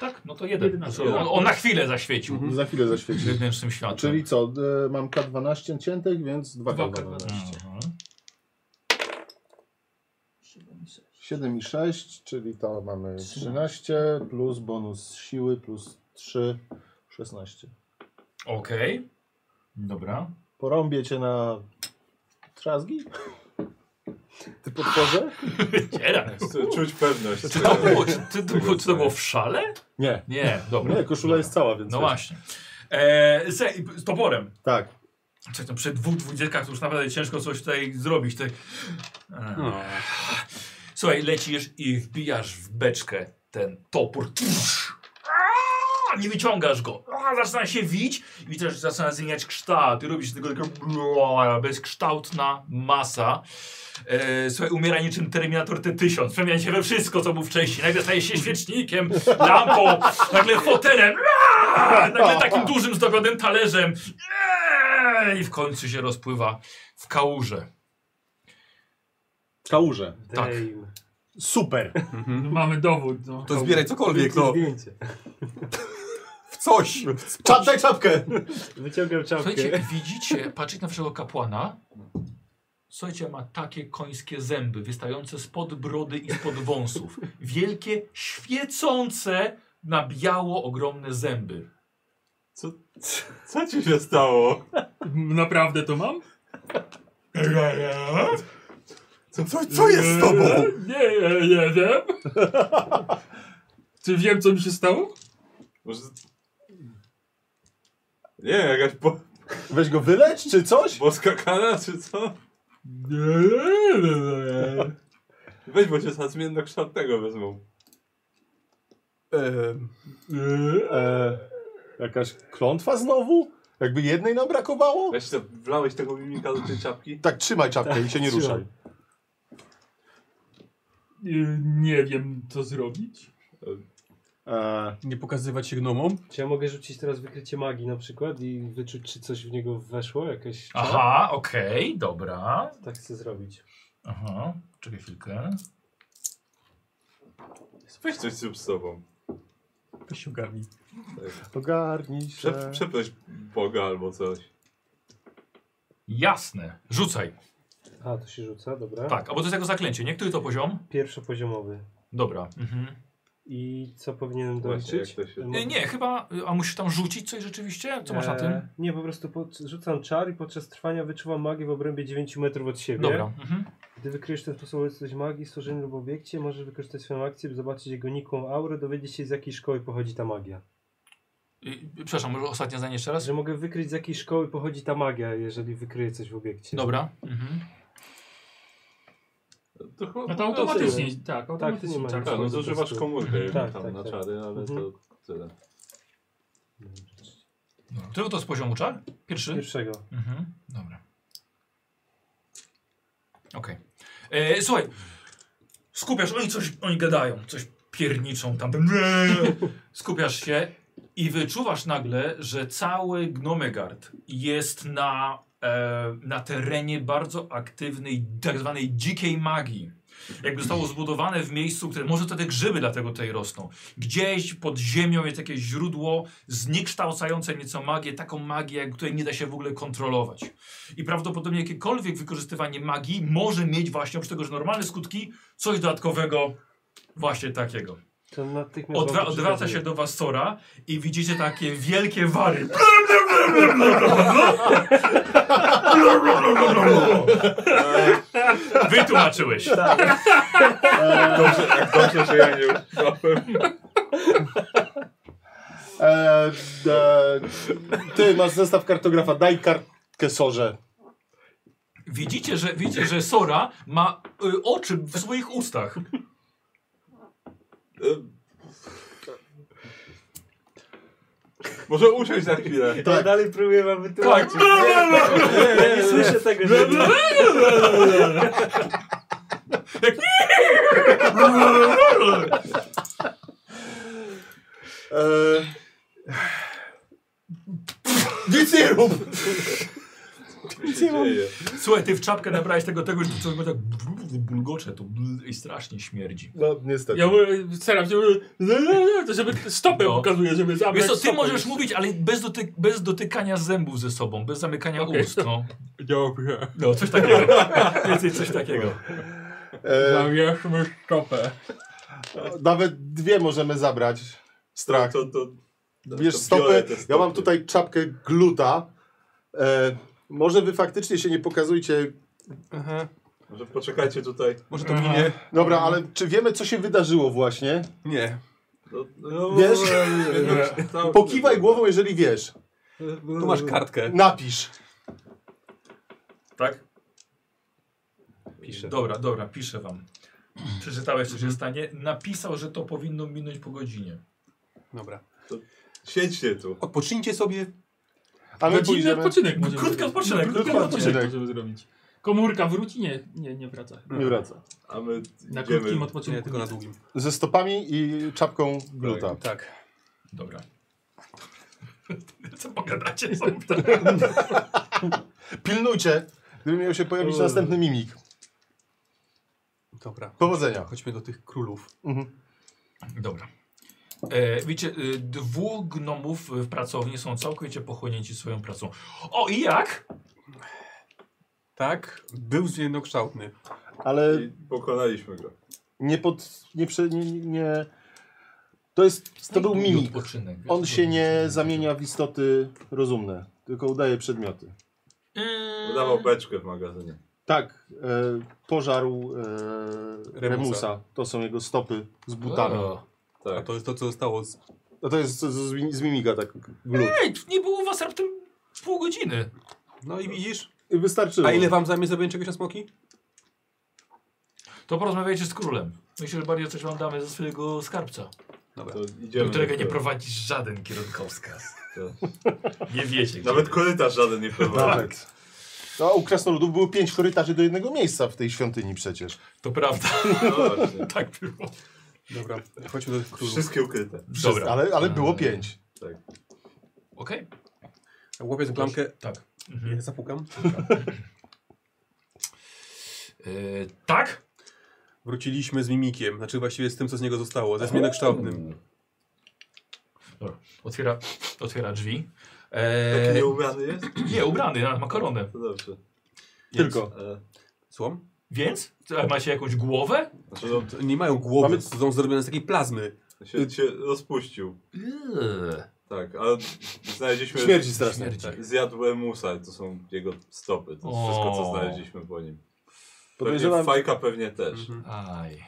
Tak, no to jeden.
Jedenaście.
On, on na chwilę zaświecił
No Za chwilę zaświeci.
wewnętrznym światłem.
Czyli co, e, mam K12 ciętych, więc 2
Dwa
K12.
Mhm.
7, 6.
7 i 6, czyli to mamy 13 plus bonus siły plus 3, 16.
Okej. Dobra.
Porąbię cię na trzazgi? Ty potworze?
Dzierak.
Czu- Czuć pewność.
Czy Tak. to było, czy, ty, to było, czy to było w szale?
Nie.
Nie, dobra.
Nie, koszula
Dobra.
jest cała, więc...
No właśnie. E, se, z toporem.
Tak.
Czy to przy dwóch dwudziestkach to już naprawdę ciężko coś tutaj zrobić. Tutaj... E.
No.
Słuchaj, lecisz i wbijasz w beczkę ten topór. Aaa, Nie wyciągasz go. Aaa, Zaczyna się wić i też zaczyna zmieniać kształt. I robisz tylko tylko bezkształtna masa. E, słuchaj, umiera niczym Terminator T-1000. Przemienia się we wszystko, co był wcześniej. Nagle staje się świecznikiem, lampą, nagle fotelem. Aaa, Nagle takim dużym, zdobionym talerzem. Eee, I w końcu się rozpływa w kałuże.
Kałuże.
Tak.
Dame.
Super.
No, mamy dowód, no.
To zbieraj cokolwiek,
Piękne
no.
zdjęcie.
W coś.
Czap, daj czapkę!
Wyciągam czapkę.
Słuchajcie, widzicie, patrzeć na waszego kapłana. Słuchajcie, ma takie końskie zęby wystające spod brody i spod wąsów. Wielkie, świecące na biało ogromne zęby.
Co, co ci się stało?
Naprawdę to mam?
Co, co, co jest z tobą?
Eee, Nie, nie, nie wiem. Czy wiem, co mi się stało?
Może... Nie, jakaś bo,
Weź go wylecz, czy coś?
boska kara, czy co?
Nie, nie, nie, nie.
Weź, bo cię za zmiennokształtnego wezmą.
Ehm,
E, jakaś klątwa znowu? Jakby jednej nam brakowało?
Weź, te- wlałeś tego mimika do tej czapki?
Tak, trzymaj czapkę i się nie
Trzymam.
ruszaj.
Eee, Nie wiem, co zrobić.
E,
Nie pokazywać się gnomom?
Czy ja mogę rzucić teraz wykrycie magii na przykład i wyczuć, czy coś w niego weszło? Jakieś.
Aha, okej, dobra.
Tak chcę zrobić.
Aha, czekaj chwilkę.
Weź coś zrób z sobą.
To się ogarnij.
ogarnij się.
Prze, przeproś Boga albo coś.
Jasne, rzucaj.
A, to się rzuca, dobra.
Tak, albo to jest jako zaklęcie. Nie, który to poziom?
Pierwszopoziomowy.
Dobra. Mhm.
I co powinienem
Właśnie,
doliczyć?
jak to się-
E,
Nie,
mogę-
nie, chyba, y, a musisz tam rzucić coś rzeczywiście? Co masz na tym?
E, Nie, po prostu pod, rzucam czar i podczas trwania wyczuwam magię w obrębie 9 metrów od siebie.
Dobra. Mhm.
Gdy wykryjesz ten sposób obecność magii w stworzeniu lub obiekcie, możesz wykorzystać swoją akcję, by zobaczyć jego nikłą aurę, dowiedzieć się z jakiej szkoły pochodzi ta magia.
I, i- Y, przepraszam, może ostatnie zdanie jeszcze raz?
Że mogę wykryć z jakiej szkoły pochodzi ta magia, jeżeli wykryję coś w obiekcie.
Dobra. Mhm.
To chyba
No to automatycznie, tak, automatycznie
nie ma
czar
nic.
Tak, no to używasz
prostu.
komórkę
Tak,
tam
tak,
na
tak.
czary, ale
Mhm.
to tyle.
Który No. to jest poziom czar? Pierwszy?
Pierwszego.
Mhm. Dobra. Okej. E, Słuchaj, skupiasz, oni coś, oni gadają, coś pierniczą tam. Skupiasz się i wyczuwasz nagle, że cały Gnomegard jest na, e, na terenie bardzo aktywnej, tak zwanej dzikiej magii. Jakby zostało zbudowane w miejscu, które może to te grzyby dlatego tutaj rosną. Gdzieś pod ziemią jest jakieś źródło zniekształcające nieco magię, taką magię, której nie da się w ogóle kontrolować. I prawdopodobnie jakiekolwiek wykorzystywanie magii może mieć właśnie, oprócz tego, że normalne skutki, coś dodatkowego właśnie takiego.
To natychmiast
Odwra
wam to
odwraca
przekazuje.
się do was Sora i widzicie takie wielkie wary. Wytłumaczyłeś.
Dobrze, dobrze, że ja nie używałem.
E, e, ty masz zestaw kartografa, daj kartkę sorze.
Widzicie, że, widzicie, że Sora ma y, oczy w swoich ustach.
Może usiąść na chwilę.
To
Tak.
ja dalej próbuję wam wytłumaczyć.
Tak.
Nie, ja nie słyszę tego, że...
E, nic nie rób!
Nic nie mam.
Słuchaj, ty w czapkę nabrałeś tego, tego, że to co tak bulgocze to bl- i strasznie śmierdzi.
No, niestety.
Ja mówię, staram się, mówię, no, no, no, to żeby stopę
No.
pokazuję, żeby zabrać
Wiesz co, ty
stopę.
możesz mówić, ale bez, dotyk bez dotykania zębów ze sobą, bez zamykania
Okej.
ust. No.
Dobrze,
no, coś takiego. Więcej coś takiego.
E,
zamierzmy stopę.
nawet dwie możemy zabrać. Strach.
To, to,
Wiesz,
to
stopy.
biorę te
Ja mam
stopy.
tutaj czapkę gluta. E, może wy faktycznie się nie pokazujcie.
Może poczekajcie tutaj.
Może to minie?
Dobra, ale czy wiemy, co się wydarzyło właśnie?
Nie.
No, no,
Wiesz?
Cały-
Pokiwaj głową, jeżeli wiesz.
Tu masz kartkę.
Napisz.
Tak? Piszę. Dobra, dobra, piszę wam. Przeczytałeś, co się stanie. Napisał, że to powinno minąć po godzinie.
Dobra.
Siedźcie tu.
Odpocznijcie sobie.
A my
Godzinny
pójdziemy.
odpoczynek możemy
Krótki
zrobić.
odpoczynek,
No,
krótki
Krótki odpoczynek
odpoczynek.
możemy zrobić. Komórka wróci? Nie, nie, nie wraca.
Nie wraca.
A my
Na krótkim
idziemy.
odpoczynku.
Nie, tylko na długim.
Ze stopami i czapką gluta.
Tak.
Dobra. Co pogadacie sobie?
Pilnujcie, gdyby miał się pojawić następny mimik.
Dobra.
Powodzenia.
Chodźmy do tych królów.
Mhm.
Dobra. E, wiecie, y, dwóch gnomów w pracowni są całkowicie pochłonięci swoją pracą. O i jak?
Tak. Był zjednokształtny.
Ale
I pokonaliśmy go.
nie pod... Nie, prze, nie, nie, nie... To jest... To był mimik.
Odpoczynek.
On się nie zamienia w istoty rozumne, tylko udaje przedmioty.
Yy,
Udawał beczkę w magazynie.
Tak, e, pożarł e,
Remusa.
Remusa. To są jego stopy z butami.
O.
A
Tak.
to jest to, co zostało z...
No to jest z, z, z mimika tak glut.
Ej, nie było u was raptem pół godziny.
No i widzisz?
I wystarczyło.
A ile wam zajmie zrobienie czegoś na smoki?
To porozmawiajcie z królem. Myślę, że bardziej coś wam damy ze swojego skarbca,
Dobra.
To idziemy.
do którego
do
nie
tego.
prowadzi żaden kierunkowskaz.
Tak.
Nie wiecie. gdzie
Nawet korytarz żaden nie prowadzi.
Nawet. No, u krasnoludów było pięć korytarzy do jednego miejsca w tej świątyni przecież.
To prawda,
No właśnie.
tak było.
Dobra. Chodźmy do tych królów.
Wszystkie ukryte.
Dobra.
Ale, ale było pięć.
Okej.
Łapię za klamkę.
Tak.
Nie zapukam.
Yy, tak?
Wróciliśmy z mimikiem. Znaczy właściwie z tym, co z niego zostało. Ze zmienokształtnym.
Dobra. Otwiera, otwiera drzwi.
Taki
Eee,
nieubrany jest?
nie, ubrany, nawet ma koronę.
To dobrze.
Tylko.
E,
Słucham?
Więc? A Macie jakąś głowę?
Znaczy no,
To nie mają głowy.
Mamy-
Są zrobione z takiej plazmy.
się, się rozpuścił. Tak, ale znaleźliśmy... Tak,
Śmierdzi strasznie.
Śmierdzi.
Zjadłem musa, to są jego stopy. To jest
O.
wszystko, co znaleźliśmy po nim. Podejrzewam... Fajka pewnie też.
Aj.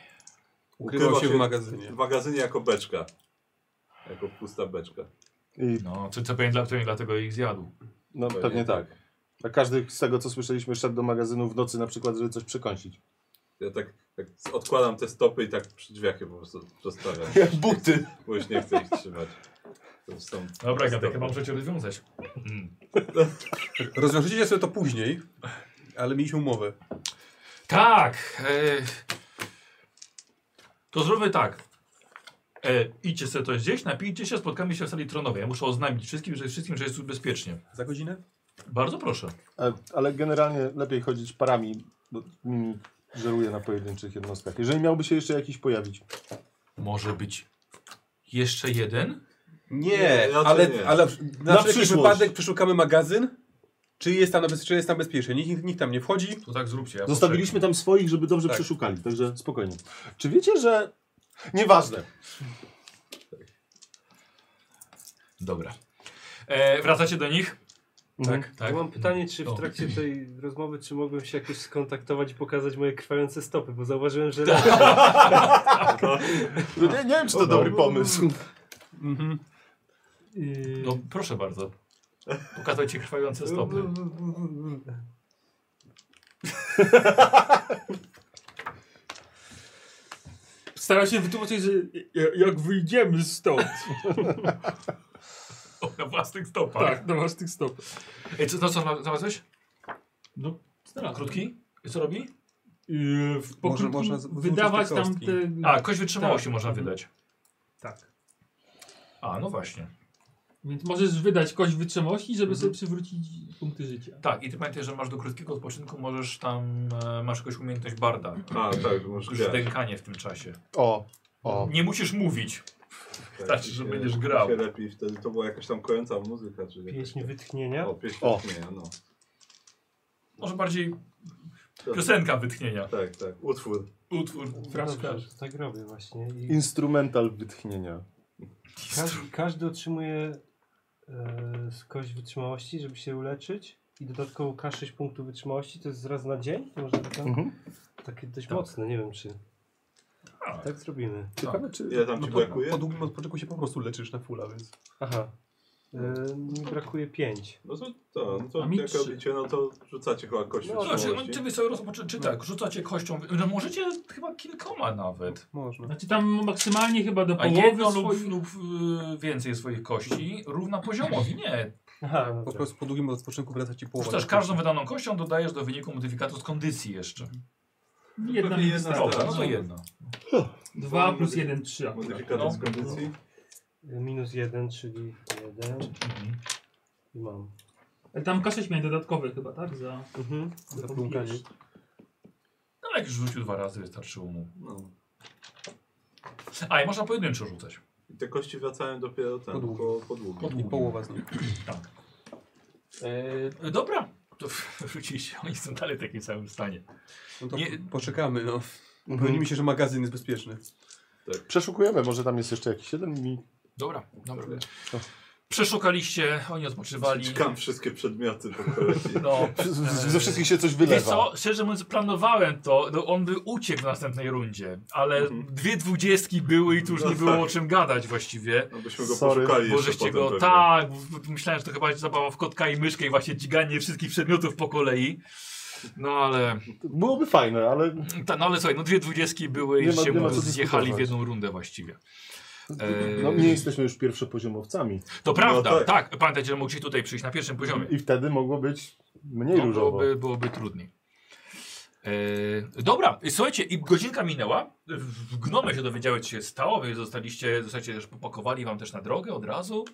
Ukrywa
Ukrywał się w magazynie.
W magazynie jako beczka. Jako pusta beczka.
No, co, co pewnie, dla, pewnie dlatego ich zjadł.
No pewnie,
Pewnie
tak. A każdy z tego, co słyszeliśmy, szedł do magazynu w nocy na przykład, żeby coś przekąsić.
Ja tak, tak odkładam te stopy i tak przy drzwiach je po prostu zostawiam.
Jak buty.
Bo już nie chcę ich trzymać. To są
Dobra, ja tak
stopy.
chyba możecie rozwiązać. Mm.
Rozwiążecie sobie to później, ale mieliśmy umowę.
Tak. E, to zróbmy tak. E, idźcie sobie to gdzieś, napijcie się, spotkamy się w sali tronowej. Ja muszę oznajmić wszystkim, że wszystkim, że jest tu bezpiecznie.
Za godzinę?
Bardzo proszę.
E, Ale generalnie lepiej chodzić parami, bo nimi żeruje na pojedynczych jednostkach. Jeżeli miałby się jeszcze jakiś pojawić.
Może być jeszcze jeden?
Nie,
Nie, raczej
ale,
nie.
ale na,
Na
wszelki
przyszłość.
wypadek przeszukamy magazyn. Czy jest tam, bez- czy jest tam bezpiecznie? Nikt, nikt, nikt tam nie wchodzi.
To tak zróbcie. Ja
Zostawiliśmy tam swoich, żeby dobrze
Tak.
przeszukali, także spokojnie. Czy wiecie, że... Nieważne.
poczekam. Dobra. E, wracacie do nich?
Tak.
Tak.
Ja Mhm. mam pytanie, czy
O.
w trakcie tej rozmowy, czy mogłem się jakoś skontaktować i pokazać moje krwające stopy, bo zauważyłem, że...
Tak.
Nie, nie wiem, czy to dobry pomysł.
Yy,
No proszę bardzo. Pokazujcie krwawiące stopy.
Stara się wytłumaczyć, że ja- jak wyjdziemy stąd.
Tak. Na własnych stopach.
Tak, na masz tych stop.
Ej, co, no co, znalaz- znalazłeś?
No, znalazłem.
Krótki? I Co robi?
Yy, w
Może
pokrótce
można z-
wydawać
wrzucić te
tam te...
A, kość wytrzymałości
Tak.
można wydać.
Tak.
A, no właśnie.
Więc możesz wydać kość wytrzymałości, żeby sobie przywrócić punkty życia.
Tak, i ty pamiętaj, że masz do krótkiego odpoczynku, możesz tam, e, masz jakąś umiejętność barda.
A, tak, może
Już dękanie w tym czasie.
O, o.
Nie musisz mówić.
Tak,
Znaczy,
mi
że
się-
będziesz
mi
grał.
Się lepiej wtedy to była jakaś tam kojąca muzyka. Czy jakaś-
Pieśń wytchnienia.
O, pieśń
O.
wytchnienia, no.
Może bardziej
Tak.
piosenka wytchnienia.
Tak, tak, utwór.
Utwór, fraszka.
Dobrze, tak robię właśnie. I
Instrumental wytchnienia.
każdy, każdy otrzymuje e, kość wytrzymałości, żeby się uleczyć i dodatkowo K6 punktów wytrzymałości, to jest raz na dzień? To może taka,
Mhm.
takie dość mocne, nie wiem czy...
Tak.
Tak zrobimy.
Ciekawe, czy...
Ile tam
No
ci
to
brakuje?
No po długim odpoczynku się po prostu leczysz na fula, więc...
Aha. E, mi brakuje 5.
No to, to, no
A
to
mi
jak
trzy.
robicie, no to rzucacie chyba kość
No,
Znaczy,
wytrzymałości.
czy wy sobie rozpoczy, czy tak, rzucacie kością, no możecie chyba kilkoma nawet.
Można.
Znaczy tam maksymalnie chyba do
A
połowy
jedno lub,
swoich...
lub y, więcej swoich kości równa poziomowi, nie.
Aha, no
Po
tak.
prostu po długim odpoczynku wraca ci połowa.
Rzucasz każdą wydaną kością, dodajesz do wyniku modyfikatu z kondycji jeszcze.
Jedna
Pewnie
mi
jedna
wystarczy.
Dobra, no to jedno.
Dwa plus jeden, trzy. akurat.
no.
Modyfikator z kondycji.
Minus 1, czyli 1
Mhm.
i mam.
Ale Tam K6 miałem dodatkowy chyba, tak? Za...
Mhm.
Za płukanie.
No ale jak już rzucił dwa razy, wystarczyło mu.
No.
A, i można pojedynczo rzucać.
I te kości wracają dopiero
Po
ten,
długim.
po, po długim.
I połowa z nich.
Tak. E, dobra, to wróciliście, oni są dalej w takim samym stanie.
No to
Nie-
poczekamy, no.
Mhm.
Upewnimy się, że magazyn jest bezpieczny.
Przeszukujemy, może tam jest jeszcze jakiś jeden mi...
Dobra, dobra. Przeszukaliście, oni odpoczywali.
Czekam wszystkie przedmioty po kolei.
No,
Ze wszystkich się coś
wiesz
wylewa.
co, szczerze mówiąc planowałem to, no on by uciekł w następnej rundzie, ale
Mhm.
dwie dwudziestki były i tu już
No
nie było o
tak.
czym gadać właściwie.
No byśmy go
Sorry.
poszukali
Bo
jeszcze
żeście
potem
go,
pewnie.
tak, bo- bo myślałem, że to chyba zabawa w kotka i myszkę i właśnie dźganie wszystkich przedmiotów po kolei. No ale,
Byłoby fajne, ale
ta, no ale słuchaj, no dwie dwudziestki były i
Nie ma-
żeście
nie ma
mu
co
zjechali w
dyskutować.
jedną rundę właściwie. Eee.
no, nie jesteśmy już pierwszopoziomowcami.
To prawda,
tak.
tak. Pamiętajcie, że mogli tutaj przyjść na pierwszym poziomie.
I wtedy mogło być mniej
No,
różowo.
byłoby, byłoby trudniej. E, dobra, i słuchajcie, i godzinka minęła. W gnomie się dowiedziały, co się stało. Wy zostaliście, zostaliście też popakowali wam też na drogę od razu,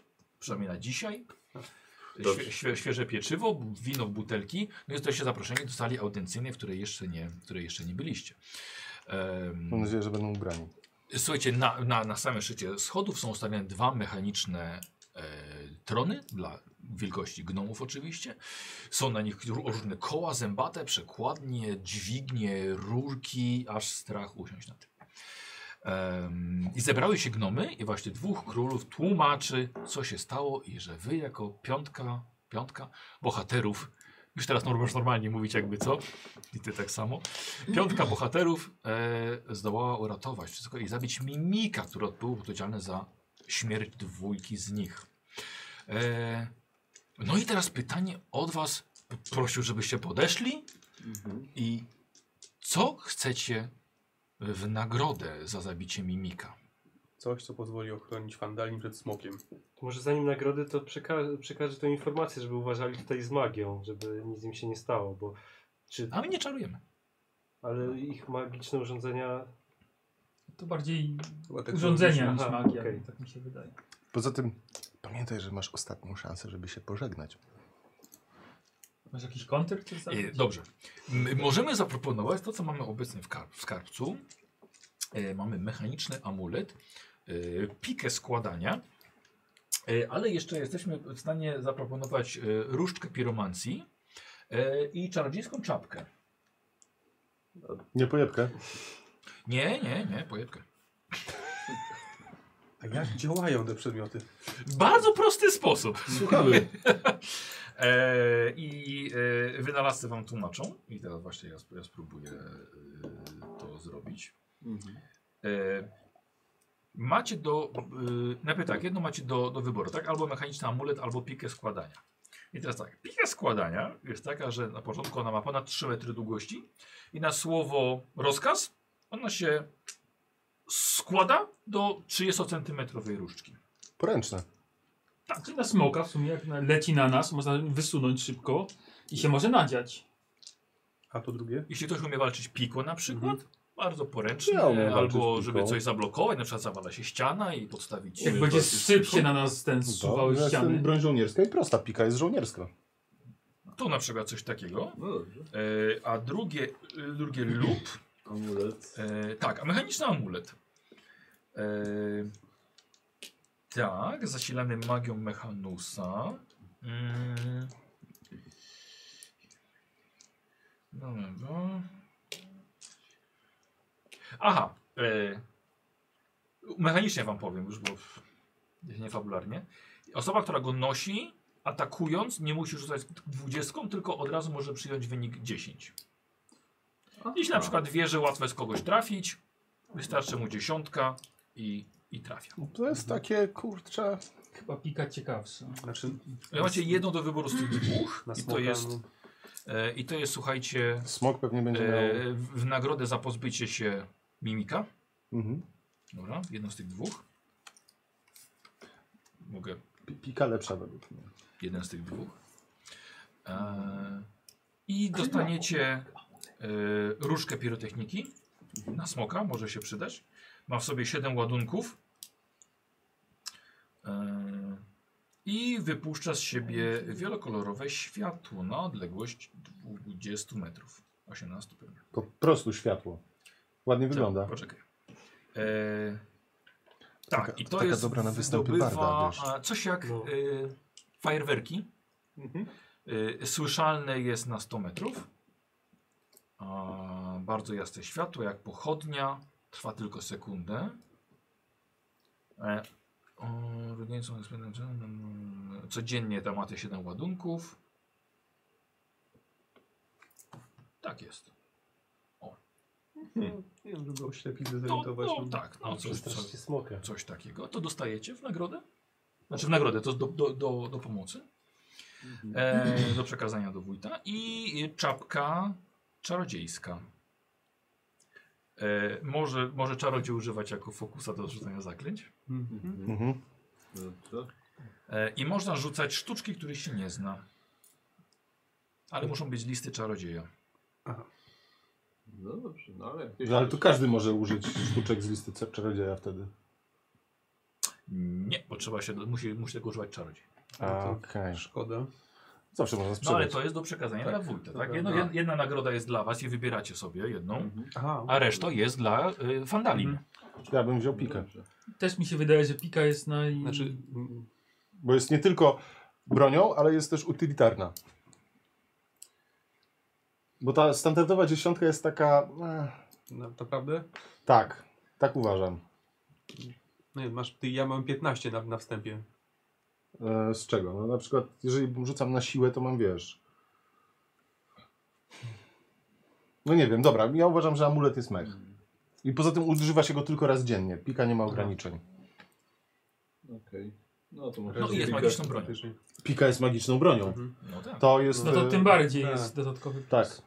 przynajmniej na dzisiaj.
Dobrze.
Świe, świe, świeże pieczywo, bu- wino w butelki. No i jesteście zaproszeni do sali audycyjnej, w której jeszcze nie, w której jeszcze nie byliście. Em,
Mam nadzieję, że będą ubrani.
Słuchajcie, na, na, na samym szczycie schodów są ustawione dwa mechaniczne e, trony, dla wielkości gnomów oczywiście. Są na nich ró- różne koła zębate, przekładnie, dźwignie, rurki, aż strach usiąść na tym. Em, I zebrały się gnomy i właśnie dwóch królów tłumaczy, co się stało i że wy jako piątka, piątka bohaterów Już teraz norm- normalnie mówić jakby co. I ty tak samo. Piątka bohaterów e, zdołała uratować wszystko i zabić mimika, który był odpowiedzialny za śmierć dwójki z nich. E, no i teraz pytanie od was. P- Prosił, żebyście podeszli i co chcecie w nagrodę za zabicie mimika?
Coś, co pozwoli ochronić Fandalin przed smokiem.
To może zanim nagrody, to przeka- przekażę tą informację, żeby uważali tutaj z magią, żeby nic im się nie stało, bo... Czy...
A my nie czarujemy.
Ale ich magiczne urządzenia...
To bardziej
Chyba tak
urządzenia niż
Aha,
magia,
okej.
tak mi się wydaje.
Poza tym pamiętaj, że masz ostatnią szansę, żeby się pożegnać.
Masz jakiś kontr? czy coś?
E, dobrze. M- możemy zaproponować to, co mamy obecnie w, kar w skarbcu. E, mamy mechaniczny amulet, e, pikę składania, e, ale jeszcze jesteśmy w stanie zaproponować e, różdżkę piromancji e, i czarodziejską czapkę.
Nie pojebkę.
Nie, nie, nie, pojebkę.
A jak działają te przedmioty?
Bardzo prosty sposób.
Słuchamy.
e, I e, wynalazcy wam tłumaczą. I teraz właśnie ja, sp- ja spróbuję e, to zrobić.
Mhm.
E, macie do. E, najpierw tak, jedno macie do, do wyboru, tak? Albo mechaniczny amulet, albo pikę składania. I teraz tak, pika składania jest taka, że na początku ona ma ponad 3 metry długości i na słowo rozkaz ona się składa do 30-centymetrowej różdżki.
Poręczne.
Tak, czyli na smoka w sumie jak na, leci na nas, można wysunąć szybko i się może nadziać.
A to drugie?
Jeśli ktoś umie walczyć piko na przykład, bardzo poręcznie,
Mhm. Ja umiem walczyć
albo
piko.
żeby coś zablokować, na przykład zawala się ściana i podstawić...
Jak będzie syp się na nas ten
To,
zsuwały
ja jestem
ściany.
broń żołnierska i prosta pika jest żołnierska.
To na przykład coś takiego.
No
E, a drugie, y, drugie lub...
Amulet.
E, tak, a mechaniczny amulet. E, tak, zasilany magią Mechanusa. Mm. Dobra. Aha. E, mechanicznie wam powiem już, bo pff, nie fabularnie. Osoba, która go nosi, atakując, nie musi rzucać 20, tylko od razu może przyjąć wynik 10. Jeśli na przykład wie, że łatwo jest kogoś trafić, wystarczy mu dziesiątka i, i trafia.
To jest takie, kurczę...
Chyba pika ciekawsza.
Znaczy,
Ale Macie jedno do wyboru z tych dwóch
Na
i to
smoka,
jest,
no.
e, i to jest słuchajcie,
Smok pewnie będzie miał...
e, w, w nagrodę za pozbycie się mimika.
Mhm.
Dobra, jedno z tych dwóch. Mogę
Pi- Pika lepsza według mnie.
jeden z tych dwóch. E, I dostaniecie e, różkę pirotechniki na smoka, może się przydać. Ma w sobie 7 ładunków. E, I wypuszcza z siebie wielokolorowe światło na odległość 20 metrów. 18 pewnie.
Po prostu światło.
Tak.
Ładnie wygląda.
Poczekaj. E, tak,
Taka-
i to
taka
jest
dobra na występy
wydobywa,
Barda, wiesz.
a, coś jak
No.
y, fajerwerki. Y, słyszalne jest na 100 metrów. A, bardzo jasne światło, jak pochodnia. Trwa tylko sekundę. E, o, rodzeństwo jest- mm, Codziennie tam ma te 7 ładunków. Tak jest.
Nie wiem, żeby oślepić,
No,
dezorientować.
no tak, no coś, coś,
Przestraszcie smoka.
coś takiego, to dostajecie w nagrodę? Znaczy w nagrodę, to do, do, do, do pomocy, e, do przekazania do wójta i e, czapka czarodziejska. E, może, może czarodziej używać jako fokusa do rzucania zaklęć.
Mhm.
Dobrze.
E, I można rzucać sztuczki, których się nie zna. Ale muszą być listy czarodzieja.
No dobrze, no ale...
No, ale to każdy może użyć sztuczek z listy c- czarodzieja wtedy.
Nie, bo trzeba się, do- musi, musi tego używać czarodziej.
A,
Okej.
no Szkoda.
No Zawsze można
No ale
sprzedać.
to jest do przekazania
Tak,
dla wójta, tak?
dobra,
Jedno,
no.
jed- jedna nagroda jest dla was i wybieracie sobie jedną,
Mhm.
Aha,
a reszta jest dla y, Fandalin.
Ja bym wziął pikę.
Też mi się wydaje, że pika jest naj...
znaczy, mm,
Bo jest nie tylko bronią, ale jest też utylitarna. Bo ta standardowa dziesiątka jest taka... eh,
na- naprawdę?
tak, tak uważam.
No Nie wiem, masz, ty, ja mam 15 na, na wstępie.
E, z czego? No na przykład, jeżeli rzucam na siłę, to mam, wiesz, No nie wiem, dobra, ja uważam, że amulet jest mech. I poza tym używa się go tylko raz dziennie. Pika nie ma ograniczeń.
Okej. No to może...
No i jest magiczną bronią.
Pika jest magiczną bronią.
Mhm.
No tak.
To jest.
No to
e,
tym bardziej
tak.
jest dodatkowy plus.
Tak.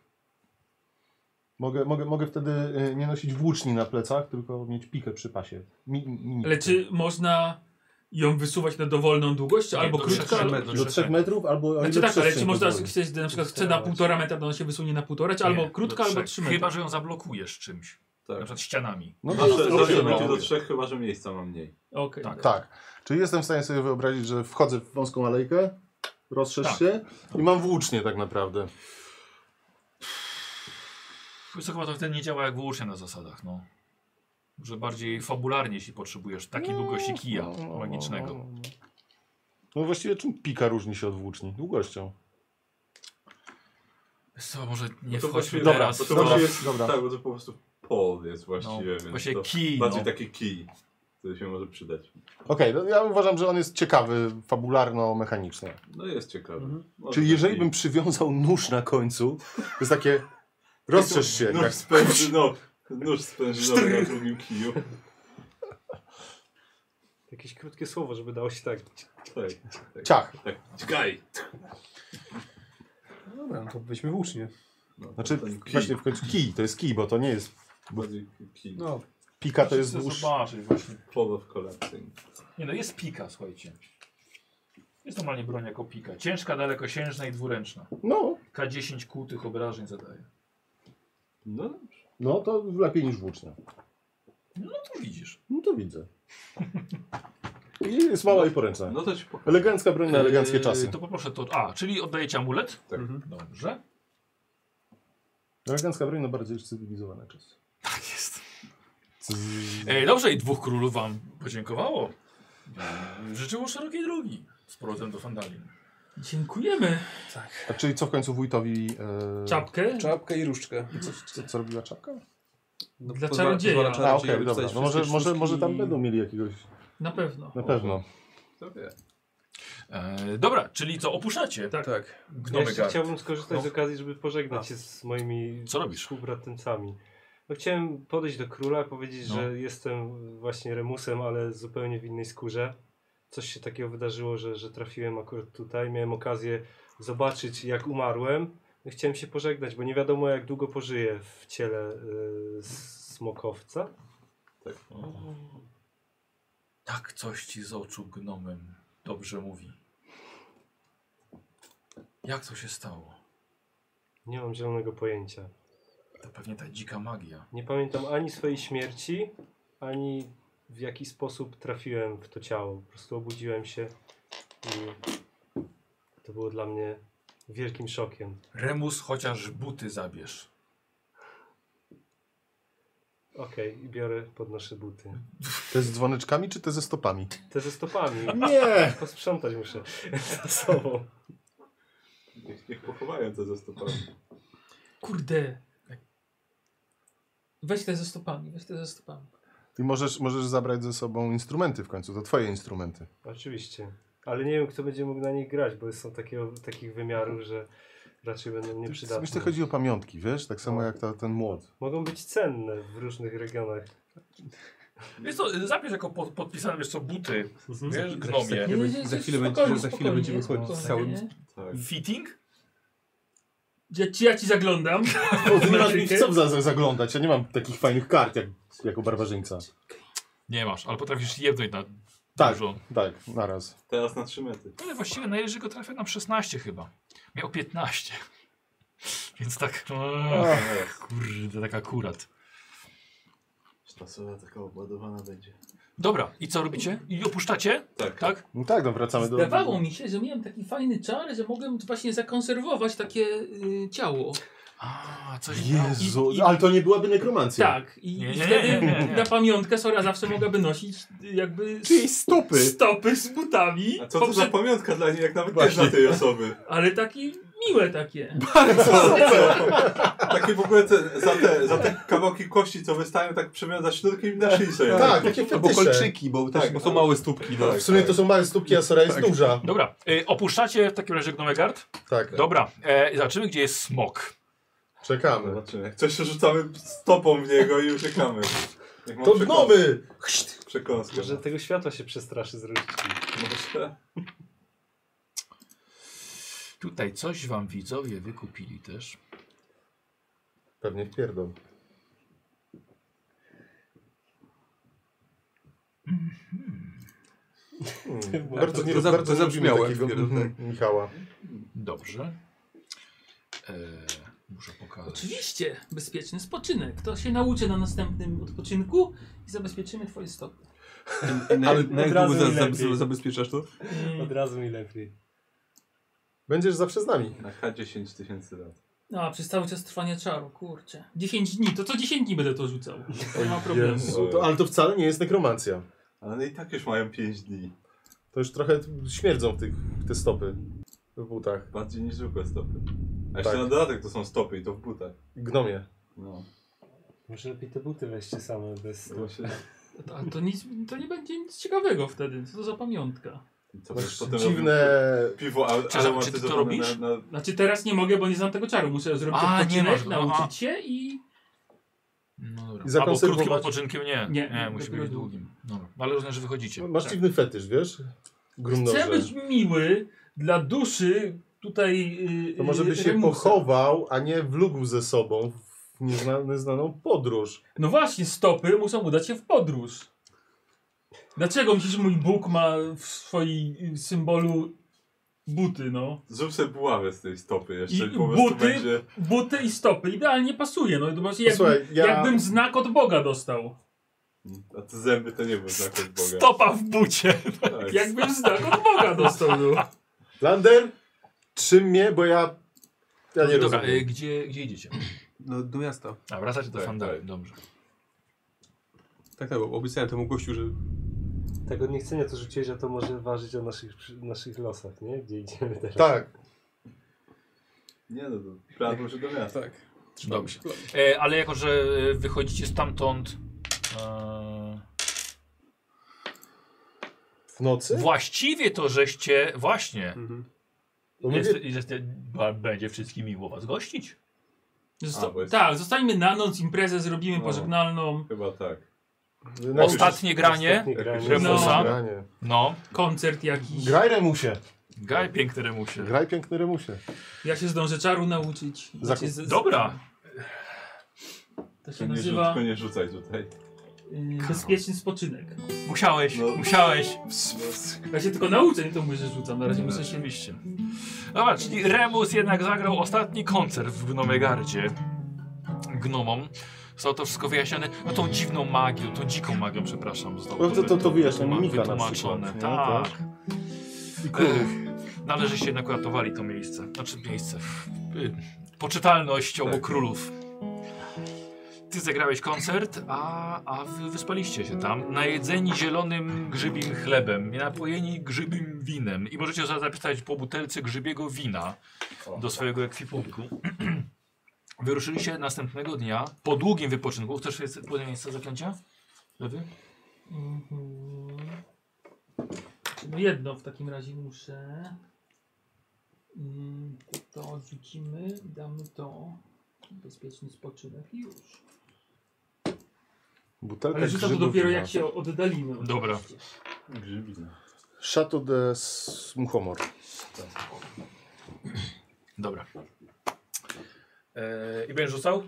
Mogę, mogę, mogę wtedy e, nie nosić włóczni na plecach, tylko mieć pikę przy pasie. Mi, mi,
Ale czy można ją wysuwać na dowolną długość,
Nie,
albo
do
krótko?
trzech
albo-
metrów.
do 3 metrów albo. o
Znaczy
ile
tak, ale
przestrzeń
czy można
pozwoli.
chcieć na przykład chce na półtora metra, to ona się wysunie na półtora, czy albo
Nie,
krótko,
do
albo
trzech.
trzy metry.
Chyba, że ją zablokujesz czymś. Na przykład ścianami.
No to
Tak. Zawsze,
jest
zawsze
dobrze,
będzie
no.
do trzech, chyba że miejsca mam mniej.
Okej.
Tak.
Tak. Czyli jestem w stanie sobie wyobrazić, że wchodzę w wąską alejkę, rozszerz
Tak.
się i mam włócznie tak naprawdę.
Wiesz co, chyba to wtedy nie działa jak wyłącznie na zasadach, no. Że bardziej fabularnie, jeśli potrzebujesz takiej długości kija magicznego.
No właściwie czym pika różni się od włóczni? Długością.
Wiesz co, może nie
No to
wchodźmy
właściwie-
dobra,
teraz.
Bo
w
to
to.
właśnie jest,
dobra.
tak, bo to po prostu pol jest właściwie, więc
właśnie
to
kij,
bardziej tak-
no.
taki kij, który się może przydać.
Okej, no ja uważam, że on jest ciekawy fabularno-mechanicznie.
No jest ciekawy. Może
Mhm. Czyli
ten
jeżeli
kij.
bym przywiązał nóż na końcu, to jest takie rozszerz się.
Nóż
Tak.
spędzynowy, nóż spędzynowy na drugim kiju.
Jakieś krótkie słowo, żeby dało się tak.
Tak, tak.
Ciach.
Tak, Czekaj.
Dobra, no to weźmy włócznie.
No,
Znaczy
ten kij.
właśnie w końcu kij, to jest kij, bo to nie jest
Bardziej kij.
No,
pika, to jest
Chcę
nóż.
zobaczyć właśnie.
Polo w kolekcji.
Nie no, jest pika, słuchajcie. Jest normalnie broń jako pika. Ciężka, dalekosiężna i dwuręczna.
No,
K10 kłutych obrażeń zadaje.
No,
no to lepiej niż włócznia.
No tu widzisz.
No to widzę. I jest mała i poręczna.
no to ci pokażę.
Elegancka broń na eleganckie
Yy,
czasy.
To poproszę to. A, czyli oddajecie amulet?
Tak.
Mhm. Dobrze.
Elegancka broń na bardziej cywilizowane czasy.
Tak jest. Ej, Yy, dobrze, i dwóch królów wam podziękowało. Yy, Życzyło szerokiej drogi z powrotem do Fandalin.
Dziękujemy.
A czyli co w końcu wójtowi... E,
Czapkę
Czapkę i różdżkę.
Co, co robiła czapka?
no
Dla
pozwala-
czarodzieja.
pozwala
A,
czarodziejowi
okej, dobra.
wstać
No może,
wszystkie
może,
sztuczki
może tam
i-
będą mieli jakiegoś...
na pewno.
Na pewno.
To wie.
E, dobra, czyli co, opuszczacie?
Tak.
Tak.
Ja
Gnomy
jeszcze
Gard.
chciałbym skorzystać
No.
z okazji, żeby pożegnać się z moimi
Co robisz?
współbratencami. No, chciałem podejść do króla, powiedzieć,
No.
że jestem właśnie Remusem, ale zupełnie w innej skórze. Coś się takiego wydarzyło, że, że trafiłem akurat tutaj. Miałem okazję zobaczyć, jak umarłem. No, Chciałem się pożegnać, bo nie wiadomo, jak długo pożyję w ciele y, smokowca.
Tak.
Tak coś ci z oczu gnomem dobrze mówi. Jak to się stało?
Nie mam zielonego pojęcia.
To pewnie ta dzika magia.
Nie pamiętam ani swojej śmierci, ani w jaki sposób trafiłem w to ciało. Po prostu obudziłem się i to było dla mnie wielkim szokiem.
Remus, chociaż buty zabierz.
Okej, i biorę, podnoszę buty.
Te z dzwoneczkami czy te ze stopami?
Te ze stopami.
Nie!
Posprzątać muszę za sobą.
Niech, niech pochowają te ze stopami.
Kurde. Weź te ze stopami, weź te ze stopami.
I możesz, możesz zabrać ze sobą instrumenty w końcu, to twoje instrumenty.
Oczywiście. Ale nie wiem, kto będzie mógł na nich grać, bo są takiego, takich wymiarów, że raczej będą
Myślę,
nieprzydatne.
chodzi o pamiątki, wiesz? Tak
No.
samo jak ta, ten młot.
Mogą być cenne w różnych regionach.
Wiesz co, y, zabierz jako pod, podpisane, wiesz co, buty, wiesz,
Za
gnomie.
chwilę będzie- za chwilę będzie, za chwilę będzie
spokojnie,
wychodzić z całym...
spokojnie.
Tak.
Fitting?
Ja ci, ja ci zaglądam.
Nie masz mi co za, za, zaglądać, ja nie mam takich fajnych kart jak, jako barbarzyńca.
Nie masz, ale potrafisz jednąć na
Tak,
dużo.
tak, naraz.
Teraz na trzy metry.
Ale właściwie najlepiej go trafia na 16 chyba. Miał 15. Więc tak, eee,
Teraz.
kurde, tak akurat.
Sztasowa taka obładowana będzie.
Dobra, i co robicie? I opuszczacie?
Tak.
Tak?
No tak, no wracamy do...
Zdawało mi się, że miałem taki fajny czar, że mogłem właśnie zakonserwować takie y, ciało.
A, coś
Jezu,
I- i-
ale to nie byłaby nekromancja.
Tak, i,
Nie,
i
nie,
wtedy
nie, nie, nie.
na pamiątkę Sora zawsze mogłaby nosić y, jakby
Czyli stopy.
stopy z butami.
A co to za
Poprze-
pamiątka dla niej, jak nawet
Właśnie.
nie zna tej osoby?
Ale takie miłe takie.
Takie w ogóle te, za, te, za te kawałki kości, co wystają, tak przewiązać sznurkiem i na szyi sobie.
Tak, takie
Albo
fetysze. Tak.
kolczyki, bo, też,
Tak.
bo są małe stópki. No.
W sumie to są małe stópki, a Sora
Tak.
jest duża.
No.
Dobra, y, opuszczacie w takim razie Gnomegard?
Tak.
Dobra, e, zobaczymy gdzie jest smok.
Czekamy.
No.
Zobaczymy. Jak coś się rzucamy stopą w niego i uciekamy. Jak mam
To
przekąs-
gnomy!
Przekąskę.
Może tego światła się przestraszy z różdżki.
Może.
Tutaj coś wam widzowie wykupili też.
Pewnie wpierdą. Hmm. Mhm. Bardzo, nie,
To za-
bardzo
to
nie lubimy
zabrzmiałe
takiego
wpierdol, tak.
mhm, Michała.
Dobrze. E, muszę pokazać.
Oczywiście, bezpieczny spoczynek. To się nauczy na następnym odpoczynku i zabezpieczymy twoje stopy.
Na,
Ale
na
od
jak
razu
długo za,
mi
za,
lepiej.
zabezpieczasz to?
Od razu mi lepiej.
Będziesz zawsze z nami.
Na K10 tysięcy lat.
No, a przez cały czas trwania czaru, kurczę. 10 dni, to co 10 dni będę to rzucał. Nie ma problemu.
Jezu, to, ale to wcale nie jest nekromancja.
Ale i tak już mają 5 dni.
To już trochę śmierdzą tych, te stopy w butach.
Bardziej niż zwykłe stopy. A jeszcze
Tak.
na dodatek to są stopy i to w butach.
Gnomie.
No.
Może lepiej te buty weźcie same bez
Tak.
To się...
A to, nic, to nie będzie nic ciekawego wtedy. Co to za pamiątka?
Co
Masz
potem
dziwne...
robił Piwo ale,
Czy-
ale
czy ty to robisz?
Na, na...
Znaczy teraz nie mogę, bo nie znam tego czaru. Muszę zrobić
A, nie
odpoczynek,
masz- aha.
nauczyć się i...
No dobra.
I
Albo
zakonserwować-
krótkim odpoczynkiem nie.
Nie,
Nie, musi
dopiero
być
długim.
długim. Dobra. Ale różne, że wychodzicie.
No, Masz
Tak.
dziwny fetysz, wiesz? Grumnoże.
Chcę być miły dla duszy tutaj yy,
To może by się
Remusa.
pochował, a nie wlógł ze sobą w niezna- nieznaną podróż.
No właśnie, stopy muszą udać się w podróż. Dlaczego myślisz, że mój Bóg ma w swoim symbolu buty, no?
Zrób sobie buławę z tej stopy jeszcze.
I
po prostu
buty?
będzie...
Buty i stopy idealnie pasuje, no. Zobaczcie, jak,
Słuchaj, ja-
jakbym znak od Boga dostał.
A te zęby to nie był znak od Boga.
Stopa w bucie.
Tak.
Jakbym znak od Boga dostał, no.
Lander, trzym mnie, bo ja... Ja nie
Dobra,
rozumiem.
e, gdzie, gdzie idziecie?
No, do miasta.
A wracacie do
Tak,
Fandali.
tak.
Dobrze.
Tak, tak, bo obiecałem temu gościu, że
Tak od niechcenia to rzuciłeś, że to może ważyć o naszych, przy- naszych losach, nie? Gdzie idziemy
y-
teraz.
Tak.
Nie no, to prawo się do miasta.
Tak.
Dobrze. E, ale jako, że e, wychodzicie stamtąd. E,
W nocy?
właściwie to żeście. Właśnie.
Bo
Jest,
mówię,
jest, ba- będzie wszystkim miło was gościć.
Zosta
A, bo jest-
Tak, zostańmy na noc, imprezę zrobimy
No.
pożegnalną,
Chyba tak.
najpierw-
Ostatnie granie.
Ostatnie granie.
Jakieś
Remusa.
Ostatnie granie.
No.
koncert jakiś.
Graj Remusie.
Gaj piękny remusie.
Graj piękny Remusie.
Ja się zdążę czaru nauczyć. Znaczy, z- z-
Dobra.
To się
Nie,
nazywa
rzuć, nie rzucaj tutaj.
y, bezpieczny spoczynek.
Musiałeś,
No.
musiałeś.
Ja się tylko nauczę, nie to mówię, że rzucam. Na razie muszę się...
Oczywiście. Dobra, czyli Remus jednak zagrał ostatni koncert w Gnomegardzie gnomom. Zostało to wszystko wyjaśnione. No tą dziwną magią, tą dziką magią, przepraszam. Zostało
No to- to- to wyjaśnia
wytłuma-
mimika na
wytłumaczone.
przykład, nie?
Tak.
Tak.
Ech, Należy się jednak ratowali to miejsce. Znaczy miejsce. Y, Poczytalność
Tak.
obu królów. Ty zagrałeś koncert, a, a wy wyspaliście się tam. Najedzeni zielonym grzybim chlebem, napojeni grzybim winem. I możecie za- zapisać po butelce grzybiego wina do swojego ekwipunku. Wyruszyliście następnego dnia po długim wypoczynku. Chcesz jest podjąć miejsce zaklęcia? Lewy?
Mhm. No jedno w takim razie muszę. Mm, To, to odrzucimy i damy to. Bezpieczny spoczynek i już.
Butelka
Ale rzucam to
grzybów
dopiero
wina.
jak się oddalimy.
Dobra.
oczywiście.
Grzybina.
Chateau de Muchomor.
Dobra. E, I będziesz rzucał?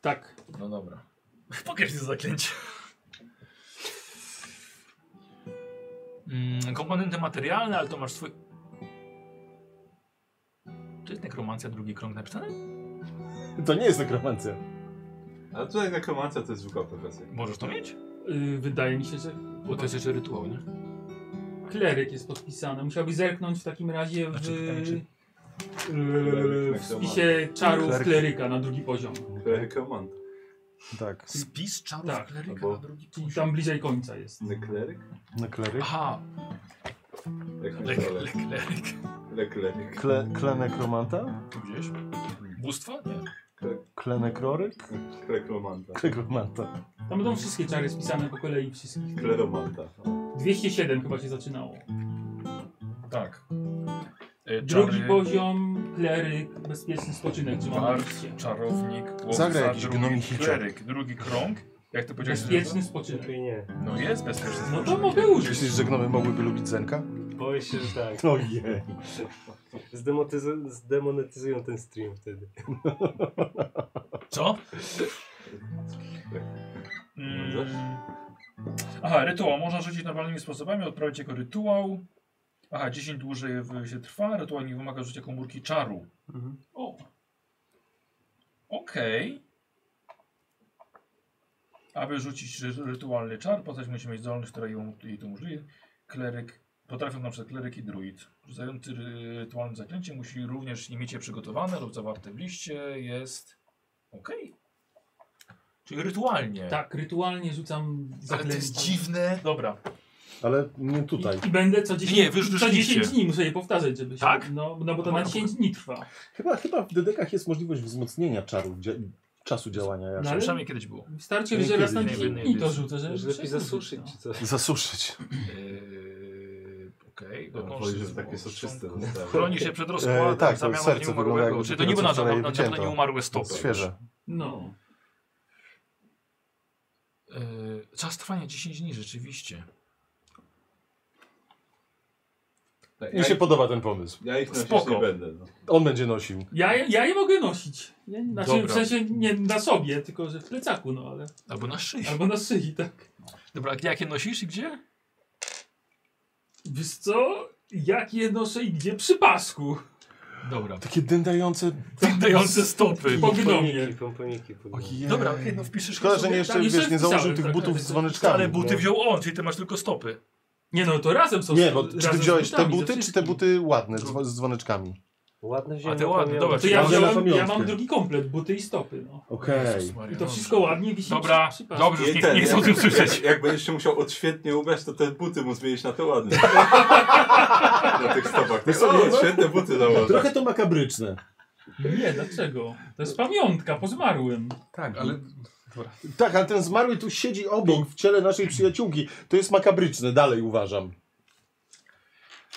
Tak.
No dobra. Pokaż mi to zaklęcie. Mm, komponenty materialne, ale to masz swój... Czy jest nekromancja drugi krąg napisany?
To nie jest nekromancja.
A tutaj nekromancja to jest zwykła profesja.
Możesz to mieć?
Yy, wydaje mi się, że
Bo to jest jeszcze rytuał, nie?
kleryk jest podpisany. Musiałby zerknąć w takim razie w,
Znaczy, pytanie, czy-
yy, w spisie czarów
Kleryk.
kleryka na drugi poziom.
Klerykant.
Tak.
Spis czarów
Tak,
kleryka
albo-
na drugi
Czyli tam bliżej końca jest.
Lekleryk?
Na kleryk?
Aha,
Jak
le, le,
myślałem.
kleryk.
Lekleryk.
Kle, klenekromanta?
Tu gdzieś? Bóstwo? Nie.
Klenekroryk?
Klekromanta.
Klekromanta.
Tam będą wszystkie czary spisane po kolei wszystkich.
Kleromanta.
No
207 chyba się zaczynało.
Tak.
Drugi poziom kleryk, bezpieczny spoczynek, gdzie mam
Bard,
misję.
czarownik, łowca,
Zagraj
drugi
jakiś gnomi hicio.
kleryk, drugi krąg. Jak to powiedziałeś?
Bezpieczny spoczynek. Nie.
No jest bezpieczny
No
spoczynek.
to mogę użyć.
Myślisz, że gnomy mogłyby lubić Zenka?
Boję się, że tak.
No jej.
Zdemotyzu- zdemonetyzują ten stream wtedy.
Co? Mm. Aha, rytuał. Można rzucić normalnymi sposobami, odprawić jako rytuał. Aha, 10 dłużej w- się trwa. Rytuał nie wymaga rzucia komórki czaru. O. Okej. Aby rzucić ry- rytualny czar, postać musi mieć zdolność, która ją, jej to umożliwi. Kleryk, potrafią na przykład kleryk i druid. Rzucający ry- rytualne zaklęcie musi również nie mieć je przygotowane lub zawarte w liście. Jest okej. Czyli rytualnie.
Tak, rytualnie rzucam zaklęcie.
to jest dziwne. Dobra.
Ale nie tutaj.
I będę co 10,
Nie, wy już
co 10
rzuciliście.
dni muszę je powtarzać, żeby się...
Tak?
No, no bo to na 10 dni trwa.
Chyba, chyba w dedekach jest możliwość wzmocnienia czaru, dzia czasu działania.
No,
jak-
ale- Przynajmniej kiedyś było. Wystarczy,
No
że raz na 10 dni to rzucę, żeby
Może lepiej
wszystko
zasuszyć,
rzucić,
czy coś.
Zasuszyć.
Yy, Okej,
No,
okay.
woli, żeby takie soczyste zostały.
Chroni się przed
E,
rozkładem,
tak, to
zamianą
serce
w
wygląda
nieumarłego.
jakby
Czyli to
dopiero
niby
co
na, na,
wczoraj
na, na
wycięto.
nieumarłe stopy.
Świeże.
No.
Yy, czas trwania 10 dni, rzeczywiście.
Mi się podoba ten pomysł.
Ja ich nosić
Spoko.
nie będę. No.
On będzie nosił.
Ja, je- ja je mogę nosić. Nie, znaczy,
Dobra.
w sensie nie na sobie, tylko że w plecaku, no ale...
Albo na szyi.
Albo na szyi, tak.
Dobra, a jakie nosisz i gdzie?
Wiesz co? Jak je noszę i gdzie? Przy pasku.
Dobra.
Takie dędające...
Dające stopy.
Po gnomie.
Pomponiki, pomponiki.
Ojej.
Dobra, okej, no wpiszesz
Szkoda,
sobie-
że nie jeszcze,
tak,
wiesz, nie założył tych
wpisałem,
butów
tak,
z dzwoneczkami. no.
Ale buty
nie?
wziął on, czyli ty masz tylko stopy.
Nie no, to razem są...
Nie, bo czy ty
razem z
wziąłeś te
butami, ze
buty, czy te buty ładne z, dzwo- z dzwoneczkami?
Ładne
A te ładne, dobra.
To
czyli
ja,
mamy na
wziąłem, ja
pamiątkę.
mam drugi komplet, buty i stopy. No.
Okej.
I to
no.
wszystko ładnie wisi
Dobra,
przy, przy pasku.
dobrze, już nie, nie chcę o tym słyszeć.
Jak, jak będziesz się musiał odświetnie ubrać, to te buty mu zmienić na te ładne. na tych stopach.
Wiesz
Tak,
co,
o,
nie ma?
odświetne buty założę.
Trochę to makabryczne.
Nie, dlaczego? To jest pamiątka po zmarłym.
Tak, ale...
Tak, ale ten zmarły tu siedzi obok w ciele naszej przyjaciółki. To jest makabryczne, dalej uważam.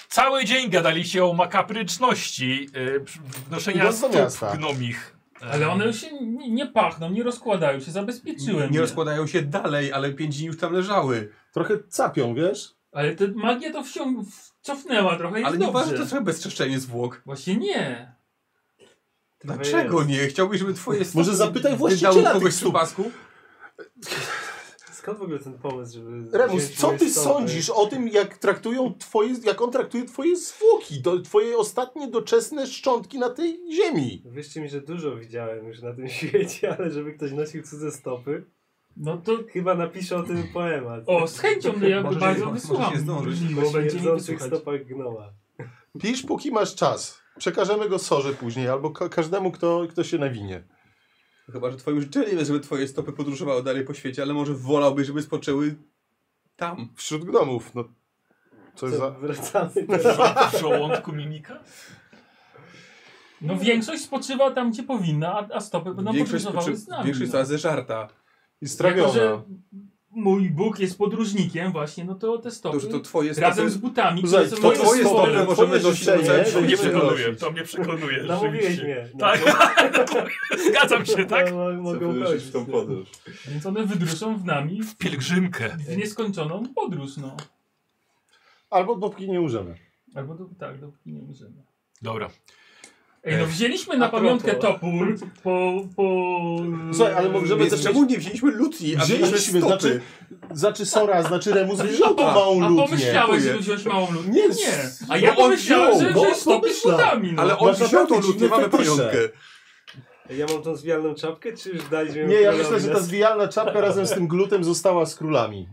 Cały dzień gadaliście o makapryczności yy, przy- noszenia
Idąc do
stóp
miasta.
gnomich. E,
Ale one już się nie, nie pachną, nie rozkładają się, zabezpieczyłem
Nie
je.
rozkładają się dalej, ale pięć dni już tam leżały.
Trochę capią, wiesz?
Ale te magia to wsią... w- cofnęła trochę i
Ale
jest
nie uważasz,
dobrze.
że to trochę bezczeszczenie zwłok.
Właśnie nie.
Dlaczego nie? Chciałbyś, żeby twoje
Może zapytaj właściciela
wydały
tych
kogoś
stóp.
w pasku?
Skąd w ogóle ten pomysł, żeby...
Remus,
wziąć
co
moje
ty
stopy?
sądzisz o tym, jak traktują twoje, jak on traktuje twoje zwłoki, do, twoje ostatnie doczesne szczątki na tej ziemi?
Wierzcie mi, że dużo widziałem już na tym świecie, ale żeby ktoś nosił cudze stopy,
No to...
chyba napiszę o tym poemat.
O, z chęcią, no ja
Możesz
bardzo
je-
wysłucham.
możesz je zdążyć.
Miło będzie mi
O tych
wysłuchać.
stopach gnoma.
Pisz, póki masz czas. Przekażemy go sorze później, albo ka każdemu, kto, kto się nawinie.
Chyba, że twoim życzeniem jest, żeby twoje stopy podróżowały dalej po świecie, ale może wolałbyś, żeby spoczęły tam.
Wśród gnomów, no. Coś
Co,
za...
Wracamy
W żołądku mimika?
No większość spoczywa tam, gdzie powinna, a, a stopy będą
większość
podróżowały
spoczy-
z nami.
większość
no.
została zeżarta.
I
Jako,
strawiona.
że mój Bóg jest podróżnikiem właśnie, no to te stopy...
To, że to twoje stopy...
Razem z butami,
Słuchaj,
które są
to
moje
twoje
stopy.
stopy
możemy
twoje
nosić do
życzenie,
całego
To
To
mnie przekonuje,
będziemy nosić.
to mnie przekonuje.
Namówiłeś
rzeczywiście.
mnie.
Tak, zgadzam się, tak?
No, mogę
Co wyruszyć
uchodzić.
w tą podróż.
Więc one wydruszą w nami w
Pielgrzymkę.
w nieskończoną podróż, no.
Albo dopóki nie umrzemy.
Albo do, tak, dopóki nie umrzemy.
Dobra.
Ej, no wzięliśmy na
A propos.
pamiątkę topór po... po...
Słuchaj, ale możemy
Więc
też
czemu nie wzięliśmy lutni, a
Wzięliśmy,
stopy?
znaczy, znaczy Sora, znaczy Remus wziął tą
A,
małą
A
lutnię.
pomyślałeś,
Dziękuję.
żeby wziąć małą lód?
Nie,
nie.
s-
A ja
bo on
pomyślałem,
wziął,
że
bo
wziąć stopy z
pomyślał.
butami, no.
Ale on
Masz
wziął tą
naprawdę
lutnię, mamy
dziwne fetysze.
pajątkę.
Ja mam tą zwijalną czapkę, czy już daliśmy ją
Nie, ja
Karolowi
myślę, że
na
ta zwijalna czapka razem z tym glutem została z królami.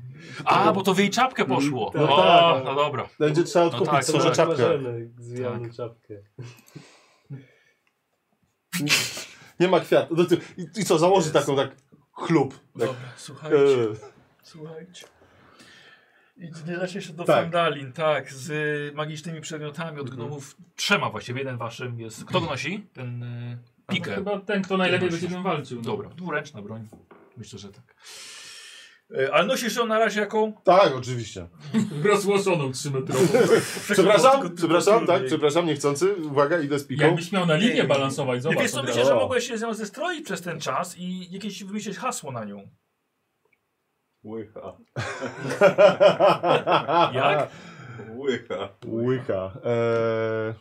A, bo to w jej czapkę poszło.
No
o,
tak.
no dobra.
Będzie trzeba odkupić
tak,
Sorze
tak.
czapkę.
Możemy zwijalną czapkę.
Nie ma kwiatu. No ty- I, I co, założy taką tak chlub. Tak.
Dobra,
e,
słuchajcie. Słuchajcie. I nie da się do
Tak. Mhm.
Fandalin, tak, z y, magicznymi przedmiotami od gnomów. Trzema właściwie, jeden waszym jest. Kto go nosi? Ten y,
To
piker.
Chyba ten, kto najlepiej
Ty
będzie tym walczył. no.
Dobra, dwuręczna broń. Myślę, że tak. E, Ale nosisz ją na razie jaką?
Tak, oczywiście.
Rozłoszoną 3-metrową.
Tak Przepraszam, przepraszam, tak, przepraszam, niechcący. Uwaga, idę z piką.
Jakbyś miał na linię balansować,
No
zobacz.
Wiesz co,
od
myślę,
razu.
że mogłeś się z nią zestroić przez ten czas i jakieś wymyślić hasło na nią.
Łycha.
Jak?
Łycha.
Łycha. Eee,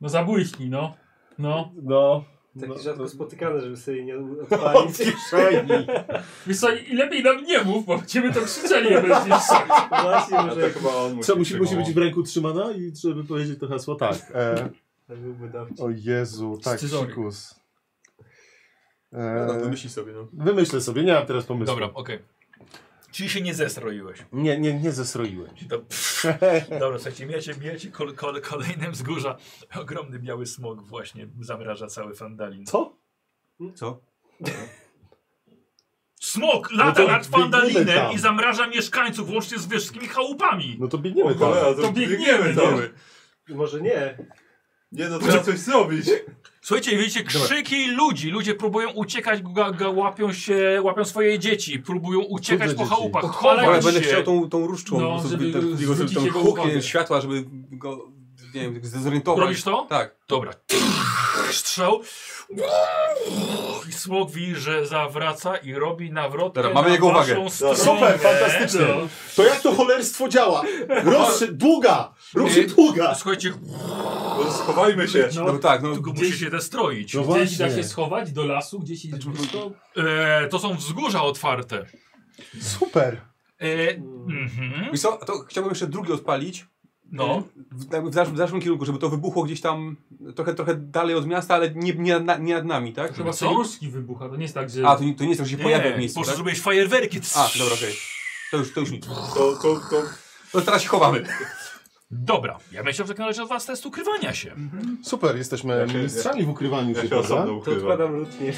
No zabłyśnij, no. No.
no.
Taki rzadko spotykany, żeby sobie nie odpalić kieszeni.
Wiesz co, i lepiej nam nie mów, bo będziemy to krzyczeli, jak będziesz strzelić.
Właśnie,
A tak-
może
to chyba on musi,
Co, musi, musi
tego-
być w ręku trzymana i żeby powiedzieć to hasło tak. Eee,
to byłby dawniej.
o Jezu, tak,
Scyzoryk.
sikus.
No,
Eee,
wymyśl sobie, no.
wymyślę sobie, nie mam teraz pomysłu.
Dobra, okej.
Czyli się nie zestroiłeś.
Nie, nie, nie zesroiłem się.
To, pff, dobra, słuchajcie, mijacie, mijacie kol, kol, kolejnym wzgórza. Ogromny biały smog właśnie zamraża cały Fandalin.
Co?
Co?
Smog
No to
lata nad
biegniemy
Fandalinem
tam.
i zamraża mieszkańców łącznie z wszystkimi chałupami.
No to biegniemy
O cholera,
tam.
to,
To biegniemy, no.
tam.
Może nie.
Nie no, trzeba coś zrobić.
Słuchajcie, widzicie krzyki ludzi. Ludzie próbują uciekać, ga, ga, łapią się, łapią swoje dzieci, próbują uciekać
Cudze
po
dzieci.
chałupach,
Pochwalać
Ale
chować
będę
się.
chciał tą, tą różdżką,
No,
po prostu
żeby
ten- tego-
zwrócić
tą
jego
hukiem
uwagę.
światła, żeby go, nie wiem, zdezorientować.
Robisz to?
Tak.
Dobra. Strzał. I smog widzi, że zawraca i robi nawrot.
Dobra, mamy jego uwagę.
Super, fantastycznie. To jak to cholerstwo działa? Rozszy, długa! Ruszy długa!
Słuchajcie,
No, schowajmy się.
No, tak, no.
tylko musicie destroić.
No
Gdzieś
właśnie.
da się schować do lasu, gdzieś iść blisko.
E, to są wzgórza otwarte.
Super!
E, mhm.
Wiesz co, a to chciałbym jeszcze drugi odpalić.
No.
Y, W, jakby w, naszym, w naszym kierunku, żeby to wybuchło gdzieś tam trochę, trochę dalej od miasta, ale nie, nie, nad- nie nad nami, tak?
Chyba
Co?
sojuszki wybucha, to nie jest tak, że...
A, to nie, to nie jest, to że się pojawia w
Nie, po
miejscu,
prostu
tak?
zrobiłeś fajerwerki.
A, dobra, okej. To już, to już nic.
To, to, to...
To teraz się chowamy.
Dobra, ja bym chciał w takim razie od was test ukrywania się.
Super, jesteśmy
Ja się-
mistrzami w ukrywaniu
Ja
się,
się
prawda?
osobno
To
ukrywam.
odkładam lutnie.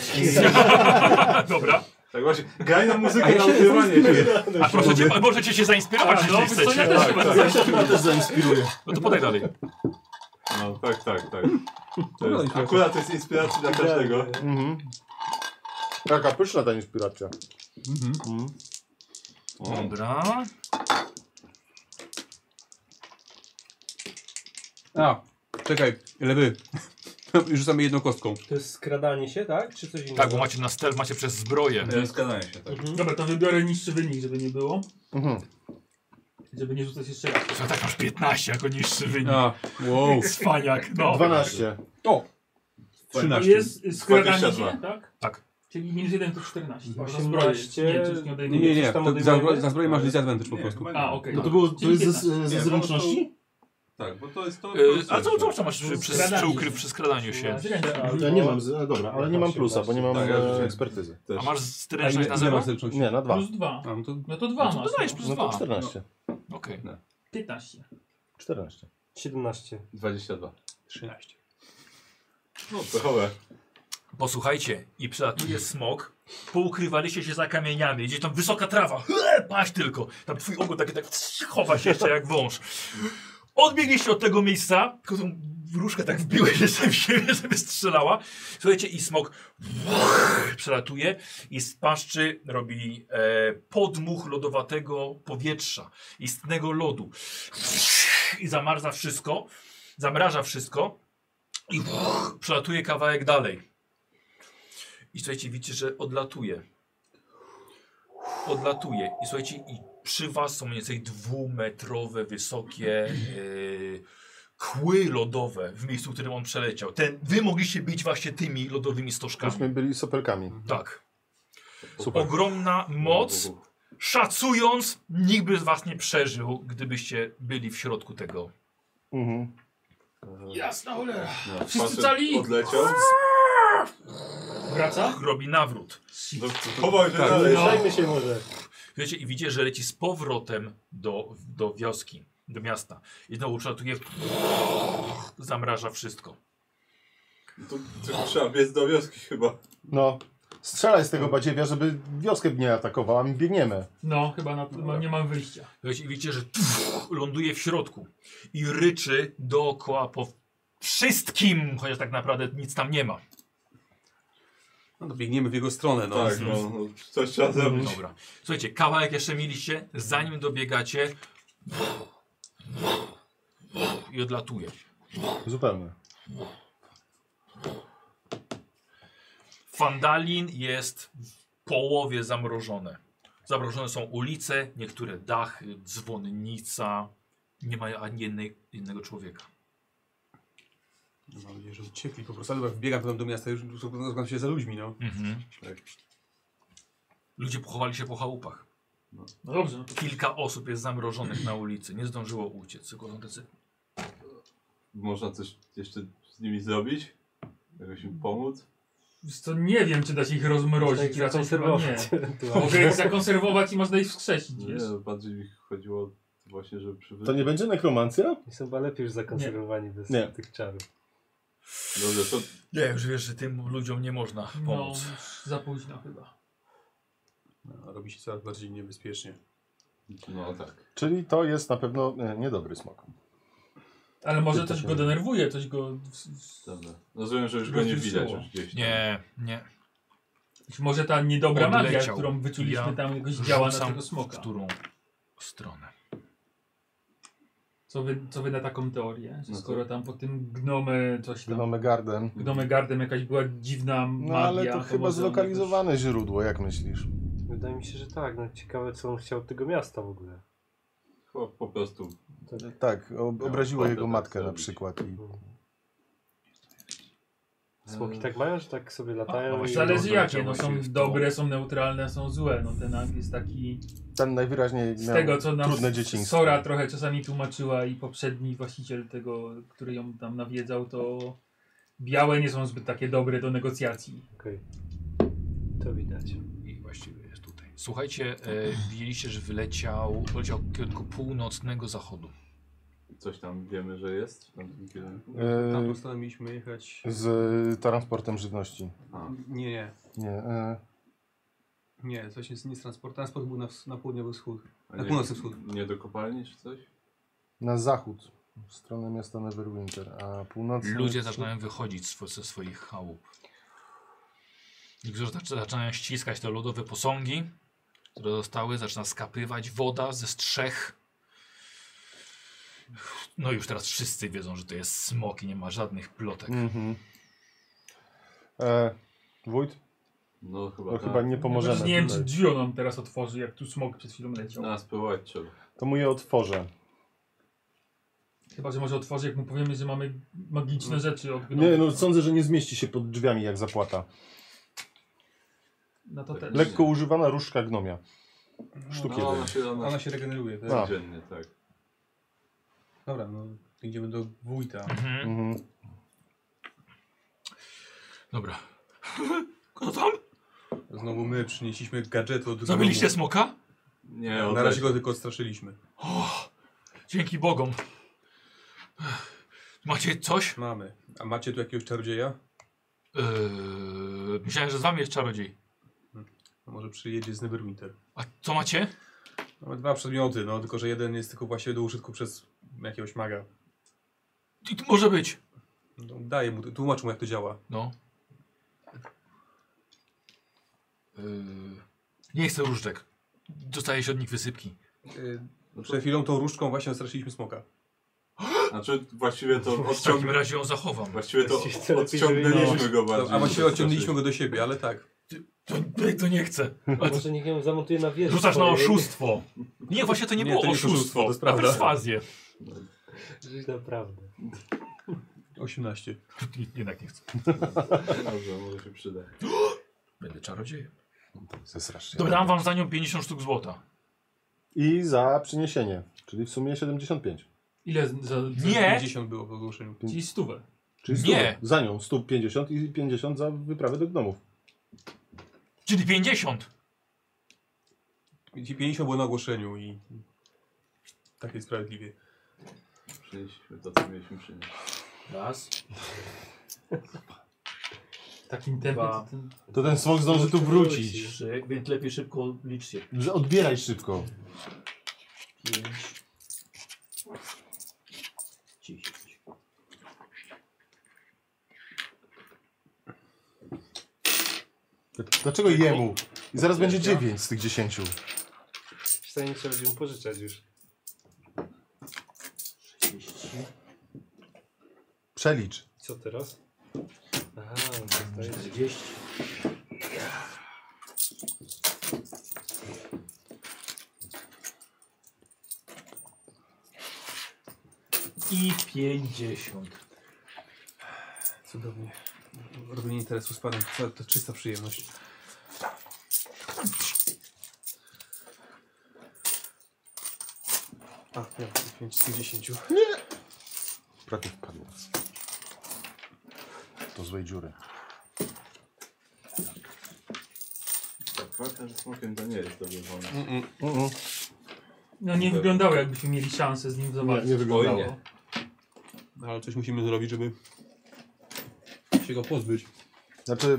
Dobra.
Tak właśnie, graj na
A
muzykę
ja
na
się
ukrywanie się.
A możecie, możecie się zainspirować,
A, no,
jeśli
wiesz co, ja
chcecie. Tak,
też chyba
Ja się chyba też zainspiruję.
No to podaj dalej.
No, tak, tak, tak. To
No,
jest, akurat to jest inspiracja dla każdego.
Mhm. Taka pyszna ta inspiracja.
Dobra.
A, czekaj, lewy. Rzucamy jedną kostką.
To jest skradanie się, tak? Czy coś innego?
Tak, bo macie na stel, macie przez zbroję.
Skadanie się, tak.
Dobra, to wybiorę niższy wynik, żeby nie było.
Mhm.
Żeby nie rzucać jeszcze raz.
Słuchaj, tak masz 15 jako niższy wynik.
A, wow.
Cwaniak, no.
12.
O! 13.
Jest y, skradanie
22.
się, tak?
Tak.
Czyli minus 1 to 14. Bo za
18.
zbroję- Nie, przecież nie odejmę.
Nie, nie, nie.
Coś tam
To za,
odejmujemy?
za zbroję masz disadvantage po prostu.
A, okej.
No to było, to
Czyli
jest ze,
15.
ze
Nie,
zręczności?
Tak, bo to jest to...
Yy, a co, co, co masz przy, przy, przy,
Skradanie
ukry,
się.
przy skradaniu się?
Zręczna.
Ja nie mam, z- dobra, ale nie mam plusa, bo nie mam
Tak, ja
e,
rzuciłem.
ekspertyzy.
A
Też.
masz
A ile,
stręczność na
ile
zero?
masz zręczności?
Nie, na dwa.
Plus 2.
A, no to
No to 2
No
masz.
to dodajesz plus
No to
2.
14.
Okej.
15.
14.
17.
22.
13.
No, trochę.
Posłuchajcie, i przelatuje smok. Poukrywaliście się za kamieniami. Gdzieś tam wysoka trawa. Hle, Paść tylko. Tam twój ogon taki tak chowa się jeszcze jak wąż. Odbiegliście od tego miejsca, tylko tą różkę tak wbiłeś jeszcze w siebie, żeby strzelała. Słuchajcie, i smok przelatuje i z paszczy robi e, podmuch lodowatego powietrza, istnego lodu. I zamarza wszystko, zamraża wszystko i przelatuje kawałek dalej. I słuchajcie, widzicie, że odlatuje. Odlatuje. I słuchajcie, i przy was są mniej więcej dwumetrowe, wysokie yy, kły lodowe w miejscu, w którym on przeleciał. Ten, wy mogliście bić właśnie tymi lodowymi stożkami.
Myśmy byli soperkami.
Tak.
Super.
Ogromna moc. Szacując, nikt by z was nie przeżył, gdybyście byli w środku tego.
Mhm.
Jasna cholera.
No,
Wszyscy
facet
cali.
Odleciał.
Wraca? No,
Robi nawrót.
No, Chowaj się
Tak.
dalej.
Zajmę się może.
Wiecie, i widzicie, że leci z powrotem do, do wioski, do miasta. I znowu przelatuje, zamraża wszystko.
Tu, tu trzeba biec do wioski chyba.
No. Strzelaj z tego badziewia, żeby wioskę nie atakowała, my biegniemy.
No, chyba na, ma, nie mam wyjścia.
Wiecie, i widzicie, że ląduje w środku i ryczy dookoła po wszystkim, chociaż tak naprawdę nic tam nie ma.
No to biegniemy w jego stronę, no.
Tak, no, no, coś trzeba zrobić.
Dobra. Słuchajcie, kawałek jeszcze mieliście, zanim dobiegacie i odlatuje.
Zupełnie.
Fandalin jest w połowie zamrożone. Zamrożone są ulice, niektóre dachy, dzwonnica. Nie ma ani jednej, jednego człowieka.
No, Mam nadzieję, że uciekli po prostu. Ale dobra, wbiegam potem do miasta już rozglądam się za ludźmi, no. Tak.
Ludzie pochowali się po chałupach.
No dobrze, no to
Kilka osób jest zamrożonych na ulicy. Nie zdążyło uciec, tylko są tacy.
Można coś jeszcze z nimi zrobić? Jakoś im pomóc?
Wiesz co, nie wiem, czy da się ich
Można
rozmrozić,
ich
raczej chyba nie.
zakonserwować
Mogę ich zakonserwować i można ich wskrzesić,
Nie, no,
wiesz?
bardziej mi chodziło właśnie, żeby przywy...
To nie będzie nekromancja?
Oni są chyba lepiej już zakonserwowani bez
Nie.
tych czarów.
Dobrze, No, to
Nie, już wiesz, że tym ludziom nie można
No,
pomóc.
już za późno chyba.
No, Robi się coraz bardziej niebezpiecznie.
No tak.
Czyli to jest na pewno e, niedobry smok.
Ale może coś go denerwuje, coś go...
Dobra. Rozumiem, że już go nie widać już gdzieś. tam.
Nie, nie.
Może ta niedobra magia,
Odleciał.
którą wyczuliśmy
Ja
tam jakoś działa na
rzucam,
tego smoka.
W którą stronę?
Co wy, co wy na taką teorię? Że
No to-
skoro tam po tym gnome coś tam...
Mamy gardę.
Gnome Gardem jakaś była dziwna magia.
No ale to chyba
może on
zlokalizowane źródło, jak myślisz?
Wydaje mi się, że tak. No, ciekawe, co on chciał od tego miasta w ogóle.
Chyba po prostu.
Tak, ob obraziło
ochotę
jego
tak
matkę na
zrobić.
przykład. I...
Smoki tak mają, że tak sobie
A,
latają
no
jakoś-
i...
Zależy
Dobra,
jakie, no
działo się
są
w to.
dobre, są neutralne, są złe. No ten akt jest taki...
Ten najwyraźniej
Z
miał
tego co nam
trudne dzieciństwo.
Sora trochę czasami tłumaczyła i poprzedni właściciel tego, który ją tam nawiedzał, to białe nie są zbyt takie dobre do negocjacji.
Okej. To widać.
I właściwie jest tutaj. Słuchajcie, e, widzieliście, że wyleciał, wyleciał w kierunku północnego zachodu.
Coś tam wiemy, że jest w tamtym kierunku.
Tam
E,
postanowiliśmy jechać...
z e, transportem żywności.
A,
Nie, nie.
Nie, e,
Nie, coś jest nie z transport. Transport był na, ws- na południowy wschód.
a
Na
nie-
północny wschód.
Nie do kopalni czy coś?
na zachód, w stronę miasta Neverwinter, a północny...
Ludzie zaczynają wychodzić swo- ze swoich chałup. Niektórzy zac- zaczynają ściskać te lodowe posągi, które zostały. Zaczyna skapywać woda ze strzech. No już teraz wszyscy wiedzą, że to jest smok i nie ma żadnych plotek.
Mhm. E, wójt?
No chyba
No
tak.
chyba nie pomożemy
Chociaż nie wiem, czy
tutaj.
Dio nam teraz otworzy, jak tu smok przed chwilą leciał.
Na spływać trzeba.
To mu je otworzę.
Chyba, że może otworzy, jak mu powiemy, że mamy
Mm.
magiczne rzeczy od gnomów.
Nie, no sądzę, że nie zmieści się pod drzwiami jak zapłata.
No to też.
Lekko używana różdżka gnomia.
No,
Sztuki jeden.
ona się, ona
Ona
się
się regeneruje, tak?
A.
codziennie, tak.
Dobra, no idziemy do wójta.
Mhm.
Mhm.
Dobra. Kto tam?
Znowu my przynieśliśmy gadżety od
Zabiliście
gnomu.
smoka?
Nie,
Na razie go tylko odstraszyliśmy.
O, dzięki Bogom. Macie coś?
Mamy. A macie tu jakiegoś czarodzieja?
Yy, Eee, myślałem, że z wami jest czarodziej.
A No, Może przyjedzie z Neverwinter.
A co macie?
Mamy dwa przedmioty, no tylko że jeden jest tylko właściwie do użytku przez jakiegoś maga.
I to może być.
No, daję mu, tłumacz mu jak to działa.
No. Yy, nie chcę różdżek. Dostaje się od nich wysypki.
Yy,
no
Przed chwilą tą różdżką właśnie odstraszyliśmy smoka.
Znaczy właściwie to
W takim
Tak,
odciągnę...
razie ją zachowam.
Właściwie to
Właściwie to lepiej,
odciągnęliśmy go
To,
bardziej.
a właściwie odciągnęliśmy go do siebie, ale tak.
To, to nie chcę.
A może niech ją zamontuje na wieżę.
Rzucasz na
swojej.
oszustwo. Nie, właśnie to nie,
Nie,
było
to nie jest
oszustwo.
oszustwo, to jest
To
prawda.
perswazję.
Żyć naprawdę.
18.
Jednak nie chcę.
Dobrze, może się przyda.
Będę czarodziejem.
Zesrasz się.
Dobra, dam wam za nią 50 sztuk złota.
I za przyniesienie, czyli w sumie 75.
Ile z- za, za
Nie!
50 było w ogłoszeniu.
Czyli stówę.
Czyli
Nie.
stówę. Za nią 150 i 50 za wyprawę do gnomów.
Czyli 50.
50 było na ogłoszeniu i tak jest sprawiedliwie.
Przynieśliśmy to, co mieliśmy przynieść.
Raz.
Takim tempem.
Dwa.
Tak to ten-
To ten smok zdąży tu wrócić.
Trzy, więc lepiej szybko liczcie.
Że Odbieraj szybko.
Pięć. Dziesięć.
Dlaczego jemu? I zaraz będzie 9 z tych 10.
Wcale nie trzeba będzie mu pożyczać już.
Przelicz.
Co teraz? Aha, dostaję
40. I 50.
Cudownie. Robienie interesu z panem to, to czysta przyjemność. A, ja 5 z 10.
Prawie wpadło. Do złej dziury.
Walka ze Tak, smokiem to nie jest dobry pomysł.
Mm,
No nie wyglądało jakbyśmy mieli szansę z nim zobaczyć.
nie wyglądało.
Oj, nie.
No, ale coś musimy zrobić, żeby się go pozbyć.
Znaczy,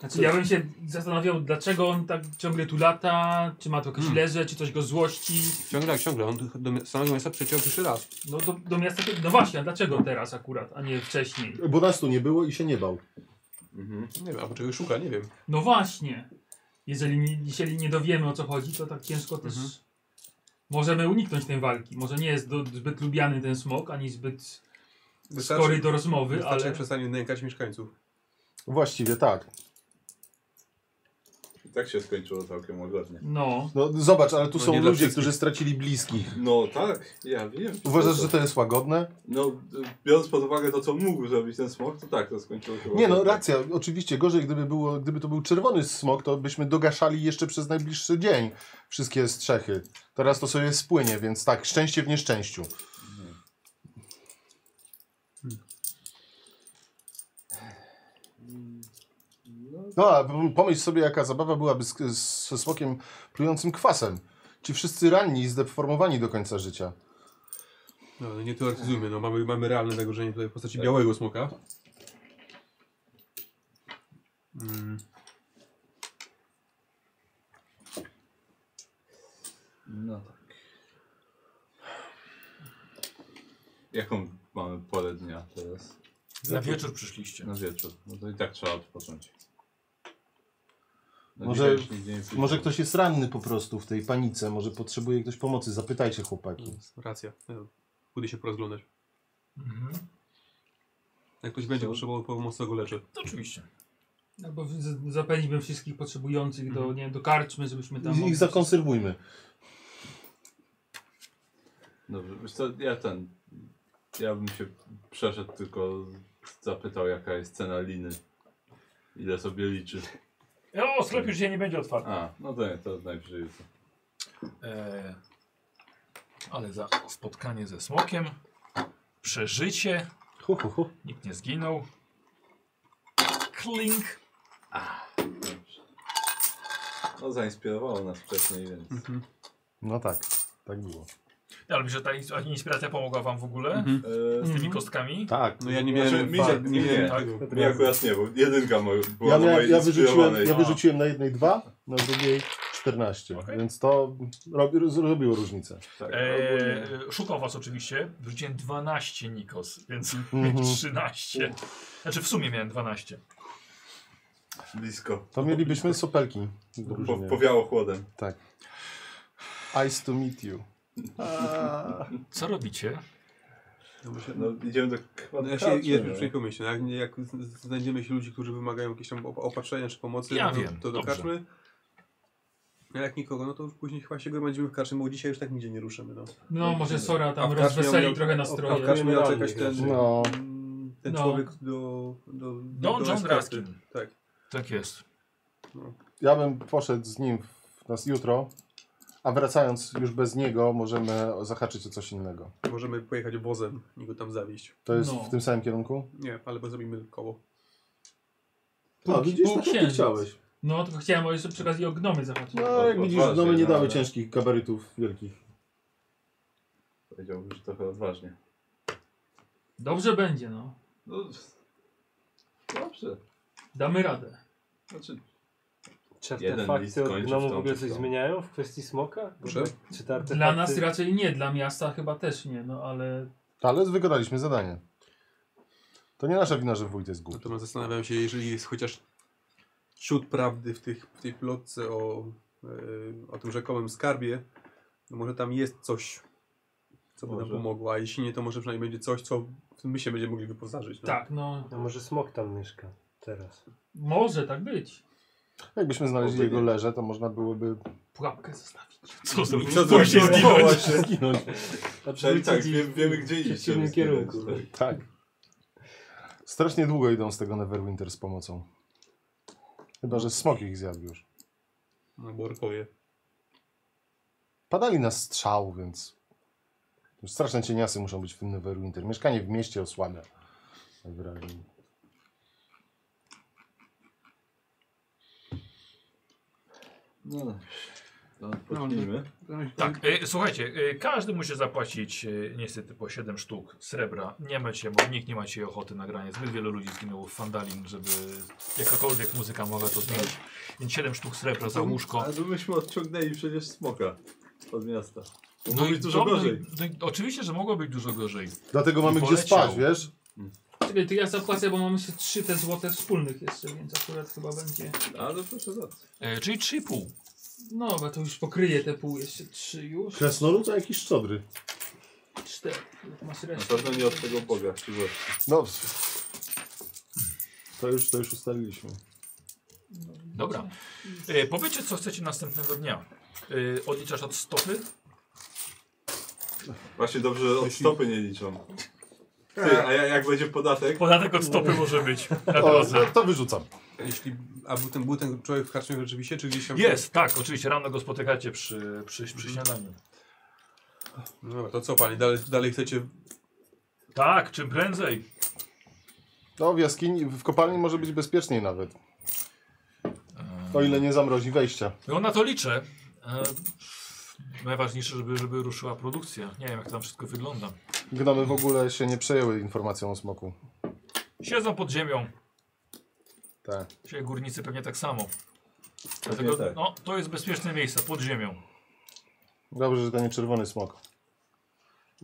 Znaczy, ja bym się zastanawiał, dlaczego on tak ciągle tu lata, czy ma tu jakieś
Hmm.
leże, czy coś go złości.
Ciągle, tak, ciągle. On do- do samego miasta przeciął pierwszy raz.
No do, do miasta, no właśnie, a dlaczego teraz akurat, a nie wcześniej?
bo nas tu nie było i się nie bał.
Mhm.
Nie wiem, albo czegoś szuka, nie wiem.
No właśnie, jeżeli, nie- jeżeli nie dowiemy o co chodzi, to tak ciężko też możemy uniknąć tej walki. Może nie jest do, zbyt lubiany ten smok, ani zbyt skory do rozmowy,
wystarczy,
ale...
jak przestanie nękać mieszkańców.
Właściwie tak.
I tak się skończyło całkiem łagodnie.
No,
No zobacz, ale tu
No
są
nie dla
ludzie,
wszystkich.
którzy stracili bliskich.
No tak, ja wiem.
Uważasz, że to jest łagodne?
No, d- biorąc pod uwagę to, co mógł zrobić ten smok, to tak, to skończyło się
Nie no,
łagodnie.
racja. Oczywiście gorzej, gdyby, było, gdyby to był czerwony smok, to byśmy dogaszali jeszcze przez najbliższy dzień wszystkie strzechy. Teraz to sobie spłynie, więc tak, szczęście w nieszczęściu. No, a p- pomyśl sobie, jaka zabawa byłaby z, z, ze smokiem plującym kwasem. Ci wszyscy ranni i zdeformowani do końca życia.
No, no nie teoretyzujmy, no mamy, mamy realne zagrożenie tutaj w postaci
Tak.
białego smoka. Mm.
No tak.
Jaką mamy porę dnia teraz?
Na wieczór przyszliście.
Na wieczór. No to i tak trzeba odpocząć. No
Może,
dzisiaj już nigdzie nie pójdziemy.
może ktoś jest ranny po prostu w tej panice, może potrzebuje ktoś pomocy. Zapytajcie chłopaki.
Racja. No, Pójdę się porozglądać.
Mhm.
Jak ktoś będzie potrzebował pomocy, to go leczę.
To oczywiście.
No bo z- zapewniłbym wszystkich potrzebujących do, nie wiem, do karczmy, żebyśmy tam...
I ich zakonserwujmy.
Dobrze, wiesz co, ja ten... Ja bym się przeszedł, tylko zapytał, jaka jest cena liny. Ile sobie liczy.
O, sklep już się nie będzie otwarty.
A, no to nie, to najwyżej jutro.
E, ale za spotkanie ze smokiem, przeżycie,
Hu, hu, hu.
nikt nie zginął. Klink.
No zainspirowało nas wcześniej, więc...
No tak, tak było.
Ale myślę, że ta ins- inspiracja pomogła wam w ogóle
Mhm.
E,
z tymi kostkami.
Tak.
No ja nie
Znaczy,
miałem...
mi,
fa-
się, mi, nie,
tak.
mi akurat nie, bo jedynka mo- była
Ja,
na
miałem,
mojej
ja, wyrzuciłem,
inspirowanej.
ja wyrzuciłem na jednej 2, na drugiej 14, więc to robi, zrobiło różnicę.
Tak, ogólnie.
E, szukam was oczywiście. Wrzuciłem 12 Nikos, więc
Mhm.
13. Znaczy w sumie miałem 12.
Blisko.
To mielibyśmy sopelki. w
Po,
drużynie.
powiało chłodem.
Tak. Ice to meet you.
Co robicie?
No, bo się-
No idziemy do
No
kwadratu.
ja się jest już przyjechał myślę, no, jak, jak z- z- znajdziemy się ludzi, którzy wymagają jakiejś tam op- opatrzenia czy pomocy,
Ja
no,
wiem,
to
dobrze.
dokażmy. A jak nikogo, no to już później chyba się gromadzimy w karczmy, bo dzisiaj już tak nigdzie nie ruszymy. No.
No może Sora tam
w karczmie
rozweseli
miał-
trochę
A
nastroje.
w karczmie miał
Generalnie
czekać ten,
No.
mm, ten
No.
człowiek do... do, do,
Don
do
John
eskorty.
Raskin.
Tak.
Tak jest.
Ja bym poszedł z nim w nas jutro, a wracając już bez niego możemy zahaczyć o coś innego.
Możemy pojechać wozem i go tam zawieźć.
To jest
No.
w tym samym kierunku?
Nie, ale bo zrobimy koło.
No, widzisz, tak jak ty
półksiężyc.
chciałeś.
No tylko chciałem jeszcze przy okazji o gnomy zahaczyć.
No, jak widzisz,
Odważnie,
domy nie
no,
dały
ale-
ciężkich gabarytów wielkich.
Powiedziałbym, że trochę odważnie.
Dobrze będzie no.
No, dobrze.
Damy radę.
Znaczy,
Czy
Jeden list
artefakty od
kończy
gnomu
w
w
tą
ogóle coś
stronę.
zmieniają w kwestii smoka?
Proszę?
Czy te artefakty...
Dla nas raczej nie, dla miasta chyba też nie, no ale
Ale wykonaliśmy zadanie. To nie nasza wina, że wójt jest głupi.
Natomiast zastanawiam się, jeżeli jest chociaż ciut prawdy w, tych, w tej plotce o, e, o tym rzekomym skarbie, no może tam jest coś, co by nam
Może.
pomogło, a jeśli nie, to może przynajmniej będzie coś, co my się będziemy mogli wyposażyć. No.
Tak, no.
No może smok tam mieszka teraz.
Może tak być.
Jakbyśmy znaleźli
Oby nie.
jego leże, to można byłoby
Pułapkę zostawić.
Co zrobić?
Co
Pójść i
no,
zrobić?
zginąć.
Właśnie.
zginąć.
Czyli tak, wie, wiemy gdzie
w
iść.
przeciwnym
żeby zginąć,
kierunku.
tak.
Tak. Strasznie długo idą z tego Neverwinter z pomocą. Chyba, że smok ich zjadł już.
No, bo orkowie.
Padali na strzał, więc... Już straszne cieniasy muszą być w tym Neverwinter. Mieszkanie w mieście osłabia. Najwyraźniej.
No dobrze. To
No,
pocznijmy.
Tak,
Mhm.
e, słuchajcie, e, każdy musi zapłacić e, niestety po 7 sztuk srebra. Nie macie, bo nikt nie macie ochoty na granie. Zbyt wielu ludzi zginęło w Fandalin, żeby jakakolwiek muzyka mogła to zmienić. Więc 7 sztuk srebra za łóżko.
Ale myśmy odciągnęli przecież smoka od miasta.
No
No i dużo
dobrze,
gorzej.
no i oczywiście, że mogło być dużo gorzej.
Dlatego
I
mamy gdzie
poleciał.
spać, wiesz?
Czekaj, to ja zapłacę, bo mamy jeszcze trzy te złote wspólnych jeszcze, więc akurat chyba będzie.
A no proszę bardzo.
E, czyli 3,5.
No, bo to już pokryje te pół, jeszcze trzy już.
Krasnolud, a jakiś szczodry.
Cztery. Jak Masz
Na
resztę.
pewno nie od tego Boga, którzy...
No, to już, to już ustaliliśmy.
Dobra. E, powiedzcie, co chcecie następnego dnia. E, odliczasz od stopy?
Właśnie dobrze, że od stopy nie liczą. Ty, a ja- jak będzie podatek?
Podatek od stopy może być. Na
O,
drodze.
to wyrzucam.
Jeśli, a był ten, był ten człowiek w karczmie rzeczywiście, czy gdzieś tam...
Jest, tak, oczywiście. Rano go spotykacie przy, przy, przy śniadaniu.
No dobra, to co panie, dalej, dalej chcecie...
Tak, czym prędzej.
No, w jaskini, w kopalni może być bezpieczniej nawet. O ile nie zamrozi wejścia.
No na to liczę. E, najważniejsze, żeby, żeby ruszyła produkcja. Nie wiem, jak tam wszystko wygląda.
Gnomy w ogóle się nie przejęły informacją o smoku.
Siedzą pod ziemią.
Tak.
Dzisiaj górnicy pewnie tak samo.
Pewnie
Dlatego
tak.
no, to jest bezpieczne miejsce, pod ziemią.
Dobrze, że to nie czerwony smok.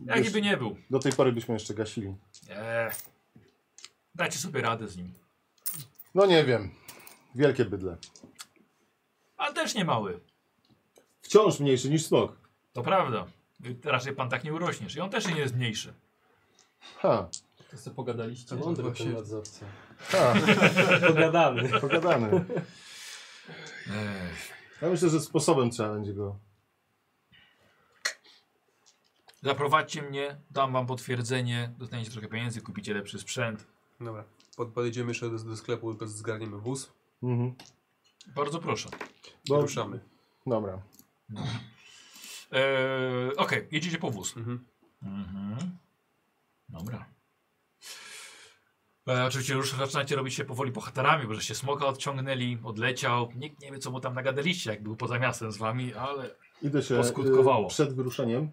Jaki
Już
by nie był.
Do tej pory byśmy jeszcze gasili.
Eee, dajcie sobie radę z nim.
No nie wiem. Wielkie bydle.
Ale też nie mały.
Wciąż mniejszy niż smok.
To prawda. Y, Raczej pan tak nie urośniesz. I on też nie jest mniejszy.
Ha.
To sobie pogadaliście.
Mądry
Właśnie.
ten nadzorca.
Ha.
Pogadany.
Pogadany.
Eee,
Ja myślę, że sposobem trzeba będzie go.
zaprowadźcie mnie, dam wam potwierdzenie, dostaniecie trochę pieniędzy, kupicie lepszy sprzęt.
Dobra, pod, podejdziemy jeszcze do, do sklepu, tylko zgarniemy wóz
Mhm.
Bardzo proszę.
i
Bo-
ruszamy.
Dobra.
Eee, Okej, jedziecie po wóz.
Mhm.
Mhm. Dobra. E, oczywiście już zaczynacie robić się powoli bohaterami, bo żeście smoka odciągnęli, odleciał. Nikt nie wie, co mu tam nagadaliście, jak był poza miastem z wami, ale
Idę się
Poskutkowało.
y, przed wyruszeniem.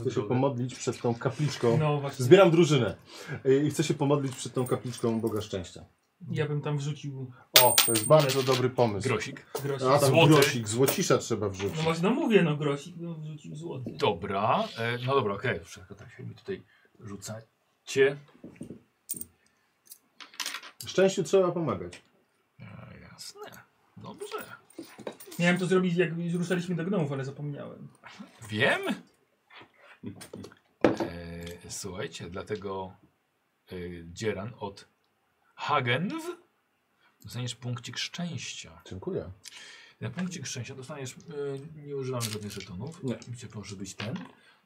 Chcę się pomodlić przed tą kapliczką.
No właśnie.
Zbieram drużynę y, i chcę się pomodlić przed tą kapliczką Boga Szczęścia.
Ja bym tam wrzucił
O, to jest bardzo dobry pomysł.
grosik.
grosik.
A tam
Złoty.
grosik, złocisza trzeba wrzucić.
No właśnie, no mówię, no grosik, no wrzucił złoty.
Dobra, e, no dobra, okej, wszystko tak się mi tutaj rzucacie.
Szczęściu trzeba pomagać.
E, jasne, dobrze.
Miałem to zrobić, jak już ruszaliśmy do gnomów, ale zapomniałem.
Wiem. E, słuchajcie, dlatego e, Dzieran od Hagenw dostaniesz punkcik szczęścia.
Dziękuję.
Ten punkcik szczęścia dostaniesz, e, nie używamy żadnych żetonów,
Nie.
gdzie może być ten.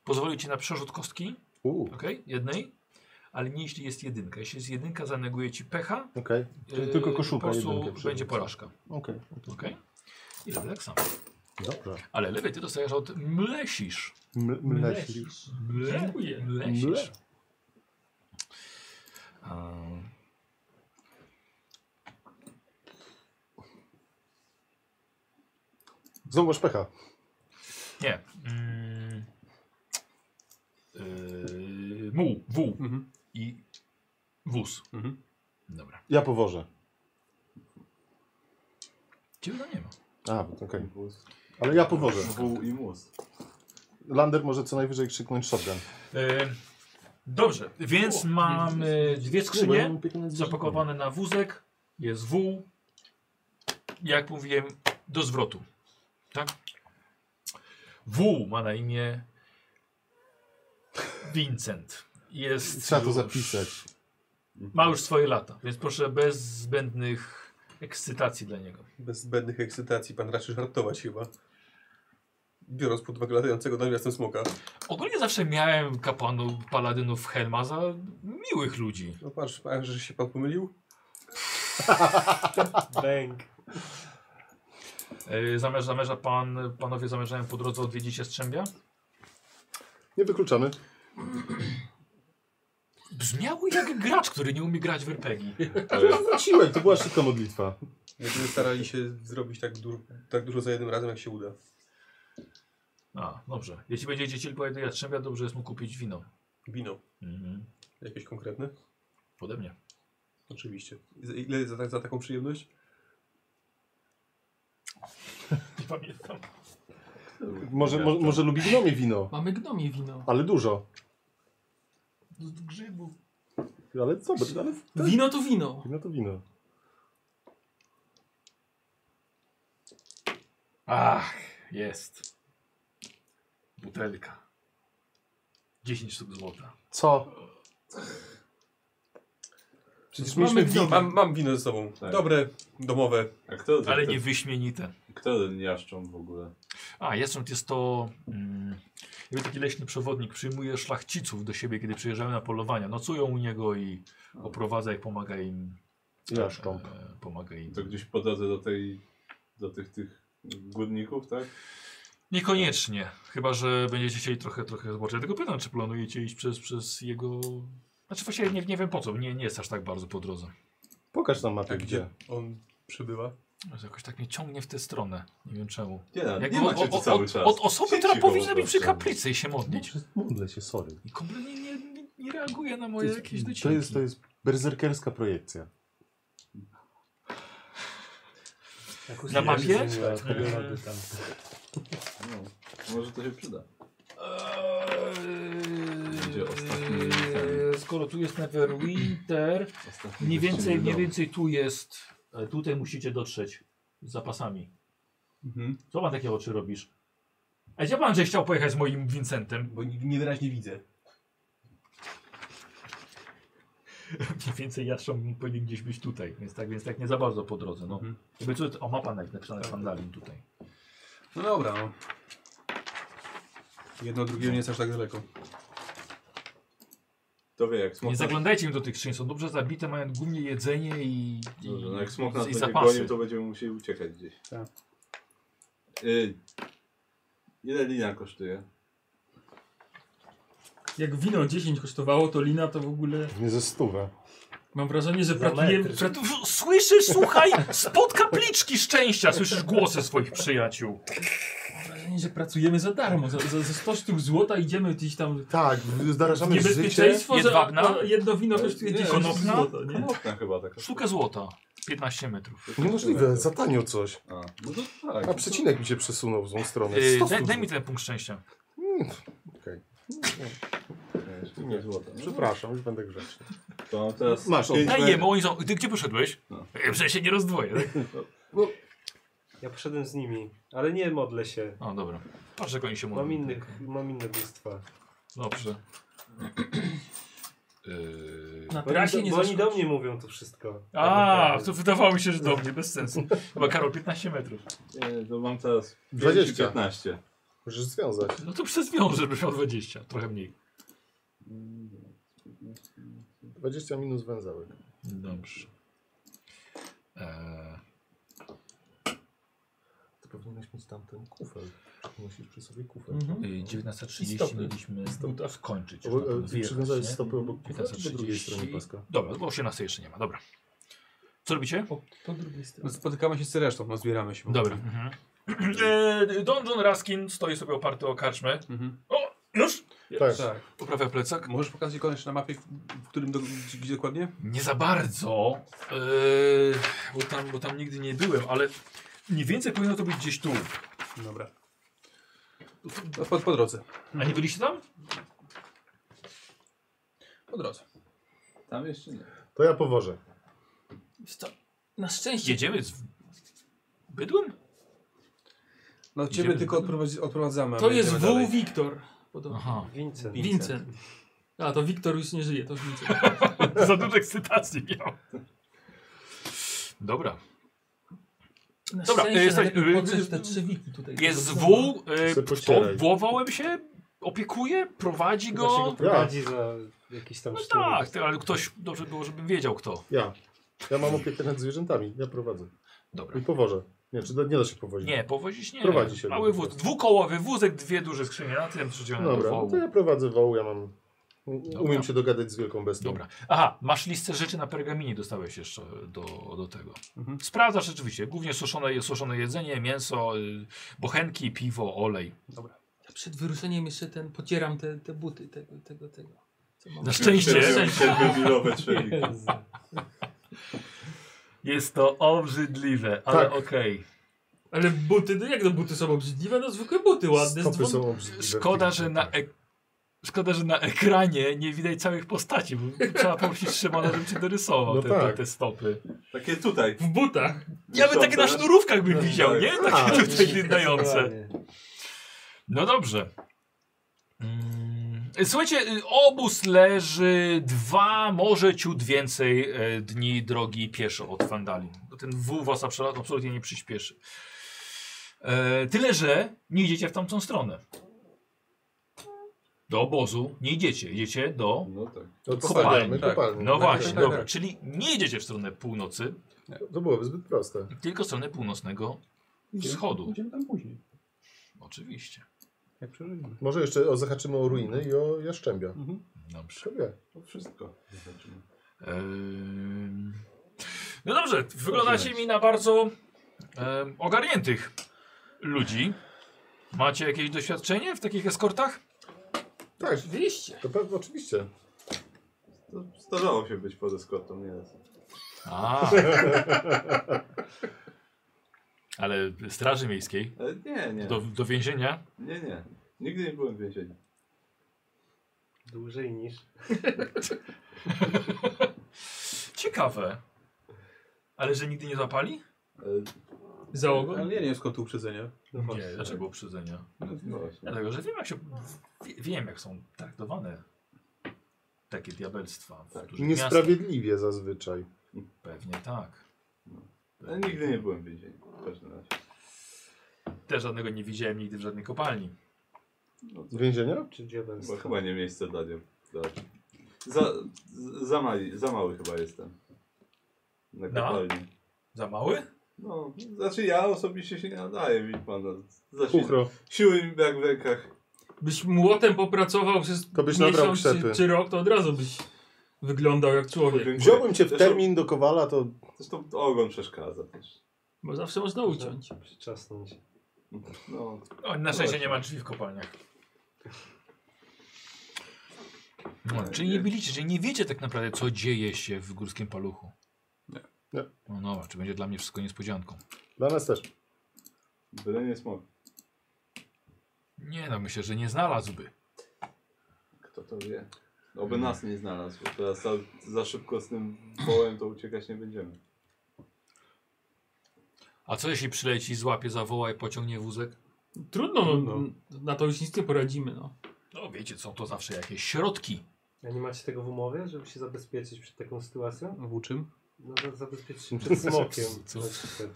Pozwoli ci na przerzut kostki,
U,
ok, jednej, ale nie jeśli jest jedynka. Jeśli jest jedynka, zaneguje ci pecha,
okej. Czyli
e,
Tylko koszulka
po prostu
jedynkę
będzie
przerzucę.
porażka.
Okej, no
Ok? I robię tak samo.
dobrze.
Ale lepiej ty dostajesz od mlesisz.
M- mlesisz.
Mle,
Dziękuję.
Mlesisz.
Mle.
A.
Znowu masz pecha.
Nie. Mm. Yy, muł, wół
Mhm.
i wóz.
Mhm.
Dobra.
Ja powożę.
Ciebie tam nie ma.
A, okej. Ale ja powożę.
Wół i mus.
Lander może co najwyżej krzyknąć shotgun.
Yy, dobrze, więc
no,
mamy dwie skrzynie zapakowane na wózek. Jest wół jak mówiłem, do zwrotu. Tak? W ma na imię Vincent. Jest
Trzeba to
już-
zapisać.
Ma już swoje lata, więc proszę bez zbędnych ekscytacji dla niego.
Bez zbędnych ekscytacji pan raczy żartować chyba. Biorąc pod uwagę latającego nawiasem smoka.
Ogólnie zawsze miałem kapłanów, paladynów Helma za miłych ludzi.
No patrz, a że się pan pomylił?
Bęk.
E, Zamierza, zamierza pan, panowie zamierzają po drodze odwiedzić Jastrzębia?
Nie wykluczamy.
Brzmiało jak gracz, który nie umie grać w RPG.
Wróciłem, to była szybka modlitwa.
Będziemy starali się zrobić tak, du tak dużo za jednym razem, jak się uda.
A, dobrze. Jeśli będziecie chcieli pojechać do Jastrzębia, dobrze jest mu kupić wino.
Wino.
Mhm.
Jakieś konkretne?
Ode mnie.
Oczywiście. I Za, ile za, tak- za taką przyjemność?
Nie pamiętam.
Może, może, może lubi gnomie wino,
Mamy gnomie wino.
ale dużo.
Z grzybów.
Ale co? bo- Ale
Wino to wino.
wino to wino.
Ach, jest. Butelka. 10 sztuk złota.
Co? Przecież mieliśmy
wino.
wino.
Mam, mam wino ze sobą.
Tak.
Dobre, domowe.
A kto,
Ale
kto,
nie wyśmienite.
Kto ten jaszcząb w ogóle?
A, Jastrząb jest to... Mm, jakby taki leśny przewodnik przyjmuje szlachciców do siebie, kiedy przyjeżdżają na polowania. Nocują u niego i oprowadza ich, pomaga im.
Jaszcząb.
E, pomaga im.
To gdzieś po drodze do tej, do tych, tych górników, tak?
Niekoniecznie. Chyba, że będziecie chcieli trochę, trochę zobaczyć. Ja tylko pytam, czy planujecie iść przez, przez jego... Znaczy właśnie nie, nie wiem po co, nie, nie jest aż tak bardzo po drodze.
Pokaż nam
A
mapę,
gdzie
Tak, gdzie.
on przybywa?
Jakoś tak mnie ciągnie w tę stronę. Nie wiem czemu.
Nie, nie,
Jak
nie
o-
macie
o-
tu
o-
cały
od,
czas.
Od osoby, która
Siedzi po
powinna być przy
prostu.
kaplicy i się modlić.
Modlę się, sorry.
I kompletnie nie, nie, nie reaguje na
To
moje
jest,
jakieś docinki.
to jest, to jest berserkerska projekcja.
Na Tak. mapie?
No, może to się przyda.
Eee,
Będzie ostatni ten.
Skoro tu jest Neverwinter,
Ostatni
mniej więcej,
gościnny
mniej
dom.
więcej tu jest. E, Tutaj musicie dotrzeć z zapasami.
Mhm.
Co pan takie oczy robisz? A gdzie pan, że chciał pojechać z moim Vincentem?
Bo nie- niewyraźnie widzę.
Mniej więcej Jatrzą powinien gdzieś być tutaj, więc tak, więc tak nie za bardzo po drodze. No.
Mhm.
Jakby co, o ma pan
Tak,
napisane Fandalin tutaj.
No dobra. No. Jedno drugiego nie jest aż tak daleko.
To wie, jak smok
Nie
nas-
zaglądajcie im do tych skrzyń, są dobrze zabite, mają głównie jedzenie i, i,
Dobrze, no jak smok nas
i
będzie
zapasy.
gonił, to będziemy musieli uciekać gdzieś.
Tak.
Y, ile linia kosztuje?
Jak wino 10 kosztowało, to lina to w ogóle...
Nie ze stówę.
Mam wrażenie, że
Za
pracujemy...
metr.
Że tu słyszysz, słuchaj, spod kapliczki szczęścia słyszysz głosy swoich przyjaciół.
Mam wrażenie, że pracujemy za darmo. Za, za, za 100 sztuk złota idziemy gdzieś tam...
Tak,
w
zarażamy życie.
Niebezpieczeństwo, że
Jedwabna?
a- a jedno wino kosztuje
Nie,
10
konopna?
złota, nie?
Okna chyba taka.
Sztuka złota, 15 metrów.
Niemożliwe, za tanio coś.
A, no to tak.
A przecinek mi się przesunął w złą stronę.
Yy,
Sto
daj,
stóp.
daj mi ten punkt szczęścia.
Nie, nie złota.
Przepraszam, już będę grzeczny.
No To mam teraz
Masz, o,
pięć
Daj
metr-
jemu, oni są, ty gdzie poszedłeś?
No.
Yy, Że się nie rozdwoję. Tak?
Ja poszedłem z nimi, ale nie modlę się.
O, dobra. Patrz, jak oni się mówią.
Mam, innych,
tak.
mam inne bóstwa.
Dobrze. Yy...
Na
Bo, oni,
trasie
do,
nie
bo oni
zaszkodzi.
do mnie mówią to wszystko. Tak
A,
naprawdę.
to wydawało mi się,
No.
że do mnie, bez sensu. Chyba Karol 15 metrów.
Nie, y, to mam teraz
20.
20. 15.
Możesz związać.
No to przez wiąże, żeby miał 20, trochę mniej.
20 minus węzełek.
Dobrze. Eee,
Ty powinieneś mieć tamten kufel. Musisz przy sobie kufel.
Mhm.
y,
I
19.30
stopy.
mieliśmy
Stopy.
skończyć. już na pewno
Czy
wyjechać,
przywiązałeś
nie?
stopy obok kufla, czy po drugiej
15.30.
stronie paska?
Dobra, bo 18 jeszcze nie ma, dobra. Co robicie?
Po, po drugiej
No,
stronie.
spotykamy się z resztą, no zbieramy się.
Dobra. Mhm. Eee, Don John Raskin stoi sobie oparty o karczmę.
Mhm.
O, już?
Tak.
Tak.
Poprawia plecak.
Możesz pokazać koniecznie na mapie, w- w którym do, gdzie, gdzie dokładnie?
Nie za bardzo, yy, bo, tam, bo tam nigdy nie byłem, ale mniej więcej powinno to być gdzieś tu.
Dobra. No, Po, po drodze.
A nie byliście tam?
Po drodze.
Tam jeszcze nie.
To ja powożę.
Wiesz co, Na szczęście
Jedziemy. Z... Bydłem?
No ciebie
Idziemy z
tylko
Bydłem?
odprowadzi, odprowadzamy. a
To jest
będziemy
W.
dalej.
Wiktor. Podobno.
Aha.
Vincent.
Vincent. A, to Wiktor już nie żyje, to już Vincent.
Za dużo ekscytacji miał. Dobra.
Na
Dobra,
szczęście
e, słuchaj,
najlepiej
e,
podrzeć
e,
te trzy wiki tutaj.
Jest z
Dobra.
W,
Se
y, kto
pocieraj.
wołowałem się, opiekuje, prowadzi
Chyba się go
go. tak.
prowadzi za jakiś tam
No
sznur.
tak, ty- ale ktoś, dobrze było, żebym wiedział kto.
Ja. Ja mam opiekę nad zwierzętami. Ja prowadzę.
Dobra.
I powożę. Nie, czy da, nie da się powozić?
Nie, powozić nie.
Prowadzi się.
Mały wóz, dwukołowy wózek, dwie duże skrzynie na tym przydzielone do
Dobra, no
wołu.
to ja prowadzę woł, ja mam... Umiem
Dobra.
się dogadać z wielką bestią.
Dobra. Aha, masz listę rzeczy na pergaminie dostałeś jeszcze do, do tego. Sprawdzasz rzeczywiście, głównie suszone, suszone jedzenie, mięso, y, bochenki, piwo, olej. Dobra.
Ja przed wyruszeniem jeszcze ten, pocieram te, te buty tego, tego, tego. Co mam?
Na szczęście.
Siedmiomilowe trzeliki.
Jest to obrzydliwe, ale
Tak.
okej.
Ale buty, no jak to buty są obrzydliwe? No zwykłe buty ładne. z
Stopy
dwoma-
są obrzydliwe. Tak,
Szkoda, że na ek- Szkoda, że na ekranie nie widać całych postaci, bo trzeba prosić Szymona, żeby cię dorysował
No
te,
tak.
te, te stopy.
Takie tutaj.
W butach.
Ja bym takie na sznurówkach bym widział, nie?
Tak.
Takie tutaj dające.
Dokładnie.
No dobrze. Mm, Słuchajcie, y, obóz leży dwa, może ciut więcej e, dni drogi pieszo od Fandalin. Bo Ten wół was absolut- absolutnie nie przyspieszy. E, tyle, że nie idziecie w tamtą stronę. Do obozu nie idziecie, idziecie do...
No tak.
Odstawiamy
kopalni.
kopalnię.
No właśnie,
tak,
dobra.
tak.
Czyli nie idziecie w stronę północy,
No, To byłoby zbyt proste.
tylko w stronę północnego wschodu.
Idziemy tam później.
Oczywiście.
Jak przeżyjemy.
Może jeszcze o, zahaczymy o ruiny i o jaszczębia.
Dobrze.
Kto wie?
To wszystko. Zobaczymy.
Ehm, No dobrze, wyglądacie mi na bardzo em, ogarniętych ludzi. Macie jakieś doświadczenie w takich eskortach?
Tak,
Oczywiście.
to pewnie, oczywiście.
To Zdarzało się być pod eskortą nieraz.
A. Ale Straży Miejskiej?
E, Nie, nie.
Do, do więzienia?
Nie, nie. Nigdy nie byłem w więzieniu.
Dłużej niż.
Ciekawe. Ale że nigdy nie zapali?
E,
Załogą?
Ale ja nie wiem skąd tu uprzedzenia.
No
Nie,
właśnie.
dlaczego uprzedzenia?
No, no właśnie.
Dlatego, że wiem jak się, wie- wiem jak są traktowane takie diabelstwa
Tak.
w dużych miastach.
Niesprawiedliwie zazwyczaj.
Pewnie tak.
Ale No, E, nigdy nie byłem w więzieniu. W każdym razie.
Też żadnego nie widziałem nigdy w żadnej kopalni.
No, to
Więzienia?
Czy diabelstwo?
chyba, chyba nie miejsce dla nie. Dla... Za, z- za, mali, za mały chyba jestem. Na
No.
kopalni.
Za mały?
No, znaczy ja osobiście się nie nadaję, widzi pan. no. Znaczy,
Kuchro.
siły mi jak w rękach.
Byś młotem popracował przez
To byś nabrał
miesiąc
krzepy.
czy, czy rok, to od razu byś wyglądał jak człowiek.
Wziąłbym cię w
Zresztą-
termin do Kowala, to
Zresztą ogon przeszkadza też.
Bo zawsze można uciąć.
Tak.
Przyczasnąć.
No,
O, na szczęście nie ma drzwi w kopalniach. No, czyli nie byliście, czyli nie wiecie tak naprawdę, co dzieje się w górskim paluchu.
Nie.
No dobra, czy będzie dla mnie wszystko niespodzianką?
dla nas też.
byle nie smog.
Nie no, myślę, że nie znalazłby.
Kto to wie? Oby nas nie znalazł, bo teraz za, za szybko z tym wołem to uciekać nie będziemy.
A co jeśli przyleci, złapie, zawoła i pociągnie wózek?
Trudno, no,
Trudno.
n- na to już nic nie poradzimy. No.
No wiecie, są to zawsze jakieś środki.
A nie macie tego w umowie, żeby się zabezpieczyć przed taką sytuacją?
W czym?
No za- zabezpieczyć się przed smokiem.
Co?
na przykład.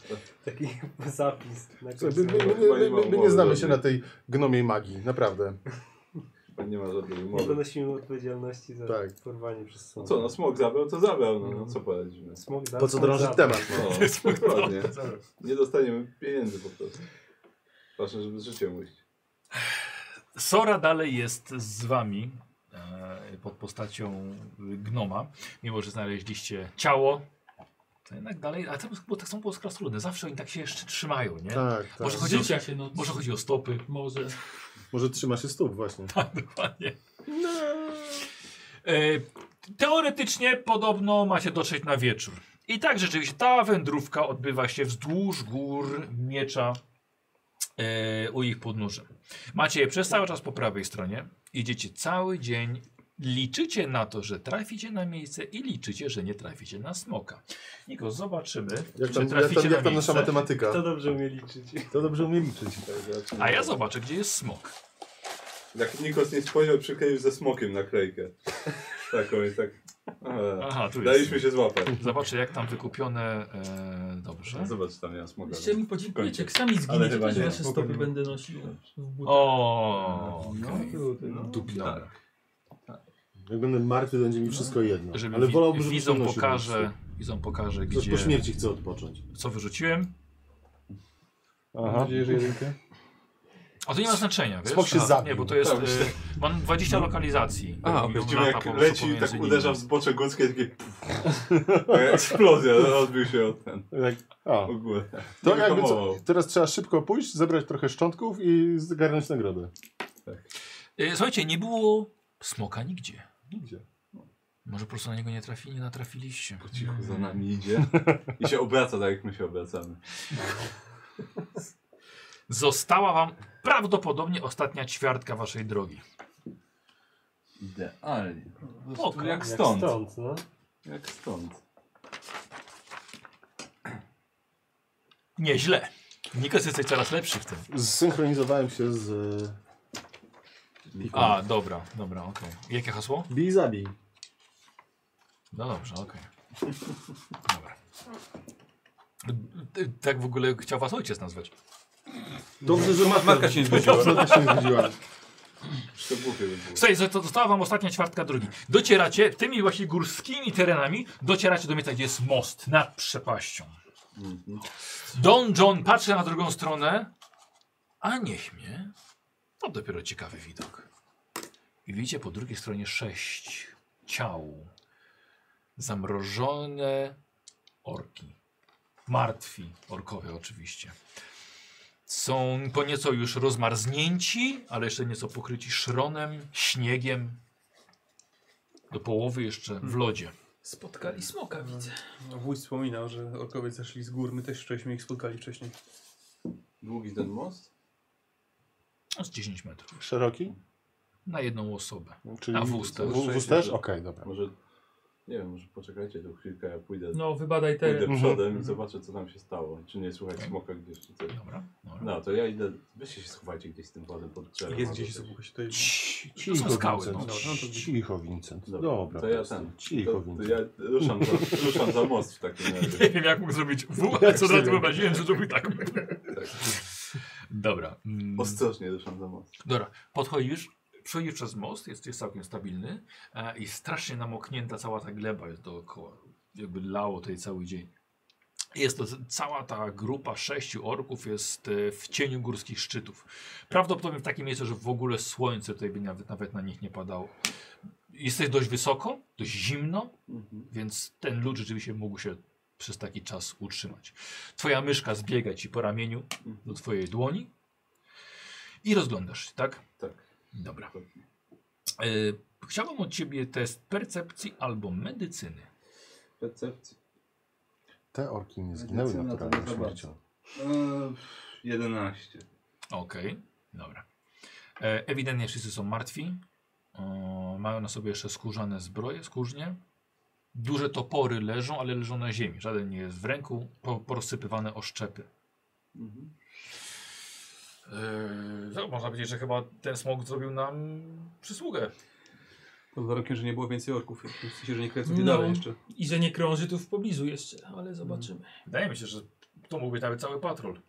Taki zapis. Na
My,
końcu.
my, my, my, my, my, my nie znamy się na tej gnomiej magii, naprawdę.
Pan nie ma żadnej
Nie
umowy.
ponosimy odpowiedzialności za
Tak.
porwanie przez
No
smoka.
co, no smog zabrał, to zabrał, no, no co poradzimy.
Smok
Po co drążyć temat?
No, dokładnie. Nie dostaniemy pieniędzy po prostu. Ważne, żeby z życiem ujść.
Sora dalej jest z wami e, pod postacią y, gnoma, mimo że znaleźliście ciało. To jednak dalej, ale to, bo tak są było krasnoludne. Zawsze oni tak się jeszcze trzymają, nie?
Tak, tak.
Może chodzi, o,
Życia się, no.
może chodzi o stopy.
Może.
Może trzyma się stóp właśnie.
Tak, dokładnie. E, teoretycznie podobno macie dotrzeć na wieczór. I tak rzeczywiście ta wędrówka odbywa się wzdłuż gór miecza e, u ich podnóży. Macie je przez cały czas po prawej stronie. Idziecie cały dzień Liczycie na to, że traficie na miejsce i liczycie, że nie traficie na smoka. Niko, zobaczymy,
Jak
czy
tam, jak
traficie
tam, jak
na
tam
miejsce.
nasza matematyka?
To dobrze umie liczyć.
To dobrze umie liczyć. tak, raczej.
A ja zobaczę, gdzie jest smok.
Jak Nikos nie spojrzał, przykleił ze smokiem naklejkę. Taką jest tak. A,
Aha, tu jest.
Daliśmy się złapać.
Zobaczę, jak tam wykupione. E, dobrze.
Zobacz, tam ja smoga. no.
Jeszcze mi podziękujecie, jak sami
Ale
zginiecie,
chyba
też
nie.
wasze
Spoko,
stopy
nie.
będę nosił w butach.
O,
No,
Tak.
Dupia. Jak będę martwy, będzie mi wszystko jedno.
No. Żeby
Ale
wi-
wolałbym, żebyś
widzą
tam nosił
pokaże,
po
widzą pokaże,
prostu. Też
gdzie.
po śmierci chcę odpocząć.
Co wyrzuciłem?
Aha. Mam nadzieję, że jedynkę.
A to nie ma znaczenia, wiesz?
Smok się
A,
zabił.
Nie, bo to jest.
Tak, No. myślę.
Y, mam 20 lokalizacji.
A,
I
widzimy
lata
jak
po prostu
leci,
pomiędzy
tak
nimi.
uderza w zbocze górskie, takie pff. eksplozja, no, odbił się od ten.
Tak. A.
W ogóle.
To
Nie
jakby co,
wyhamował.
teraz trzeba szybko pójść, zebrać trochę szczątków i zgarnąć nagrodę.
Y, Słuchajcie, nie było smoka nigdzie.
Nigdzie.
Może po prostu na niego nie trafili, nie natrafiliście. Po
cichu za nami idzie i się obraca tak jak my się obracamy.
Została wam prawdopodobnie ostatnia ćwiartka waszej drogi.
Idealnie.
No,
Po prostu
Spoko.
jak
Jak
stąd.
stąd, no.
Jak stąd.
Nieźle. Nikos jesteś coraz lepszy w tym.
Zsynchronizowałem się z...
e,
A, dobra, dobra, okej. Jakie hasło?
Bij, zabij.
No dobrze, okej. Dobra. Ty- Tak w ogóle chciał was ojciec nazwać.
Dobrze, że matka,
Matka się nie zgodziła.
Matka się nie zgodziła.
To głupie by było.
Słuchaj, to została wam ostatnia ćwiartka drogi. Docieracie tymi właśnie górskimi terenami, docieracie do miejsca, gdzie jest most nad przepaścią. Don John patrzy na drugą stronę, a niech mnie. To dopiero ciekawy widok. I widzicie po drugiej stronie sześć ciał. Zamrożone orki. Martwi orkowie oczywiście. Są po nieco już rozmarznięci, ale jeszcze nieco pokryci szronem, śniegiem. Do połowy jeszcze w lodzie.
Spotkali
No.
smoka, widzę.
No, Wuj wspominał, że orkowie zeszli z gór, my też żeśmy ich spotkali wcześniej.
Długi ten most?
No, z 10 metrów.
Szeroki?
Na jedną osobę.
Czyli
Na wóz też.
Wóz wóz też? Okej, dobra.
Może, nie wiem, może poczekajcie tu chwilkę, ja pójdę,
No, wybadaj teren.
pójdę
Mhm.
przodem i
Mhm.
zobaczę co tam się stało. Czy nie słychać smoka gdzieś czy coś.
Dobra, dobra.
No to ja idę, weźcie się schowajcie gdzieś z tym wodem pod drzewem.
Jest
albo
gdzieś,
coś.
słuchaj, tutaj...
To są skały. No.
Dobra, no to gdzieś.
Cicho, Vincent.
Dobra,
Dobra,
to ja
prosto.
ten.
Cicho,
to, to
Vincent.
ja ruszam za, ruszam za most w takim razie.
Nie wiem jak mógł zrobić W, ale co razu wyobraziłem, że zrobił tak. Dobra. mm.
Ostrożnie ruszam za most.
Dobra, podchodzisz, przechodzisz przez most, jest, jest całkiem stabilny e, i strasznie namoknięta cała ta gleba jest dookoła. Jakby lało tutaj cały dzień. Jest to cała ta grupa sześciu orków jest e, w cieniu górskich szczytów. Prawdopodobnie w takim miejscu, że w ogóle słońce tutaj by nawet, nawet na nich nie padało. Jesteś dość wysoko, dość zimno,
Mhm.
więc ten lód rzeczywiście mógł się przez taki czas utrzymać. Twoja myszka zbiega ci po ramieniu do twojej dłoni i rozglądasz się, tak?
Tak.
Dobra. E, chciałbym od ciebie test percepcji albo medycyny.
Percepcja.
Te orki nie zginęły
Medycyna to
naturalną
nie za
śmiercią.
Eee, 11.
Okej, dobra. E, ewidentnie wszyscy są martwi. O, mają na sobie jeszcze skórzane zbroje, skórznie. Duże topory leżą, ale leżą na ziemi. Żaden nie jest w ręku, po, porozsypywane oszczepy.
Mhm.
E, no, można powiedzieć, że chyba ten smok zrobił nam przysługę.
Pod warunkiem, że nie było więcej orków, w sensie, że nie kręcą nie
No.
dalej jeszcze.
I że nie krąży tu w pobliżu jeszcze, ale zobaczymy.
Mm.
Wydaje mi się, że to mógł być nawet cały patrol.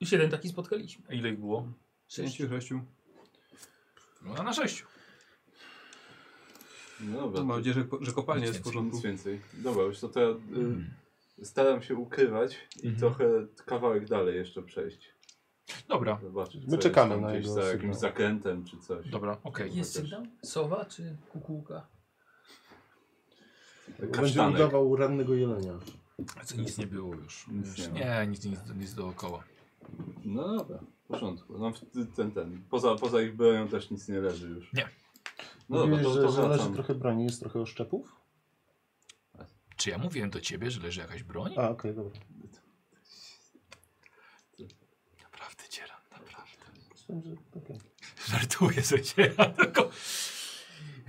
Już jeden taki spotkaliśmy.
A ile ich było?
Pięciu, sześciu.
No, na sześciu.
No dobra.
Mam
to-
nadzieję, że, po- że kopalnia
Nic
jest w
więcej,
porządku.
Nic więcej. Dobra, już to, to ja y, staram się ukrywać i trochę kawałek dalej jeszcze przejść.
Dobra,
Zobaczyć,
My
co jest
czekamy
tam
na
gdzieś
jego
za
sygnał.
jakimś zakrętem czy coś.
dobra, okej.
Jest
Chociaż-
sygnał? Sowa czy kukułka?
Będzie
Kasztanek.
udawał rannego jelenia.
Co, Nic nie było już.
Nic
Wiesz,
nie ma.
nie, nic, nic, nic dookoła.
No dobra, w porządku. No, w- ten, ten. Poza, poza ich bronią też nic nie leży już.
Nie.
No dobra,
Mówiłeś,
to,
że,
to
że leży
wracam.
trochę broni, jest trochę oszczepów?
Czy ja mówiłem do ciebie, że leży jakaś broń?
A, okej, dobra.
Naprawdę cieram, naprawdę.
Myślałem, że- okej.
Żartuję sobie, cieram, tylko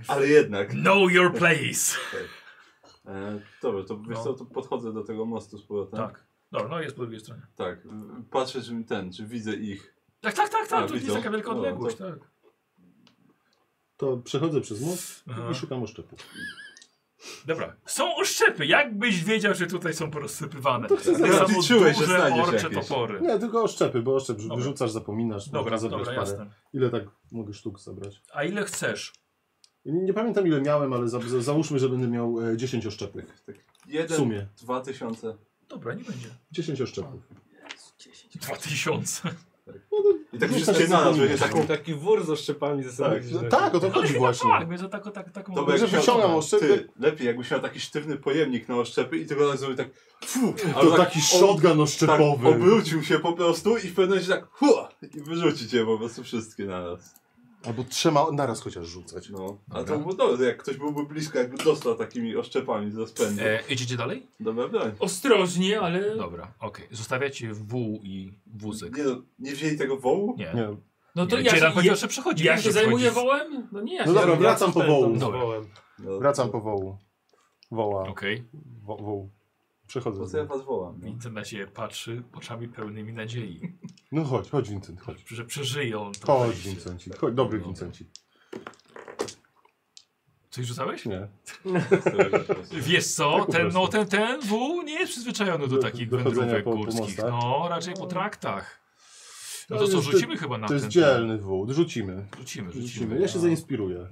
Ale jednak.
Know your place.
E, dobra, to wiesz
No.
co, to podchodzę do tego mostu z powrotem.
Tak. Dobra, no jest po drugiej stronie.
Tak, y, patrzę czy ten, czy widzę ich.
Tak, tak, tak,
A,
tak. To nie
widzą?
jest taka wielka
No, to-
odległość, tak.
To przechodzę przez most
Aha.
i szukam oszczepu.
Dobra. Są oszczepy. Jakbyś wiedział, że tutaj są porozsypywane.
To chcę
Tak
zobaczyć.
samo
Liczyłeś, że
duże
znajdziesz
orcze
jakieś.
topory.
Nie, tylko oszczepy, bo oszczep dobra. rzucasz, zapominasz.
Dobra,
można zabrać
dobra,
parę.
jasne.
Ile tak mogę sztuk zabrać?
A ile chcesz?
Nie, nie pamiętam ile miałem, ale za, za, załóżmy, że będę miał e, 10 oszczepów.
Jeden,
W sumie.
dwa tysiące.
Dobra, nie będzie.
10 oszczepów.
Dwa tysiące.
I tak
Nie,
wszystkie
tak
naraz,
zapomnij.
że taką...
Taki wór ze szczepami ze sobą.
Tak, no tak, o to chodzi właśnie.
Tak, więc za taką, tak, taką...
To by
Że
jakbyś miał-
wyciągam oszczepy.
Ty, lepiej jakbyś miał taki sztywny pojemnik na oszczepy i tego razu tak... Fu,
To taki shotgun oszczepowy.
Tak, obrócił się po prostu i w pewnym momencie tak... Hua, I wyrzucić je po prostu wszystkie naraz.
Albo trzema naraz chociaż rzucać.
No. Ale to byłby dobre, jak ktoś byłby blisko, jakby dostał takimi oszczepami z rozpędu.
E, idziecie dalej?
Dobra broń.
Ostrożnie, ale...
Dobra, okej. Zostawiacie wół i wózek.
Nie, no, nie wzięli tego wołu?
Nie.
Nie.
No to
Nie,
ja,
cię tam
się,
powiedział,
ja,
że przechodzi,
ja
wiesz,
się
że przechodzi.
zajmuję wołem? No nie, ja
No
się
dobra,
zajmuję-
wracam po wołu.
Dobra.
No,
Wracam po wołu. Woła.
Okej.
Wo, woł. Przechodzę.
Po
z
co ja
nim.
was wołam? No.
Wincent na siebie patrzy oczami pełnymi nadziei,
No chodź, chodź Vincent, chodź.
że przeżyją to
Chodź
wejście.
Vincenci, chodź, dobry Vincenci.
Coś rzucałeś?
Nie.
Wiesz co,
Tak po
ten,
prostu.
no, ten, ten wół nie jest przyzwyczajony do,
Do-
takich
dochodzenia
wędrówek
po- po
górskich.
mostach.
no, raczej po traktach. No
Ale
to co,
jest-
rzucimy chyba na
To
ten.
jest dzielny wół, rzucimy.
Rzucimy,
Rzucimy.
rzucimy. no.
Ja się zainspiruję.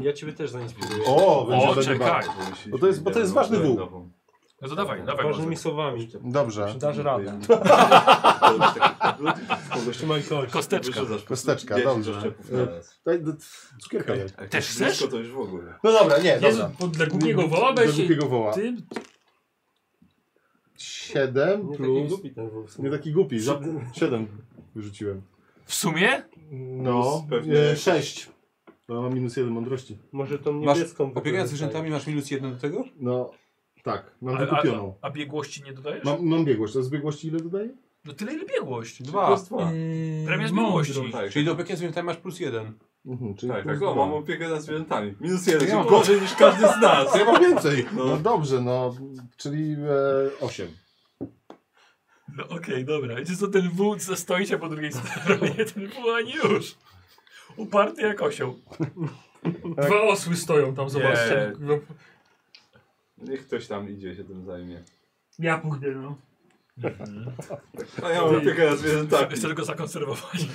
Ja ciebie też zainspiruję.
O, będzie
O,
będzie
czekaj.
bardzo. Bo to jest- bo to jest ważny wół.
No to dawaj, dawaj.
Ważnymi
Koztek.
słowami.
Dobrze.
Dasz radę.
Trzymaj kość.
Kosteczka.
Kosteczka, dobrze. E, daj- d- Cukierka daj.
Też chcesz?
Wszystko Tak, to już w ogóle.
No dobra, nie,
Jezu,
dobra.
bo dla głupiego woła
Do
weź
głupiego woła.
Ty,
7
Nie taki
plus...
głupi ten wół. w sumie.
Nie taki głupi, 7 wyrzuciłem.
W sumie?
No,
Plus pewnie-
6. No, mam minus 1 mądrości.
Może tą
Masz,
niebieską
opiekując
wykorzystaj.
tak.
zwierzętami masz minus jeden do tego?
No, tak, mam
A, a,
wykupioną.
a biegłości nie dodajesz?
Mam, mam biegłość, a z biegłości ile dodaję?
No tyle ile biegłość.
Dwa.
Premia z
mądrość.
miłości.
Tak,
Czyli do opiekując zwierzętami masz plus jeden.
Mhm, czyli
tak,
plus
tak. O,
dwa.
mam opiekę nad zwierzętami. Minus jeden,
Ja
czyli
mam-
gorzej niż każdy z nas.
Ja mam więcej.
No.
No, dobrze, no, czyli e, 8.
No okej, dobra. Wiecie co, ten wół stoicie po drugiej stronie, ten wół, a nie już. Uparty jak osioł.
dwa osły stoją tam, zobaczcie. No,
Niech ktoś tam idzie się tym zajmie.
ja pójdę, no.
A ja mam opiekę nad zwierzętami.
Chcesz go zakonserwować.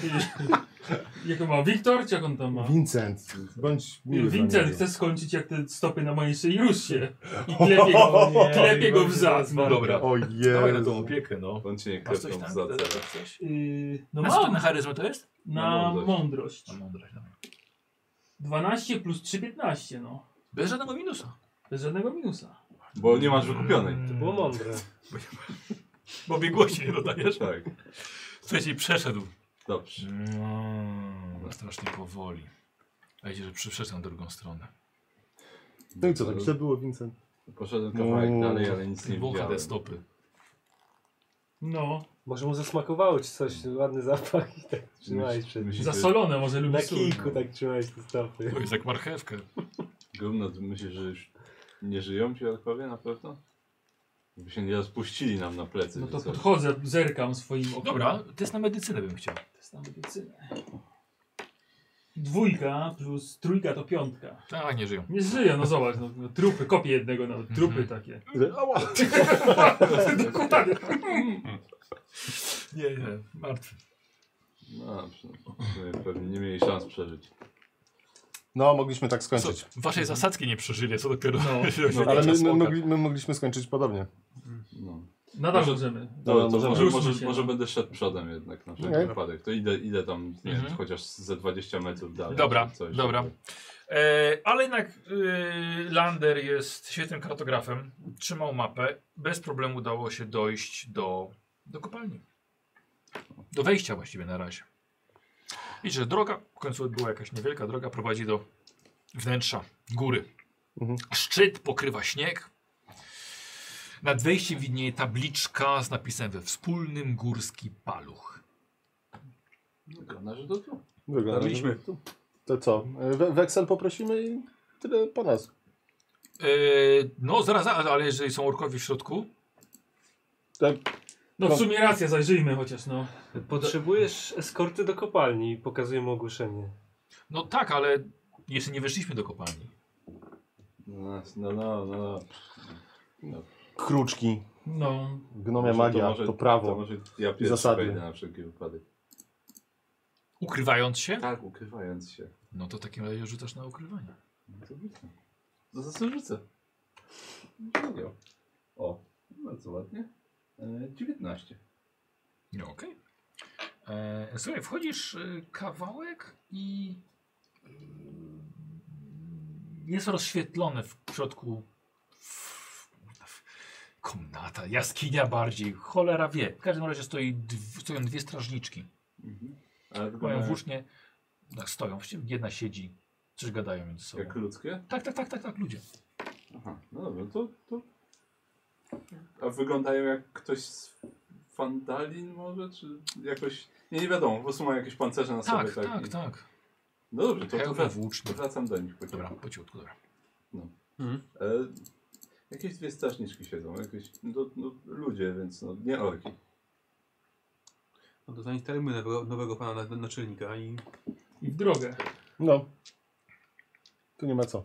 Jak on ma? Wiktor, czy jak on
No.
tam ma?
Vincent, bądź miły dla
Vincent,
niego.
chcesz skończyć jak te stopy na mojej szyi? Rusz się. I klepie go, klepie go w zad.
No dobra.
O
Dawaj na tą
Jezu.
opiekę, no.
On cię nie
Masz coś
klepną
tam?
za cel.
Coś?
Yy,
No
no
mam. no. Na
mam.
charyzmę to jest?
Na mądrość.
Na mądrość, dawaj.
12 plus 3, 15, no.
Bez żadnego minusa.
Bez żadnego minusa.
Bo nie masz wykupionej.
To było mądre.
Mm. Bo biegłości nie dodajesz.
Tak,
Trzeci przeszedł.
dobrze.
No, strasznie powoli. A idzie, że przy- przeszedł na drugą stronę.
No i co, tak źle było, Vincent?
Poszedłem kawałek
No.
dalej, ale nic nie
Wącha
widziałem.
te stopy.
No.
Może mu zasmakowało ci coś, ładny zapach i tak trzymałeś przed
Myślisz, że
Zasolone może lubi
Na
sól.
kijku tak trzymałeś te stopy.
To jest jak marchewkę.
Gumno, ty myślisz, że już nie żyją ci orkowie na pewno? By się nie rozpuścili nam na plecy.
No to
czy coś.
podchodzę, zerkam swoim okiem.
Dobra, test na medycynę bym chciał.
Test na medycynę. Dwójka plus trójka to piątka.
Tak, nie żyją.
Nie żyje, no zobacz, no, no, trupy, kopię jednego, no, trupy takie.
Ała.
Dokładnie.
Nie, nie, martwy.
No dobrze. no. Pewnie nie mieli szans przeżyć.
No, mogliśmy tak
Co,
skończyć.
waszej zasadzki nie przeżyli, co dopiero.
No.
No,
Ale my, my, mogli, my mogliśmy skończyć podobnie.
No.
Nadal
Może-
możemy.
Dobra, No, to
możemy.
może,
Rzućmy
może,
się,
może
no.
będę szedł przodem jednak no, na wszelki
Okej.
wypadek. To idę, idę tam, nie wiem,
Mhm.
chociaż ze 20 metrów dalej.
Dobra,
czy coś.
dobra. E, ale jednak e, Lander jest świetnym kartografem, trzymał mapę, bez problemu udało się dojść do, do kopalni. Do wejścia właściwie na razie. I że droga, w końcu była jakaś niewielka droga, prowadzi do wnętrza góry.
Mhm.
Szczyt pokrywa śnieg. Nad wejściem widnieje tabliczka z napisem we wspólnym górski paluch.
Wygląda, że to tu.
Wygląda, że-
Zabiliśmy.
To co? e, We, weksel poprosimy i tyle po nas.
Yy, no zaraz, zaraz, ale jeżeli są orkowie w środku,
No w sumie racja, zajrzyjmy chociaż, no.
Potrzebujesz eskorty do kopalni, pokazuję mu ogłoszenie.
no tak, ale jeszcze nie weszliśmy do kopalni.
No, no, no. no. no.
Kruczki.
No.
Gnomia
Może
magia, to,
może-
prawo.
To może ja
I
pierwszy
zasady.
wejdę na wszelki wypadek.
Ukrywając się?
Tak, ukrywając się.
No to w takim razie rzucasz na ukrywanie.
No to rzucę. No to sobie rzucę. Wziąłem. O, bardzo ładnie. E, 19.
No okej. E, Słuchaj, wchodzisz e, kawałek i mm, jest rozświetlone w środku w- w- komnata, jaskinia bardziej, cholera wie. W każdym razie stoi, dw- stoją dwie strażniczki.
Mhm. Ale tylko
Mają
na-
włócznie, tak, stoją, właściwie jedna siedzi, coś gadają między sobą.
Jak ludzkie?
Tak, tak, tak, tak, tak, ludzie.
Aha, no dobra, to, to... A wyglądają jak ktoś z Fandalin może, czy jakoś... Nie, nie wiadomo, po prostu mają jakieś pancerze na
Tak,
sobie.
tak,
i-
tak.
No dobrze, to, to,
Hełmy
wrac-
włócznie.
to wracam do nich. po
Dobra,
cichu.
po cichutku, dobra.
No. E, jakieś dwie strażniczki siedzą, jakieś... No, no, ludzie, więc no, nie orki.
No to zainstalujmy nowego, nowego pana na- naczelnika i...
I w drogę.
No. Tu nie ma co.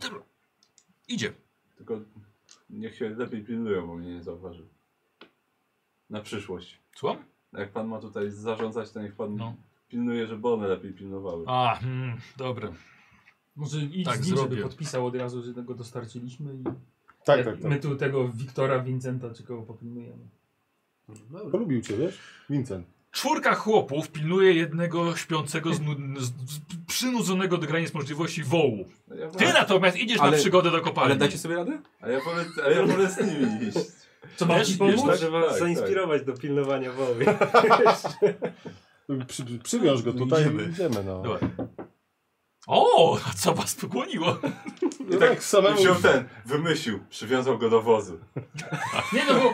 Idzie.
Tylko niech się lepiej pilnują, bo mnie nie zauważy. Na przyszłość.
Słucham?
Jak pan ma tutaj zarządzać, to niech pan
No.
pilnuje, żeby one lepiej pilnowały.
A, hmm, dobra.
Może idź
Tak,
z nim, żeby
zrobię.
podpisał od razu, że go dostarczyliśmy i...
Tak, tak, tak.
My tu tego Wiktora, Vincenta, czy kogo popilnujemy.
Polubił cię, wiesz? Vincent.
Czwórka chłopów pilnuje jednego śpiącego, znu- z, z, przynudzonego do granic możliwości wołu.
No Ja
Ty
właśnie-
natomiast idziesz na
Ale-
przygodę do kopalni.
Ale dacie sobie radę?
A ja wolę, a ja wolę z nimi iść.
Co mam
Wiesz,
ci
wiesz,
pomóc?
tak?
Trzeba
tak.
zainspirować do pilnowania woły.
Przy, przy- przywiąż go tutaj
Idziemy.
idziemy, idziemy no.
Dobra. O, a co was pokłoniło?
I tak samemu... wziął ten, wymyślił, przywiązał go do wozu.
Nie no bo...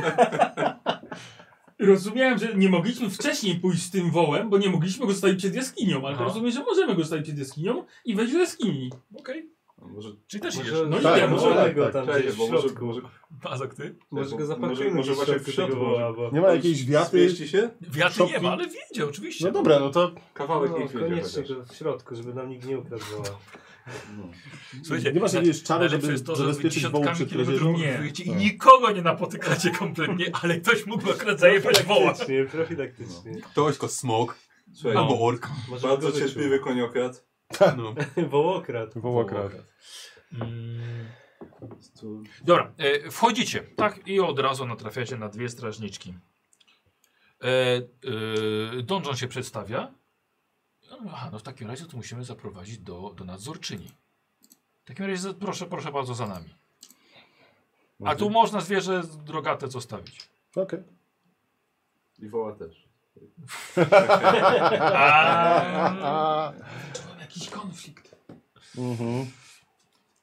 Rozumiałem, że nie mogliśmy wcześniej pójść z tym wołem, bo nie mogliśmy go stawić przed jaskinią, ale to
Aha.
rozumiem, że możemy go stawić przed jaskinią i wejść do jaskini.
Okej.
A Może,
Czyli też
Może-
idziesz.
No
Tak,
idę,
może-
może...
Może go tam
czekaj,
gdzieś
tak, bo
w
może,
środku.
może,
Bazak, ty?
Może go
może-
zapatrzymy
może
gdzieś w
właśnie
środku
w środku
tego
może-
woła, bo...
Nie ma jakiejś wiaty.
Zmieści się?
Wiatr nie ma, ale wiedzie oczywiście.
No dobra, no to
Kawałek
No,
niech wiedzie
koniecznie
chociaż.
go w środku, żeby nam nikt nie ukradł woła.
No.
Słuchajcie,
nie masz
na-
jakiegoś czaru,
najlepsze
żeby
jest to, że wy
zabezpieczyć wołu
dziesiątkami
przed
kilometrów
kradzieżą.
Nie.
wyjdziecie i nikogo nie napotykacie kompletnie, ale ktoś mógł akurat zajebać woła.
Profilaktycznie, profilaktycznie.
No.
Ktoś go smok,
Słuchaj,
albo ork.
Może
bardzo
go wyczuł.
cierpliwy koniokrad.
No.
Wołokrat.
Wołokrad.
Mm.
Tu...
Dobra, e, wchodzicie, tak? I od razu natrafiacie na dwie strażniczki. E, e, Donjon się przedstawia. Aha, no w takim razie to musimy zaprowadzić do, do nadzorczyni. W takim razie za- proszę, proszę bardzo za nami.
Mhm.
A tu można zwierzę drogate zostawić.
Okej.
I woła też.
A,
A,
Mam jakiś konflikt.
mhm.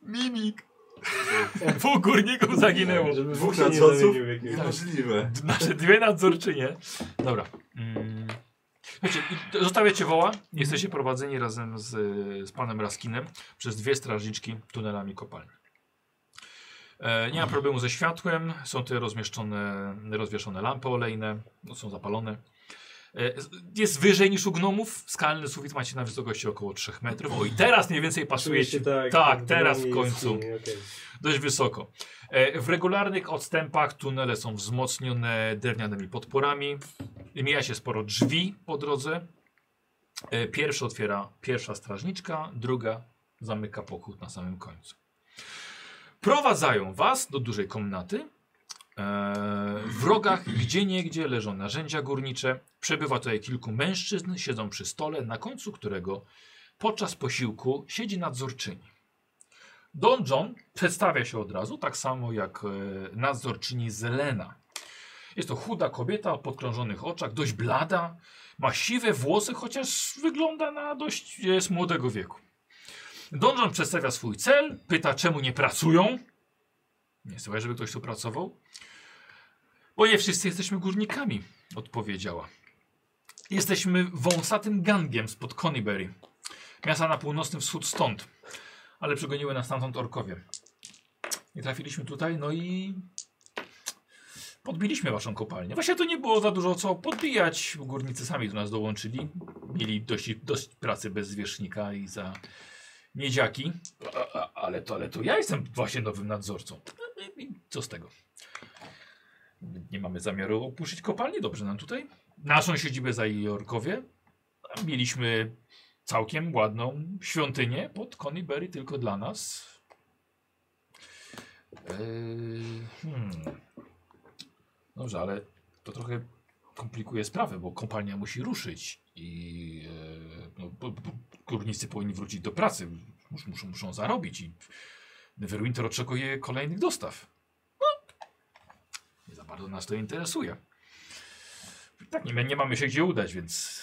mimik! Dwóch górników zaginęło.
Żeby
Dwóch
Bóg się nie
nadzorców?
zamienił w jakiegoś.
Tak, Niemożliwe.
Nasze dwie nadzorczynie. Dobra. Mm. Słuchajcie, i to- zostawiacie woła. Jesteście prowadzeni razem z, y, z panem Raskinem przez dwie strażniczki tunelami kopalni. E, nie ma problemu ze światłem. Są tutaj rozmieszczone, rozwieszone lampy olejne. No, są zapalone. E, z- jest wyżej niż u gnomów. Skalny sufit macie na wysokości około 3 metrów. O i teraz mniej więcej
Czuje się
pasujecie.
tak,
tak,
w
teraz w
gronie
końcu
jaskini, okej.
dość wysoko. E, W regularnych odstępach tunele są wzmocnione drewnianymi podporami. Mija się sporo drzwi po drodze. E, Pierwszy otwiera pierwsza strażniczka, druga zamyka pochód na samym końcu. Prowadzają was do dużej komnaty. E, W rogach gdzie niegdzie leżą narzędzia górnicze. Przebywa tutaj kilku mężczyzn, siedzą przy stole, na końcu którego podczas posiłku siedzi nadzorczyni. Don John przedstawia się od razu, tak samo jak e, nadzorczyni Zelena. Jest to chuda kobieta o podkrążonych oczach, dość blada, ma siwe włosy, chociaż wygląda na dość jest młodego wieku. Don John przedstawia swój cel, pyta czemu nie pracują. Nie słyszę, żeby ktoś tu pracował. Bo nie wszyscy jesteśmy górnikami, odpowiedziała. Jesteśmy wąsatym gangiem spod Conyberry, miasta na północny wschód stąd. ale przegoniły nas stamtąd orkowie. I trafiliśmy tutaj, no i podbiliśmy waszą kopalnię. Właśnie to nie było za dużo co podbijać. Górnicy sami do nas dołączyli. Mieli dość, dość pracy bez zwierzchnika i za miedziaki. A- a- Ale to, ale to ja jestem właśnie nowym nadzorcą. I co z tego? Nie mamy zamiaru opuścić kopalni, dobrze nam tutaj. Naszą siedzibę zajęli orkowie. A Mieliśmy całkiem ładną świątynię pod Conyberry tylko dla nas. Eee, hmm. Dobrze, ale to trochę komplikuje sprawę, bo kopalnia musi ruszyć i e, no, bo- bo górnicy powinni wrócić do pracy. Mus, muszą, muszą zarobić i Neverwinter oczekuje kolejnych dostaw. No, nie za bardzo nas to interesuje. Tak, nie, nie mamy się gdzie udać, więc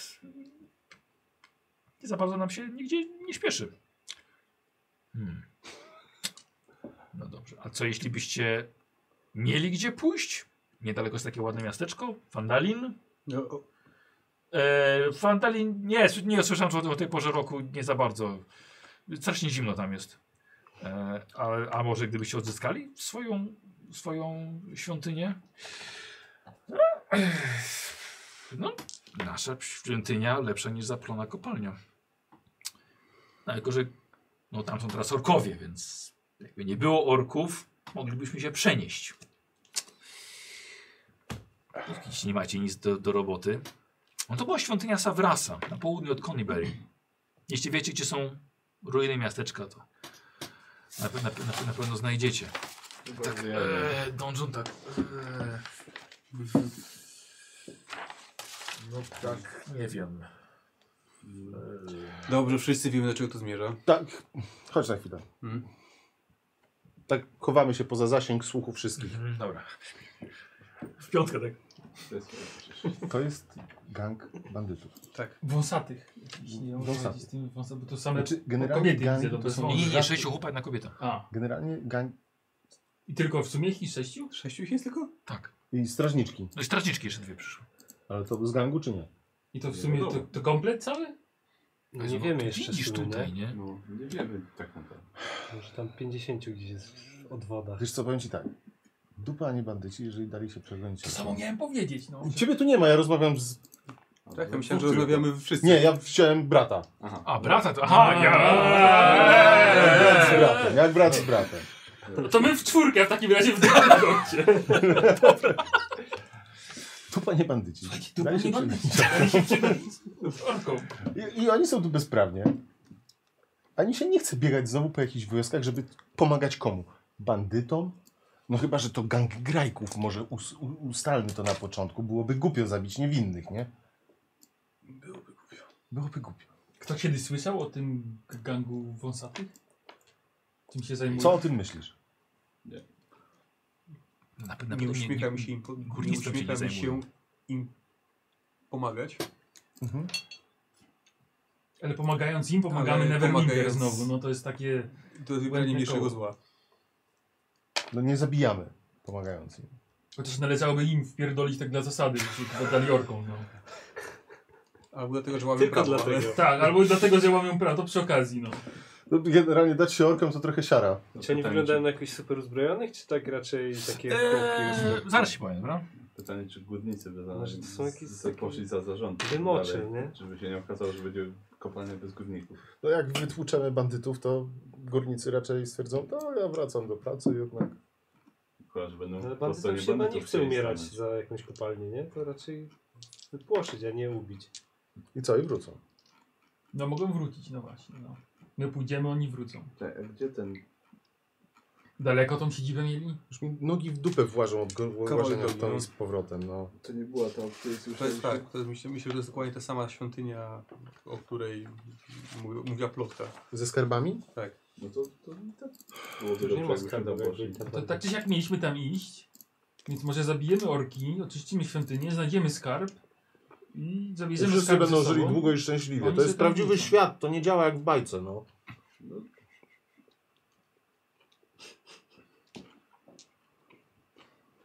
nie za bardzo nam się nigdzie nie śpieszy. Hmm. No dobrze, a co jeśli byście mieli gdzie pójść? Niedaleko jest takie ładne miasteczko, Fandalin. E, Fandalin, nie, s- nie słyszałem że o, o tej porze roku, nie za bardzo. Strasznie zimno tam jest. E, a, a może gdybyście odzyskali swoją, swoją świątynię? No, nasza świątynia lepsza niż zaplona kopalnia. No, tylko, że no, tam są teraz orkowie, więc jakby nie było orków, moglibyśmy się przenieść. Jeśli nie macie nic do, do roboty. No to była świątynia Savrasa na południu od Conyberry. Jeśli wiecie, gdzie są ruiny miasteczka, to na, pe- na, pe- na, pe- na pewno znajdziecie. Tak, e, Donjon, tak. E, no tak, nie wiem.
Dobrze, wszyscy wiemy, do czego to zmierza.
Tak, chodź na chwilę.
Mhm.
Tak chowamy się poza zasięg słuchu wszystkich.
Mhm.
Dobra. W piątkę tak.
To jest gang bandytów.
Tak.
Wąsatych. Jakiś, nie wiem,
Wąsatych.
chodzi z tymi wąsatych, bo to same
Znaczy, generalnie
kobiety
gang
widzę, to,
to
są
są-
Nie, nie, nie,
żarty.
sześciu chłopak na kobietę.
A,
Generalnie gang
i tylko w sumie ich sześciu?
Sześciu ich jest tylko?
Tak.
i strażniczki.
No i strażniczki jeszcze dwie przyszły.
Ale to z gangu czy nie?
I to w sumie to, to komplet cały?
No nie wiemy jeszcze
Widzisz
w sumie,
tutaj, nie?
No, nie wiemy tak naprawdę.
nie? Może tam 50 gdzieś jest w odwodach.
Wiesz co, powiem ci tak. Dupa, a nie bandyci, jeżeli dali się przeglądać.
To samo miałem powiedzieć, no.
Ciebie tu nie ma, ja rozmawiam z...
Tak, ja myślałem, że rozmawiamy wszyscy.
Nie, ja wziąłem brata.
A, brata to... Aha, ja...
Jak
Eee!
brat z bratem, jak brat z bratem.
No to my w czwórkę w takim razie w drugim kącie.
Dupa, nie bandyci.
dupa,
Dali się
nie
przeglądać.
Dali się przeglądać z orką.
I, I oni są tu bezprawnie. Ani się nie chce biegać znowu po jakichś wioskach, żeby pomagać komu? Bandytom? No chyba, że to gang grajków może us, u, ustalmy to na początku. Byłoby głupio zabić niewinnych, nie? Byłoby głupio.
Kto kiedyś słyszał o tym g- gangu wąsatych? Tym się zajmuje?
Co o tym myślisz?
Na, na pewno
Nie uśmiecha mi się im, po- nie
górnictwem się nie
uśmiecha mi się
zajmują.
im pomagać.
Ale pomagając im, pomagamy
Ale
Neverwinter
pomagając-
znowu. No to jest takie...
To jest
Błędne
wybranie mniejszego
koło.
zła.
No nie zabijamy, pomagając im.
Chociaż należałoby im wpierdolić tak dla zasady, że się poddali orką, no.
Albo dlatego, że łamie
Tylko
prawo. ale-
dlatego.
Tak, albo dlatego, że łamią prawo, to przy okazji, no.
No, generalnie dać się orkom to trochę siara.
Czy oni wyglądają na jakichś super uzbrojonych, czy tak raczej takie eee...
Eee, zaraz się powiem, dobra?
Pytanie, czy górnicy by za,
Może to są jakieś
z,
takie
poszli za zarząd.
dymocze,
dalej,
nie?
Żeby się nie okazało, że będzie kopalnia bez górników.
No jak wytłuczemy bandytów, to górnicy raczej stwierdzą, no ja wracam do pracy jednak.
Chyba, że będą
No, Ale
po
bardzo
stronie
się chyba nie
bandytów
chce
chcieli
umierać
stanąć.
za jakąś kopalnię, nie? To raczej wypłoszyć, a nie ubić.
I co, i wrócą.
No mogą wrócić, no właśnie, no. My pójdziemy, oni wrócą.
Czekaj, Tak, a Gdzie ten...
Daleko tą siedzibę mieli?
Już mi nogi w dupę włażą od go- włażenia
drogi,
tą
no.
z powrotem, no.
To nie była ta, to jest już...
To jest tak, to jest, myślę, myślę, że to jest dokładnie ta sama świątynia, o której mówi- mówiła plotka.
Ze skarbami?
Tak.
No to, to, to
Już
byłoby
nie
dobrze,
ma
jakbyśmy tam
skarbu,
poszli.
jakby tam
To tak czy siak mieliśmy tam iść, więc może zabijemy orki, oczyścimy świątynię, znajdziemy skarb i zabierzemy
Wszyscy
skarb
będą
ze sobą.
żyli długo i szczęśliwie.
Oni
To jest
sobie tam
prawdziwy
wrócą.
świat, to nie działa jak w bajce, no.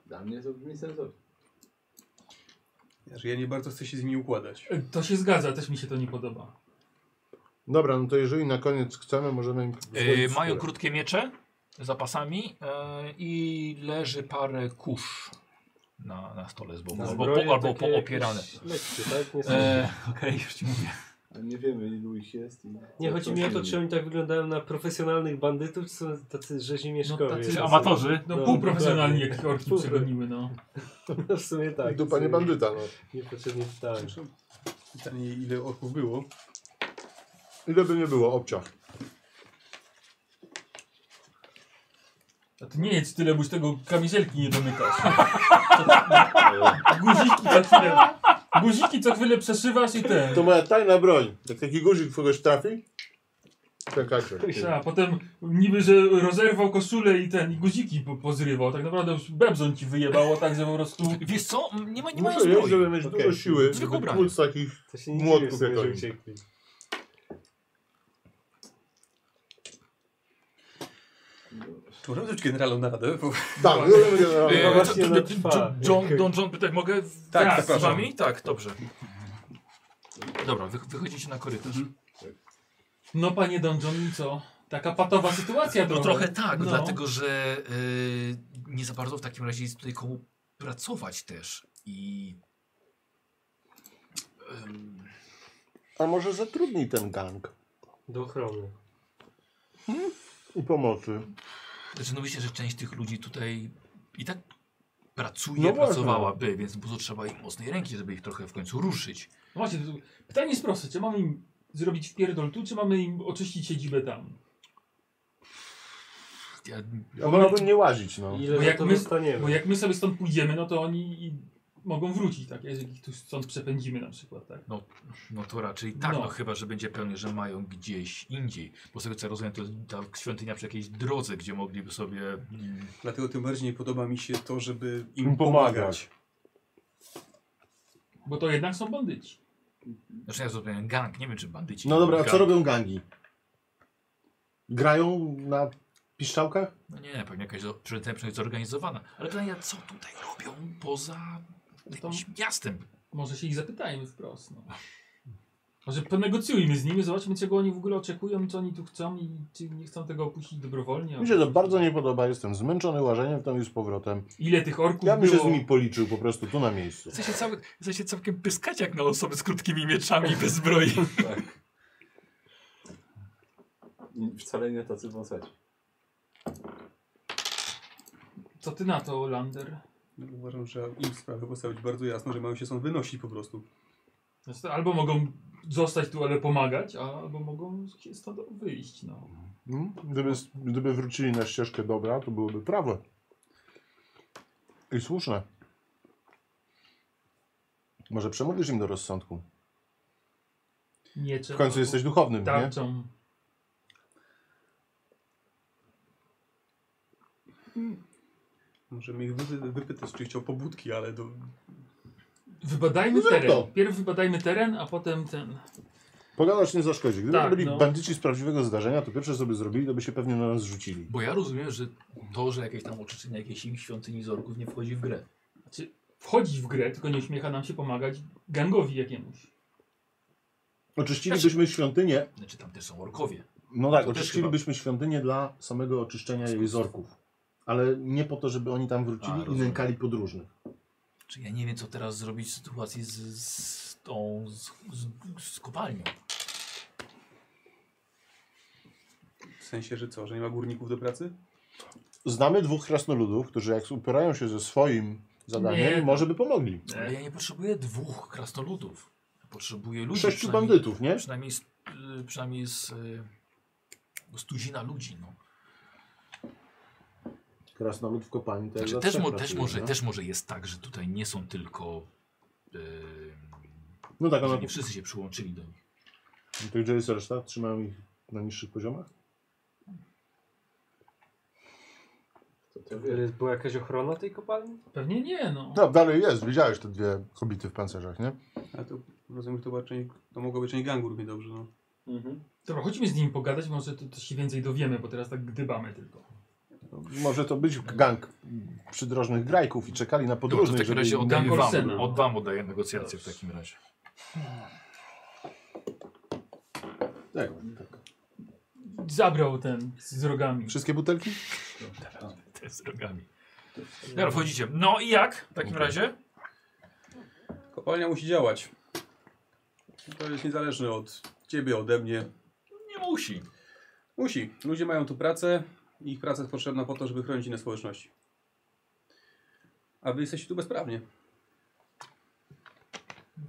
Dla mnie to brzmi sensownie.
Że ja nie bardzo chcę się z nimi układać.
E, To się zgadza, też mi się to nie podoba.
Dobra, no to jeżeli na koniec chcemy, możemy im...
Yy,
złożyć
mają
skórę.
krótkie miecze z zapasami yy, i leży parę kusz na, na stole z boku.
Na
albo
zbroje
po, albo
takie
poopierane.
jakieś lekkie, tak? Nie są-
E, Okej, już ci mówię.
Ale Nie wiemy ilu ich jest. i-
Nie, chodzi mi o to,
innego.
czy oni tak wyglądają na profesjonalnych bandytów, czy są tacy rzezimieszkowie.
No, tacy
Tacy-
amatorzy. No, półprofesjonalni,
dokładnie.
jak orki
Pół-
przegoniły, no.
No w sumie tak. w
Dupa
sumie
nie bandyta, no.
Niepotrzebnie czytałem.
Pytanie, ile orków było?
Ile by nie było, obciach.
A ty nie jedz tyle, bo z tego kamizelki nie domykasz. Guziki co chwilę. Guziki co chwilę przeszywasz i ten.
To moja tajna broń. Jak taki guzik kogoś trafi, czekajcie.
A potem niby, że rozerwał koszulę i ten, i guziki po, pozrywał. Tak naprawdę już bebzon ci wyjebało, tak, że po prostu...
Wiesz co, nie ma, nie mają
Muszę jeść, żeby mieć
zbroi.
dużo siły,
Zwykłe
żeby
ubranie.
tłuc takich
To się nie dziwię, w
młotków
sumie,
jak
że
oni.
E,
uciekli.
Możemy rzucić generalną na radę? Bo...
Tak, robimy generalną.
E, co-
Dobra, właśnie
d-
ona
d-
trwa.
John, Don John, pytać, mogę w-
Tak,
wraz z
zapraszam.
wami? Tak, dobrze. Dobra, wy, wychodzicie na korytarz.
No panie Don John, co? Taka patowa sytuacja
No
trochę.
trochę tak,
No.
dlatego że y, nie za bardzo w takim razie jest tutaj komu pracować też i... Ym,
A może zatrudnij ten gang
Do ochrony.
i pomocy.
Znaczy, no myślę, że część tych ludzi tutaj i tak pracuje,
No właśnie.
pracowałaby, więc po co trzeba ich mocnej ręki, żeby ich trochę w końcu ruszyć.
No właśnie, to- pytanie jest proste. Czy mamy im zrobić wpierdol tu, czy mamy im oczyścić siedzibę tam?
Ja,
Ja wolałbym nie łazić, no.
Ile
Bo
za
jak,
to
my,
dostaniemy?
bo jak my sobie stąd pójdziemy, no to oni i- mogą wrócić, tak? Jak ich tu stąd przepędzimy na przykład, tak?
No, no to raczej tak,
No.
no. chyba, że będzie pewnie, że mają gdzieś indziej. Bo z tego co ja rozumiem, to jest ta świątynia przy jakiejś drodze, gdzie mogliby sobie... mm,
Dlatego tym bardziej nie podoba mi się to, żeby im
Im
pomagać.
pomagać.
Bo to jednak są bandyci.
Znaczy ja zrobiłem gang, nie wiem czy bandyci.
No dobra, a co
Gang.
robią gangi? Grają na piszczałkach?
No nie, pewnie jakaś zo- przynajmniej zorganizowana. Ale pytanie, co tutaj robią poza jakimś miastem?
Może się ich zapytajmy wprost, no. Może ponegocjujmy z nimi, zobaczmy czego oni w ogóle oczekują, co oni tu chcą i czy nie chcą tego opuścić dobrowolnie.
Mi się to bardzo nie podoba, jestem zmęczony łażeniem tam i z powrotem.
Ile tych orków
Ja bym się z
było?
nimi policzył po prostu tu na miejscu.
Chce się, cały, chce się całkiem pyskać jak na osoby z krótkimi mieczami bez zbroi.
Wcale nie tacy wąsaci.
Co ty na to, Lander?
No, Uważam, że im sprawę postawić bardzo jasno, że mają się stąd wynosić po prostu.
Znaczy, albo mogą zostać tu, ale pomagać, a- albo mogą się stąd wyjść, no.
Mm? Gdyby, gdyby wrócili na ścieżkę dobra, to byłoby prawe. I słuszne. Może przemówisz im do rozsądku.
Nie
W
trzeba.
końcu jesteś duchownym, nie?
tarczą.
Możemy ich wypy wypytać, czy chciał pobudki, ale do...
Wybadajmy
Zrób
teren.
to.
Pierw wybadajmy teren, a potem ten.
Pogadać nie zaszkodzi. Gdyby
Tak,
to byli
no.
bandyci z prawdziwego zdarzenia, to pierwsze co by zrobili, to by się pewnie na nas rzucili.
Bo ja rozumiem, że to, że jakieś tam oczyszczenie jakiejś im świątyni zorków nie wchodzi w grę.
Znaczy, wchodzi w grę, tylko nie uśmiecha nam się pomagać gangowi jakiemuś.
Oczyścilibyśmy świątynię.
Znaczy tam też są orkowie.
No tak,
To też
oczyścilibyśmy świątynię dla samego oczyszczenia jej zorków. Ale nie po to, żeby oni tam
A,
wrócili i
rozumiem.
nękali podróżnych.
Czy ja nie wiem, co teraz zrobić w sytuacji z, z tą z, z, z kopalnią.
W sensie, że co, że nie ma górników do pracy?
Znamy dwóch krasnoludów, którzy jak upierają się ze swoim zadaniem,
Nie.
no.
może by pomogli.
E,
Ale ja nie potrzebuję dwóch krasnoludów. Ja potrzebuję ludzi.
Sześciu
przynajmniej-
bandytów, nie?
Przynajmniej z, y, przynajmniej z, y, z tuzina ludzi. No.
Krasnolud w kopalni to jak
Znaczy,
za
też,
trzech
mo, też,
pracuje,
może,
no.
też może jest tak, że tutaj nie są tylko. y,
No tak,
że
ona...
nie wszyscy się przyłączyli do nich.
To gdzie jest reszta? Trzymają ich na niższych poziomach?
To to
Ale E, Była jakaś ochrona tej kopalni?
Pewnie nie, no.
No, dalej jest. Widziałeś te dwie kobiety w pancerzach, nie?
Ale to rozumiem, że to, była część, to mogła być część gangu równie dobrze, no.
Mhm.
Dobra, chodźmy z nimi pogadać, może to, to się więcej dowiemy, bo teraz tak gdybamy tylko.
Może to być gang przydrożnych grajków i czekali na
Dobrze,
podróżnych,
No, w takim razie
żeby...
oddaję
Dan
wam,
Olsena.
od wam oddaję negocjacje w takim razie.
Tak.
Zabrał ten z rogami.
Wszystkie butelki?
No.
Te z rogami. Dobra, wchodzicie. No i jak w takim razie?
Kopalnia musi działać. To jest niezależne od ciebie, ode mnie.
Nie musi.
Musi. Ludzie mają tu pracę i ich praca jest potrzebna po to, żeby chronić inne społeczności. A wy jesteście tu bezprawnie.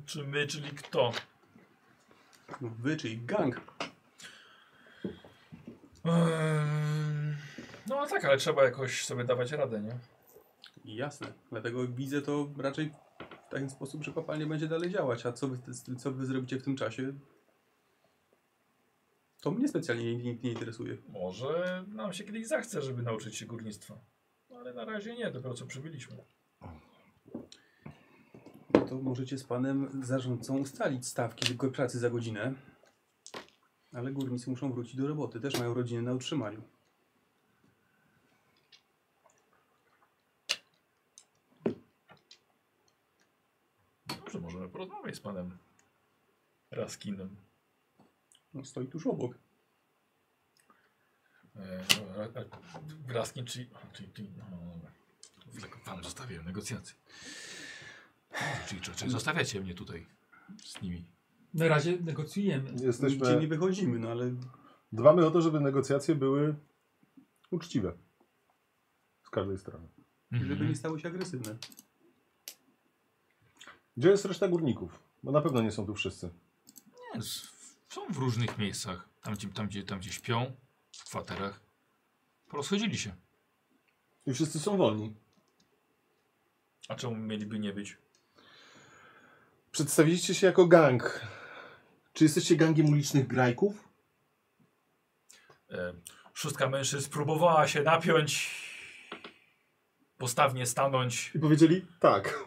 Czy my, czyli kto?
No, Wy, czyli gang.
Ehm, No a tak, ale trzeba jakoś sobie dawać radę, nie?
Jasne. Dlatego widzę to raczej w taki sposób, że kopalnia będzie dalej działać. A co wy, co wy zrobicie w tym czasie? To mnie specjalnie nie, nie, nie interesuje.
Może nam się kiedyś zachce, żeby nauczyć się górnictwa. No, Ale na razie nie, dopiero co przybyliśmy.
No To możecie z panem zarządcą ustalić stawki go- pracy za godzinę. Ale górnicy muszą wrócić do roboty. Też mają rodzinę na utrzymaniu.
Dobrze, możemy porozmawiać z panem Raskinem.
No, stoi tuż obok.
E, a- a- Raskin, czyli... a, czyli, czyli no, no, dobra. Wlek- Wam zostawiłem negocjacje. Czyli, czy, czy zostawiacie mnie tutaj z nimi?
Na razie negocjujemy.
Jesteśmy-
Gdzie nie wychodzimy, no ale
Dbamy o to, żeby negocjacje były uczciwe. Z każdej strony.
Mhm.
żeby nie stały się agresywne.
Gdzie jest reszta górników? Bo na pewno nie są tu wszyscy.
Nie, s- są w różnych miejscach. Tam gdzie, tam, gdzie, tam, gdzie śpią, w kwaterach. Porozchodzili się.
I wszyscy są wolni.
A czemu mieliby nie być?
Przedstawiliście się jako gang. Czy jesteście gangiem ulicznych grajków?
E, szóstka mężczyzn próbowała się napiąć, postawnie stanąć.
I powiedzieli tak.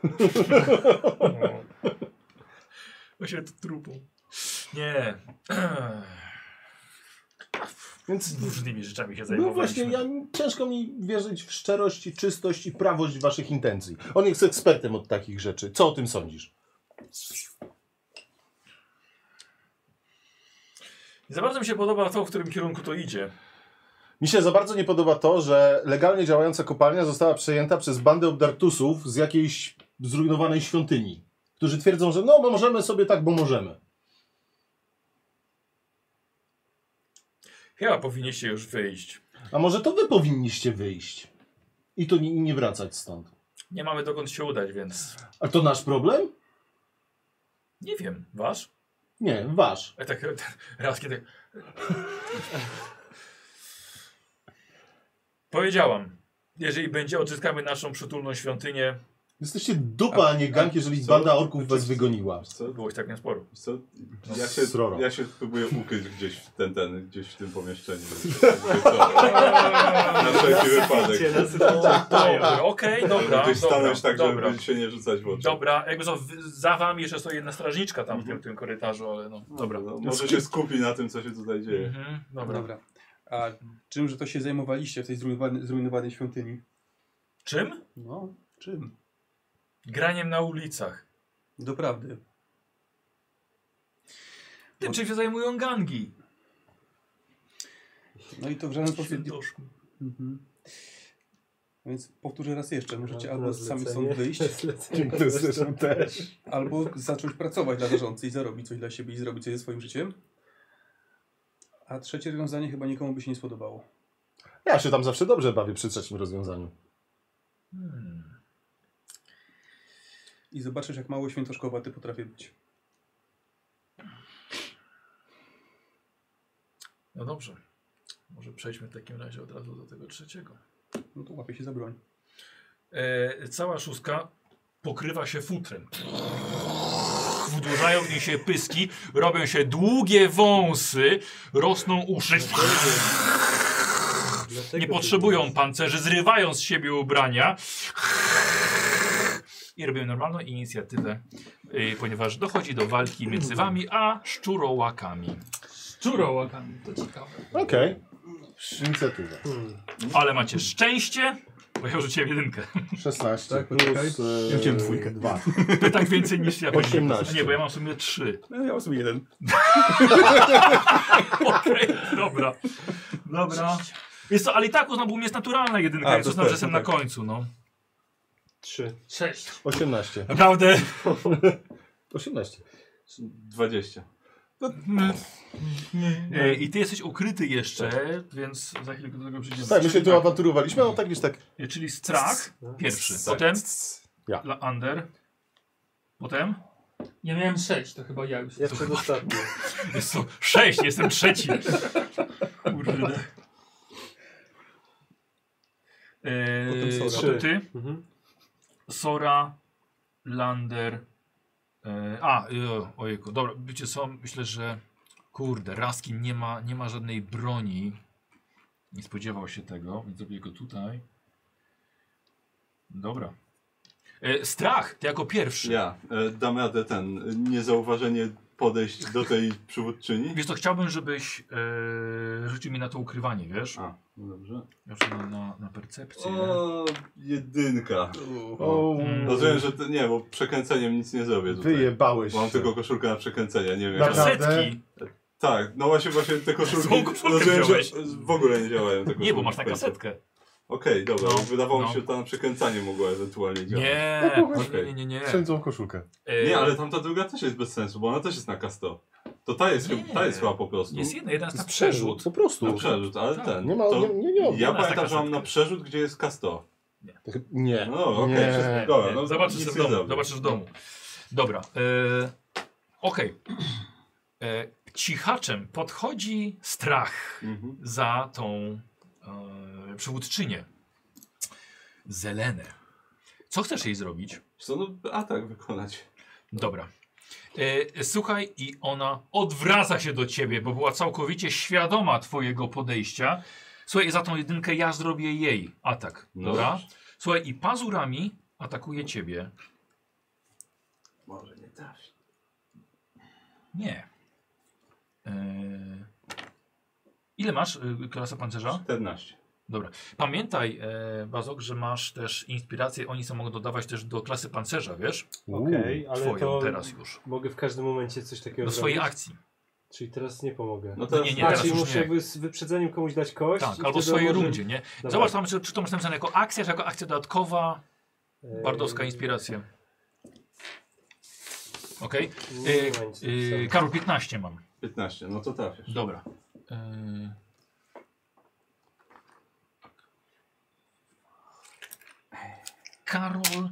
Właśnie to trupą. Nie.
Więc
różnymi rzeczami się
No
zajmowaliśmy.
właśnie, ja, ciężko mi wierzyć w szczerość, i czystość i prawość waszych intencji. On jest ekspertem od takich rzeczy. Co o tym sądzisz?
Nie za bardzo mi się podoba to, w którym kierunku to idzie.
Mi się za bardzo nie podoba to, że legalnie działająca kopalnia została przejęta przez bandę obdartusów z jakiejś zrujnowanej świątyni, którzy twierdzą, że no, bo możemy sobie tak, bo możemy.
Chyba powinniście już wyjść.
A może to wy powinniście wyjść i to nie, nie wracać stąd.
Nie mamy dokąd się udać, więc
A to nasz problem?
nie wiem. Wasz?
Nie, wasz.
A tak raz kiedy... Powiedziałam, jeżeli będzie, odzyskamy naszą przytulną świątynię.
Jesteście dupa, a, nie gang, jeżeli banda orków was wygoniła.
Było ich tak nie sporo.
Co?
No,
Ja się,
sroro.
ja się próbuję ukryć gdzieś w, ten, ten, gdzieś w tym pomieszczeniu. na wszelki wypadek. Tak.
Dobra, okej, dobra.
Gdzieś
dobra,
stanąć tak,
dobra.
żeby się nie rzucać w oczy.
Dobra, jakby co, w- za wami jeszcze stoi jedna strażniczka tam w tym, tym korytarzu, ale no, dobra.
No, może się skupi na tym, co się tutaj dzieje.
Mhm, dobra.
Dobra. A czym, że to się zajmowaliście w tej zrujnowanej, zrujnowanej świątyni?
Czym?
No, czym?
Graniem na ulicach.
Doprawdy.
Tym, czym się zajmują gangi.
No i to w żaden sposób...
Świętoszku.
Mhm. No Więc powtórzę raz jeszcze, możecie
Na-
albo
na
sami
zlecenie.
stąd wyjść,
Zlecenie Dziękuję, na zresztą zlecenie. też.
albo zacząć pracować dla zarządcy i zarobić coś dla siebie i zrobić coś ze swoim życiem. A trzecie rozwiązanie chyba nikomu by się nie spodobało.
Ja się tam zawsze dobrze bawię przy trzecim rozwiązaniu.
Hmm.
I zobaczysz, jak mało świętoszkowaty potrafię być.
No dobrze. Może przejdźmy w takim razie od razu do tego trzeciego.
No to łapię się za broń.
E, cała szóstka pokrywa się futrem. Wydłużają w niej się pyski, robią się długie wąsy, rosną uszy. Nie potrzebują pancerzy, zrywają z siebie ubrania. I robią normalną inicjatywę, y, ponieważ dochodzi do walki między wami a szczurołakami.
Czurołakami, to ciekawe.
Okej. Inicjatywa.
Ale macie szczęście, Bo ja rzuciłem jedynkę.
16
Tak,
plus...
poczekaj.
e,
Ja wziąłem dwójkę.
dwa.
To tak więcej niż ja. powinienem.
18.
Nie, bo ja mam w sumie 3.
No, ja mam sobie jeden.
Okej, dobra. Dobra. Jest to, ale i tak uznałbym, jest naturalna jedynka,
A,
więc
to
uznam,
tak,
też,
że jestem
no
na końcu, no.
3.
6.
18.
Naprawdę?
18.
20.
E, I ty jesteś ukryty jeszcze, więc za chwilkę do tego przyjdziemy.
Tak, my się tu awanturowaliśmy, no tak, wiesz tak.
E, Czyli strach pierwszy,
Tak.
potem
Ja.
la- under, potem
Ja miałem 6, to chyba ja już. Ja
przedostatni.
jest to sześć, jestem trzeci. Kurde. E,
Potem Sora.
potem ty,
Mhm.
Sora, Lander, e, a, e, ojejku, dobra, wiecie co, myślę, że kurde, Raskin nie ma, nie ma żadnej broni, nie spodziewał się tego, więc zrobię go tutaj. Dobra. E, strach, ty jako pierwszy.
Ja e, dam radę ten, e, niezauważenie podejść do tej przywódczyni.
Wiesz to chciałbym, żebyś e, rzucił mi na to ukrywanie, wiesz?
A, no dobrze.
Ja przynajmniej na, na percepcję.
O, jedynka.
O.
Mm. Rozumiem, że to, nie, bo przekręceniem nic nie zrobię tutaj.
Wyjebałeś
Mam
się.
tylko koszulkę na przekręcenia, nie wiem.
Naprawdę? Kasetki?
Tak, no właśnie, właśnie te koszulki.
Złą koszulkę
Rozumiem, że
wziąłeś.
w ogóle nie działają te koszulki.
Nie, bo masz na kasetkę.
Okej, dobra,
No,
wydawało mi
no.
się, że ta na przekręcanie mogła ewentualnie działać.
Nie,
Okej.
nie, nie, nie. E,
Wszędzą koszulkę.
Nie, ale tamta druga też jest bez sensu, bo ona też jest na kasto. To ta jest,
Nie.
ta jest chyba po prostu.
Jest jedna, jedna jest na
Jest przerzut,
przerzut.
po prostu.
Na przerzut, ale
Tak.
ten.
Nie ma-
to,
nie- nie- nie ma.
Ja
Ona jest
pamiętam,
taka
że mam na przerzut, gdzie jest kasto.
Nie.
No dobra, okej,
Nie.
wszystko- dobra. No,
Zobaczysz
nic
w
nie
domu.
zrobię.
Zobaczysz w domu. Dobra. E, Okej. E, Cichaczem podchodzi strach
Mhm.
za tą e, przywódczynię. Zelenę. Co chcesz jej zrobić?
Co, no atak wykonać.
Dobra. E, słuchaj, i ona odwraca się do ciebie, bo była całkowicie świadoma twojego podejścia. Słuchaj, za tą jedynkę ja zrobię jej atak.
No
Dobra?
dobrze.
Słuchaj, i pazurami atakuje ciebie.
Może nie trafi.
Nie. E, ile masz y, klasa
No.
pancerza?
14.
Dobra. Pamiętaj, e, Bazok, że masz też inspirację. Oni sobie mogą dodawać też do klasy pancerza, wiesz?
No,
Okej, ale
Twoją
to
teraz już.
mogę w każdym momencie coś takiego
Do
zrobić.
swojej akcji.
Czyli teraz nie pomogę.
No teraz- Nie, nie,
A,
teraz
czyli
już
muszę
nie.
jakby z wyprzedzeniem komuś dać kość.
Tak,
i
albo w
wtedy on
swojej
może-
rundzie, nie?
Dobra.
Zobacz tam, czy, czy to masz napisane jako akcja, czy jako akcja dodatkowa.
E,
Bardowska inspiracja. Okej.
Nie
Okay.
ma nic
Yy,
napisane.
Karol 15 mam.
15, no to trafisz.
Dobra. Yy, Karol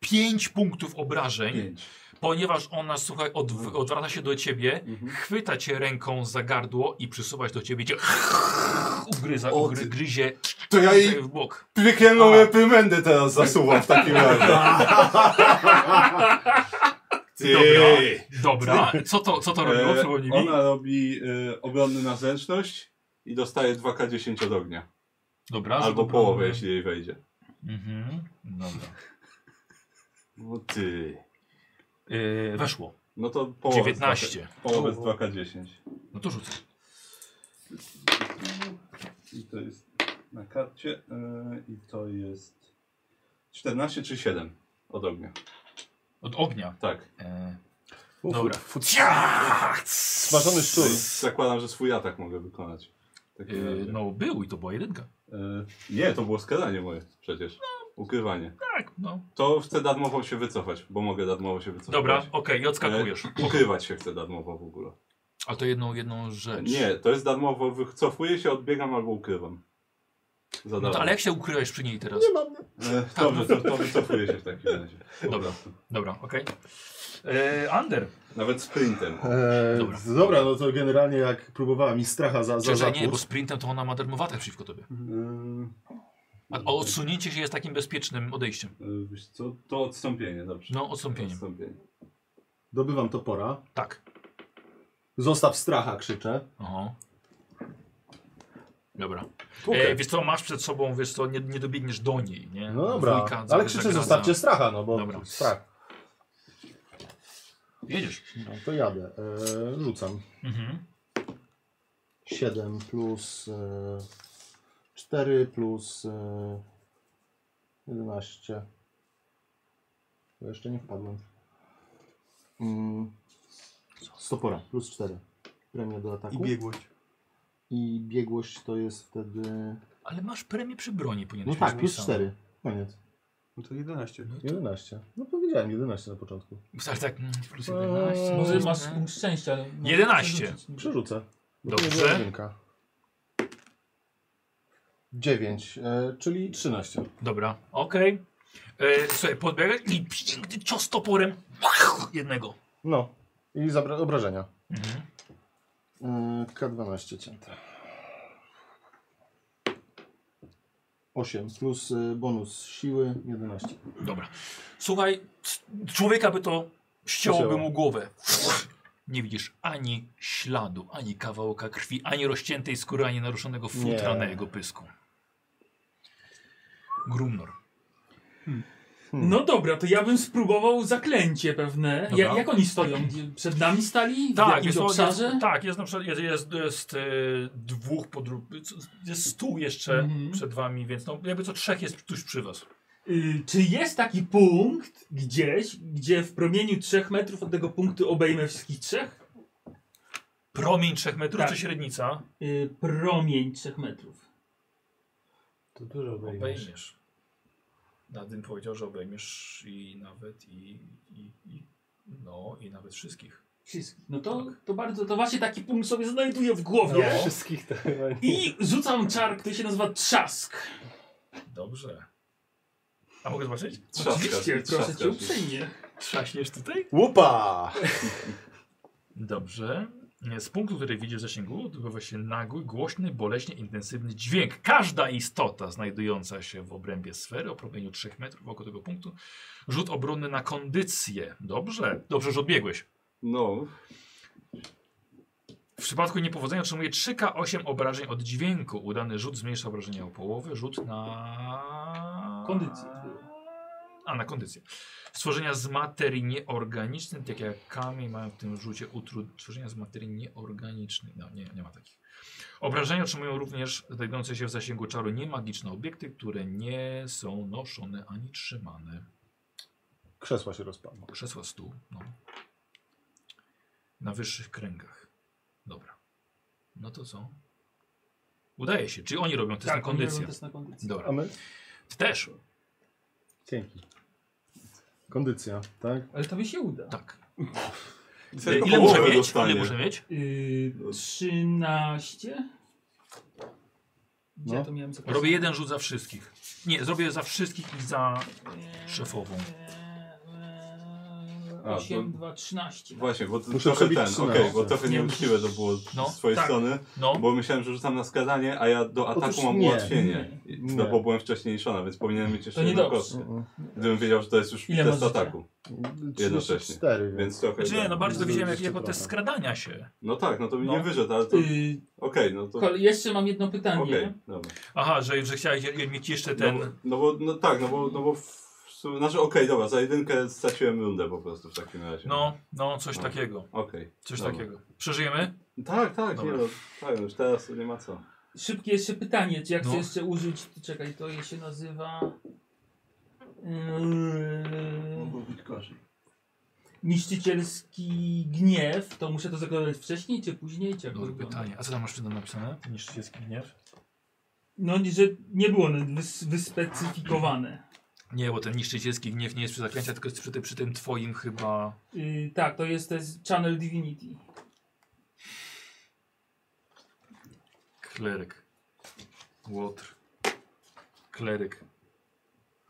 5 punktów obrażeń, ponieważ ona, słuchaj,
No.
odw- odwraca się do ciebie,
Mhm.
chwyta cię ręką za gardło i przysuwać do ciebie, cię ugryza, ugry, gryzie
To ja jej
w bok.
piekielną reprymendę teraz zasuwam w takim razie. Ty. e,
Dobra, dobra. Co to, co to robiło? Przypomnij mi.
Ona robi e, obronny na zręczność i dostaje 2K10 od ognia.
Dobra,
Albo
żeby-
połowę, jeśli jej wejdzie.
Mhm, dobra.
No ty.
Yy, weszło.
No to połowę.
19.
Z 2K, połowę z 2K10.
No to rzucę.
I to jest na karcie. e, I to jest 14 czy 7 od ognia.
Od ognia? E,
Tak.
Dobra. Ciach!
Smażony szczur. Zakładam, że swój atak mogę wykonać. Takie
Yy, no był i to była jedynka.
E, Nie, to było skadanie moje przecież. Ukrywanie.
Tak, no.
To chcę darmowo się wycofać, bo mogę darmowo się wycofać.
Dobra, okej, i odskakujesz.
E, Ukrywać się chcę darmowo w ogóle.
A to jedną, jedną rzecz.
Nie, to jest darmowo, wycofuję się, odbiegam albo ukrywam. Za
No
darmo.
to, ale jak się ukryłeś przy niej teraz?
Nie mam.
E, Dobrze, to, to wycofuję się w takim razie.
Dobra, dobra, okej. E, Ander.
Nawet sprintem. E,
Eee,
Dobra.
dobra. no to generalnie jak próbowała mi stracha za, za
Czekaj,
zakut.
nie, bo sprintem to ona ma darmowatę przeciwko tobie.
y,
A o odsunięcie się jest takim bezpiecznym odejściem.
E, Wiesz co, to odstąpienie, dobrze.
No, odstąpienie.
Odstąpienie.
Dobywam topora.
Tak.
Zostaw stracha, krzyczę.
Aha. Dobra.
Okej.
E, wiesz co, masz przed sobą, wiesz co, nie, nie dobiegniesz do niej, nie?
No dobra,
Dwójka za-
ale krzyczę
zagraca.
zostawcie stracha, no bo
Dobra.
strach.
Jedziesz.
No to jadę, eee, rzucam.
Mhm.
7 plus e, 4 plus e,
11. Bo jeszcze nie wpadłem. Mm. Stopora, plus 4. Premia do ataku.
I biegłość.
I biegłość to jest wtedy...
Ale masz premię przy broni,
No
powinieneś
tak,
mieć
plus
wpisane.
4. Koniec.
No to 11.
11. No powiedziałem 11 na początku.
Ale tak, mm, plus
Eee,
11.
Może no, masz no, szczęście, ale...
11.
Przerzucę. Bo
Dobrze.
to była jedynka. 9, e, czyli 13.
Dobra, okej. E, Słuchaj, podbiegasz i piękny cios toporem jednego. Mhm.
No. I zabra- obrażenia. E, K12 cięte. 8 plus e, bonus siły 11.
Dobra. Słuchaj, c- człowieka by to ścięłoby
Ścięło.
mu głowę. Nie widzisz ani śladu, ani kawałka krwi, ani rozciętej skóry, ani naruszonego futra
Nie.
na jego pysku. Grumnor.
No dobra, to ja bym spróbował zaklęcie pewne.
Dobra.
Ja, jak oni stoją? Gdzie- Przed nami stali? w
Tak,
jakimś
jest, o- jest,
obszarze?
tak, jest na przykład jest, jest, jest e, dwóch podróż, jest stół jeszcze
Mhm.
przed wami, więc no, jakby co trzech jest tuż przy was.
Y, czy jest taki punkt gdzieś, gdzie w promieniu 3 metrów od tego punktu obejmę wszystkich trzech?
Promień 3 metrów
Tak.
czy średnica?
Y, promień 3 metrów.
To dużo obejmiesz.
Obejmiesz. Nadym powiedział, że obejmiesz i nawet i, i, i no i nawet wszystkich.
Wszystkich. No to, to bardzo, to właśnie taki punkt sobie znajduję w głowie.
No.
Wszystkich to chyba nie.
I rzucam czar, który się nazywa Trzask.
Dobrze. A mogę zobaczyć?
Trzaskasz,
Oczywiście, proszę
trzaskasz.
cię uprzejmie.
Trzaśniesz tutaj?
Łupa!
Dobrze. Z punktu, który widzisz w zasięgu, odbywa się nagły, głośny, boleśnie intensywny dźwięk. Każda istota znajdująca się w obrębie sfery o promieniu 3 metrów wokół tego punktu rzut obronny na kondycję. Dobrze. Dobrze, że odbiegłeś.
No.
W przypadku niepowodzenia otrzymuje 3K8 obrażeń od dźwięku. Udany rzut zmniejsza obrażenia o połowę. Rzut na...
Kondycję.
A, na kondycję. Stworzenia z materii nieorganicznej, takie jak kamień, mają w tym rzucie utrudnienie. Stworzenia z materii nieorganicznej. No, nie, nie ma takich. Obrażenia otrzymują również znajdujące się w zasięgu czaru niemagiczne obiekty, które nie są noszone ani trzymane.
Krzesła się rozpadną.
Krzesła, stół. No. Na wyższych kręgach. Dobra. No to co? Udaje się. Czyli oni robią test
Tak,
na
oni
kondycję.
robią test na kondycję.
Dobra.
A my?
Ty też.
Dzięki. Kondycja, tak?
Ale to mi się uda.
Tak.
Tylko
Ile, ile, muszę
połowę
mieć?
dostanie.
ile muszę mieć?
Y, 13? Gdzie
No.
ja to miałem zapisane?
Robię jeden rzut za wszystkich. Nie, zrobię za wszystkich i za szefową.
A,
8, 2, 13.
Właśnie, bo to
Muszę
trochę
przebić
ten, okej,
13.
bo trochę
Nie,
nieuczciwe to było
No,
z twojej
tak,
strony,
no.
bo myślałem, że rzucam na skazanie, a ja do ataku
Otóż
mam
nie,
ułatwienie.
nie,
I-
nie.
No bo byłem wcześniejszona, więc powinienem mieć jeszcze
To
jedną
niedobrze.
Mm,
kostkę. Gdybym wiedział, że to jest już
Ile
test
masz życia?
ataku.
34, więc-
Więc trochę.
Znaczy nie, no bardzo to
Zdążyć
widziałem jak,
jeszcze
jako
trochę.
test skradania się.
No tak, no to mi
No.
nie wyszedł, ale to. Okej,
Y,
no to.
kol- jeszcze mam jedno pytanie.
Okej, dobra.
Aha, że, że chciałeś je- mieć jeszcze
No,
ten...
bo- no bo, no tak, no bo, no bo w sumie, znaczy okej, dobra, za jedynkę straciłem rundę po prostu w takim razie.
No, no, coś
No.
takiego.
Okej.
Coś
dobra.
takiego. Przeżyjemy?
Tak, tak,
Dobra.
nie no, tak, już teraz nie ma co.
Szybkie jeszcze pytanie, czy jak
No.
chcę jeszcze użyć, to czekaj, to je się nazywa... Yy,
być gorzej.
niszczycielski gniew, to muszę to zakładać wcześniej czy później? Czy jak to
Dobre
wygląda?
No, pytanie. A co tam masz przed napisane? Niż jest gniew?
No, że nie było ono wys- wyspecyfikowane.
Nie, bo ten niszczycielski gniew nie jest przy zaklęcia, tylko jest przy tym, przy tym twoim chyba...
Yy, tak, to jest, to jest Channel Divinity.
Kleryk. Łotr. Kleryk.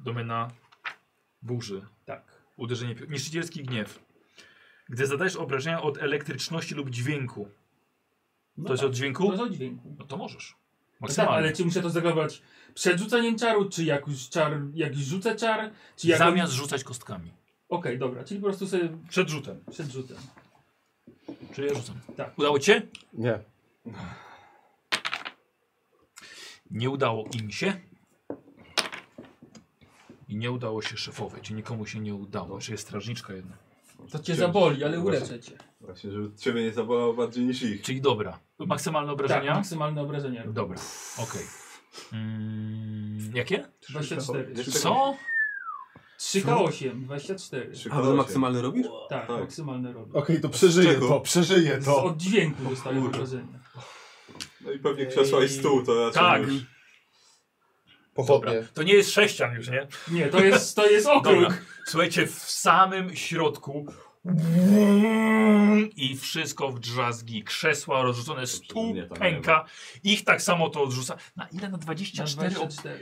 Domena burzy.
Tak.
Uderzenie. pi- Niszczycielski gniew. Gdy zadajesz obrażenia od elektryczności lub dźwięku.
No
to jest
tak,
od dźwięku?
To jest o dźwięku.
No to możesz.
No tak,
Maksymalnie.
ale czy muszę to zagrać przed rzucaniem czaru, czy jak już czar, jak już rzucę czar, czy jak...
Zamiast rzucać kostkami.
Okej, dobra, czyli po prostu sobie
Przed rzutem.
przed rzutem.
Czyli ja rzucam.
Tak.
Udało ci się?
Nie.
Nie udało im się. I nie udało się szefowej. Czy nikomu się nie udało. Czy jest strażniczka jedna.
To cię zaboli, ale uleczę cię.
Właśnie, żeby ciebie nie zabolało bardziej niż ich.
Czyli Mm. dobra. Maksymalne
Tak,
obrażenia?
maksymalne obrażenia. robię.
Dobra, okej. Mm, Jakie?
24.
Co?
3K8, 24.
A to maksymalny robisz?
Tak, maksymalny robię.
Okej, to przeżyję to, przeżyję
Z
to.
oddźwięku dostaję wrażenie.
No i pewnie krzesła i stół to raczej
Tak.
już...
Dobra. To nie jest sześcian już, nie?
Nie, to jest- to jest okrąg.
Dobra. Słuchajcie, w samym środku i wszystko w drzazgi. Krzesła rozrzucone, stół
tam
pęka. Ich tak samo to odrzuca. Na ile? Na 24?
Na
Na
24.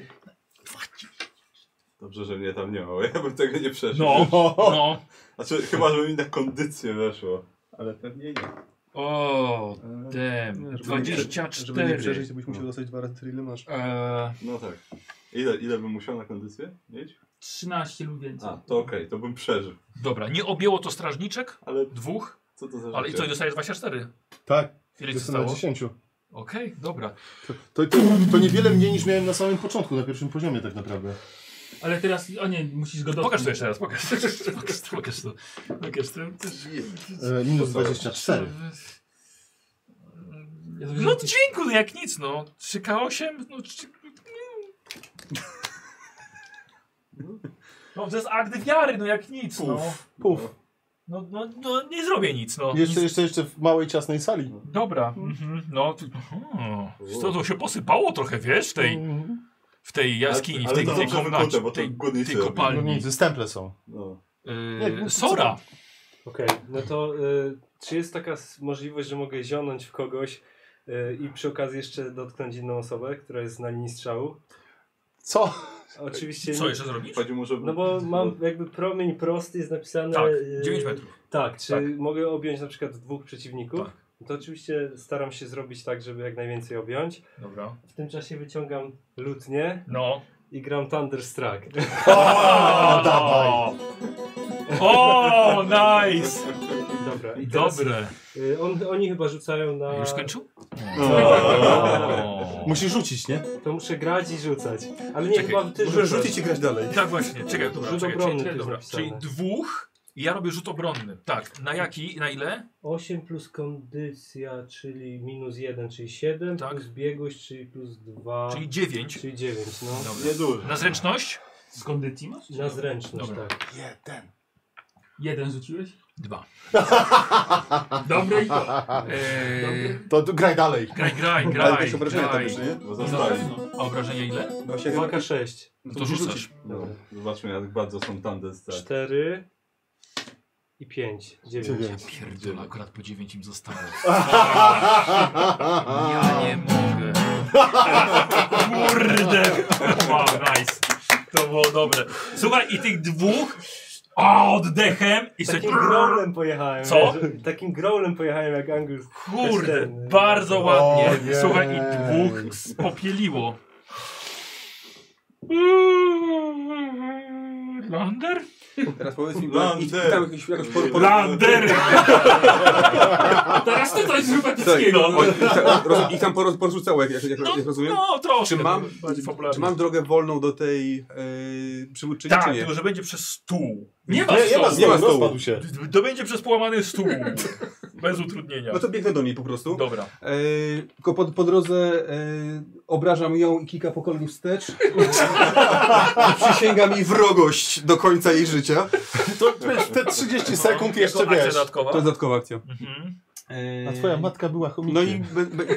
Dobrze, że mnie tam nie ma, bo ja bym tego nie przeżył.
No, no.
Znaczy, chyba, żeby mi na kondycję weszło. Ale pewnie nie.
O,
Żeby
dem.
nie prze-
24.
żeby nie przeżyć,
to byś musiał dostać dwa razy tyle masz.
Eee,
No tak. Ile, ile bym musiał na kondycję mieć?
13 lub więcej.
A, to okej, to bym przeżył.
Dobra, nie objęło to strażniczek?
Ale
Dwóch?
co to za
Ale i
życie?
co, i dostajesz 24?
Tak,
Ile ci
jestem na
zostało?
10.
Okej, dobra.
To, to, to niewiele mniej niż miałem na samym początku, na pierwszym poziomie tak naprawdę.
Ale teraz, a nie, musisz go dotknąć.
Pokaż to jeszcze raz, pokaż. Pokaż to, pokaż to. Pokaż to.
E, minus 24.
No dźwięku, no jak nic, no. 3K8, no... Czy... No to jest akt wiary, no jak nic, no.
Puf.
No, no, no nie zrobię nic, no.
Jeszcze,
Nic.
jeszcze, jeszcze w małej, ciasnej sali.
Dobra. Mhm. No, ty, o, to, to się posypało trochę, wiesz, w tej,
Mm,
w tej jaskini, w
Ale
tej,
to
w tej
dobrze
komnacie,
wykute, bo
w
to
tej,
górnicy
tej
robią.
No
kopalni.
nic, stemple są.
No.
Yy, Sora!
Okej, no to y, czy jest taka s- możliwość, że mogę zionąć w kogoś y, i przy okazji jeszcze dotknąć inną osobę, która jest na linii strzału?
Co?
Oczywiście
Co
nie-
jeszcze zrobić?
Chodzi mu, żeby...
No bo mam jakby promień prosty, jest napisane...
Tak,
y,
9 metrów.
e,
Tak, czy
Tak.
mogę objąć na przykład dwóch przeciwników? No To oczywiście staram się zrobić tak, żeby jak najwięcej objąć.
Dobra.
W tym czasie wyciągam lutnię
No.
i gram Thunderstruck.
O, dawaj. O, nice!
Dobra. i teraz,
Dobre.
y, On, oni chyba rzucają na...
Już skończył?
O.
Musisz rzucić, nie?
To muszę grać i rzucać. Ale nie,
Czekaj,
chyba ty
możesz
rzucasz.
rzucić i grać dalej.
Tak właśnie, czekaj, dobra,
Rzut
czekaj, czekaj,
obronny tu jest
dobra.
napisane.
Czyli dwóch i ja robię rzut obronny. Tak, na jaki, na ile?
8 plus kondycja, czyli minus 1, czyli 7, plus biegłość, czyli plus 2.
Tak. Czyli 9.
Czyli 9, no.
Dobra. Na zręczność?
Z kondycji masz?
Na zręczność,
Dobra.
tak.
Jeden.
Jeden rzuciłeś?
Dwa.
Dobre i to.
Eee,
To tu graj dalej.
graj, graj,
Ale
graj.
też obrażenia
graj.
też, nie?
Bo zostaje.
No,
A obrażenia ile?
No, siedem.
2K6.
No to rzucasz.
No, zobaczmy, jak bardzo są
Tak.
tandesce.
4 i 5. 9.
Pierdolę, akurat po 9 im zostało.
Ja
nie mogę. Kurde! Wow, nice. To było dobre. Słuchaj, i tych dwóch a, oddechem i sobie...
Takim growlem pojechałem.
Co?
wiesz, Takim growlem pojechałem jak Angus.
Kurde,
Ten,
bardzo
o,
ładnie.
nie.
Słuchaj, i dwóch spopieliło. Lander?
Teraz powiedz mi,
Lander.
i tam jakoś, jakoś por, por,
Lander!
Teraz ty coś zrób
Tak,
epickiego.
o, i tam- roz- I tam poroz- porozrzucało, jak, jak, jak, jak rozumiem.
No, troszkę.
Czy mam,
Bardziej fabularnie.
czy mam drogę wolną do tej e, przywódczyni,
tak,
czy nie?
tylko że będzie przez stół.
Nie ma Nie, nie stołu. ma stołu,
rozpadł się.
D- To będzie przez połamany stół. Bez utrudnienia.
No to biegnę do niej po prostu.
Dobra.
E, tylko po, po drodze e, obrażam ją i kilka pokoleń wstecz. I Przysięgam jej wrogość do końca jej życia.
To wiesz, te 30 sekund
Jako
jeszcze
akcja
wiesz.
dodatkowa.
To jest dodatkowa akcja.
Mhm.
E,
A twoja matka była chomikiem.
No i... Be, be,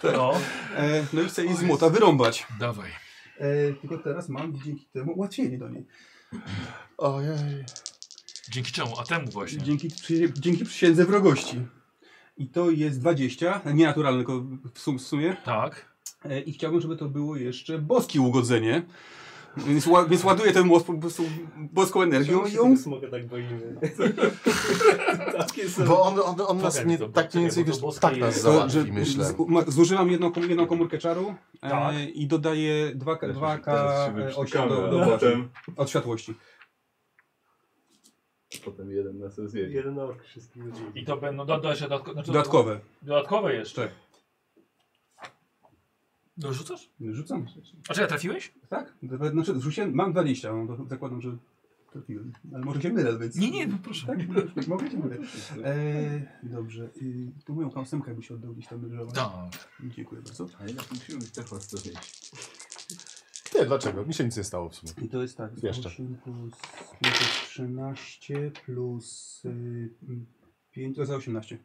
Tak.
No.
e, no i chcę jej z młota wyrąbać.
Dawaj.
E, tylko teraz mam dzięki temu łatwiej do niej.
Ojej.
Dzięki czemu? A temu właśnie.
Dzięki, przy, dzięki przysiędze wrogości. I to jest 20, nienaturalne, tylko w, sum, w sumie.
Tak.
E, I chciałbym, żeby to było jeszcze boskie ugodzenie. Więc, ła, więc ładuję ten most po prostu boską energią i ją...
Mogę tak boimy.
Bo on, on, on nas nie, tak mniej więcej, wiesz, tak nas załatwi, myślę.
E, z- ma- Zużywam jedną, kom- jedną komórkę czaru e,
Tak.
i dodaję 2K8
teraz się
do,
wyprztykamy,
e, do,
ale
do
potem-
od światłości.
Potem jeden na sobie zjedzie.
Jeden ork wszystkich ludzi.
I to będą dodatkowe. Znaczy, dodatko-
Dodatkowe.
Dodatkowe jeszcze.
Tak.
Dorzucasz?
Rzucam.
A czy ja trafiłeś?
Tak, dwa- znaczy rzuciłem, mam 20, no to zakładam, że trafiłem. Ale może się mylę, więc...
Nie, nie, no proszę.
Tak, tak mogę się mylę. E, dobrze, y, to moją kamsemkę by się oddał gdzieś tam wygrzewać.
Tak.
Dziękuję bardzo.
Ale jednak musimy być też was
Nie, dlaczego? Mi się nic nie stało w sumie.
I to jest tak,
Jeszcze.
8 plus, plus 13 plus 5, to jest 18.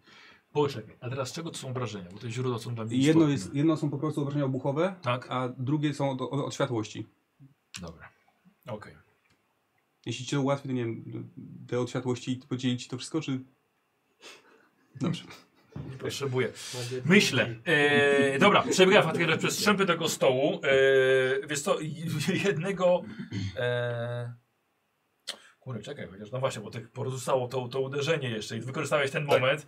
Poczekaj, a teraz czego to są obrażenia? Bo te źródła są dla mnie
I Jedno,
istotne.
jest, jedno są po prostu obrażenia obuchowe,
tak.
a drugie są od, od, od światłości.
Dobra. Okej.
Jeśli cię ułatwi, to nie wiem, te od światłości podzielić to wszystko, czy... Dobrze.
Nie potrzebuję. Myślę. E, dobra, przebiega Fatger przez strzępy tego stołu. E, wiesz co, jednego... E, Kurde, czekaj, chociaż no właśnie, bo tak porzucało to, to uderzenie jeszcze i wykorzystałeś ten moment.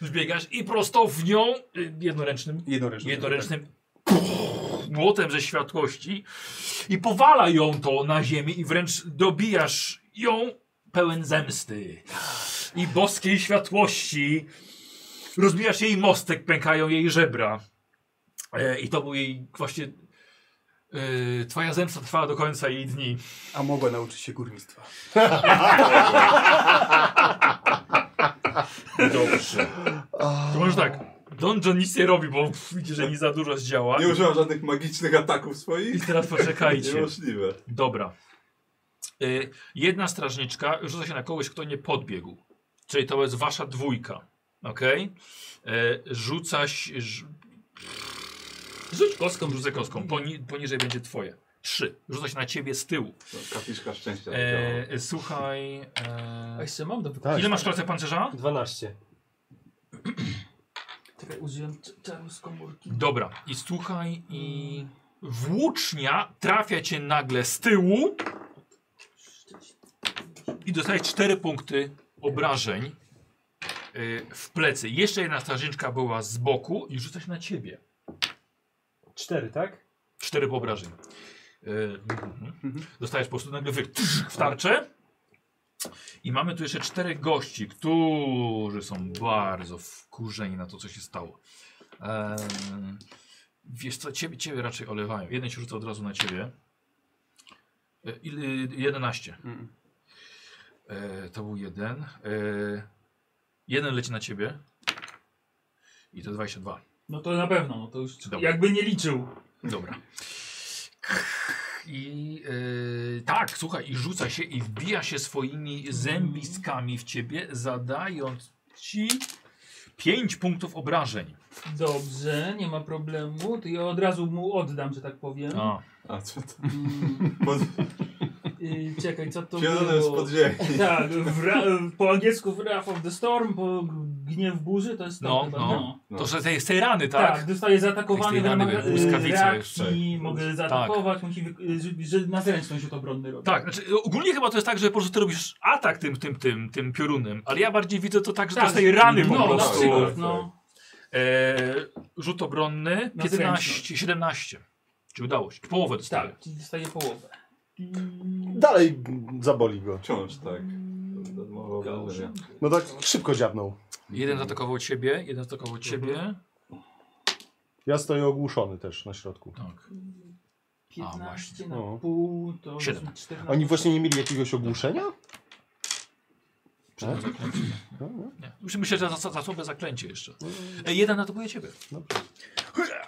Zbiegasz i prosto w nią y, jednoręcznym,
jednoręcznym,
puch, tak- młotem ze światłości i powala ją to na ziemię i wręcz dobijasz ją pełen zemsty i boskiej światłości. Rozbijasz jej mostek, pękają jej żebra. E, I to był jej właśnie... y, twoja zemsta trwała do końca jej dni.
A mogła nauczyć się górnictwa.
Dobrze. To może tak. Donjon nic nie robi, bo widzi, że nie za dużo zdziała.
Nie używam żadnych magicznych ataków swoich.
I teraz poczekajcie.
Niemożliwe.
Dobra. Y, jedna strażniczka rzuca się na kogoś, kto nie podbiegł. Czyli to jest wasza dwójka. Ok? Y, rzuca się. Rz... Rzuć kostką, rzucę kostką. Poni poniżej będzie twoje. Trzy. Rzuca się na ciebie z tyłu.
Kapiszka No, szczęścia.
E, e, słuchaj. E...
A jeszcze mam do
tak. Ile masz klasę pancerza?
12.
Czekaj, użyłem c- czaru z komórki.
Dobra, i słuchaj, i włócznia trafia cię nagle z tyłu i dostajesz 4 punkty obrażeń y, w plecy. Jeszcze jedna strażniczka była z boku i rzuca się na ciebie.
4, tak?
4 obrażeń. Y, mhm. Dostajesz po prostu nagle wy tsz, w tarczę. I mamy tu jeszcze czterech gości, którzy są bardzo wkurzeni na to, co się stało. Em, wiesz co, ciebie, ciebie raczej olewają. Jeden się rzuca od razu na ciebie. E, ile- 11. E, to był jeden. E, jeden leci na ciebie. I to 22.
No to na pewno, no to już
Dobra.
jakby nie liczył.
Dobra. I e, tak, słuchaj, i rzuca się i wbija się swoimi zębiskami w ciebie, zadając ci 5 punktów obrażeń.
Dobrze, nie ma problemu. To ja od razu mu oddam, że tak powiem.
A.
A co to?
Mm. Y, czekaj, co to
Zielone
było?
z podziemi.
Tak, w ra, po angielsku Wrath of the Storm, po gniew burzy, to jest to
No,
chyba,
no. To że tej- z tej rany, tak?
Tak, zostaje zaatakowany
Z tej
w
rany,
ramach
wie,
y,
błyskawice
reakcji,
jeszcze.
mogę zaatakować, musi, wy- y, że, że na zręczność rzut obronny robi.
Tak, znaczy ogólnie chyba to jest tak, że po prostu ty robisz atak tym, tym, tym, tym piorunem, ale ja bardziej widzę to tak, że to
Tak,
z tej rany
no,
po
na
prostu.
przykład, no.
E, rzut obronny
Na
15, 17. Czy udało się? Połowę dostaje.
Tak, czyli dostaje połowę.
Dalej mm, zaboli go.
Wciąż tak. Darmowe obrażenia.
No tak szybko dziabnął.
Jeden zaatakował ciebie, jeden zaatakował ciebie.
Mhm.
Ja stoję ogłuszony też na środku.
Tak.
15 na
No.
pół, to
Siedem.
14.
Oni właśnie nie mieli jakiegoś ogłuszenia?
Przed
Tak?
zaklęciem.
No, no.
Nie. Już Myślę, że za, za słabe zaklęcie jeszcze. E, jeden atakuje ciebie.
Dobrze.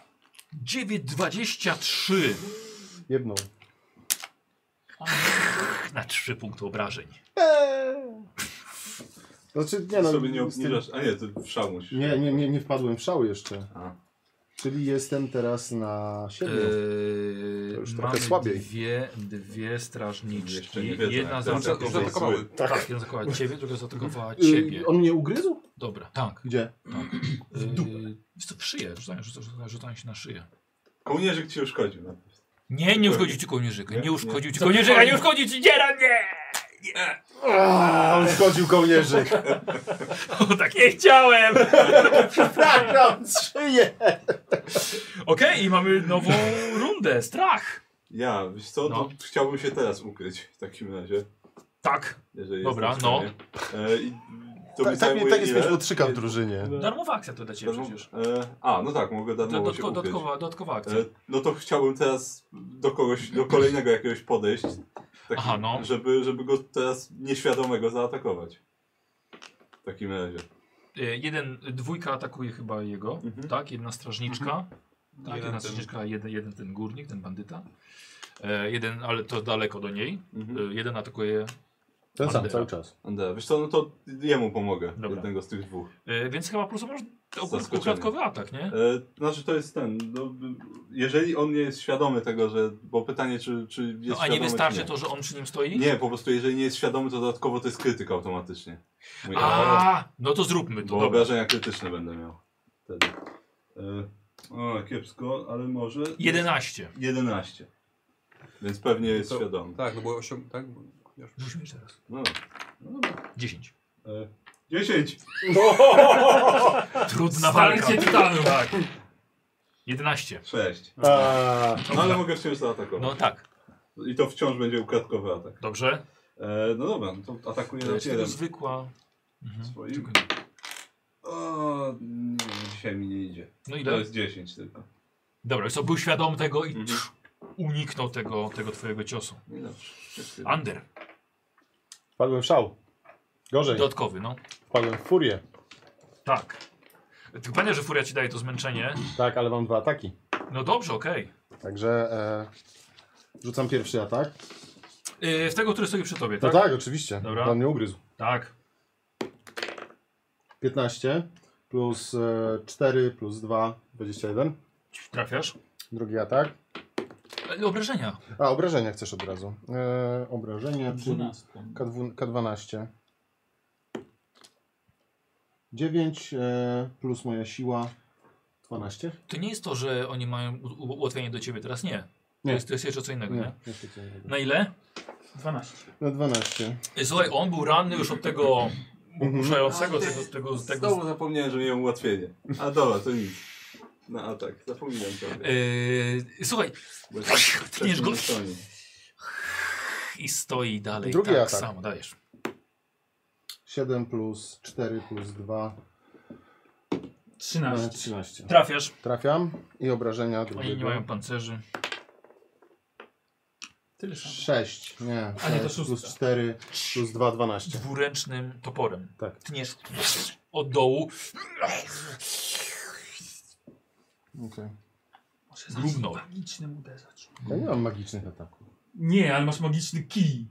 9,23
Jedną.
na 3 punkty obrażeń.
Znaczy, nie no.
Sobie nie
z tym-
obniżasz. A nie, to w szał musisz.
Nie, nie, nie, nie wpadłem w szał jeszcze.
A.
Czyli jestem teraz na 7.
Eee,
No. To już trochę
mamy
słabiej.
Dwie, dwie strażniczki.
Jeszcze nie wiedzą,
jedna
jak to
zaatakowała,
zaatakowały.
tak.
Tak.
jedna zaatakowała ciebie, druga zaatakowała
Yy,
ciebie.
on mnie ugryzł?
Dobra, tak. Eee,
Gdzie?
tak. W dupę. w szyję, rzucają, rzucają, rzucają się na szyję.
Kołnierzyk ci uszkodził. na pewno.
Nie, nie uszkodził ci kołnierzyka, nie uszkodził ci
Co
kołnierzyka,
chodzi?
nie uszkodził ci dziera, nie!
A, on zgodził kołnierzyk.
O, tak nie chciałem!
tak, no, szyję.
Okej, i mamy nową rundę, strach.
Ja, wiesz co,
No.
to chciałbym się teraz ukryć w takim razie.
Tak,
Jeżeli
Dobra, no.
jestem w stanie. E, i To
Tak-
mi
tak mi-
zajmuje
tak jest,
ile?
wiesz, bo trzykam drużynie.
Darmowa akcja to dla ciebie
Darmo-
przecież.
E, a, no tak, mogę darmowo
Dodatko-
się ukryć.
dodatkowa- dodatkowa akcja.
E, no to chciałbym teraz do kogoś, do kolejnego jakiegoś podejść. Taki,
Aha, no.
żeby, żeby go teraz nieświadomego zaatakować. W takim razie.
Y, Jeden, dwójka atakuje chyba jego, tak? Jedna strażniczka. Tak,
Mhm. Jeden
jedna
ten-
strażniczka, jeden, jeden ten górnik, ten bandyta. E, jeden, ale to daleko do niej. E, jeden atakuje.
Ten sam,
Bandera.
cały czas. Andera. Mhm. Wiesz co, no to jemu pomogę. Jednego z tych dwóch.
E, więc chyba po prostu masz
Zaskoczenie.
układkowy atak, nie?
E, znaczy to jest ten, no, jeżeli on nie jest świadomy tego, że, bo pytanie czy, czy jest
No, a nie
świadomy, czy
wystarczy
nie.
to, że on przy nim stoi?
Nie, po prostu jeżeli nie jest świadomy, to dodatkowo to jest krytyk automatycznie. Mój
A, no to zróbmy to.
Bo
dobra.
obrażenia krytyczne będę miał wtedy. E, o, kiepsko, ale może...
11.
11. Więc pewnie jest
To-
świadomy.
Tak, no bo osiem, tak? Bo,
Rzućmy jeszcze raz.
No, no dobra.
10.
E, 10!
Trudna walka.
Starcie tytanu.
Tak. 11.
6.
A.
No ale mogę wciąż zaatakować.
No tak.
I to wciąż będzie ukradkowy atak.
Dobrze.
E, no dobra, no to atakuję
To
na
jest tylko
jeden.
zwykła. Mhm.
Swoim. O, nie, dzisiaj mi nie idzie.
No ile?
To jest 10 tylko.
Dobra, co był świadom tego i uniknął tego, tego twojego ciosu.
Mhm. No i dobrze.
Under.
Wpadłem w szał. Gorzej.
Dodatkowy, no.
Wpadłem w furię.
Tak. Ty pamiętaj, że furia ci daje to zmęczenie.
Tak, ale mam dwa ataki.
No dobrze, okej.
Także e, rzucam pierwszy atak.
Yy, w tego, który stoi przy tobie,
No
tak?
tak, oczywiście.
Dobra.
Pan mnie ugryzł.
Tak.
15 plus e, 4 plus 2, 21.
Trafiasz?
Drugi atak.
E, Obrażenia.
A, obrażenia chcesz od razu. E, obrażenia, czyli K12. K12. 9 e, plus moja siła 12.
To nie jest to, że oni mają u- u- ułatwienie do ciebie teraz, nie. To
Nie.
jest, to jest jeszcze co innego, nie?
Nie, jeszcze co innego.
Na ile?
12.
Na 12.
E, Słuchaj, on był ranny już od tego
Mhm.
ogłuszającego, tego, tego, tego...
Znowu zapomniałem, że miałem ułatwienie. A dobra, to nic. No a tak, zapomniałem to.
Yy, słuchaj,
Bo-
tniesz go
nie stoi.
i stoi dalej.
Drugi
tak
atak.
samo, dajesz.
7 plus 4 plus 2.
13.
13.
Trafiasz.
Trafiam i obrażenia drugiego.
Oni nie mają pancerzy. Tyle
6, nie.
A nie, to
sześć plus
szóstka.
4 plus 2, 12.
Dwuręcznym toporem.
Tak.
Tniesz od dołu.
Okej.
Może
Gówno.
zacznij magicznym uderzać.
Ja nie mam magicznych ataków.
Nie, ale masz magiczny kij.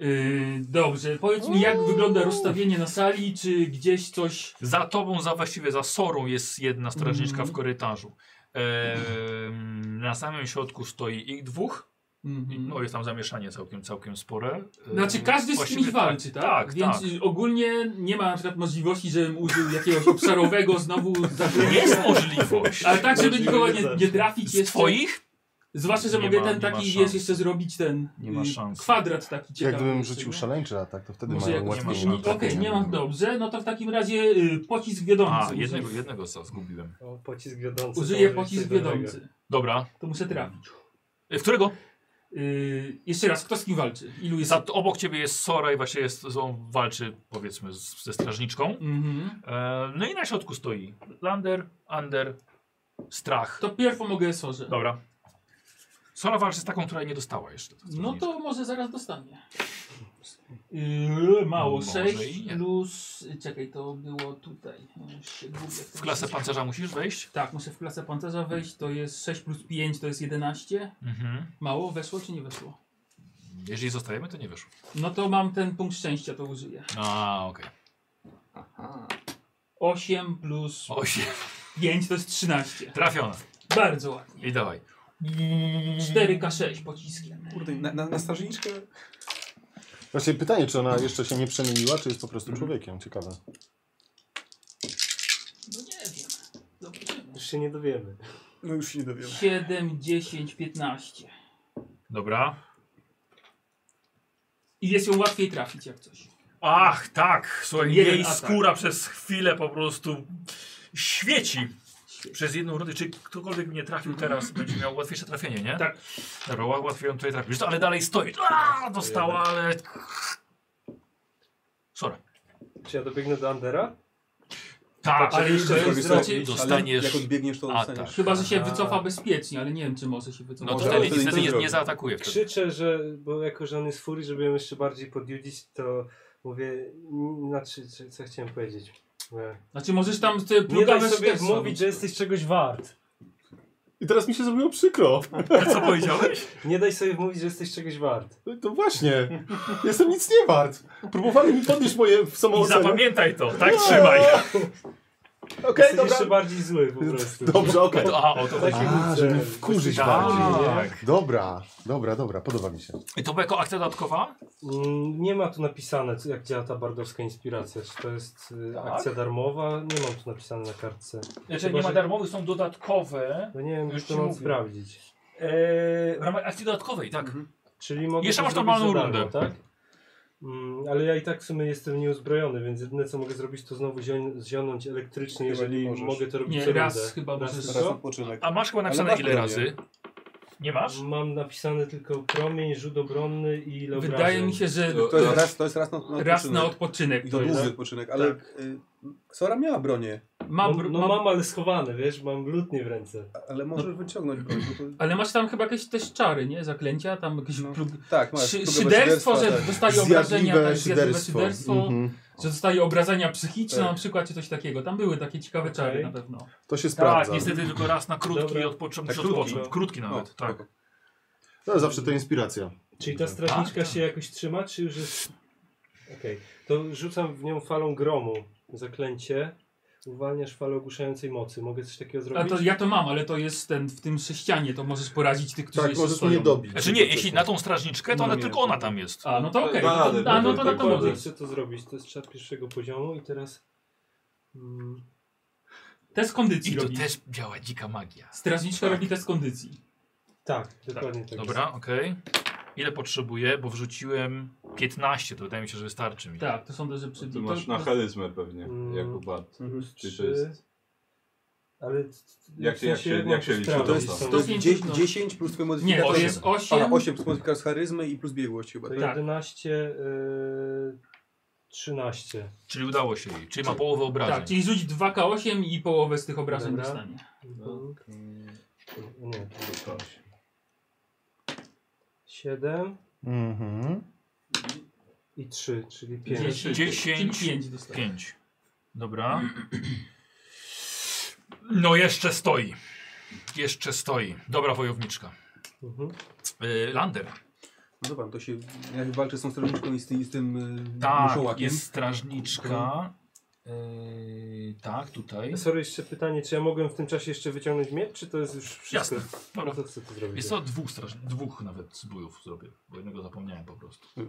Yy, dobrze, powiedz mi jak wygląda rozstawienie na sali, czy gdzieś coś...
Za tobą, za właściwie za Sorą jest jedna strażniczka
Mhm.
w korytarzu. Ehm, na samym środku stoi ich dwóch.
Mhm.
No jest tam zamieszanie całkiem, całkiem spore. Ehm,
Znaczy każdy z
właściwie
kimś walczy, tak?
Tak,
Więc
tak.
y, ogólnie nie ma na przykład możliwości, żebym użył jakiegoś obszarowego znowu...
Nie jest możliwość.
Ale tak, żeby
Możliwe
nikogo nie,
jest.
nie trafić
Z
jeszcze.
twoich?
Zwłaszcza, że
Nie
mogę
ma-
ten
nie ma
taki,
szans.
wiesz, jeszcze zrobić ten
Nie ma
y,
szans.
kwadrat taki ciekawy.
Jak gdybym
jeszcze,
rzucił
nie?
szaleńczy atak, to wtedy
Może
mają
jakoś-
łatwiej.
szans.
Okej, nie ma, dobrze. No to w takim razie y, pocisk wiodący.
A,
użyję.
jednego, jednego co zgubiłem.
O, pocisk wiodący.
Użyję
to może
pocisk
coś dobrego.
wiodący.
Dobra.
To muszę trafić.
E, Którego?
Y, jeszcze raz, kto z kim walczy? Ilu jest?
Za, obok ciebie jest Sora i właśnie jest, on walczy powiedzmy z, ze strażniczką.
Mhm.
E, no i na środku stoi Lander, Under, Strach.
To pierwszą mogę Sorze.
Dobra. Sora walczy z taką, która jej nie dostała jeszcze.
No to może zaraz dostanie. Yy, mało,
Może
6
i nie.
plus... Czekaj, to było tutaj. Ja już się gubię w
W
tym
klasę
wszystkim.
pancerza musisz wejść?
Tak, muszę w klasę pancerza wejść, to jest 6 plus 5, to jest 11.
Mhm.
Mało, weszło czy nie weszło?
Jeżeli zostajemy, to nie wyszło.
No to mam ten punkt szczęścia, to użyję.
A, okej.
8 plus
Osiem.
5 to jest 13.
Trafiona.
Bardzo ładnie.
I dawaj.
4K6 pociskiem.
Kurde, na, na, na strażniczkę?
Właśnie pytanie, czy ona jeszcze się nie przemieniła, czy jest po prostu
Mhm.
człowiekiem. Ciekawe.
No nie wiem. Dobrze.
Już się nie dowiemy.
No już się nie dowiemy.
7, 10, 15.
Dobra.
I jest ją łatwiej trafić jak coś.
Ach, tak. Słuchaj,
Jeden
jej
atak.
skóra przez chwilę po prostu świeci. Przez jedną rundę, czy ktokolwiek mnie trafił teraz, będzie miał łatwiejsze trafienie, nie?
Tak.
Dobra, ła- łatwiej ją tutaj trafić. Ale dalej stoi. A, dostała, ale... Sorry.
Czy ja dobiegnę do Andera?
Tak,
ale jeszcze
to
coś
jest-
zrobić.
ale dostaniesz
jak odbiegniesz, to
atak.
dostaniesz.
Chyba, że się
A.
wycofa bezpiecznie, ale nie wiem, czy może się wycofać.
No to wtedy, wtedy nie, nie zaatakuje wtedy.
Krzyczę, że, bo jako, że on jest w furii, żeby ją jeszcze bardziej podjudzić, to mówię, n- znaczy, co- co chciałem powiedzieć. E,
Znaczy możesz tam te
Nie daj
plugawe
sobie
sztyce
mówić, że jesteś czegoś wart.
I teraz mi się zrobiło przykro.
Co powiedziałeś?
Nie daj sobie mówić, że jesteś czegoś wart.
No To właśnie. Jestem nic nie wart. Próbowali mi podnieść moje
I
samoocenę.
zapamiętaj to, tak
Nie.
trzymaj.
Okej,
Jesteś
dobra.
jeszcze bardziej zły po prostu.
Dobrze, okej.
To- a, o to chodzi.
A, żeby mnie wkurzyć
Tak.
bardziej.
Tak.
Dobra, dobra, dobra, podoba mi się.
I to była jako akcja dodatkowa?
Mm, Nie ma tu napisane, co- jak działa ta bardowska inspiracja. Czy to jest y,
Tak.
akcja darmowa? Nie mam tu napisane na kartce.
Jeżeli
Chyba,
Znaczy, nie ma
że-
darmowych, są dodatkowe.
No nie wiem,
Już
czy
ci
to mam
mówię.
sprawdzić.
Eee, w ramach akcji dodatkowej, tak.
Czyli mogę
Jeszcze
to
masz
zrobić
normalną
za darmo,
rundę.
tak? Mm, ale ja i tak w sumie jestem nieuzbrojony, więc jedyne co mogę zrobić to znowu zio- zionąć elektrycznie, jeżeli mogę to robić
Nie,
co
raz
rundę.
chyba możesz-
tylko?
Raz
A masz chyba napisane ile razy? Nie masz?
Mam napisane tylko promień, rzut obronny i ile
Wydaje
obrażeń.
mi się, że
To jest raz, to jest raz na, na odpoczynek.
Raz na odpoczynek
I to
to jest.
długi odpoczynek, ale y, Sora miała bronię.
Ma
no,
br-
no
ma-
mam, ale schowane, wiesz, mam lutnie w ręce.
Ale możesz wyciągnąć broń, bo to...
Ale masz tam chyba jakieś też czary, nie? Zaklęcia, tam jakieś
No.
plug...
tak, masz
Szy-
plugowe
szyderstwo,
szyderstwa,
że
tak.
dostaje
Zjadliwe
obrażenia, tak, zjadliwe
szyderstwo.
szyderstwo,
Mhm.
że dostaje obrażenia psychiczne
Tak.
na przykład, czy coś takiego. Tam były takie ciekawe czary na pewno.
To się
Tak,
sprawdza.
niestety tylko raz na krótki
Dobra.
odpoczyn-
Tak, krótki,
odpoczyn.
no.
Krótki nawet,
No,
tak.
No, zawsze to inspiracja.
Czyli ta strażniczka się jakoś trzyma, czy już jest... Okej, to rzucam w nią falą gromu. Zaklęcie. Uwalniasz falę ogłuszającej mocy. Mogę coś takiego
A
zrobić?
to ja to mam, ale to jest ten w tym sześcianie, to możesz porazić tych, którzy
Tak,
jeszcze
możesz
stoją.
mnie dobić.
Znaczy nie, jeśli na tą strażniczkę, to
No
ale
nie.
tylko ona tam jest.
A, no to okej.
Da
No
radę,
to- a, no
tak,
to na
tak,
to
tak.
może.
Chcę to zrobić. To jest czar pierwszego poziomu i teraz... Mm,
Test
I
kondycji
to
robi.
też działa dzika
Tak
magia.
Strażniczka robi test kondycji.
tak, dokładnie tak. jest.
Dobra, okej. Ile potrzebuję? Bo wrzuciłem 15, to wydaje mi się, że wystarczy mi.
Tak, to są też, że przy...
Ty masz
to-
na
to-
charyzmę pewnie,
Mm.
jako bard.
Plus
Mhm. Czy to
trzy.
jest...
Ale
Jak się- jak się- jak się liczy,
To
Dobra.
jest, to jest
150,
10,
no.
10 plus twoje
Nie,
modyfikatory.
to jest
A,
8.
8 plus modyfikator z charyzmy i plus biegłość chyba.
To
Tak?
Tak.
11, y, 13.
Czyli udało się jej. Czyli ma połowę obrażeń.
Tak, czyli rzuć 2K8 i połowę z tych obrażeń
Dobra.
dostanie.
Mhm. Nie, to 7
Mhm.
i 3, czyli 5.
10,
10,
5 dostanie.
5. Dobra. No jeszcze stoi. Jeszcze stoi. Dobra wojowniczka.
Mhm.
Yy, Lander.
No dobra, to się jak walczy z tą strażniczką i z tym, i z tym y,
Tak,
muszołakiem.
jest strażniczka. Yy, tak, tutaj.
Sorry, jeszcze pytanie, czy ja mogłem w tym czasie jeszcze wyciągnąć miecz, czy to jest już wszystko?
Jasne.
No
Dobra.
to chcę to zrobić.
Jest to dwóch straż... dwóch nawet zbójów zrobię, bo jednego zapomniałem po prostu.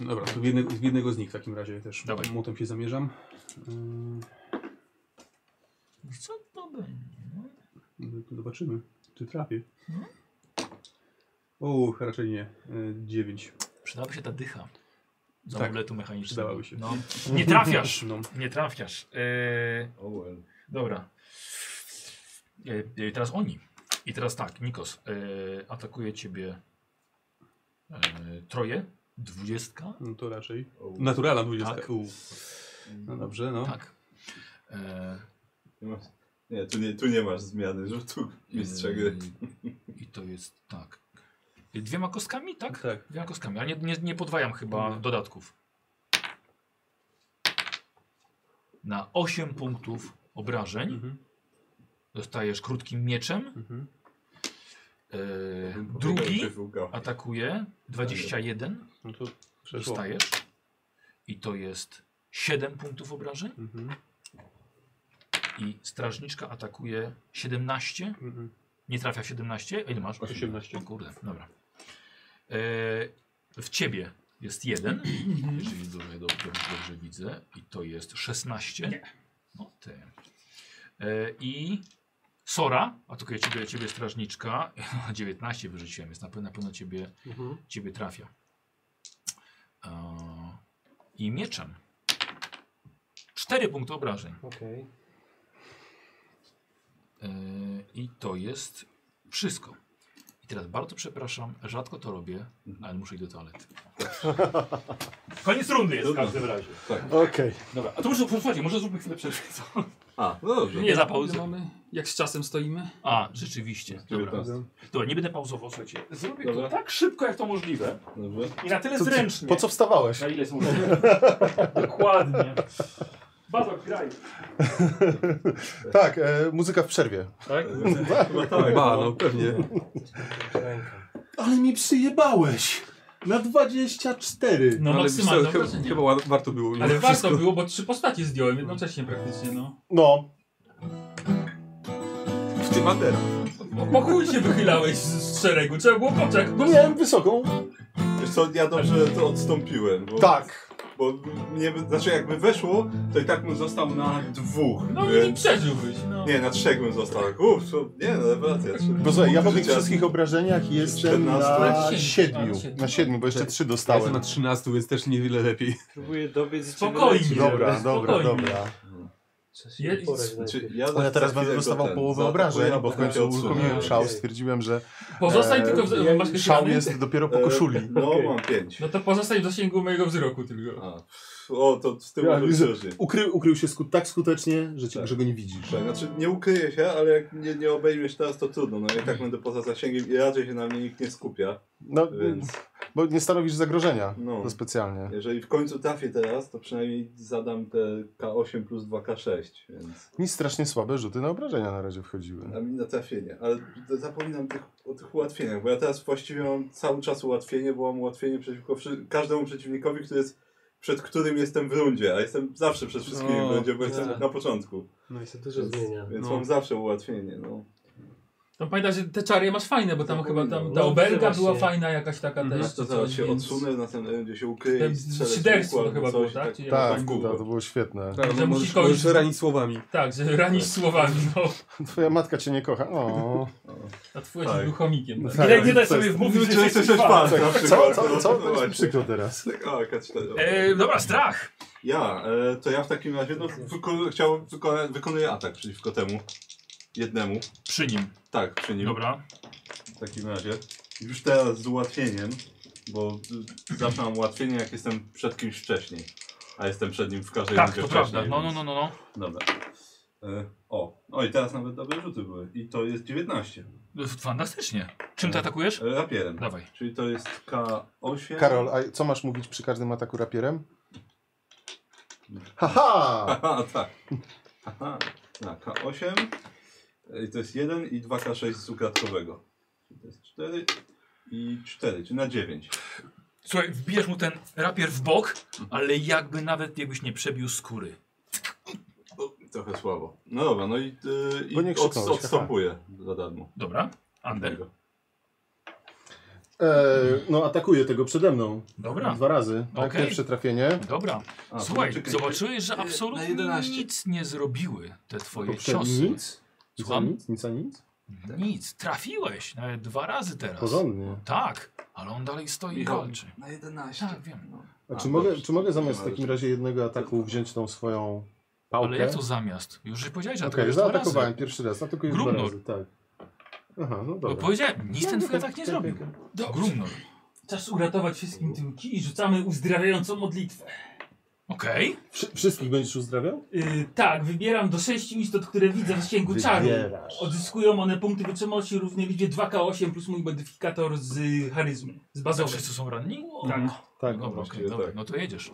Y, Dobra, to w jednego, w jednego z nich w takim razie też
Dawaj.
młotem się zamierzam. Y, Ym,
Co to będzie?
No to zobaczymy, czy trafię. Uch, raczej nie. Y, 9.
Przydałaby się ta dycha. Z
Tak,
amuletu mechanicznego.
przydałaby się.
No. Nie trafiasz!
No.
Nie trafiasz. Yy,
Oh well.
Dobra. E, e, teraz oni. I teraz tak, Nikos. E, atakuje ciebie e, troje. Dwudziestka.
No to raczej.
Oh.
Naturalna 20.
Tak.
U. No dobrze, no.
Tak. E,
Nie, masz- nie, tu nie, tu nie masz zmiany rzutu mistrza gry.
e, Yy, I to jest tak. E, Dwiema kostkami, tak?
Tak.
Dwiema kostkami. A nie, nie, nie podwajam chyba
Nie.
dodatków. Na 8 punktów obrażeń
Mhm.
dostajesz krótkim mieczem.
Mhm.
E, drugi.
Wyfukał.
Atakuje 21,
No to przeszło.
dostajesz. I to jest 7 punktów obrażeń.
Mhm.
I strażniczka atakuje 17.
Mhm.
Nie trafia w 17. A ile masz?
18.
O kurde, dobra. E, w ciebie jest jeden, jeżeli dobrze, dobrze, dobrze widzę. I to jest 16.
Nie.
No ty. E, I Sora, atakuje ciebie, ciebie strażniczka. 19 wyrzuciłem, jest na pewno, na pewno ciebie
Mhm.
ciebie trafia. E, I mieczem. Cztery punkty obrażeń.
Okej.
E, I to jest wszystko. I Teraz bardzo przepraszam, rzadko to robię,
Mhm.
ale muszę iść do toalety.
Koniec rundy jest w każdym razie.
Tak.
Okej.
Dobra, a to może, posłuchajcie, może zróbmy chwilę przerwy. co?
A, no dobrze.
Nie za pauzę.
Mamy, jak z czasem stoimy?
A, rzeczywiście. Dobra. Dobra, nie będę pauzował, słuchajcie. Zrobię
Dobra.
to tak szybko, jak to możliwe.
Dobrze.
I na tyle
To co-
zręcznie.
po co wstawałeś?
Na ile są Dokładnie. Bazok, graj.
tak, e, muzyka w przerwie.
Tak?
No tak,
Ba, no pewnie.
Ale mi przyjebałeś! Na 24!
No
ale
maksymalne
wiesz co,
obrażenie.
chyba, chyba wa- warto było. mimo
Ale
No wszystko.
warto było, bo trzy postacie zdjąłem jednocześnie praktycznie, no.
No.
tak.
W tym
tak.
Andera.
Bo po chuj się wychylałeś z, z szeregu, trzeba było poczekać.
No miałem wysoką.
Wiesz co, ja dobrze
Tak.
to odstąpiłem. Bo,
Tak.
Bo mnie, by- znaczy jakby weszło, to i tak bym został na dwóch.
No i
więc-
przeżyłbyś, no.
Nie, na trzech bym został. tak, Uff, co- nie, no rewelacja. trzy-
Bo słuchaj, ja po tych
życia.
wszystkich obrażeniach jestem
14.
na siedmiu. Na siedmiu, bo jeszcze trzy dostałem.
Jestem na 13, więc też niewiele lepiej.
Próbuję dobiec z
Spokojnie.
Dobra, dobra,
Spokojnie.
dobra.
Je,
Czy ja,
Bo ja teraz
zaatakuję
będę
go
dostawał
ten,
połowę
zaatakuję,
obrażeń, bo w
potem
końcu
się odsunę.
uruchomiłem szał.
Okej.
Stwierdziłem, że
Pozostań tylko w-
jej
masz jakieś
szał
rany?
jest dopiero po koszuli.
E, No, mam pięć.
no to pozostań w zasięgu mojego wzroku tylko.
A, pff, o, to z tym
Ja,
może
widzę,
przeżyję.
ukry, ukrył się sku, tak skutecznie, że, cię, że go nie widzisz.
Tak, znaczy nie ukryję się, ale jak nie, nie obejmiesz teraz, to trudno. No
Mhm.
ja i tak będę poza zasięgiem i raczej się na mnie nikt nie skupia.
No,
Mhm.
Więc-
Bo nie stanowisz zagrożenia.
No.
To specjalnie.
Jeżeli w końcu trafię teraz, to przynajmniej zadam te K8 plus 2K6, więc
Mi strasznie słabe rzuty na obrażenia na razie wchodziły. Tak,
na, na trafienie. Ale d- zapominam tych, o tych ułatwieniach, bo ja teraz właściwie mam cały czas ułatwienie, bo mam ułatwienie przeciwko wszy- każdemu przeciwnikowi, który jest, przed którym jestem w rundzie, a jestem zawsze przed wszystkimi
O,
w rundzie, bo
tak.
jestem na początku.
No i się dużo zmienia.
Więc
No.
mam zawsze ułatwienie, no.
No pamiętaj, że te czary masz fajne, bo tam chyba tam ta
No,
obelga
właśnie.
była fajna jakaś taka
Mhm.
No
też.
to
czy
zaraz
coś,
się
więc-
odsunę, na ten będzie się ukryje
Ten
i strzelę w
szyderstwo
układ,
to chyba
coś
było,
i
tak? Czy ja-
Tak,
w
to,
górę.
to było świetne.
Tak,
Że
no,
musisz
możesz,
kogoś-
możesz ranić słowami.
Tak, że ranisz słowami, no.
Twoja matka cię nie kocha. O.
A twój tak. był chomikiem. Tak.
Tak.
Ile nie daj
To jest-
sobie wmówić, że
Czy jesteś
jesteś
też
fan.
pan, na
Co,
przykład.
co, co?
No,
co?
no
To jest
właśnie.
przykro teraz.
Tak, a, K4.
E, dobra, strach!
Ja, e, to ja w takim razie no, wyko chciałbym wykona wykonuję atak przeciwko temu. Jednemu.
Przy nim.
Tak, przy nim.
Dobra.
W takim razie. Już teraz z ułatwieniem, bo y, zawsze mam ułatwienie jak jestem przed kimś wcześniej. A jestem przed nim w każdej
Tak,
rundzie
to
wcześniej,
prawda. No, no,
więc-
no, no. no.
Dobra. E, o. o, i teraz nawet dobre rzuty były. I to jest 19.
no. Fantastycznie. Czym
Tak.
ty atakujesz?
E, rapierem.
Dawaj.
Czyli to jest K8.
Karol, a co masz mówić przy każdym ataku rapierem? Haha!
Aha, tak. Aha. Na K8. I to jest 1 i 2K6 z ukradkowego. Czyli to jest 4 i 4, czyli na 9.
Słuchaj, wbijesz mu ten rapier w bok,
Mhm.
ale jakby nawet jakbyś nie przebił skóry.
Trochę słabo. No dobra, no i, yy, i
Bo nie
od,
krzyknąłeś, haha.
odstępuję za darmo.
Dobra. Ander.
E, no atakuje tego przede mną.
Dobra.
Dwa razy. Tak,
Okej.
pierwsze trafienie.
Dobra.
A,
Słuchaj,
to czekaj,
zobaczyłeś, że
na
absolutnie
11.
nic nie zrobiły te twoje
Poprzedni
ciosy.
No nic. Nic a
Słucham?
nic, nic a nic.
Nic. Trafiłeś nawet dwa razy teraz.
Porządnie.
Tak, ale on dalej stoi i
Michał,
walczy.
Na 11.
Tak, wiem.
No.
A
A,
czy, mogę,
dobrze.
czy mogę zamiast
Nie
w
ma
takim
rzeczy.
razie jednego ataku wziąć tą swoją pałkę?
Ale jak to zamiast? Już powiedziałeś, że
Okej,
atakujesz dwa razy.
zaatakowałem pierwszy raz, atakuję dwa
Grumnor.
razy, tak. Aha, no
Bo
dobra.
powiedziałem, nic ten twój
okej,
atak nie
okej,
zrobił.
okej.
Grumnor.
Czas uratować wszystkim tyłki i rzucamy uzdrawiającą modlitwę.
Okej.
Wszy- Wszystkich będziesz uzdrawiał?
Yy, tak, wybieram do 6 istot, które widzę w zasięgu czaru.
Wybierasz.
Odzyskują one punkty wytrzymałości równie liczbie 2K8 plus mój modyfikator z y, charyzmy, z
Bazą
bazowej.
wszyscy są ranni?
Tak.
Tak.
Dobra, okej,
właściwie
dobra,
tak.
no to jedziesz.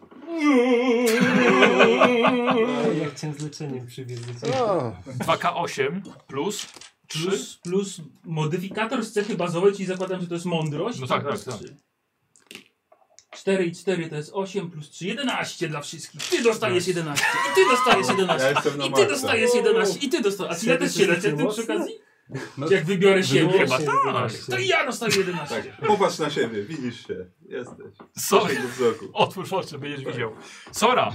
Ja chciałem z leczeniem przywieźć do ciebie.
No.
O,
2K8 plus 3.
Plus, plus modyfikator z cechy bazowej, czyli zakładam, że to jest mądrość.
No tak,
Raz,
tak, tak.
trzy. 4 i 4 to jest 8 plus 3, 11 dla wszystkich. Ty dostajesz 11, i ty dostajesz 11,
Ja jestem na
i ty
maksa.
dostajesz 11, i ty dostajesz. A czy ja też się leczę tym przy okazji?
No,
Jak wybiorę siebie,
Wybiorę
chyba
się,
tak.
wybiorę się.
To i ja dostaję 11.
Tak, popatrz na siebie, widzisz się. Jesteś.
Sorry.
Zasięgu wzroku.
Otwórz oczy, będziesz widział. Sora,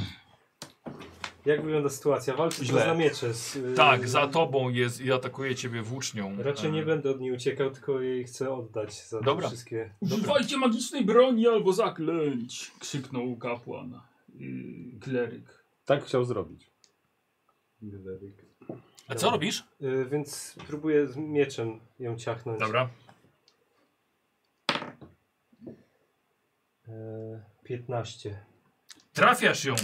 Jak wygląda sytuacja? Walczysz
Źle.
na miecze. Z, y,
tak, za tobą jest i atakuje ciebie włócznią.
Raczej nie
E,
będę od niej uciekał, tylko jej chcę oddać za
Dobra.
te wszystkie.
Używajcie magicznej broni albo zaklęć! Krzyknął kapłan. Yy, kleryk.
tak chciał zrobić.
A co robisz?
E, Y, więc próbuję z mieczem ją ciachnąć.
Dobra.
E, 15.
No. Trafiasz ją.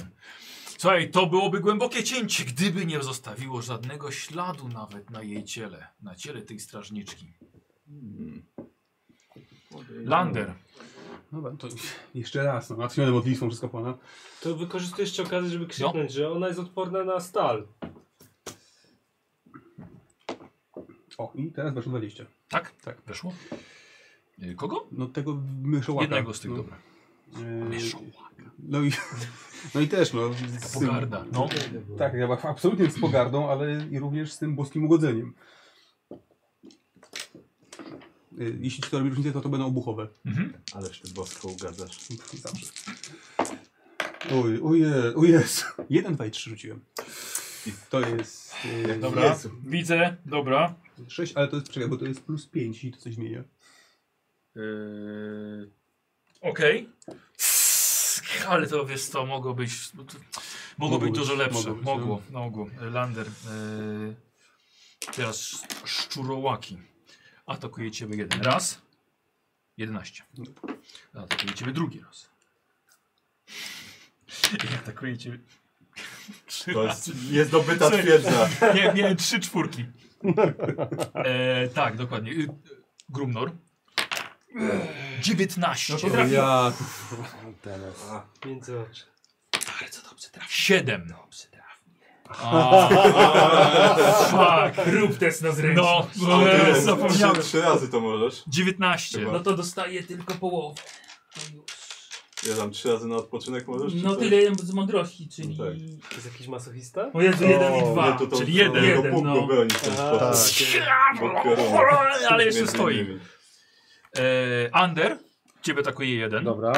Słuchaj, to byłoby głębokie cięcie, gdyby nie zostawiło żadnego śladu nawet na jej ciele, na ciele tej strażniczki.
Hmm.
Lander.
Dobra, to jeszcze raz, no, natchniony modlitwą wszystko pana.
To wykorzystujesz jeszcze okazję, żeby krzyknąć, że ona jest odporna na stal.
O, i teraz weszło 20.
Tak?
Tak.
Weszło? Y, Kogo?
No tego myszołaka.
Jednego z tych,
no.
dobra.
E,
Myszołaka.
No i, no i też, no. Z tym-
Pogarda, no.
Tak, ja absolutnie z pogardą, ale i również z tym boskim ugodzeniem. Y, Jeśli ci to robi różnicę, to to będą obuchowe.
Mhm.
Ależ ty bosko ugadzasz.
Zawsze. Oj, oje, o Jezu. 1, 2 i 3 rzuciłem. I to jest... y,
Dobra,
Jezu.
widzę, dobra.
6, ale to jest, czekaj, bo to jest plus 5, jeśli to coś zmienia.
Yy, Okej. Ale to wiesz co, mogło być. no to- Mogło,
Mogło
być
być,
dużo lepsze.
mogło być, no.
mogło, mogło. Lander. Yy, teraz sz- szczurołaki. Atakuje ciebie jeden raz. 11. Atakuje ciebie drugi raz. I atakuje ciebie. trzy
To
razy.
jest niezdobyta
Trzy-
twierdza.
Nie, miałem trzy czwórki. E, tak, dokładnie. Y, Grumnor. 19.
No to trafił.
No Ja...
Teraz.
Między oczy.
Bardzo dobrze trafił.
7. tak.
Fuck, rób test na
No,
zręczność.
no,
Ale
no,
Trzy,
zapomniałem.
trzy razy to możesz.
19.
Chyba.
No to dostaję tylko połowę. To już.
Ja tam trzy razy na odpoczynek możesz? czy
No
coś?
tyle jeden z mądrości, czyli...
No tak.
To jest jakiś masochista?
O Jezu, jeden i
O,
dwa.
nie, to to-
czyli
to
jeden.
tego
Jeden,
punktu
no.
bronić w ten
Aha,
sposób.
tak.
Ale jeszcze
Między
stoi.
innymi.
E, Ander, ciebie atakuje jeden.
Dobra.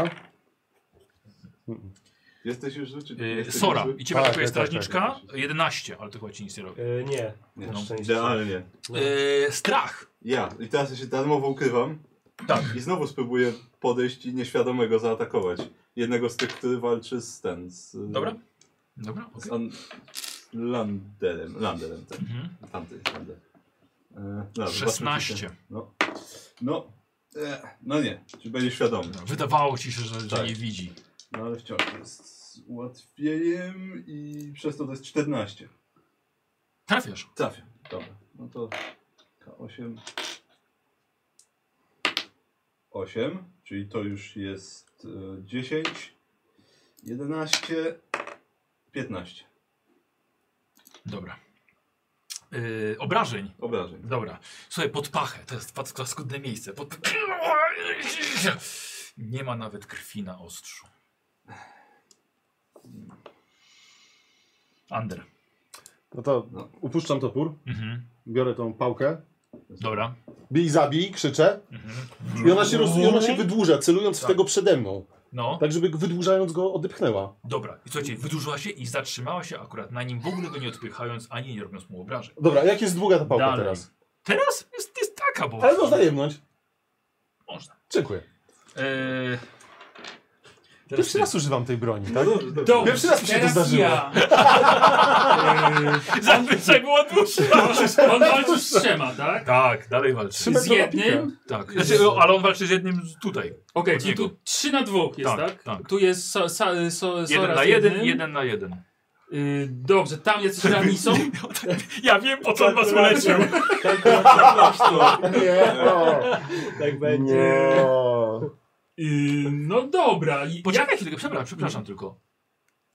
Jesteś już zły, czy nie
E,
jesteś
Sora,
już zły?
i ciebie
Tak,
atakuje
tak, tak,
strażniczka. 11, ale to chyba ci nic nie robi.
E, nie,
Nie,
na
no.
szczęście. No,
Idealnie.
No.
E, strach.
Ja. I teraz ja się darmowo ukrywam.
Tak.
I znowu spróbuję podejść i nieświadomego zaatakować. Jednego z tych, który walczy z ten. Z,
Dobra. Dobra, okej.
Z an... z Landerem. Landerem, tak.
Mhm.
Tamty jest Lander. E, dobra,
16.
zobaczmy, czy się- No. No. E, no nie. Czy będzie świadomy.
Wydawało ci się, że, że
Tak.
nie widzi.
No ale wciąż jest z ułatwieniem i przez to to jest 14.
Trafiasz.
Trafię. Dobra. No to K8. 8, czyli to już jest e, 10, 11, 15
Dobra. E, obrażeń.
obrażeń.
Dobra. Słuchaj, pod pachę. To jest pat- paskudne miejsce. Pod... Nie ma nawet krwi na ostrzu. Ander.
No to
No.
upuszczam topór,
Mhm.
biorę tą pałkę.
Dobra. Mhm.
Bij, zabij, krzyczę. I ona się, roz, i ona się wydłuża, celując w tego przede mną.
No,
Tak, żeby wydłużając go odepchnęła.
dobra. I słuchajcie, wydłużyła się i zatrzymała się akurat na nim, w ogóle go nie odpychając, ani nie robiąc mu obrażeń.
Dobra, jak jest długa ta pałka
Dalej.
teraz?
Teraz jest, jest taka, bo...
Ale można jemnąć.
Można.
Dziękuję.
Eee,
Pierwszy raz używam tej broni, tak?
Dobrze,
Pierwszy raz mi się to
teraz
zdarzyło.
Ja.
zazwyczaj było dłuższe.
On walczy z trzema, tak?
Tak, dalej walczy.
Trzy
Z
metrowa
jednym?
Tak. Znaczy, o, ale on walczy z jednym z- tutaj.
Okej,
Od
czyli
niego.
tu trzy na dwóch jest,
Tak,
tak?
tak.
Tu jest so, so, so,
Jeden
Sora
na
z
jeden,
jednym.
jeden na jeden.
Y, dobrze, tam jest rani są. tak.
Ja wiem, po co on was uleciał.
Nie, no.
Tak będzie.
Nie.
Y, no dobra. I
Poczekaj chwilkę, przepraszam, przepraszam tylko.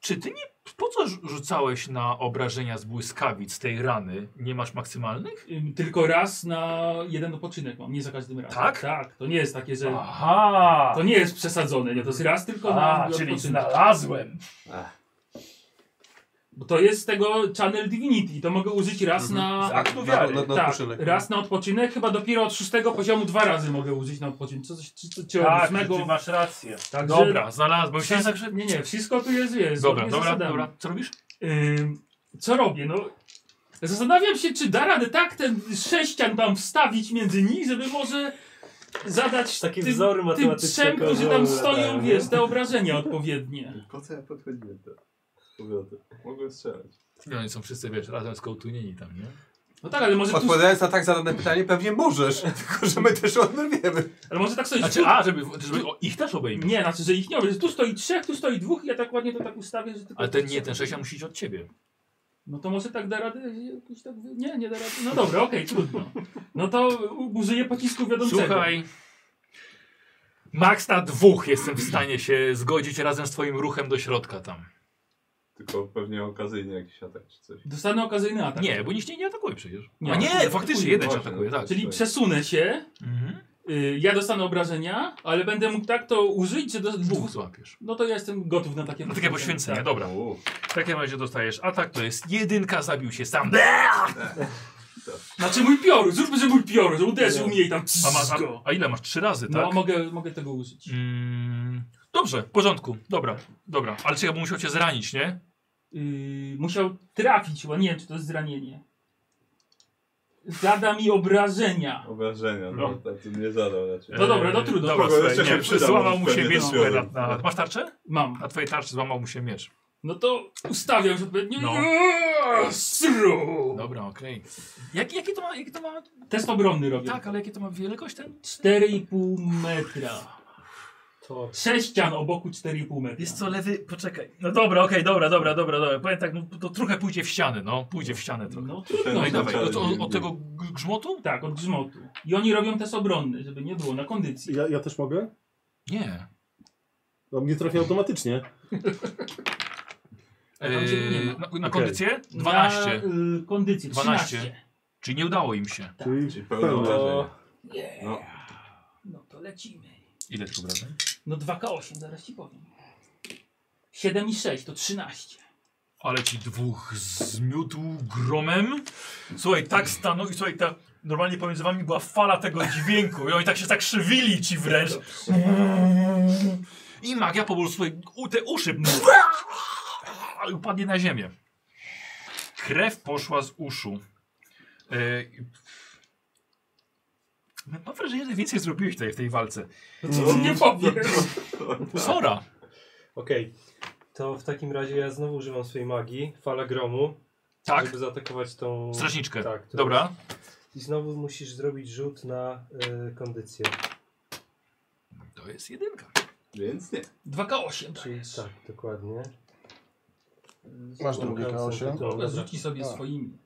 Czy ty nie... Po co rzu- rzucałeś na obrażenia z błyskawic tej rany? Nie masz maksymalnych?
Ym, y, Tylko raz na jeden odpoczynek mam, nie za każdym razem.
Tak?
Tak, to nie jest takie, że...
Aha!
To nie jest przesadzone, nie, to jest raz tylko na
A, czyli
odpoczynek.
znalazłem.
Bo to jest z tego Channel Divinity, to mogę użyć raz na...
Mhm. Z aktu wiary.
Na- na- na
tak,
odpoczynek.
no.
raz na odpoczynek, chyba dopiero od szóstego poziomu dwa razy mogę użyć na odpoczynek, co, czy, czy, czy od
Tak,
ósmego...
ty masz rację.
Także-
Dobra, znalazłem się.
Wszystko, nie, nie, wszystko tu jest, jest.
Dobra,
zgodnie z
dobra,
zasadami.
dobra. Co robisz?
Ym, co robię? No, zastanawiam się, czy da radę tak ten sześcian tam wstawić między nich, żeby może zadać
Takie
tym,
wzory
tym
matematyczne
trzem, którzy tam
kojarzą,
stoją,
tak,
wiesz,
nie?
te obrażenia odpowiednie.
Po co ja podchodziłem do powrotem? Mogłem strzelać.
No, oni są wszyscy, wiesz, razem skołtunieni tam, nie?
No tak, ale może tu-
Odpowiadając na tak zadane pytanie, pewnie możesz, tylko że my też o tym wiemy.
Ale może tak sobie...
Znaczy, a, żeby, żeby o- ich też obejmie.
Nie, znaczy, że ich nie ma, że tu stoi trzech, tu stoi dwóch i ja tak ładnie to tak ustawię, że tylko...
Ale ten nie, ten 6 musi iść od ciebie.
No to może tak da radę, jakoś tak... wy- Nie, nie da rady. No dobra, okej, trudno. No to u- użyję pocisku wiodącego.
Słuchaj. Max na dwóch jestem w stanie się zgodzić razem z twoim ruchem do środka tam.
Tylko pewnie okazyjnie jakiś atak czy coś.
Dostanę okazyjny atak.
Nie, bo nikt cię nie atakuje przecież.
Tak? Nie,
A nie,
atakuje.
faktycznie jeden cię
Właśnie.
atakuje, tak.
Czyli przesunę się, y, ja dostanę obrażenia, ale będę mógł tak to użyć, że... Do...
Dwóch złapiesz.
No to ja jestem gotów na takie...
No takie poświęcenie,
Tak.
dobra.
U.
W takim razie dostajesz atak, to jest jedynka, zabił się sam.
Znaczy mój piorun, zróbmy, że mój piorun, że uderzył mnie i tam...
A, masz, a, a ile masz? Trzy razy, tak?
No mogę, mogę tego użyć.
Mm, dobrze, w porządku, dobra, dobra. Ale czekaj, bo musiał cię zranić, nie? Mm.
Yy, musiał trafić, bo nie wiem, czy to jest zranienie. Zada mi obrażenia.
Obrażenia, no,
No.
tak to nie zadał raczej.
No dobra, no trudno.
E, Dobra,
Kogo
słuchaj,
jeszcze się
nie,
przyda,
złamał
może
mu się
pewnie
miecz.
to
słuchaj, Na,
zrobię.
na, masz tarczę?
Mam.
Na twojej tarczy złamał mu się miecz.
No to ustawiam się odpowiednio.
No.
Eee, Sru!
Dobra, okej. Jak, jakie to ma, jakie to ma...
Test obronny robię.
Tak, ale jakie to ma wielkość ten?
4,5 metra.
To...
Sześcian o boku 4,5 metra.
Jest co, lewy, poczekaj. No dobra, okej, dobra, dobra, dobra, dobra. Powiem tak, no, to trochę pójdzie w ścianę, no. Pójdzie w ścianę trochę.
No,
No i
trudno.
dawaj, od, od, od tego g- grzmotu?
Tak, od grzmotu. I oni robią test obronny, żeby nie było na kondycji.
Ja, ja też mogę?
Nie.
No, mnie trafi automatycznie.
tam się nie no.
Eee, na,
ma.
na
Okej.
kondycję? 12.
Na, y, kondycję
12.
13.
Czyli nie udało im się.
Czyli
pełne
pełno.
obrażenia.
Nie.
No.
No to lecimy.
Ile tych obrażeń?
No 2K8, zaraz ci powiem. 7 i 6 to 13.
Ale ci dwóch zmiótł gromem. Słuchaj, tak stanął i słuchaj, ta, normalnie pomiędzy wami była fala tego dźwięku i oni tak się zakrzywili ci wręcz. I magia po prostu słuchaj, u, te uszy i upadnie na ziemię. Krew poszła z uszu. E, i- No, Mam wrażenie, że więcej zrobiłeś tutaj w tej walce.
Co
No,
ty No, nie powiesz?
Sora.
Okej. To w takim razie ja znowu używam swojej magii, fala gromu,
Tak.
żeby zaatakować tą...
Strażniczkę.
Tak. to
Dobra.
jest- I znowu musisz zrobić rzut na y, kondycję.
To jest jedynka.
Więc nie.
2K8 to
Czyli
jest.
tak, dokładnie. No,
Masz drugie
Zamykam sobie
K8.
to.
Dobra, rzuci sobie swoimi.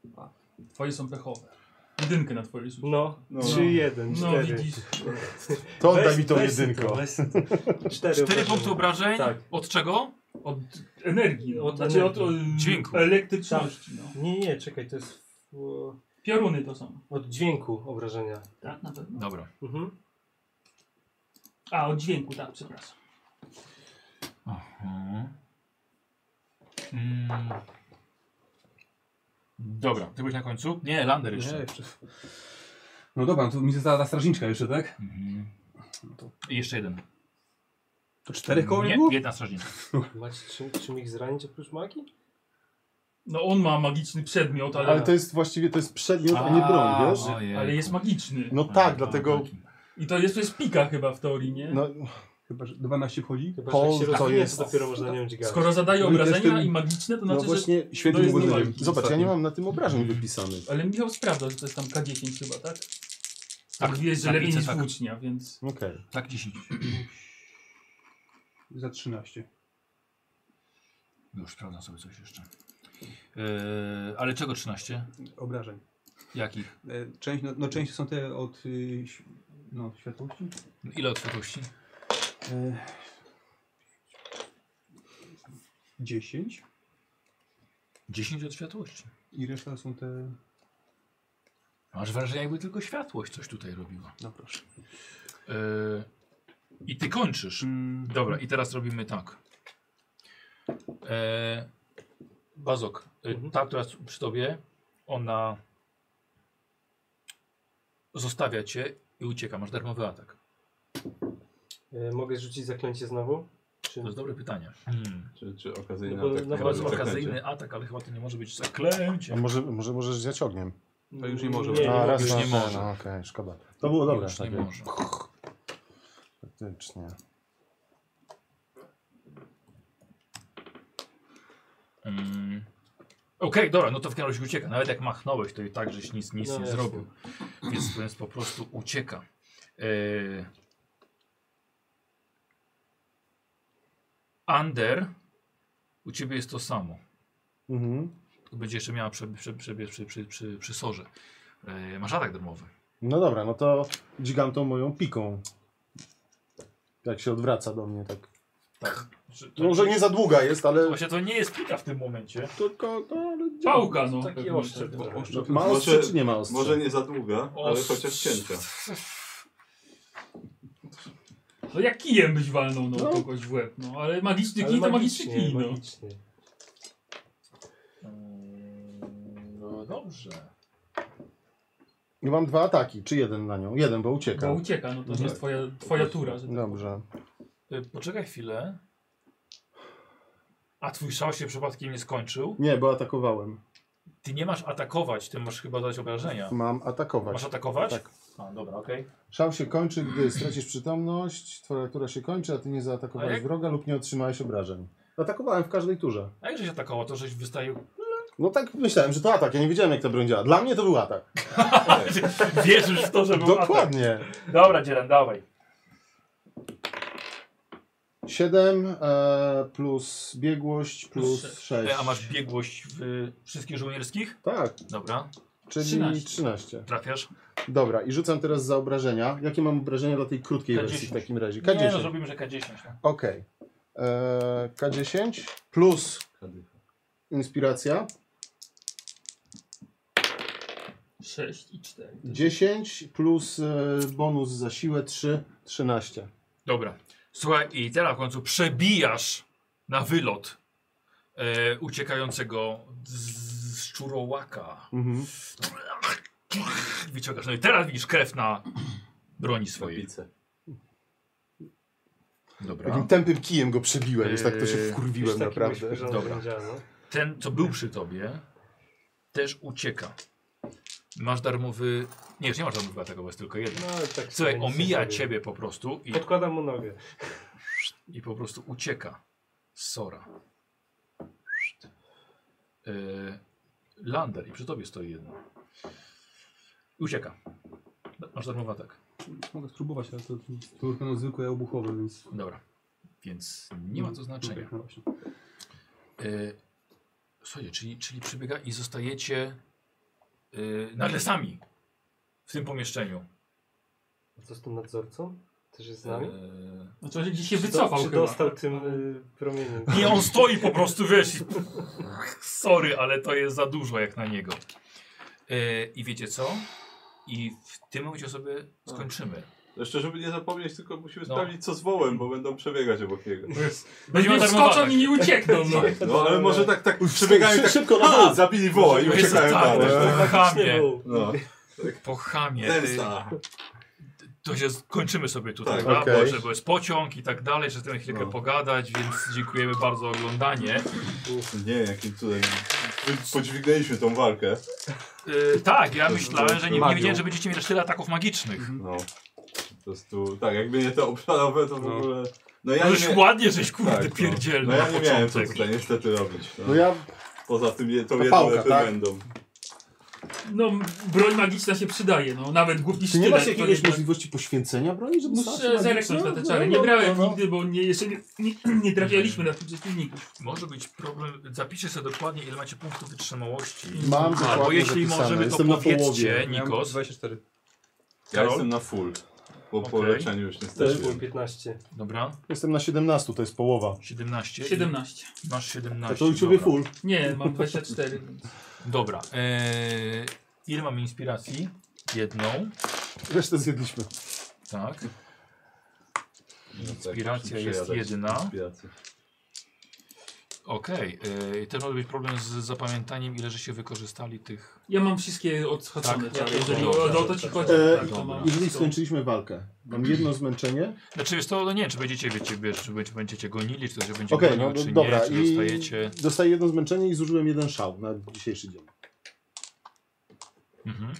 Twoje są pechowe. Jedynkę na twojej rzucie.
No,
No.
3-1,
No
4.
widzisz.
To
Weź-
oddaj mi tą
weź
jedynkę.
to, weź to. Cztery
Cztery
obrażenia.
punkty obrażeń.
Tak.
Od czego?
Od energii. No.
Od
znaczy od
energii.
y,
Dźwięku.
elektryczności. No.
Nie, nie, czekaj, to jest o,
Pioruny to są.
od dźwięku obrażenia.
Tak, na pewno.
Dobra.
Mhm.
A, od dźwięku, tak, przepraszam.
Aha. Mm. Dobra, ty byłeś na końcu? Nie, Lander jeszcze.
No dobra, to mi została ta strażniczka jeszcze, tak?
Mhm. I jeszcze jeden.
To czterech koło
nie,
nie było?
jedna strażnica.
Macie czym, czym ich zranić oprócz magii?
No on ma magiczny przedmiot, ale,
Ale to jest właściwie to jest przedmiot, a nie broń, wiesz?
ojej.
ale jest magiczny.
No tak, dlatego
I to jest, to jest pika chyba w teorii, nie?
no,
Chyba, że 12 wchodzi?
Chyba,
Paul,
że jak się
to
rozwinie,
jest-
to dopiero można nią dźgać.
Skoro zadaje
No i to jest
obrażenia
ten-
i magiczne, to
no
znaczy, że...
właśnie
to
świętym
jest
uderzeniem.
niewalki
Zobacz, ja nie
ostatnim.
mam na tym obrażeń wypisanych.
Ale Michał sprawdza, że to jest tam K10 chyba, tak? Tak,
Tak,
wiesz, że
na
lepiej
piłce
niż
tak.
włócznia, więc...
Okej.
Tak, 10.
Za 13.
Już sprawdzam sobie coś jeszcze. Yy, ale czego 13?
Obrażeń.
Jakich?
E, Część, no, no część są te od y, ś- no, światłości.
Ile otwartości?
E, 10
10 od światłości.
i reszta są te...
Masz wrażenie, jakby tylko światłość coś tutaj robiła.
No proszę.
Yy, I ty kończysz.
Mm.
Dobra, i teraz robimy tak. E, Bazok, e,
Mhm.
ta, która jest przy tobie, ona zostawia cię i ucieka. Masz darmowy atak.
E, mogę rzucić zaklęcie znowu? Czy...
To jest dobre pytanie.
Czy, czy okazyjny
No bo-
atak?
no
Chyba
bo-
jest
tak
okazyjny atak, ale chyba to nie może być zaklęcie.
A
No
może, może możesz zjać ogniem?
To
już nie może.
Nie, nie
a,
mogę.
raz
już
na-
nie może.
No, Okej, szkoda. To było dobre.
Już
tak
nie
takie.
może.
Faktycznie.
Mm. Okej, dobra, no to w każdym razie ucieka. Nawet jak machnąłeś, to i tak żeś nic, nic
No
nie
jasne.
zrobił. Więc, więc po prostu ucieka. E... Under, u ciebie jest to samo.
Mhm.
Tylko Będzie jeszcze miała prze, prze, prze, przy, przy, przy, przy sorze. E... Masz atak darmowy.
No dobra, no to dźgam tą moją piką. Jak się odwraca do mnie, tak.
Tak.
Może nie za długa jest, ale.
Właśnie to nie jest pika w tym momencie.
Tylko to, ale
Pałka, no.
Takie ostrze.
Ma ostrze czy nie ma ostrze?
Może nie za długa, ale
Ostrze.
chociaż cięcia.
No jak kijem byś walnął no,
No.
kogoś w łeb, no ale magiczny kij to magiczny kij, no.
No dobrze.
I mam dwa ataki, czy jeden na nią? Jeden, bo ucieka. No.
Bo ucieka, no to nie jest twoja, twoja tura. Że...
Dobrze.
Y, Poczekaj chwilę. A twój szał się przypadkiem nie skończył?
Nie, bo atakowałem.
Ty nie masz atakować, ty masz chyba dać obrażenia.
Mam atakować.
Masz atakować?
Tak.
A, dobra, okej.
Szał się kończy, gdy stracisz przytomność, twoja tura się kończy, a ty nie
A
zaatakowałeś
jak-
wroga lub nie otrzymałeś obrażeń. Atakowałem w każdej turze.
A jak żeś atakował, to żeś wystawił...
No tak myślałem, że to atak, ja nie wiedziałem jak ta broń działa. Dla mnie to był atak.
Wierzysz w to, że był
Dokładnie.
Atak. Dobra, Dzieran, dawaj.
7 e, plus biegłość plus
Plus
6.
E, A masz biegłość w y, wszystkich żołnierskich?
Tak,
Dobra.
czyli
13.
13.
Trafiasz?
Dobra, i rzucam teraz za obrażenia. Jakie mam obrażenia dla tej krótkiej
K10.
wersji w takim razie?
Nie,
K10.
no zrobimy, że K10. no.
Okej. Eee, K10 plus inspiracja.
6 i 4.
10 plus e, bonus za siłę 3, 13.
Dobra. Słuchaj, i teraz w końcu przebijasz na wylot e, uciekającego z, z szczurołaka.
Mhm.
Wyciągasz. No i teraz widzisz krew na broni swojej. Dobra.
Takim tępym kijem go przebiłem, jest tak to się
Eee, jakiś
wkurwiłem
taki
naprawdę.
myśl, że on Dobra. będzie,
no.
Ten, co był przy tobie, też ucieka. Masz darmowy. Nie, już nie masz darmowy ataku, bo jest tylko jeden.
No, ale tak
Słuchaj,
sobie nic nie
omija
zrobię.
ciebie po prostu i,
Podkładam mu nogę.
i po prostu ucieka. Sora. E, Lander i przy tobie stoi jedno. Ucieka. Masz darmowy atak.
Mogę spróbować, ale to, to już będą zwykłe obuchowe, więc...
Dobra. Więc nie ma to znaczenia.
No właśnie.
E, słuchajcie, czyli, czyli przybiega i zostajecie e, nagle sami w tym pomieszczeniu.
A co z tym nadzorcą? Też jest z nami?
E,
Znaczy on gdzieś się
Czy do-
wycofał
Czy
chyba.
dostał tym y, promieniem?
Nie, on stoi po prostu, wiesz. i- Sorry, ale to jest za dużo jak na niego. E, I wiecie co? I w tym momencie sobie skończymy.
Jeszcze, żeby nie zapomnieć, tylko musimy
No.
sprawdzić co z wołem, bo będą przebiegać obok niego.
Będziemy
Nie
darmowe
wskoczą
ataki.
i nie uciekną. No.
No ale może tak, tak przebiegają i tak,
szybko na
ha,
dół.
zabili woła No i
Jezu,
uciekają
tak,
dalej.
to jest po chamie.
No.
Po chamie.
Zemsta.
Y, To się skończymy sobie tutaj,
Tak,
prawda?
okej.
Że bo jest pociąg i tak dalej, że chcemy chwilkę
No.
pogadać, więc dziękujemy bardzo za oglądanie.
Nie, jakim cudem. Podźwignęliśmy tą walkę.
Y, tak, ja myślałem, że nie, nie
Magią.
wiedziałem, że będziecie mieli aż tyle ataków magicznych.
No. Po prostu, tak, jakby nie te obszarowe, to w
No.
ogóle...
No żeś ładnie, żeś,
żeś
kurde,
No,
pierdzielny
no ja
na
nie miałem co
początek.
tutaj niestety robić. No.
No ja-
Poza tym je, tą
Ta
jedną
pałka,
pałka,
tak?
będą.
no broń magiczna się przydaje, no nawet głupi
Czy nie
sztylet.
masz
to
jakiegoś
nie-
możliwości poświęcenia broni? Żeby stała się
tak. Muszę
magiczna?
zerknąć na te
No,
czary.
no,
Nie
no,
brałem
no.
nigdy, bo nie, jeszcze nie, nie, nie trafialiśmy na przeciwników.
Może być problem. Zapiszcie sobie dokładnie, ile macie punktów wytrzymałości.
Mam
Albo
dokładnie
jeśli
zapisane.
możemy, to
Jestem na
powiedzcie,
połowie.
Nikos.
24.
Ja
Karol?
jestem na full. Bo po
Okej.
leczeniu już niestety.
Też było 15.
Dobra,
Jestem na 17, to jest połowa.
17. i
17.
Masz 17.
To to u ciebie
dobra.
full.
Nie, mam 24. więc-
Dobra. Eee, ile mamy inspiracji? Jedną.
Resztę zjedliśmy.
Tak.
muszę
Inspiracja jest
przejadać
jedna.
inspirację.
Okej. eee, też może być problem z zapamiętaniem, ile że się wykorzystali tych.
Ja mam wszystkie odhaczone
Tak,
czary,
ja
jeżeli
też
o,
mam.
o to ci chodzi.
E,
tak, to mam.
jeżeli
To-
skończyliśmy walkę, mam jedno zmęczenie.
Znaczy wiesz, to no nie wiem, czy będziecie, wiecie, wiesz, czy będzie- będziecie gonili, czy to się będzie
Okej,
gonił,
no do,
czy
dobra.
nie, czy
I
dostajecie.
dostaję jedno zmęczenie i zużyłem jeden szał na dzisiejszy dzień.
Mhm.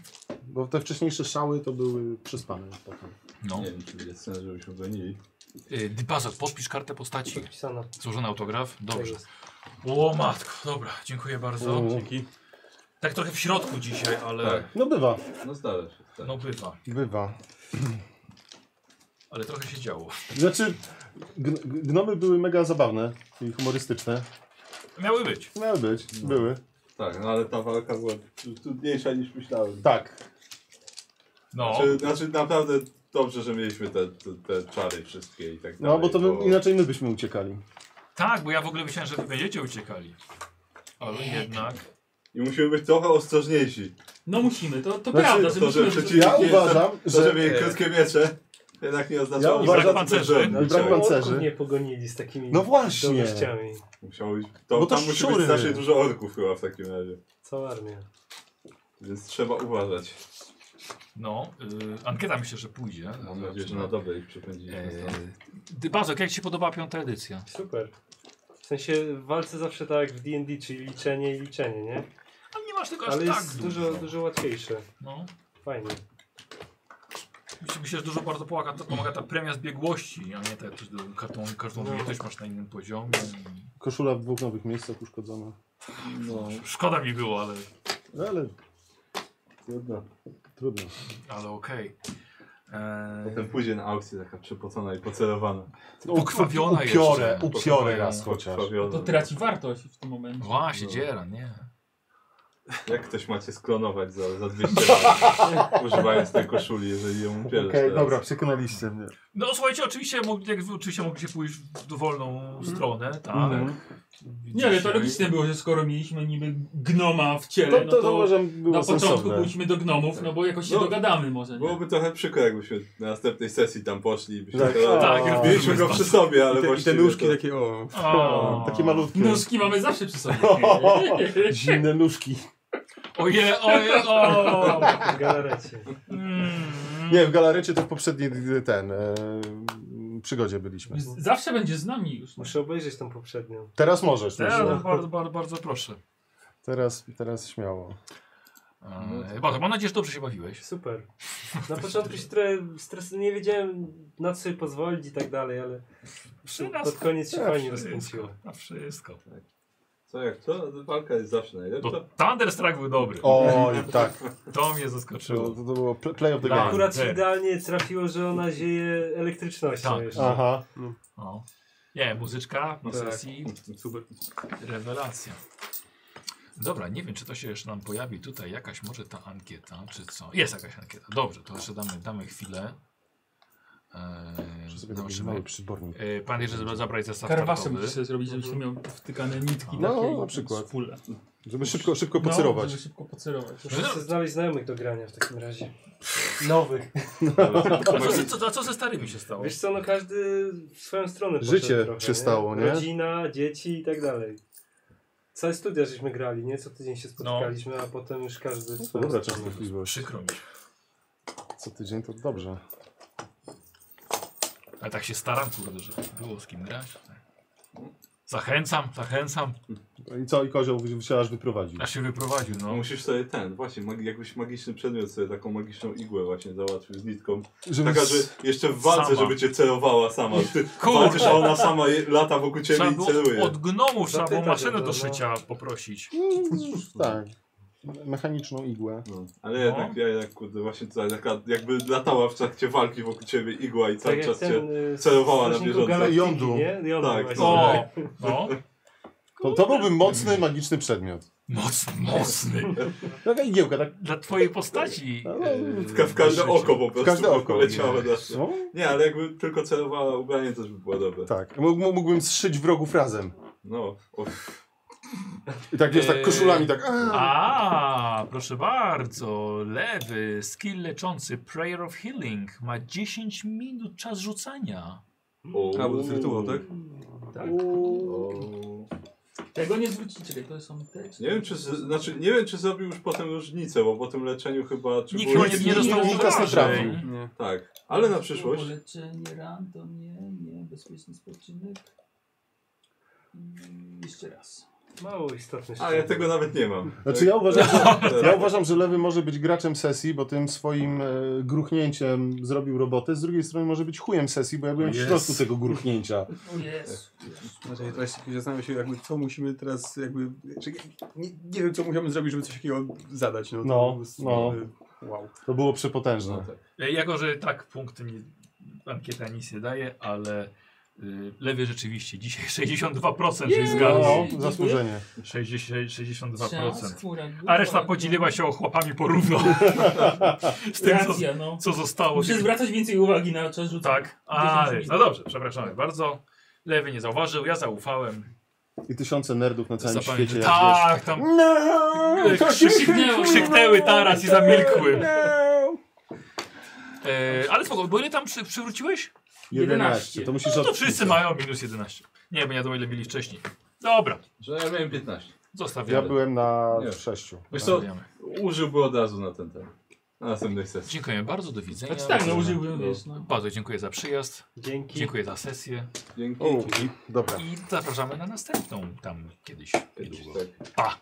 Bo te wcześniejsze szały to były przespane. potem.
No.
Nie wiem, czy jest sens, żebyśmy gonili.
Y, Bazok, podpisz kartę postaci.
Podpisana.
Złożony autograf. Dobrze.
jest.
O matko, dobra, dziękuję bardzo. Dzięki. Tak trochę w środku dzisiaj, ale.
Mm. No bywa.
No zdarza się.
No bywa,
Bywa.
ale trochę się działo.
Znaczy, gn- gnomy były mega zabawne i humorystyczne.
Miały być.
Miały być, były.
Tak, no ale ta walka była tu- trudniejsza niż myślałem.
Tak.
No.
Znaczy, znaczy naprawdę dobrze, że mieliśmy te, te, te czary wszystkie i tak
No
dalej.
bo to my, inaczej my byśmy uciekali.
Tak, bo ja w ogóle myślałem, że wy będziecie uciekali. Ale jednak.
I musimy być trochę ostrożniejsi.
No musimy, to, to
Znaczy,
prawda, że
to, że
musimy...
przeciwnik
Ja
nie jest-
uważam,
to,
że-
że mieli
E.
krótkie miecze, jednak nie
Ja
oznaczało,
uważam-
że
No i brak pancerzy.
Orków nie pogonili z takimi
No właśnie.
zdolnościami.
Musiało być, to,
Bo to
tam musi
szczury.
być strasznie dużo orków chyba w takim razie.
Cała armia.
Więc trzeba uważać.
No, y, ankieta myślę, że pójdzie.
Mam nadzieję, że na dobre ich przepędziliśmy.
Yy, Bazok, jak Ci się podobała piąta edycja?
Super. W sensie w walce zawsze tak jak w D&D, czyli liczenie i liczenie, nie?
A nie masz tego aż
Ale
tak
jest dużo, dużo łatwiejsze.
No.
Fajnie.
Myślę, myślę, że dużo bardzo pomaga, to pomaga ta premia zbiegłości, a nie ta jakaś do- kartą, kartą
No.
też masz na innym poziomie.
Koszula w dwóch nowych miejscach uszkodzona.
No. Szkoda mi było, ale,
No ale... Trudno. Trudno.
ale okej. Eee,
Potem pójdzie na aukcję taka przepocona i pocelowana.
Pokrwawiona
upiorę,
jeszcze.
upiorę raz
Pokrwawiona.
chociaż.
No To traci wartość w tym momencie.
Właśnie, dziera, nie.
Jak ktoś macie sklonować za, za 200 lat, używając tej koszuli, jeżeli ją
Okej,
upierasz teraz.
dobra, przekonaliście mnie.
No słuchajcie, oczywiście, mogli- jak, oczywiście mogliście pójść w dowolną stronę, tak.
Mhm.
Nie, ale to logiczne było, że skoro mieliśmy niby gnoma w ciele,
To- to
no to
uważam było
na początku
sensowne.
pójdźmy do gnomów, no bo jakoś się
No,
dogadamy może. Nie?
Byłoby trochę przykro, jakbyśmy na następnej sesji tam poszli i byśmy
Tak.
teraz-
Tak,
mieliśmy go przy sobie, ale
I te, i
właściwie
te nóżki
to...
takie o.
O.
No, Takie malutkie.
Nóżki mamy zawsze przy sobie.
Zimne nóżki.
Oje, oje, o! Mm.
W galarecie.
Nie, w galarecie to w poprzedniej ten e, przygodzie byliśmy.
Z- Zawsze będzie z nami już. no.
Muszę obejrzeć tą poprzednią.
Teraz możesz.
Teraz
Teraz,
bardzo, bardzo, bardzo proszę.
teraz, teraz śmiało.
Eee, Bardzo, mam nadzieję, że dobrze się bawiłeś.
Super. Na początku się trochę stres... nie wiedziałem na co sobie pozwolić i tak dalej, ale pod koniec się
Na
fajnie
wszystko,
rozkręciło.
Na wszystko.
Co jak to? No, Walka jest zawsze najlepsza.
To Thunderstrike był dobry.
Oj, tak.
To mnie
To, to,
zaskoczyło.
to było pl- play of the
Tak.
game.
Akurat się
Tak.
idealnie trafiło, że ona zieje elektrycznością
Tak.
jeszcze.
Aha.
O. Nie, muzyczka na
Tak.
sesji.
Super.
Rewelacja. Dobra, nie wiem, czy to się jeszcze nam pojawi tutaj jakaś może ta ankieta, czy co? Jest jakaś ankieta. Dobrze, to jeszcze damy, damy chwilę.
Muszę
Eee,
sobie taki
zobaczymy.
mały przybornik.
Eee, pan jeszcze żeby zabrać zestaw
Karwasem
kartowy.
musisz sobie zrobić, żebyś miał wtykane nitki
No,
takie
na przykład.
z pula.
Żeby szybko, szybko
No,
pocerować.
żeby szybko pocerować.
Muszę sobie znaleźć znajomych do grania w takim razie.
Nowych.
A co, ze- co, a co ze starymi się stało?
Wiesz co, no każdy w swoją stronę poszedł
Życie
trochę,
się stało, nie?
Rodzina, dzieci i tak dalej. Całe studia żeśmy grali, nie? Co tydzień się spotykaliśmy,
No.
a potem już każdy w
To
swoją
No dobra
stronę.
częstotliwość.
Przykro mi.
Co tydzień to dobrze.
Ale tak się staram, kurde, żeby było z kim grać. Zachęcam, zachęcam.
I co? I kozioł wy- się aż wyprowadził.
Ja się wyprowadził,
No
no.
musisz sobie ten, właśnie, mag jakbyś magiczny przedmiot sobie taką magiczną igłę właśnie załatwił z nitką.
Żeby
Taka, że jeszcze w walce,
Sama.
żeby cię celowała sama. Ty
Kurde.
walczysz, a ona sama je, lata wokół ciebie
Trzeba
i
było
celuje.
od gnomów, trzeba było
Zapytać o
maszynę
to,
do
no.
szycia poprosić.
Tak. Mechaniczną igłę.
No, ale jednak, ja jednak, kurde, właśnie tutaj taka, jakby latała w trakcie walki wokół ciebie igła i cały
Tak jak
czas
ten
cię...
y, z
celowała na
Strażników
bieżąco.
Galaktyki,
Jądru.
nie? Jądru
Tak,
właśnie.
O, no.
To, to byłby mocny, magiczny przedmiot.
Mocny, mocny.
Taka igiełka, tak.
Dla twojej postaci.
No,
e,
Eee, W, ka w każde
życie.
oko po prostu.
każde oko.
Leciało na
Co?
Nie, ale jakby tylko celowała ubranie, to by było dobre.
Tak. Mógł- Mógłbym zszyć wrogów razem.
No, o,
I tak wiesz,
Eee,
tak koszulami tak. A,
A, proszę bardzo. Lewy, skill leczący, Prayer of Healing. Ma 10 minut czas rzucania.
o,
A, bo to jest rytuał, tak?
Tak.
o.
Tego nie zwrócicie, czekaj, to są te...
Nie wiem, czy, z- znaczy, nie wiem, czy zrobił już potem różnicę, bo po tym leczeniu chyba... Czy
Nikt
było-
chyba nie, nie
nie,
dostał
nikt nas nie
obrażeń.
trafił.
Tak, ale na przyszłość.
Leczenie ran to nie, nie, bezpieczny spoczynek. Mm, Jeszcze raz.
Mało istotne.
A ja tak- tego nawet nie mam.
Znaczy ja uważam,
Tak.
że, ja uważam, że Lewy może być graczem sesji, bo tym swoim e, gruchnięciem zrobił robotę. Z drugiej strony może być chujem sesji, bo ja byłem w
Jest.
środku tego gruchnięcia.
Jest.
Znaczy, teraz się zastanawiam się, jakby, co musimy teraz, jakby, czy, nie, nie wiem, co musimy zrobić, żeby coś takiego zadać. No, to po
No,
prostu,
no.
e, Wow.
To było przepotężne.
E, Jako, że tak punkt nie, ankieta nic nie daje, ale y, lewy rzeczywiście dzisiaj 62%
Jej!
się zgadł.
No, zasłużenie.
60, 62%.
Skóra,
A reszta podzieliła się chłopami porówno. Z tym, co,
Racja, no.
co zostało.
Muszę zwracać więcej uwagi na czas rzutu.
Tak. A,
10
no dobrze, przepraszamy bardzo. Lewy nie zauważył, ja zaufałem.
I tysiące nerdów na całym
Zapamię-
świecie. jak
tak,
wiesz.
tam
No,
e,
to
krzy-
się
krzyknęły, krzyknęły taras i zamilkły. E, ale spoko, bo ile tam przy, przywróciłeś?
11, to musisz
no, to
odpisać.
wszyscy mają minus 11. Nie, bo nie wiadomo ile mieli wcześniej. Dobra.
Że ja miałem 15.
Zostawiamy.
Ja byłem na
Nie.
sześciu.
Wiesz co,
Zostawiamy.
użyłby od razu na ten temat. Na następnej sesji.
Dziękuję bardzo, do widzenia.
Znaczy tak, no, użyłbym, wiesz, no.
Bardzo dziękuję za przyjazd.
Dzięki.
Dziękuję za sesję.
Dzięki.
O, dobra. tak.
I zapraszamy na następną tam kiedyś. Niedługo. Pa!